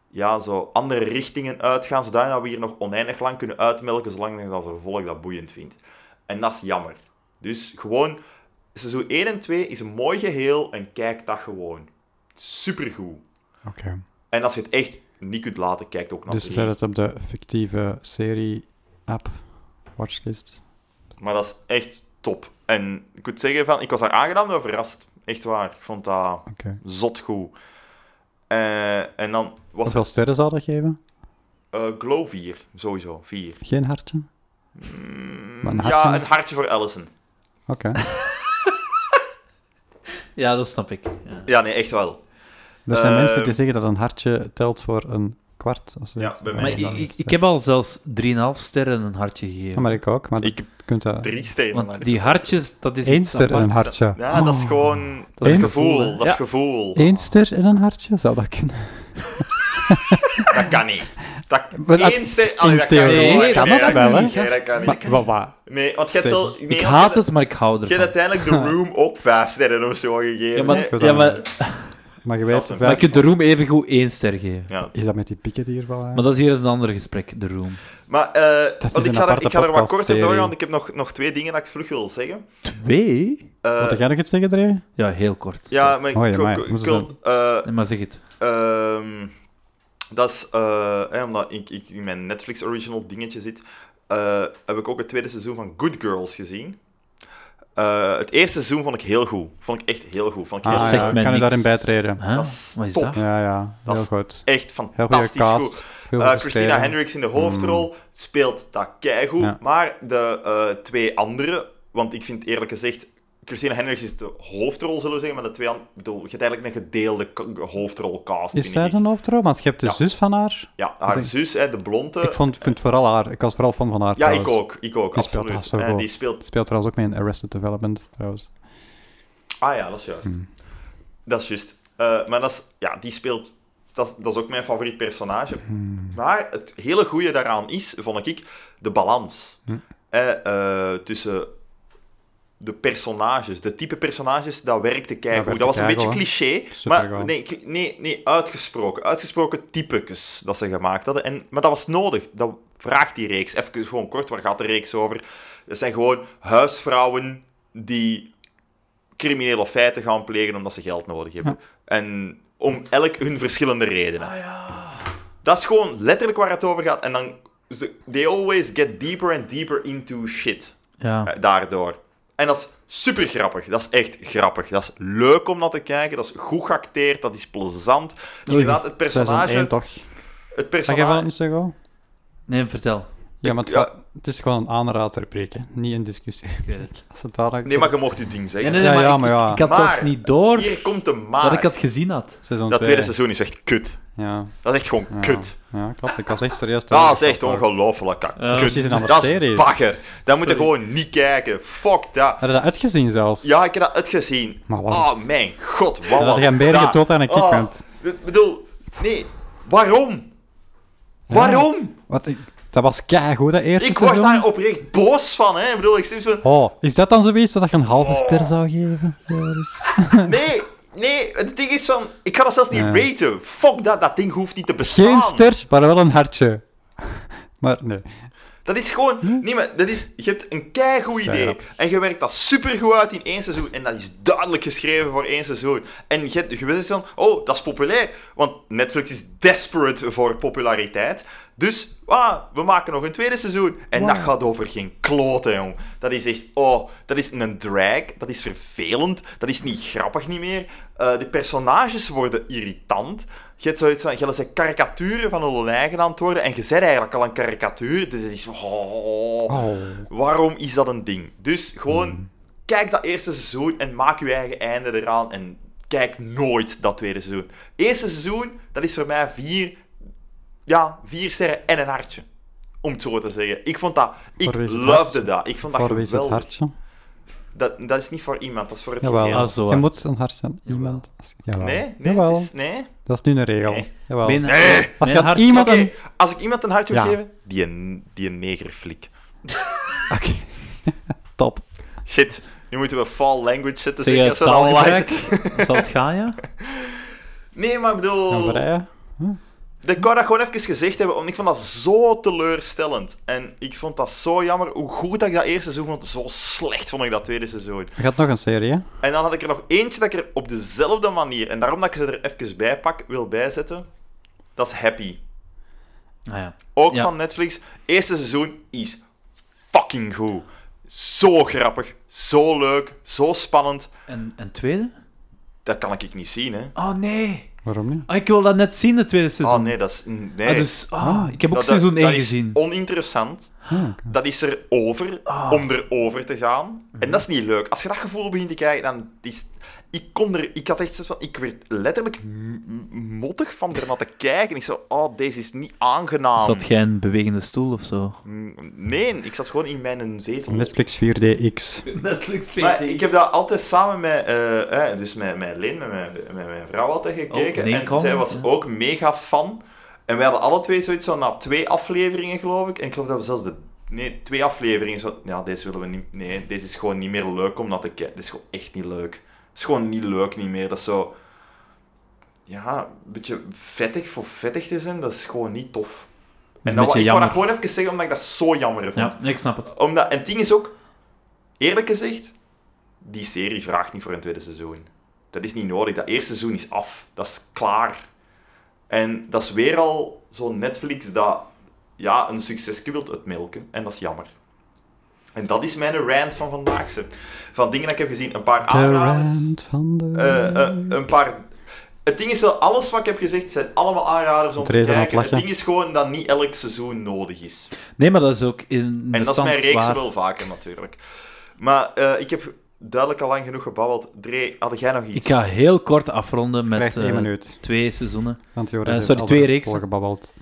Speaker 3: ja, zo andere richtingen uitgaan. Zodat we hier nog oneindig lang kunnen uitmelken. Zolang dat het volk dat boeiend vindt. En dat is jammer. Dus gewoon, seizoen 1 en 2 is een mooi geheel. En kijk dat gewoon. Supergoed.
Speaker 4: Oké.
Speaker 3: En als je het echt niet kunt laten, kijk ook naar
Speaker 4: Dus
Speaker 3: drie.
Speaker 4: zet het op de fictieve serie-app, watchlist.
Speaker 3: Maar dat is echt top. En ik moet zeggen, van, ik was daar aangedaan door verrast. Echt waar. Ik vond dat
Speaker 4: Oké.
Speaker 3: zot goed. Eh, en dan was het
Speaker 4: Hoeveel sterren zou dat geven?
Speaker 3: eh, Glow 4, sowieso. 4.
Speaker 4: Geen hartje? Maar een hartje?
Speaker 3: Mm, Ja, een hartje voor Allison.
Speaker 4: Oké.
Speaker 5: Ja, dat snap ik. Ja.
Speaker 3: Ja, nee, echt wel.
Speaker 4: Er zijn
Speaker 3: Eh,
Speaker 4: mensen die zeggen dat een hartje telt voor een kwart of zo.
Speaker 3: Ja, bij mij
Speaker 5: Maar
Speaker 3: dan
Speaker 5: ik, ik, ik heb al zelfs 3,5 sterren een hartje gegeven.
Speaker 4: Ja, maar ik ook. Maar
Speaker 3: Ik-
Speaker 4: je kunt dat...
Speaker 3: Drie stenen.
Speaker 5: Want die hartjes, dat is
Speaker 4: Eén
Speaker 5: iets
Speaker 4: ster en
Speaker 5: apart.
Speaker 4: een hartje.
Speaker 3: Ja, dat is gewoon... Dat
Speaker 4: Eén
Speaker 3: is
Speaker 4: Oh. gevoel,
Speaker 3: gevoel.
Speaker 4: hè?
Speaker 3: dat is gevoel.
Speaker 4: Eén ster en een hartje? Zou dat kunnen?
Speaker 3: Dat kan niet. Dat,
Speaker 4: Maar dat-
Speaker 3: één ster... Allee,
Speaker 4: in
Speaker 3: dat kan,
Speaker 4: theorie
Speaker 3: niet.
Speaker 4: kan dat wel, hè?
Speaker 3: niet. Nee, dat kan niet.
Speaker 4: Maar, wat, wat?
Speaker 3: Nee, want je hebt
Speaker 4: Zeg,
Speaker 3: wel... Nee,
Speaker 5: ik
Speaker 3: want
Speaker 5: haat
Speaker 3: je-
Speaker 5: het, maar ik hou
Speaker 3: Je
Speaker 5: ervan.
Speaker 3: hebt uiteindelijk
Speaker 4: [laughs]
Speaker 3: de Room ook vijf sterren of zo gegeven.
Speaker 5: Ja,
Speaker 3: hè?
Speaker 5: maar,
Speaker 4: Ik
Speaker 5: ja,
Speaker 4: was
Speaker 5: maar,
Speaker 4: aan- Maar je
Speaker 3: Dat
Speaker 4: weet...
Speaker 3: is een-
Speaker 5: maar
Speaker 4: vijf-
Speaker 5: je kunt de room even goed één ster geven.
Speaker 3: Ja.
Speaker 4: Is dat met die pikken die hier
Speaker 3: Eh,
Speaker 4: vallen?
Speaker 5: Maar dat is hier een ander gesprek, de room.
Speaker 3: Maar eh,
Speaker 4: Dat
Speaker 3: want
Speaker 4: is
Speaker 3: ik,
Speaker 4: een
Speaker 3: ga er,
Speaker 4: aparte
Speaker 3: ik ga er wat kort op
Speaker 4: podcastserie.
Speaker 3: doorgaan, want ik heb nog, nog twee dingen dat ik vlug wil zeggen.
Speaker 5: Twee?
Speaker 3: Eh,
Speaker 4: Wat ga jij nog iets zeggen, Dre?
Speaker 5: Ja, heel kort.
Speaker 3: ja, maar ik,
Speaker 4: Oh, ja,
Speaker 3: ik-
Speaker 4: maar
Speaker 3: ik- ik
Speaker 4: moeten
Speaker 3: wil... eh,
Speaker 5: Nee, maar zeg het.
Speaker 3: ehm, dat is... eh, hè, omdat ik, ik in mijn Netflix original dingetje zit, eh, heb ik ook het tweede seizoen van Good Girls gezien. Eh, het eerste seizoen vond ik heel goed. Vond ik echt heel goed. Vond ik heel
Speaker 4: Ah,
Speaker 5: zegt
Speaker 4: ja,
Speaker 5: mij
Speaker 4: kan je
Speaker 5: niks.
Speaker 4: daarin bijtreden?
Speaker 5: Huh?
Speaker 3: Dat is
Speaker 5: Wat is
Speaker 3: top.
Speaker 5: dat?
Speaker 4: Ja, ja.
Speaker 3: Dat
Speaker 4: Heel
Speaker 3: is-
Speaker 4: goed.
Speaker 3: Echt
Speaker 4: Heel goede
Speaker 3: fantastisch goed.
Speaker 4: cast. Veel
Speaker 3: Eh, Christina
Speaker 4: verschillende.
Speaker 3: Hendricks in de hoofdrol speelt dat keigoed.
Speaker 4: Ja.
Speaker 3: Maar de eh, twee anderen, want ik vind eerlijk gezegd, Christina Hendricks is de hoofdrol, zullen we zeggen. Maar de twee anderen, ik bedoel, je hebt eigenlijk een gedeelde k- hoofdrolcast.
Speaker 4: Is
Speaker 3: vind
Speaker 4: zij
Speaker 3: ik.
Speaker 4: dan hoofdrol? Want je hebt de
Speaker 3: Ja.
Speaker 4: zus van haar.
Speaker 3: Ja, haar
Speaker 4: Is
Speaker 3: zus, hè, de blonde.
Speaker 4: Ik vond, vind vooral haar. Ik was vooral fan van haar.
Speaker 3: ja, ik
Speaker 4: trouwens.
Speaker 3: ook. Ik ook,
Speaker 4: Die speelt
Speaker 3: absoluut.
Speaker 4: dat zo
Speaker 3: en
Speaker 4: goed.
Speaker 3: die speelt.
Speaker 4: Speelt trouwens ook mee in Arrested Development, trouwens.
Speaker 3: Ah ja, dat is juist. Dat is juist. Eh, maar dat is, ja, die speelt. Dat is, dat is ook mijn favoriet personage. Maar het hele goede daaraan is, vond ik, de balans. Eh, eh, tussen de personages, de type personages, dat werkte keigoed.
Speaker 4: werkte
Speaker 3: dat was een beetje
Speaker 4: keigoed, hè?
Speaker 3: cliché,
Speaker 4: Supergoed.
Speaker 3: maar nee, cli- nee, nee, uitgesproken. Uitgesproken typekes dat ze gemaakt hadden. En, maar dat was nodig. Dat vraagt die reeks. Even gewoon kort, waar gaat de reeks over? Dat zijn gewoon huisvrouwen die criminele feiten gaan plegen omdat ze geld nodig hebben. En om elk hun verschillende redenen. Dat is gewoon letterlijk waar het over gaat. En dan... ze- They always get deeper and deeper into shit.
Speaker 5: Ja.
Speaker 3: Eh, Daardoor. En dat is super grappig. Dat is echt grappig. Dat is leuk om naar te kijken. Dat is goed geacteerd. Dat is plezant. Inderdaad, het
Speaker 4: Seizoen
Speaker 3: personage...
Speaker 4: 1, toch?
Speaker 3: Het
Speaker 4: Mag jij wel
Speaker 3: personage...
Speaker 4: niet zeggen?
Speaker 5: Nee, vertel.
Speaker 4: Ja, maar het,
Speaker 3: Ja.
Speaker 4: gaat- het is gewoon een aanraderpreek, hè. niet een discussie. [laughs]
Speaker 5: Ik weet het.
Speaker 4: Als het daar
Speaker 3: Nee, maar je mocht je ding zeggen.
Speaker 5: Nee, nee, nee,
Speaker 4: Ja,
Speaker 5: maar
Speaker 4: ja,
Speaker 5: ik-
Speaker 4: maar ja. Oh.
Speaker 5: Ik, ik had
Speaker 3: Maar-
Speaker 5: zelfs niet door
Speaker 3: Hier komt de
Speaker 5: dat
Speaker 3: maar.
Speaker 5: ik het gezien had.
Speaker 4: Seizoen
Speaker 3: Dat
Speaker 4: twee.
Speaker 3: tweede seizoen is echt kut.
Speaker 4: Ja,
Speaker 3: Dat is echt gewoon
Speaker 4: ja.
Speaker 3: kut.
Speaker 4: Ja, klopt. Ik was echt serieus.
Speaker 3: Dat is echt ongelooflijk. kak.
Speaker 5: Ja,
Speaker 3: kut.
Speaker 4: precies een andere
Speaker 3: dat is
Speaker 4: serie.
Speaker 3: bagger. Dat moet je gewoon niet kijken. Fuck dat.
Speaker 4: Had je dat uitgezien zelfs?
Speaker 3: Ja, ik heb dat uitgezien.
Speaker 4: Maar wat?
Speaker 3: Oh, mijn god, wat
Speaker 4: dat
Speaker 3: was
Speaker 4: je hem meer
Speaker 3: dat? Oh,
Speaker 4: getoond aan een kick bent.
Speaker 3: Ik bedoel, nee, waarom? Waarom?
Speaker 4: Wat, ik, dat was keigoed, dat eerste
Speaker 3: Ik word
Speaker 4: seizoen.
Speaker 3: daar oprecht boos van, hè. Ik bedoel, ik stem
Speaker 4: [laughs]
Speaker 3: zo...
Speaker 4: Oh, is dat dan zoiets dat je een
Speaker 3: Oh.
Speaker 4: halve ster zou geven? Joris?
Speaker 3: Nee, nee, het ding is van... Ik ga dat zelfs niet
Speaker 4: Ja.
Speaker 3: raten. Fuck dat, dat ding hoeft niet te bestaan.
Speaker 4: Geen ster, [laughs] maar wel een hartje. Maar nee.
Speaker 3: Dat is gewoon...
Speaker 4: Hm?
Speaker 3: Nee, maar dat is... Je hebt een keigoed idee. En je werkt dat supergoed uit in één seizoen. En dat is duidelijk geschreven voor één seizoen. En je, je wist dan... Oh, dat is populair. Want Netflix is desperate voor populariteit. Dus, ah, we maken nog een tweede seizoen. En dat gaat over geen kloten, jong. Dat is echt... Oh, dat is een drag. Dat is vervelend. Dat is niet grappig niet meer. Eh, de personages worden irritant. Je hebt zoiets van, je zijn karikaturen van hun eigen antwoorden en je bent eigenlijk al een karikatuur, dus het is... oh, Waarom is dat een ding? Dus gewoon,
Speaker 4: Mm.
Speaker 3: kijk dat eerste seizoen en maak je eigen einde eraan en kijk nooit dat tweede seizoen. Eerste seizoen, dat is voor mij vier, ja, vier sterren en een hartje. Om het zo te zeggen. Ik vond dat, ik
Speaker 4: Voor wie is het
Speaker 3: lovede
Speaker 4: hartje?
Speaker 3: dat. Ik vond dat
Speaker 4: Voor wie is het
Speaker 3: geweldig.
Speaker 4: hartje?
Speaker 3: Dat, dat is niet voor iemand, dat is voor het
Speaker 4: Jawel.
Speaker 3: geheel.
Speaker 5: Ah, zo.
Speaker 4: Je
Speaker 5: hè.
Speaker 4: moet een hart zijn. Iemand. Als- Jawel.
Speaker 3: Nee, nee,
Speaker 4: Jawel.
Speaker 3: het is- nee.
Speaker 4: Dat is nu een regel.
Speaker 3: Nee.
Speaker 4: Jawel.
Speaker 5: Mijn-
Speaker 4: Als je
Speaker 5: mijn
Speaker 4: aan
Speaker 5: hart-
Speaker 4: iemand
Speaker 3: Oké,
Speaker 4: een...
Speaker 3: als ik iemand een hart wil
Speaker 4: Ja.
Speaker 3: geven, die een, die een negerflik.
Speaker 4: [laughs] Oké. [laughs] Top.
Speaker 3: Oh. Shit, nu moeten we fall language zetten.
Speaker 5: Zeg
Speaker 3: zeker
Speaker 5: je
Speaker 3: als we dat online
Speaker 5: taalgebruik?
Speaker 3: zetten. [laughs]
Speaker 5: Zal het gaan, ja?
Speaker 3: Nee, maar ik
Speaker 4: Gaan
Speaker 3: bedoel...
Speaker 4: vrijen.
Speaker 3: Ik wou dat gewoon even gezegd hebben, want ik vond dat zo teleurstellend. En ik vond dat zo jammer. Hoe goed dat ik dat eerste seizoen vond, zo slecht vond ik dat tweede seizoen.
Speaker 4: Je gaat nog een serie, hè?
Speaker 3: En dan had ik er nog eentje dat ik er op dezelfde manier, en daarom dat ik ze er even bij pak, wil bijzetten. Dat is Happy.
Speaker 5: Ah, ja.
Speaker 3: Ook
Speaker 5: Ja.
Speaker 3: van Netflix. Eerste seizoen is fucking goed. Zo grappig, zo leuk, zo spannend.
Speaker 5: En, en tweede?
Speaker 3: Dat kan ik niet zien, hè.
Speaker 5: Oh nee!
Speaker 4: Waarom niet?
Speaker 5: Ah, ik wil dat net zien, het tweede seizoen.
Speaker 3: Oh nee, dat is... Nee.
Speaker 5: Ah, dus, ah, ik heb ook
Speaker 3: Hmm. Dat- dat-
Speaker 5: seizoen 1
Speaker 3: dat is
Speaker 5: gezien.
Speaker 3: oninteressant. Dat is er over, om erover te gaan. En dat is niet leuk. Als je dat gevoel begint te krijgen, dan is... Ik kon er... Ik had echt zo... Ik werd letterlijk m- m- mottig van ernaar te kijken. Ik zo... Oh, deze is niet aangenaam.
Speaker 5: Zat jij een bewegende stoel of zo?
Speaker 3: Mm, Nee, ik zat gewoon in mijn zetel.
Speaker 4: Netflix
Speaker 3: Ah,
Speaker 4: 4DX.
Speaker 5: Netflix
Speaker 3: Maar ik heb dat altijd samen met, eh, eh, dus met, met Leen, met mijn, met mijn vrouw altijd gekeken.
Speaker 5: Oh, nee,
Speaker 3: en
Speaker 5: kom.
Speaker 3: zij was
Speaker 5: Ja.
Speaker 3: ook mega fan. En wij hadden alle twee zoiets zo na twee afleveringen, geloof ik. En ik geloof dat we zelfs de... Nee, twee afleveringen. Zo, ja, deze willen we niet... Nee, deze is gewoon niet meer leuk om dat te kijken. Dit is gewoon echt niet leuk. Het is gewoon niet leuk, niet meer. Dat is zo... Ja, een beetje vettig voor vettig te zijn, dat is gewoon niet tof.
Speaker 5: een
Speaker 3: En dat, wou-
Speaker 5: beetje
Speaker 3: ik wou dat
Speaker 5: jammer.
Speaker 3: gewoon even zeggen, omdat ik dat zo jammer vond.
Speaker 5: Ja, nee, ik snap het.
Speaker 3: Omdat, en het ding is ook, eerlijk gezegd, die serie vraagt niet voor een tweede seizoen. Dat is niet nodig. Dat eerste seizoen is af. Dat is klaar. En dat is weer al zo'n Netflix dat ja, een succesje wilt uitmelken. En dat is jammer. En dat is mijn rant van vandaag. ze. Van dingen dat ik heb gezien. Een paar
Speaker 4: De
Speaker 3: aanraders.
Speaker 4: rand van de...
Speaker 3: Eh, eh, een paar... Het ding is wel, alles wat ik heb gezegd, zijn allemaal aanraders om te
Speaker 4: Theresa aan het
Speaker 3: kijken. Het
Speaker 4: lachen.
Speaker 3: ding is gewoon dat niet elk seizoen nodig is.
Speaker 5: Nee, maar dat is ook interessant.
Speaker 3: En dat is mijn reeks
Speaker 5: waar-
Speaker 3: wel vaker natuurlijk. Maar eh, ik heb duidelijk al lang genoeg gebabbeld. Dre, had jij nog iets?
Speaker 5: Ik ga heel kort afronden met
Speaker 4: Krijgt één
Speaker 5: eh,
Speaker 4: minuut.
Speaker 5: twee seizoenen.
Speaker 4: Want
Speaker 5: eh,
Speaker 4: Joris heeft
Speaker 5: sorry,
Speaker 4: al de
Speaker 5: twee
Speaker 4: rest
Speaker 5: reeksen.
Speaker 4: volgebabbeld.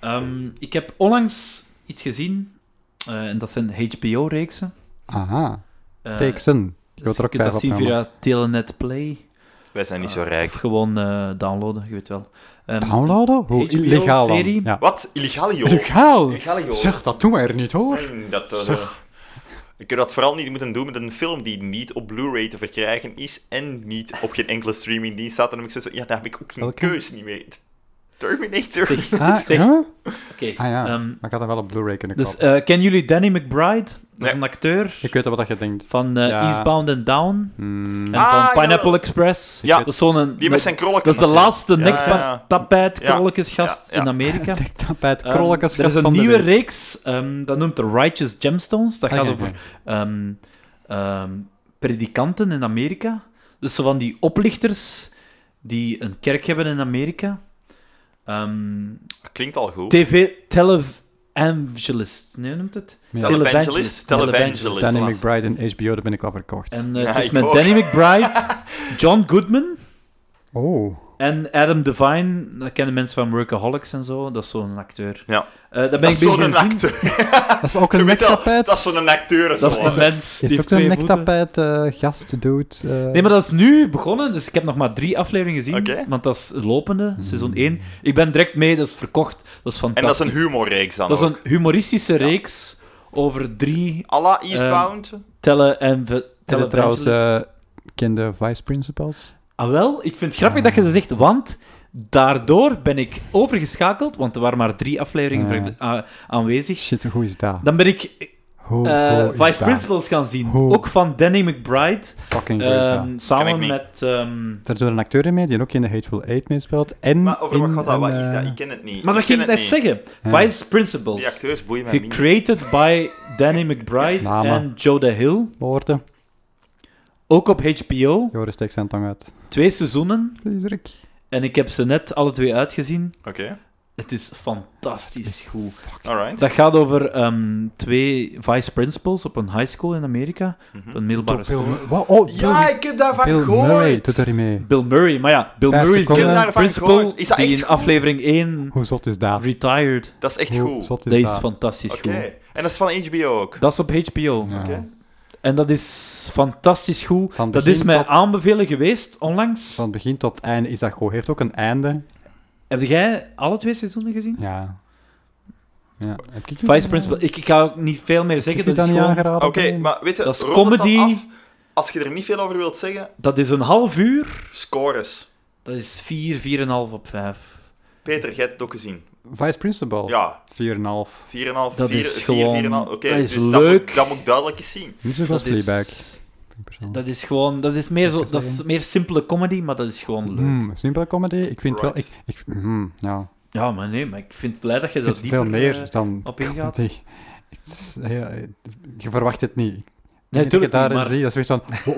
Speaker 5: Ehm, ik heb onlangs iets gezien, eh, en dat zijn HBO-reeksen.
Speaker 4: Aha.
Speaker 5: Eh,
Speaker 4: Reeksen. Je
Speaker 5: dus
Speaker 4: wilt er
Speaker 5: je
Speaker 4: ook
Speaker 5: kunt
Speaker 4: vijf
Speaker 5: dat zien
Speaker 4: opnemen.
Speaker 5: via Telenet Play.
Speaker 3: Wij zijn niet zo
Speaker 5: Of
Speaker 3: rijk.
Speaker 5: gewoon eh, downloaden, je weet wel. Ehm,
Speaker 4: Downloaden? Hoe
Speaker 5: HBO
Speaker 4: illegaal dan?
Speaker 5: serie.
Speaker 4: Ja.
Speaker 3: Wat?
Speaker 5: [laughs]
Speaker 3: Illegaal, joh.
Speaker 4: Illegaal?
Speaker 3: Illegaal, joh.
Speaker 4: Zeg, dat doen wij er niet, hoor.
Speaker 3: Mm, Dat, eh,
Speaker 4: Zeg.
Speaker 3: Ik heb dat vooral niet moeten doen met een film die niet op Blu-ray te verkrijgen is en niet op geen enkele streamingdienst staat. En dan heb ik zo, ja, daar heb ik ook geen
Speaker 4: Welke?
Speaker 3: keus niet meer. Terminator.
Speaker 5: Zeg,
Speaker 4: Ah,
Speaker 5: [laughs] zeg,
Speaker 4: huh?
Speaker 5: oké.
Speaker 4: ah ja,
Speaker 5: Ehm,
Speaker 4: maar ik had hem wel op Blu-ray kunnen
Speaker 5: dus
Speaker 4: kopen.
Speaker 5: eh, kennen jullie Danny McBride? Dat
Speaker 3: Nee.
Speaker 5: is een acteur
Speaker 4: ik weet wel wat je denkt.
Speaker 5: van eh,
Speaker 4: Ja.
Speaker 5: Eastbound and Down
Speaker 4: Hmm.
Speaker 5: en
Speaker 3: Ah,
Speaker 5: van Pineapple
Speaker 3: jawel.
Speaker 5: Express.
Speaker 3: Ja.
Speaker 5: Dat is zo'n... een-
Speaker 3: Die met zijn krollen.
Speaker 5: dat is de laatste
Speaker 3: Ja, ja.
Speaker 5: nektapijt,
Speaker 3: Ja,
Speaker 5: krolletjesgast
Speaker 3: ja, ja.
Speaker 5: in
Speaker 3: [laughs]
Speaker 4: [laughs]
Speaker 5: Amerika.
Speaker 4: Tik dat bij het
Speaker 5: Ehm,
Speaker 4: krolletjes
Speaker 5: er is een
Speaker 4: van de
Speaker 5: nieuwe
Speaker 4: week.
Speaker 5: reeks, ehm, dat noemt de Righteous Gemstones. Dat
Speaker 4: Ah,
Speaker 5: gaat
Speaker 4: ja,
Speaker 5: over
Speaker 4: ja.
Speaker 5: ehm, ehm, predikanten in Amerika. Dus zo van die oplichters die een kerk hebben in Amerika. Ehm,
Speaker 3: Klinkt al goed.
Speaker 5: TV televangelist, nee noemt het?
Speaker 4: Ja.
Speaker 3: Televangelist, televangelist.
Speaker 4: Danny
Speaker 3: Voilà.
Speaker 4: McBride en HBO, daar ben ik wel verkocht.
Speaker 5: En eh, het
Speaker 3: Ja,
Speaker 5: is
Speaker 3: ik
Speaker 5: met
Speaker 3: ook.
Speaker 5: Danny
Speaker 3: [laughs]
Speaker 5: McBride, John Goodman [laughs]
Speaker 4: Oh.
Speaker 5: en Adam Devine. Dat kennen mensen van Workaholics en zo. Dat is zo'n acteur.
Speaker 3: Ja.
Speaker 5: Eh, dat ben
Speaker 3: Dat
Speaker 5: ik
Speaker 3: is
Speaker 5: bezig
Speaker 3: zo'n
Speaker 5: gaan zien.
Speaker 3: acteur.
Speaker 4: Dat is ook
Speaker 3: Je
Speaker 4: een
Speaker 3: weet wel,
Speaker 4: nektapijt.
Speaker 3: Dat is zo'n acteur.
Speaker 5: Dat is
Speaker 3: zoals.
Speaker 5: een mens die
Speaker 4: Is
Speaker 5: heeft
Speaker 4: ook een
Speaker 5: twee voeten.
Speaker 4: nektapijt eh, gast, dude. eh.
Speaker 5: Nee, maar dat is nu begonnen, dus ik heb nog maar drie afleveringen gezien.
Speaker 3: Oké.
Speaker 5: Want dat is lopende,
Speaker 4: Hmm.
Speaker 5: seizoen 1. Ik ben direct mee, dat is verkocht. Dat is
Speaker 3: En
Speaker 5: fantastisch.
Speaker 3: dat is een humorreeks dan
Speaker 5: Dat is
Speaker 3: ook.
Speaker 5: een humoristische reeks over drie
Speaker 3: Alla
Speaker 5: Ehm,
Speaker 3: Eastbound.
Speaker 5: tellen en... ve-
Speaker 4: Ken je trouwens
Speaker 5: televangelisten.
Speaker 4: eh, ken de vice principals?
Speaker 5: Ah wel, ik vind het grappig dat je dat zegt, want Daardoor ben ik overgeschakeld, want er waren maar drie afleveringen
Speaker 4: Ja.
Speaker 5: verkle- a- aanwezig.
Speaker 4: Shit, hoe is dat?
Speaker 5: Dan ben ik
Speaker 4: Hoe,
Speaker 5: eh,
Speaker 4: hoe is
Speaker 5: Vice
Speaker 4: dat?
Speaker 5: Principals gaan zien.
Speaker 4: Hoe?
Speaker 5: Ook van Danny McBride.
Speaker 4: Fucking hoe is dat?
Speaker 5: ehm,
Speaker 3: Ken
Speaker 5: samen
Speaker 3: ik niet.
Speaker 5: met... ehm,
Speaker 4: Daar doet een acteur in mee die ook in de Hateful Eight meespeelt. En
Speaker 3: Maar over wat
Speaker 4: in
Speaker 3: gaat dat? Wat
Speaker 4: een,
Speaker 3: is dat?
Speaker 4: eh,
Speaker 3: Ik ken het niet.
Speaker 5: maar dat
Speaker 3: ken
Speaker 5: ging ik net
Speaker 3: het niet.
Speaker 5: zeggen.
Speaker 4: Ja.
Speaker 5: Vice Principals.
Speaker 3: Die acteurs boeien mij minder.
Speaker 5: Gecreated by Danny McBride
Speaker 4: Namen.
Speaker 5: en Joe Hill.
Speaker 4: woorden.
Speaker 5: Ook op HBO.
Speaker 4: Joris steekt zijn tong uit.
Speaker 5: Twee seizoenen.
Speaker 4: Please, Rick.
Speaker 5: En ik heb ze net alle twee uitgezien.
Speaker 3: Oké,
Speaker 5: Het is fantastisch goed.
Speaker 3: alright.
Speaker 5: Dat gaat over ehm, twee vice principals op een high school in Amerika.
Speaker 3: Mhm.
Speaker 5: Op een middelbare
Speaker 4: Bill,
Speaker 5: school.
Speaker 4: Murray. Wow, oh, Bill,
Speaker 3: Ja, ik heb daarvan
Speaker 4: Bill
Speaker 3: gehoord.
Speaker 4: Murray doet daarin mee.
Speaker 5: Bill Murray, maar ja, Bill
Speaker 4: Vijf
Speaker 5: Murray is
Speaker 4: seconden. Ik
Speaker 5: de
Speaker 4: heb
Speaker 3: daarvan
Speaker 5: principal
Speaker 3: gehoord. Is dat
Speaker 5: die
Speaker 3: echt
Speaker 5: in
Speaker 3: goed?
Speaker 5: aflevering 1
Speaker 4: Hoe zot is dat?
Speaker 5: retired.
Speaker 3: Dat is echt
Speaker 4: Hoe
Speaker 3: goed.
Speaker 4: zot is
Speaker 5: Dat is
Speaker 4: dat?
Speaker 5: fantastisch
Speaker 3: Oké.
Speaker 5: goed.
Speaker 3: En dat is van HBO ook.
Speaker 5: Dat is op HBO.
Speaker 4: Ja.
Speaker 3: Oké.
Speaker 5: En dat is fantastisch goed.
Speaker 4: Van
Speaker 5: dat
Speaker 4: begin
Speaker 5: is mij
Speaker 4: tot-
Speaker 5: aanbevelen geweest onlangs.
Speaker 4: Van begin tot einde is dat goed. Heeft ook een einde.
Speaker 5: Heb jij alle twee seizoenen gezien?
Speaker 4: Ja. ja. Heb ik je
Speaker 5: Vice principal. Ik, ik ga ook niet veel meer zeggen. Dat
Speaker 4: dan
Speaker 5: is,
Speaker 4: niet
Speaker 5: gewoon-
Speaker 4: aangeraden?
Speaker 3: Oké, maar weet je,
Speaker 5: Dat is
Speaker 3: rond het dan
Speaker 5: comedy.
Speaker 3: af. Als je er niet veel over wilt zeggen,
Speaker 5: dat is een half uur.
Speaker 3: scores.
Speaker 5: Dat is 4, 4,5 op 5.
Speaker 3: Peter, jij hebt het ook gezien.
Speaker 4: Vice principal?
Speaker 3: Ja,
Speaker 4: 4,5.
Speaker 3: 4,5, 4,
Speaker 5: Oh. Dat
Speaker 3: 4,
Speaker 5: is gewoon-
Speaker 3: 4,5. Oké,
Speaker 5: dat is
Speaker 3: dus Dat
Speaker 5: leuk.
Speaker 3: moet, dat moet duidelijk eens zien.
Speaker 4: Niet zo
Speaker 5: Dat
Speaker 4: goed
Speaker 5: is,
Speaker 4: playback.
Speaker 5: dat is gewoon, dat is meer, zo,
Speaker 4: Even
Speaker 5: dat is
Speaker 4: zeggen.
Speaker 5: meer simpele comedy, maar dat is gewoon leuk.
Speaker 4: Mm, simpele comedy. Ik vind wel...
Speaker 3: Right.
Speaker 4: Ik, ik, mm, ja.
Speaker 5: Ja, maar nee, maar ik vind het blij dat je
Speaker 4: Ik
Speaker 5: dat
Speaker 4: vind
Speaker 5: dieper...
Speaker 4: veel meer
Speaker 5: eh,
Speaker 4: dan
Speaker 5: op
Speaker 4: [laughs]
Speaker 5: ingaat.
Speaker 4: comedy. Het is heel- het is- je verwacht het niet. Ik
Speaker 5: Nee,
Speaker 4: denk dat je
Speaker 5: tuurlijk niet,
Speaker 4: daarin
Speaker 5: maar
Speaker 4: zie, dat is weer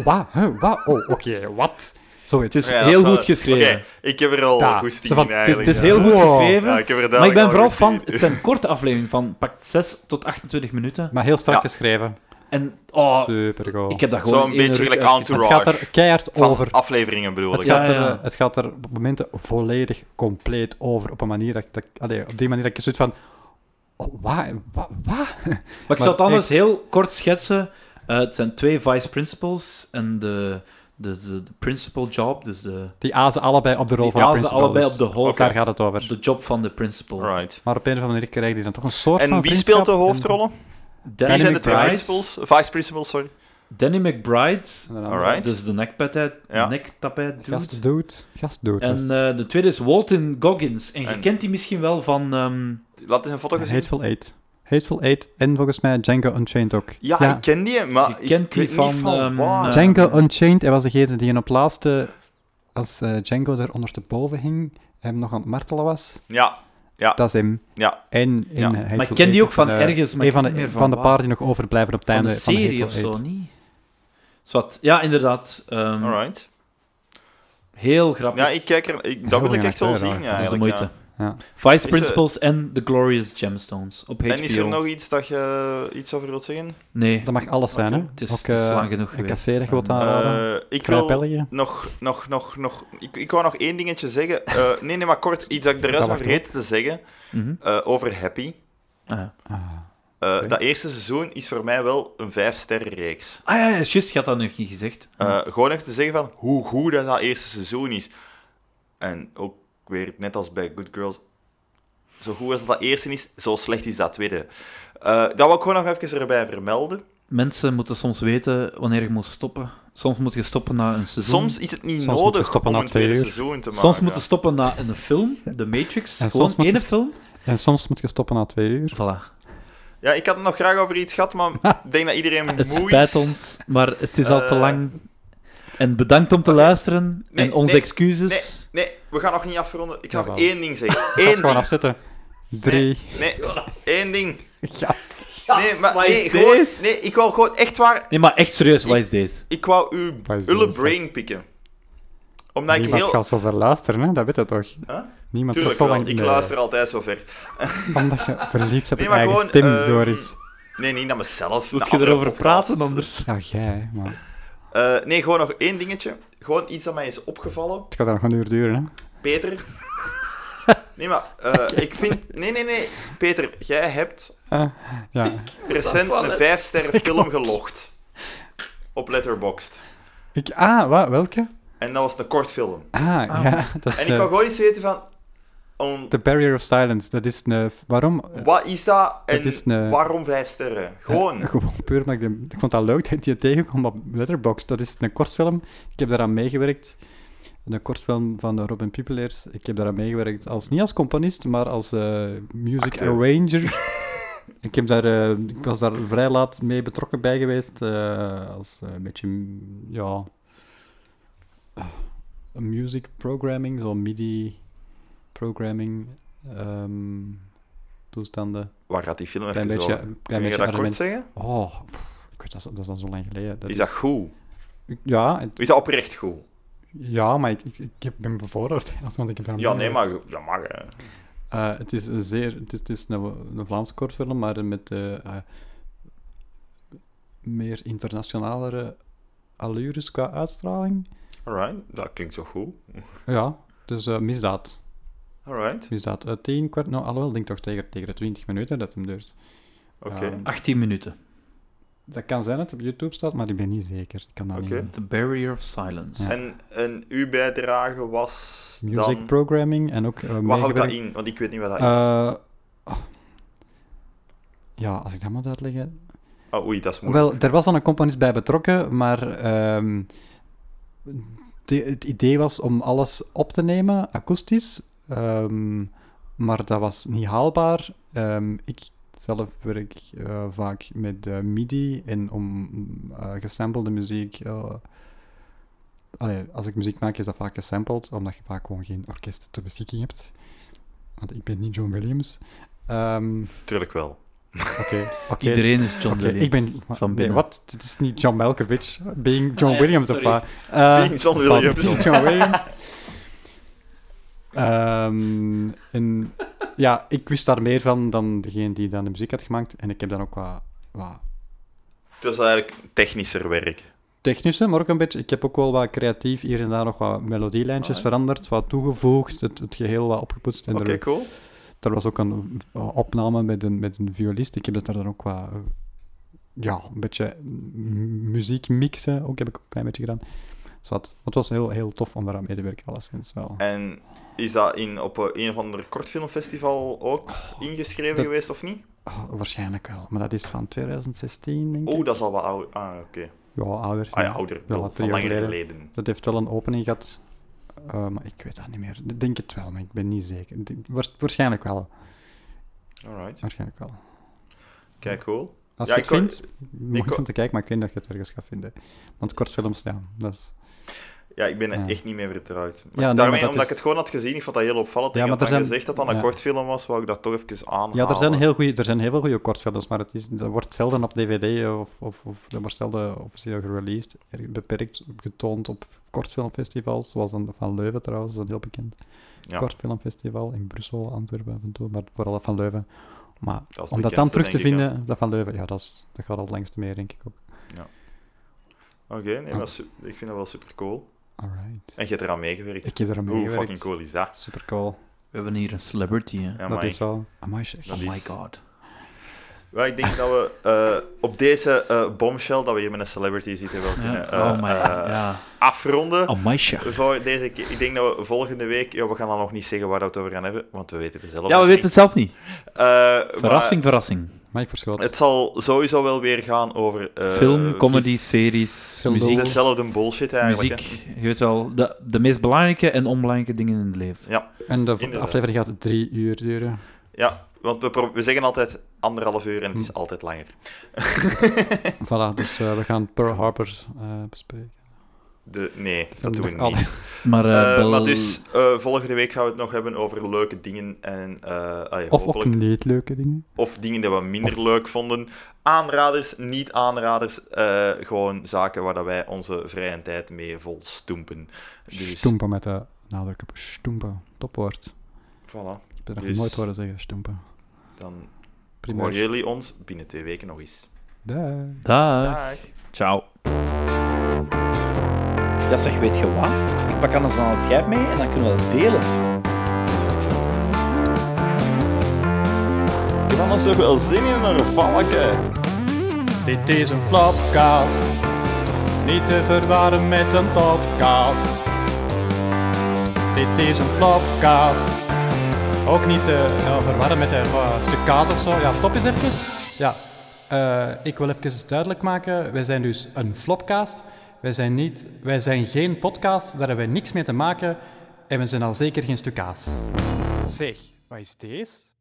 Speaker 4: van... Wat? Huh, wat? Oh, oké, wat? Zoiets.
Speaker 5: het is
Speaker 3: Ja, dat
Speaker 5: heel
Speaker 3: wel-
Speaker 5: goed geschreven.
Speaker 3: Oké, ik heb er al
Speaker 4: Ja,
Speaker 3: goed
Speaker 4: zo
Speaker 3: in
Speaker 4: van, het is-
Speaker 5: Het, is-
Speaker 3: eigenlijk.
Speaker 5: het is
Speaker 3: ja.
Speaker 5: heel goed
Speaker 4: Wow.
Speaker 5: geschreven,
Speaker 3: Ja, ik heb er
Speaker 5: maar ik
Speaker 3: duidelijk
Speaker 5: ben
Speaker 3: al
Speaker 5: vooral
Speaker 3: goesting
Speaker 5: van...
Speaker 3: in.
Speaker 5: Het zijn korte afleveringen van pak 6 tot 28 minuten.
Speaker 4: Maar heel strak
Speaker 3: Ja.
Speaker 4: geschreven.
Speaker 5: En oh,
Speaker 4: Super goed.
Speaker 5: ik heb dat gewoon
Speaker 3: Zo'n
Speaker 5: in één
Speaker 3: beetje
Speaker 5: ruk
Speaker 3: gelijk
Speaker 5: uitgezien.
Speaker 4: Het
Speaker 3: Entourage.
Speaker 4: gaat er keihard
Speaker 3: Van
Speaker 4: over.
Speaker 3: afleveringen bedoel ik.
Speaker 4: Het
Speaker 5: Ja,
Speaker 4: gaat, er,
Speaker 5: ja.
Speaker 4: eh, het gaat er op momenten volledig compleet over. Op, een manier dat, ik- dat, ik- allee, op die manier dat je zoiets van... Oh, wat? Wat? wat?
Speaker 5: Maar ik
Speaker 4: Maar
Speaker 5: zal het anders heel kort schetsen. Eh, het zijn twee vice principals en de, de, de, de principal job, dus de,
Speaker 4: Die azen allebei op de rol
Speaker 5: Die
Speaker 4: van de
Speaker 5: azen
Speaker 4: principal.
Speaker 5: allebei
Speaker 4: dus
Speaker 5: op de hoofd.
Speaker 4: Daar gaat het over.
Speaker 5: de job van de principal.
Speaker 3: Right.
Speaker 4: Maar op een of andere manier krijg je dan toch een soort van
Speaker 3: En wie
Speaker 4: vriendschap
Speaker 3: speelt de
Speaker 4: en-
Speaker 3: hoofdrollen? Wie
Speaker 5: Danny
Speaker 3: zijn de twee
Speaker 5: McBride.
Speaker 3: principals? Vice principals, sorry.
Speaker 5: Danny McBride,
Speaker 4: en een andere
Speaker 3: Alright.
Speaker 5: dus de nekpatheid,
Speaker 3: Ja.
Speaker 5: nektapijt dude.
Speaker 4: Gast doet. Gast doet.
Speaker 5: En eh, de tweede is Walton Goggins. En je
Speaker 3: En-
Speaker 5: kent die misschien wel van... ehm,
Speaker 3: Laat eens een foto gezien.
Speaker 4: Hateful Eight. Hateful Eight en volgens mij Django Unchained ook.
Speaker 3: Ja, ik ken die, maar
Speaker 5: Je
Speaker 3: ik
Speaker 5: kent die
Speaker 3: weet
Speaker 5: van,
Speaker 3: niet van
Speaker 5: ehm,
Speaker 3: waar.
Speaker 5: eh,
Speaker 4: Django Unchained, hij was degene die in op laatste, als eh, Django er ondersteboven hing, hem nog aan het martelen was.
Speaker 3: Ja,
Speaker 4: Ah, Dat is hem.
Speaker 3: Ja.
Speaker 4: En in
Speaker 3: Ja.
Speaker 4: Hateful
Speaker 5: Maar ik ken
Speaker 4: Eight
Speaker 5: die ook
Speaker 4: is
Speaker 5: van
Speaker 4: een, eh,
Speaker 5: ergens, maar
Speaker 4: een
Speaker 5: ik
Speaker 4: van
Speaker 5: weet niet
Speaker 4: de,
Speaker 5: meer
Speaker 4: van de
Speaker 5: waar.
Speaker 4: paar die nog overblijven op het
Speaker 5: Van
Speaker 4: einde
Speaker 5: een
Speaker 4: van de
Speaker 5: serie
Speaker 4: Hateful
Speaker 5: of zo,
Speaker 4: Eight.
Speaker 5: niet? Zwat, ja, inderdaad. ehm,
Speaker 3: alright.
Speaker 5: Heel grappig.
Speaker 3: Ja, ik kijk er... Ik, dat
Speaker 4: Heel
Speaker 3: wil ik
Speaker 4: goeie
Speaker 3: echt wel
Speaker 4: acteur,
Speaker 3: zien,
Speaker 4: hoor.
Speaker 5: dat is de
Speaker 3: eigenlijk,
Speaker 5: moeite.
Speaker 3: ja.
Speaker 4: Ja.
Speaker 5: Vice
Speaker 3: eh,
Speaker 5: Principals en The Glorious Gemstones op HBO.
Speaker 3: En is er nog iets dat je iets over wilt zeggen?
Speaker 5: Nee,
Speaker 4: Dat mag alles zijn, hè?
Speaker 5: het is,
Speaker 4: Ook,
Speaker 5: het is
Speaker 4: eh,
Speaker 5: lang genoeg
Speaker 4: Een
Speaker 5: geweest.
Speaker 4: café dat je wilt
Speaker 5: Ehm,
Speaker 4: aanraden.
Speaker 3: Eh, ik
Speaker 4: Vrij
Speaker 3: wil
Speaker 4: België.
Speaker 3: nog, nog, nog, nog... Ik, ik wou nog één dingetje zeggen. Eh, nee, nee, maar kort. Iets dat ik de rest
Speaker 4: Dat
Speaker 3: van
Speaker 4: wacht
Speaker 3: vergeten te zeggen
Speaker 5: mhm.
Speaker 3: eh, over Happy.
Speaker 5: Ah, ja.
Speaker 4: Ah.
Speaker 3: Eh,
Speaker 4: Oké.
Speaker 3: Dat eerste seizoen is voor mij wel een vijf-sterren reeks.
Speaker 5: Ah ja, ja, juist, je had dat nog niet gezegd.
Speaker 3: Eh, Gewoon even te zeggen van hoe goed dat, dat eerste seizoen is. En ook weer, net als bij Good Girls, zo goed als dat eerste is, zo slecht is dat tweede. Eh, dat wil ik gewoon nog even erbij vermelden.
Speaker 4: Hmm.
Speaker 5: Mensen moeten soms weten wanneer je moet stoppen. Soms moet je stoppen na een seizoen.
Speaker 3: Soms is het niet
Speaker 4: Soms moeten we
Speaker 3: nodig
Speaker 4: stoppen
Speaker 3: om
Speaker 4: na
Speaker 3: een tweede
Speaker 4: twee uur.
Speaker 3: seizoen te maken.
Speaker 5: Soms moeten stoppen na een film, The Matrix. Gewoon
Speaker 4: En soms moet
Speaker 5: ene
Speaker 4: je-
Speaker 5: film.
Speaker 4: En soms moet je stoppen na twee uur.
Speaker 5: Voilà.
Speaker 3: Ja, ik had het nog graag over iets gehad,
Speaker 4: [laughs]
Speaker 3: maar ik denk dat iedereen
Speaker 5: Het
Speaker 3: moe
Speaker 5: spijt
Speaker 3: is.
Speaker 5: ons, maar het is al te
Speaker 3: Eh.
Speaker 5: lang. En bedankt om te
Speaker 3: Oké.
Speaker 5: luisteren.
Speaker 3: Nee,
Speaker 5: en onze
Speaker 3: nee,
Speaker 5: excuses.
Speaker 3: Nee, we gaan nog niet afronden. Ik ga nog
Speaker 4: Jawel.
Speaker 3: één ding
Speaker 4: [laughs]
Speaker 3: zeggen.
Speaker 4: Gaat
Speaker 3: Eén
Speaker 4: gewoon
Speaker 3: ding.
Speaker 4: afzetten. Drie.
Speaker 3: Nee, één ding.
Speaker 4: Gast.
Speaker 3: Nee, maar
Speaker 5: wat
Speaker 3: nee,
Speaker 5: is
Speaker 3: gewoon,
Speaker 5: dit?
Speaker 3: nee, ik wou gewoon echt waar...
Speaker 5: Nee, maar echt serieus, wat is deze?
Speaker 3: Ik wou uw
Speaker 4: Wat is dit?
Speaker 3: ulle brain pikken. Omdat ik
Speaker 4: Niemand
Speaker 3: heel...
Speaker 4: gaat zo ver luisteren, hè? dat weet je toch?
Speaker 3: Huh?
Speaker 4: Niemand gaat
Speaker 3: Tuurlijk
Speaker 4: zo
Speaker 3: wel,
Speaker 4: lang
Speaker 3: ik
Speaker 4: Nee.
Speaker 3: luister altijd zo ver.
Speaker 4: [laughs] Omdat je verliefd hebt
Speaker 3: Nee,
Speaker 4: op
Speaker 3: maar
Speaker 4: eigen
Speaker 3: gewoon,
Speaker 4: stem,
Speaker 3: ehm,
Speaker 4: Joris.
Speaker 3: Nee, niet naar mezelf.
Speaker 5: Wilt je
Speaker 3: naar andere
Speaker 5: erover
Speaker 3: podcasts.
Speaker 5: praten anders?
Speaker 4: Ja, jij, maar
Speaker 3: Eh, nee, gewoon nog één dingetje. Gewoon iets dat mij is opgevallen.
Speaker 4: het gaat daar nog een uur duren, hè?
Speaker 3: Peter. Nee, maar eh, ik vind... Nee, nee, nee. Peter, jij hebt
Speaker 4: Eh, ja,
Speaker 3: recent een vijfsterren film gelogd. Op Letterboxd.
Speaker 4: ik, ah, wat, welke?
Speaker 3: En dat was een kort film.
Speaker 4: Ah, ja, dat is
Speaker 3: En ik wou
Speaker 4: de,
Speaker 3: gewoon iets weten van... om-
Speaker 4: The Barrier of Silence. Dat is een, waarom? eh,
Speaker 3: wat is dat en
Speaker 4: Het is een-
Speaker 3: waarom vijf sterren? Gewoon.
Speaker 4: Eh, [laughs] gewoon puur, omdat ik, de- ik vond dat leuk dat ik die tegenkwam op Letterboxd. Dat is een kortfilm, ik heb daaraan meegewerkt. Een kortfilm van eh, Robin Piepeleers. Ik heb daaraan meegewerkt, als, niet als componist, maar als eh, music
Speaker 3: Acteur. [laughs]
Speaker 4: arranger. ik, heb daar, eh, ik was daar vrij laat mee betrokken bij geweest. eh, als eh, een beetje, mm, ja... eh, music programming, zo MIDI programming ehm, toestanden.
Speaker 3: Waar gaat die film
Speaker 4: Klein
Speaker 3: even
Speaker 4: beetje,
Speaker 3: over?
Speaker 4: klein
Speaker 3: Kun je
Speaker 4: beetje
Speaker 3: dat kort
Speaker 4: argument-
Speaker 3: zeggen?
Speaker 4: Oh, pff, ik weet, dat, is, dat is al zo lang geleden. Dat
Speaker 3: Is dat goed?
Speaker 4: Ja, het-
Speaker 3: Is dat oprecht goed?
Speaker 4: ja, maar ik, ik, ik ben bevooroordeeld, [laughs] want ik heb daar
Speaker 3: Ja, nee, maar dat mag. hè.
Speaker 4: Eh, het is een zeer... Het is, het is een, een Vlaamse kortfilm, maar met eh, eh, meer internationalere allures qua uitstraling.
Speaker 3: Alright, dat klinkt zo goed.
Speaker 4: Ja, dus eh, misdaad.
Speaker 3: Alright,
Speaker 4: Misdaad. Eh, 10, kwart... Nou, alhoewel, ik denk toch tegen, tegen de 20 minuten dat hem duurt.
Speaker 3: oké.
Speaker 4: Ehm,
Speaker 6: 18 minuten.
Speaker 4: dat kan zijn dat het op YouTube staat, maar ik ben niet zeker. Ik kan dat
Speaker 3: Oké.
Speaker 4: niet...
Speaker 6: The Barrier of Silence.
Speaker 4: ja.
Speaker 3: En, en uw bijdrage was
Speaker 4: Music
Speaker 3: dan...
Speaker 4: programming en ook... eh,
Speaker 3: Wat houdt dat
Speaker 4: meegewerkt-
Speaker 3: in? Want ik weet niet wat dat is.
Speaker 4: Eh, oh. ja, als ik dat moet uitleggen.
Speaker 3: oh, oei, dat is moeilijk.
Speaker 4: Wel, er was dan een componist bij betrokken, maar ehm, de- het idee was om alles op te nemen, akoestisch. ehm, maar dat was niet haalbaar. Ehm, ik zelf werk eh, vaak met eh, MIDI en om eh, gesampelde muziek. eh, allee, als ik muziek maak, is dat vaak gesampled, omdat je vaak gewoon geen orkest ter beschikking hebt. Want ik ben niet John Williams. Ehm,
Speaker 3: Tuurlijk wel.
Speaker 4: Oké, oké.
Speaker 6: Iedereen is John
Speaker 4: Oké,
Speaker 6: Williams.
Speaker 4: ik ben...
Speaker 6: Van
Speaker 4: nee,
Speaker 6: binnen.
Speaker 4: wat? Dit is niet John Malkovich. Being John Williams of wat? Eh,
Speaker 3: Ah Being John
Speaker 4: van-
Speaker 3: Williams.
Speaker 4: Being John Williams. Ehm, en ja, ik wist daar meer van dan degene die dan de muziek had gemaakt. En ik heb dan ook wat, wat
Speaker 3: Het is eigenlijk technischer werk.
Speaker 4: technische, maar ook een beetje... Ik heb ook wel wat creatief hier en daar nog wat melodielijntjes
Speaker 3: Ah, ja.
Speaker 4: veranderd, wat toegevoegd, het, het geheel wat opgepoetst. En
Speaker 3: Oké,
Speaker 4: er-
Speaker 3: cool.
Speaker 4: Er was ook een eh, opname met een, met een violist. Ik heb dat daar dan ook qua... Ja, een beetje m- muziek mixen ook heb ik ook een klein beetje gedaan. Dus wat, het was heel, heel tof om daar aan mee te werken, alleszins wel.
Speaker 3: En is dat in, op een een of ander kortfilmfestival ook ingeschreven
Speaker 4: Oh, dat-
Speaker 3: geweest, of niet?
Speaker 4: Oh, waarschijnlijk wel, maar dat is van 2016, denk ik.
Speaker 3: Oh, dat is al wat ouder. Ah, oké.
Speaker 4: Ja, ouder.
Speaker 3: Ah ja, ouder.
Speaker 4: Ja,
Speaker 3: Wel,
Speaker 4: drie
Speaker 3: van
Speaker 4: jaar
Speaker 3: langer
Speaker 4: geleden.
Speaker 3: geleden.
Speaker 4: Dat heeft wel een opening gehad, eh, maar ik weet dat niet meer. Ik denk het wel, maar ik ben niet zeker. Ik denk- waars- waarschijnlijk wel,
Speaker 3: Alright.
Speaker 4: waarschijnlijk wel.
Speaker 3: Kijk, cool.
Speaker 4: Als
Speaker 3: Ja,
Speaker 4: je het
Speaker 3: ik wou-
Speaker 4: vindt, moet je
Speaker 3: wou-
Speaker 4: om te kijken, maar ik weet dat je het ergens gaat vinden. Want kortfilms, ja, dat is...
Speaker 3: Ja, ik ben er
Speaker 4: Ja.
Speaker 3: echt niet mee vertrouwd. Maar
Speaker 4: nee, maar
Speaker 3: daarmee,
Speaker 4: dat
Speaker 3: omdat
Speaker 4: is-
Speaker 3: ik het gewoon had gezien, ik vond dat heel opvallend.
Speaker 4: Ja,
Speaker 3: ik
Speaker 4: maar
Speaker 3: had dan
Speaker 4: er zijn-
Speaker 3: gezegd dat dat een
Speaker 4: ja.
Speaker 3: kortfilm was, wou ik dat toch even aanhalen.
Speaker 4: Ja, er zijn, heel goeie, er zijn heel veel goede kortfilms, maar het is, dat wordt zelden op DVD of, of, of dat wordt zelden officieel gereleased. Erg Beperkt getoond op kortfilmfestivals, zoals dan Van Leuven trouwens, dat is een heel bekend
Speaker 3: Ja.
Speaker 4: kortfilmfestival in Brussel, Antwerpen af en toe, maar vooral dat Van Leuven. Maar
Speaker 3: Dat is
Speaker 4: om dat dan
Speaker 3: bekendste,
Speaker 4: terug te
Speaker 3: denk ik,
Speaker 4: vinden, dat Van Leuven, ja, dat, is, dat gaat al het langste mee, denk ik ook.
Speaker 3: Oké, nee, maar su- ik vind dat wel super cool.
Speaker 4: Alright.
Speaker 3: En je hebt eraan meegewerkt.
Speaker 4: Ik heb er aan
Speaker 3: Hoe
Speaker 4: meegewerkt.
Speaker 3: fucking cool is dat?
Speaker 4: Super cool.
Speaker 6: We hebben hier een celebrity. Hè.
Speaker 3: Ja,
Speaker 4: dat
Speaker 3: maar
Speaker 4: is al. Amai, zeg.
Speaker 3: dat
Speaker 6: oh my
Speaker 3: is-
Speaker 6: god.
Speaker 3: Wel, ik denk dat we eh, op deze eh bombshell, dat we hier met een celebrity zitten, wel
Speaker 6: Ja.
Speaker 3: kunnen eh,
Speaker 6: oh my god.
Speaker 3: eh,
Speaker 6: ja.
Speaker 3: afronden.
Speaker 6: Oh my shit.
Speaker 3: Voor deze keer. Ik denk dat we volgende week... Ja, we gaan dan nog niet zeggen waar we het over gaan hebben, want we weten het zelf
Speaker 6: Ja, we
Speaker 3: nog
Speaker 6: weten het zelf niet.
Speaker 3: niet. Eh, maar
Speaker 6: Verrassing, verrassing.
Speaker 4: Mike Verschot.
Speaker 3: Het zal sowieso wel weer gaan over... eh,
Speaker 6: Film, comedy, series,
Speaker 4: Film,
Speaker 6: muziek.
Speaker 3: Dezelfde bullshit eigenlijk.
Speaker 6: Muziek, je weet wel, de, de meest belangrijke en onbelangrijke dingen in het leven.
Speaker 4: En de
Speaker 3: inderdaad.
Speaker 4: aflevering gaat drie uur duren.
Speaker 3: hè. Ja, want we, pro- we zeggen altijd anderhalf uur en het is altijd langer.
Speaker 4: Voilà, dus eh, we gaan Pearl Harbor eh, bespreken.
Speaker 3: De, nee, dat
Speaker 4: vind
Speaker 3: doen we
Speaker 4: ik
Speaker 3: niet.
Speaker 4: al-
Speaker 6: Maar, eh,
Speaker 3: Eh,
Speaker 6: bel-
Speaker 3: maar dus, eh, volgende week gaan we het nog hebben over leuke dingen en eh, ah ja,
Speaker 4: Of ook
Speaker 3: hopelijk...
Speaker 4: niet leuke dingen.
Speaker 3: Of dingen die we minder leuk vonden. Aanraders, niet-aanraders. eh, gewoon zaken waar dat wij onze vrije tijd mee vol stoempen. Dus,
Speaker 4: Stoempen met de nadruk op stoempen. Topwoord.
Speaker 3: voilà.
Speaker 4: Ik heb dat nog
Speaker 3: Dus-
Speaker 4: nooit horen zeggen, stoempen.
Speaker 3: Dan horen
Speaker 4: Prima.
Speaker 3: jullie ons binnen twee weken nog eens.
Speaker 4: Dag.
Speaker 6: Dag.
Speaker 3: Dag.
Speaker 6: Ciao.
Speaker 2: Ja, zeg, weet je wat? Ik pak anders dan een schijf mee en dan kunnen we dat delen.
Speaker 3: Ik heb anders wel zin in een valken.
Speaker 1: Dit is een flopcast. Niet te verwarren met een podcast. Dit is een flopcast. Ook niet te ja, verwarren met een eh, stuk kaas of zo. Ja, stop eens even. Ja, eh, ik wil even duidelijk maken. Wij zijn dus een flopcast.
Speaker 7: Wij zijn, niet, wij zijn geen podcast, daar hebben wij niks mee te maken. En we zijn al zeker geen stuk kaas. Zeg, wat is deze?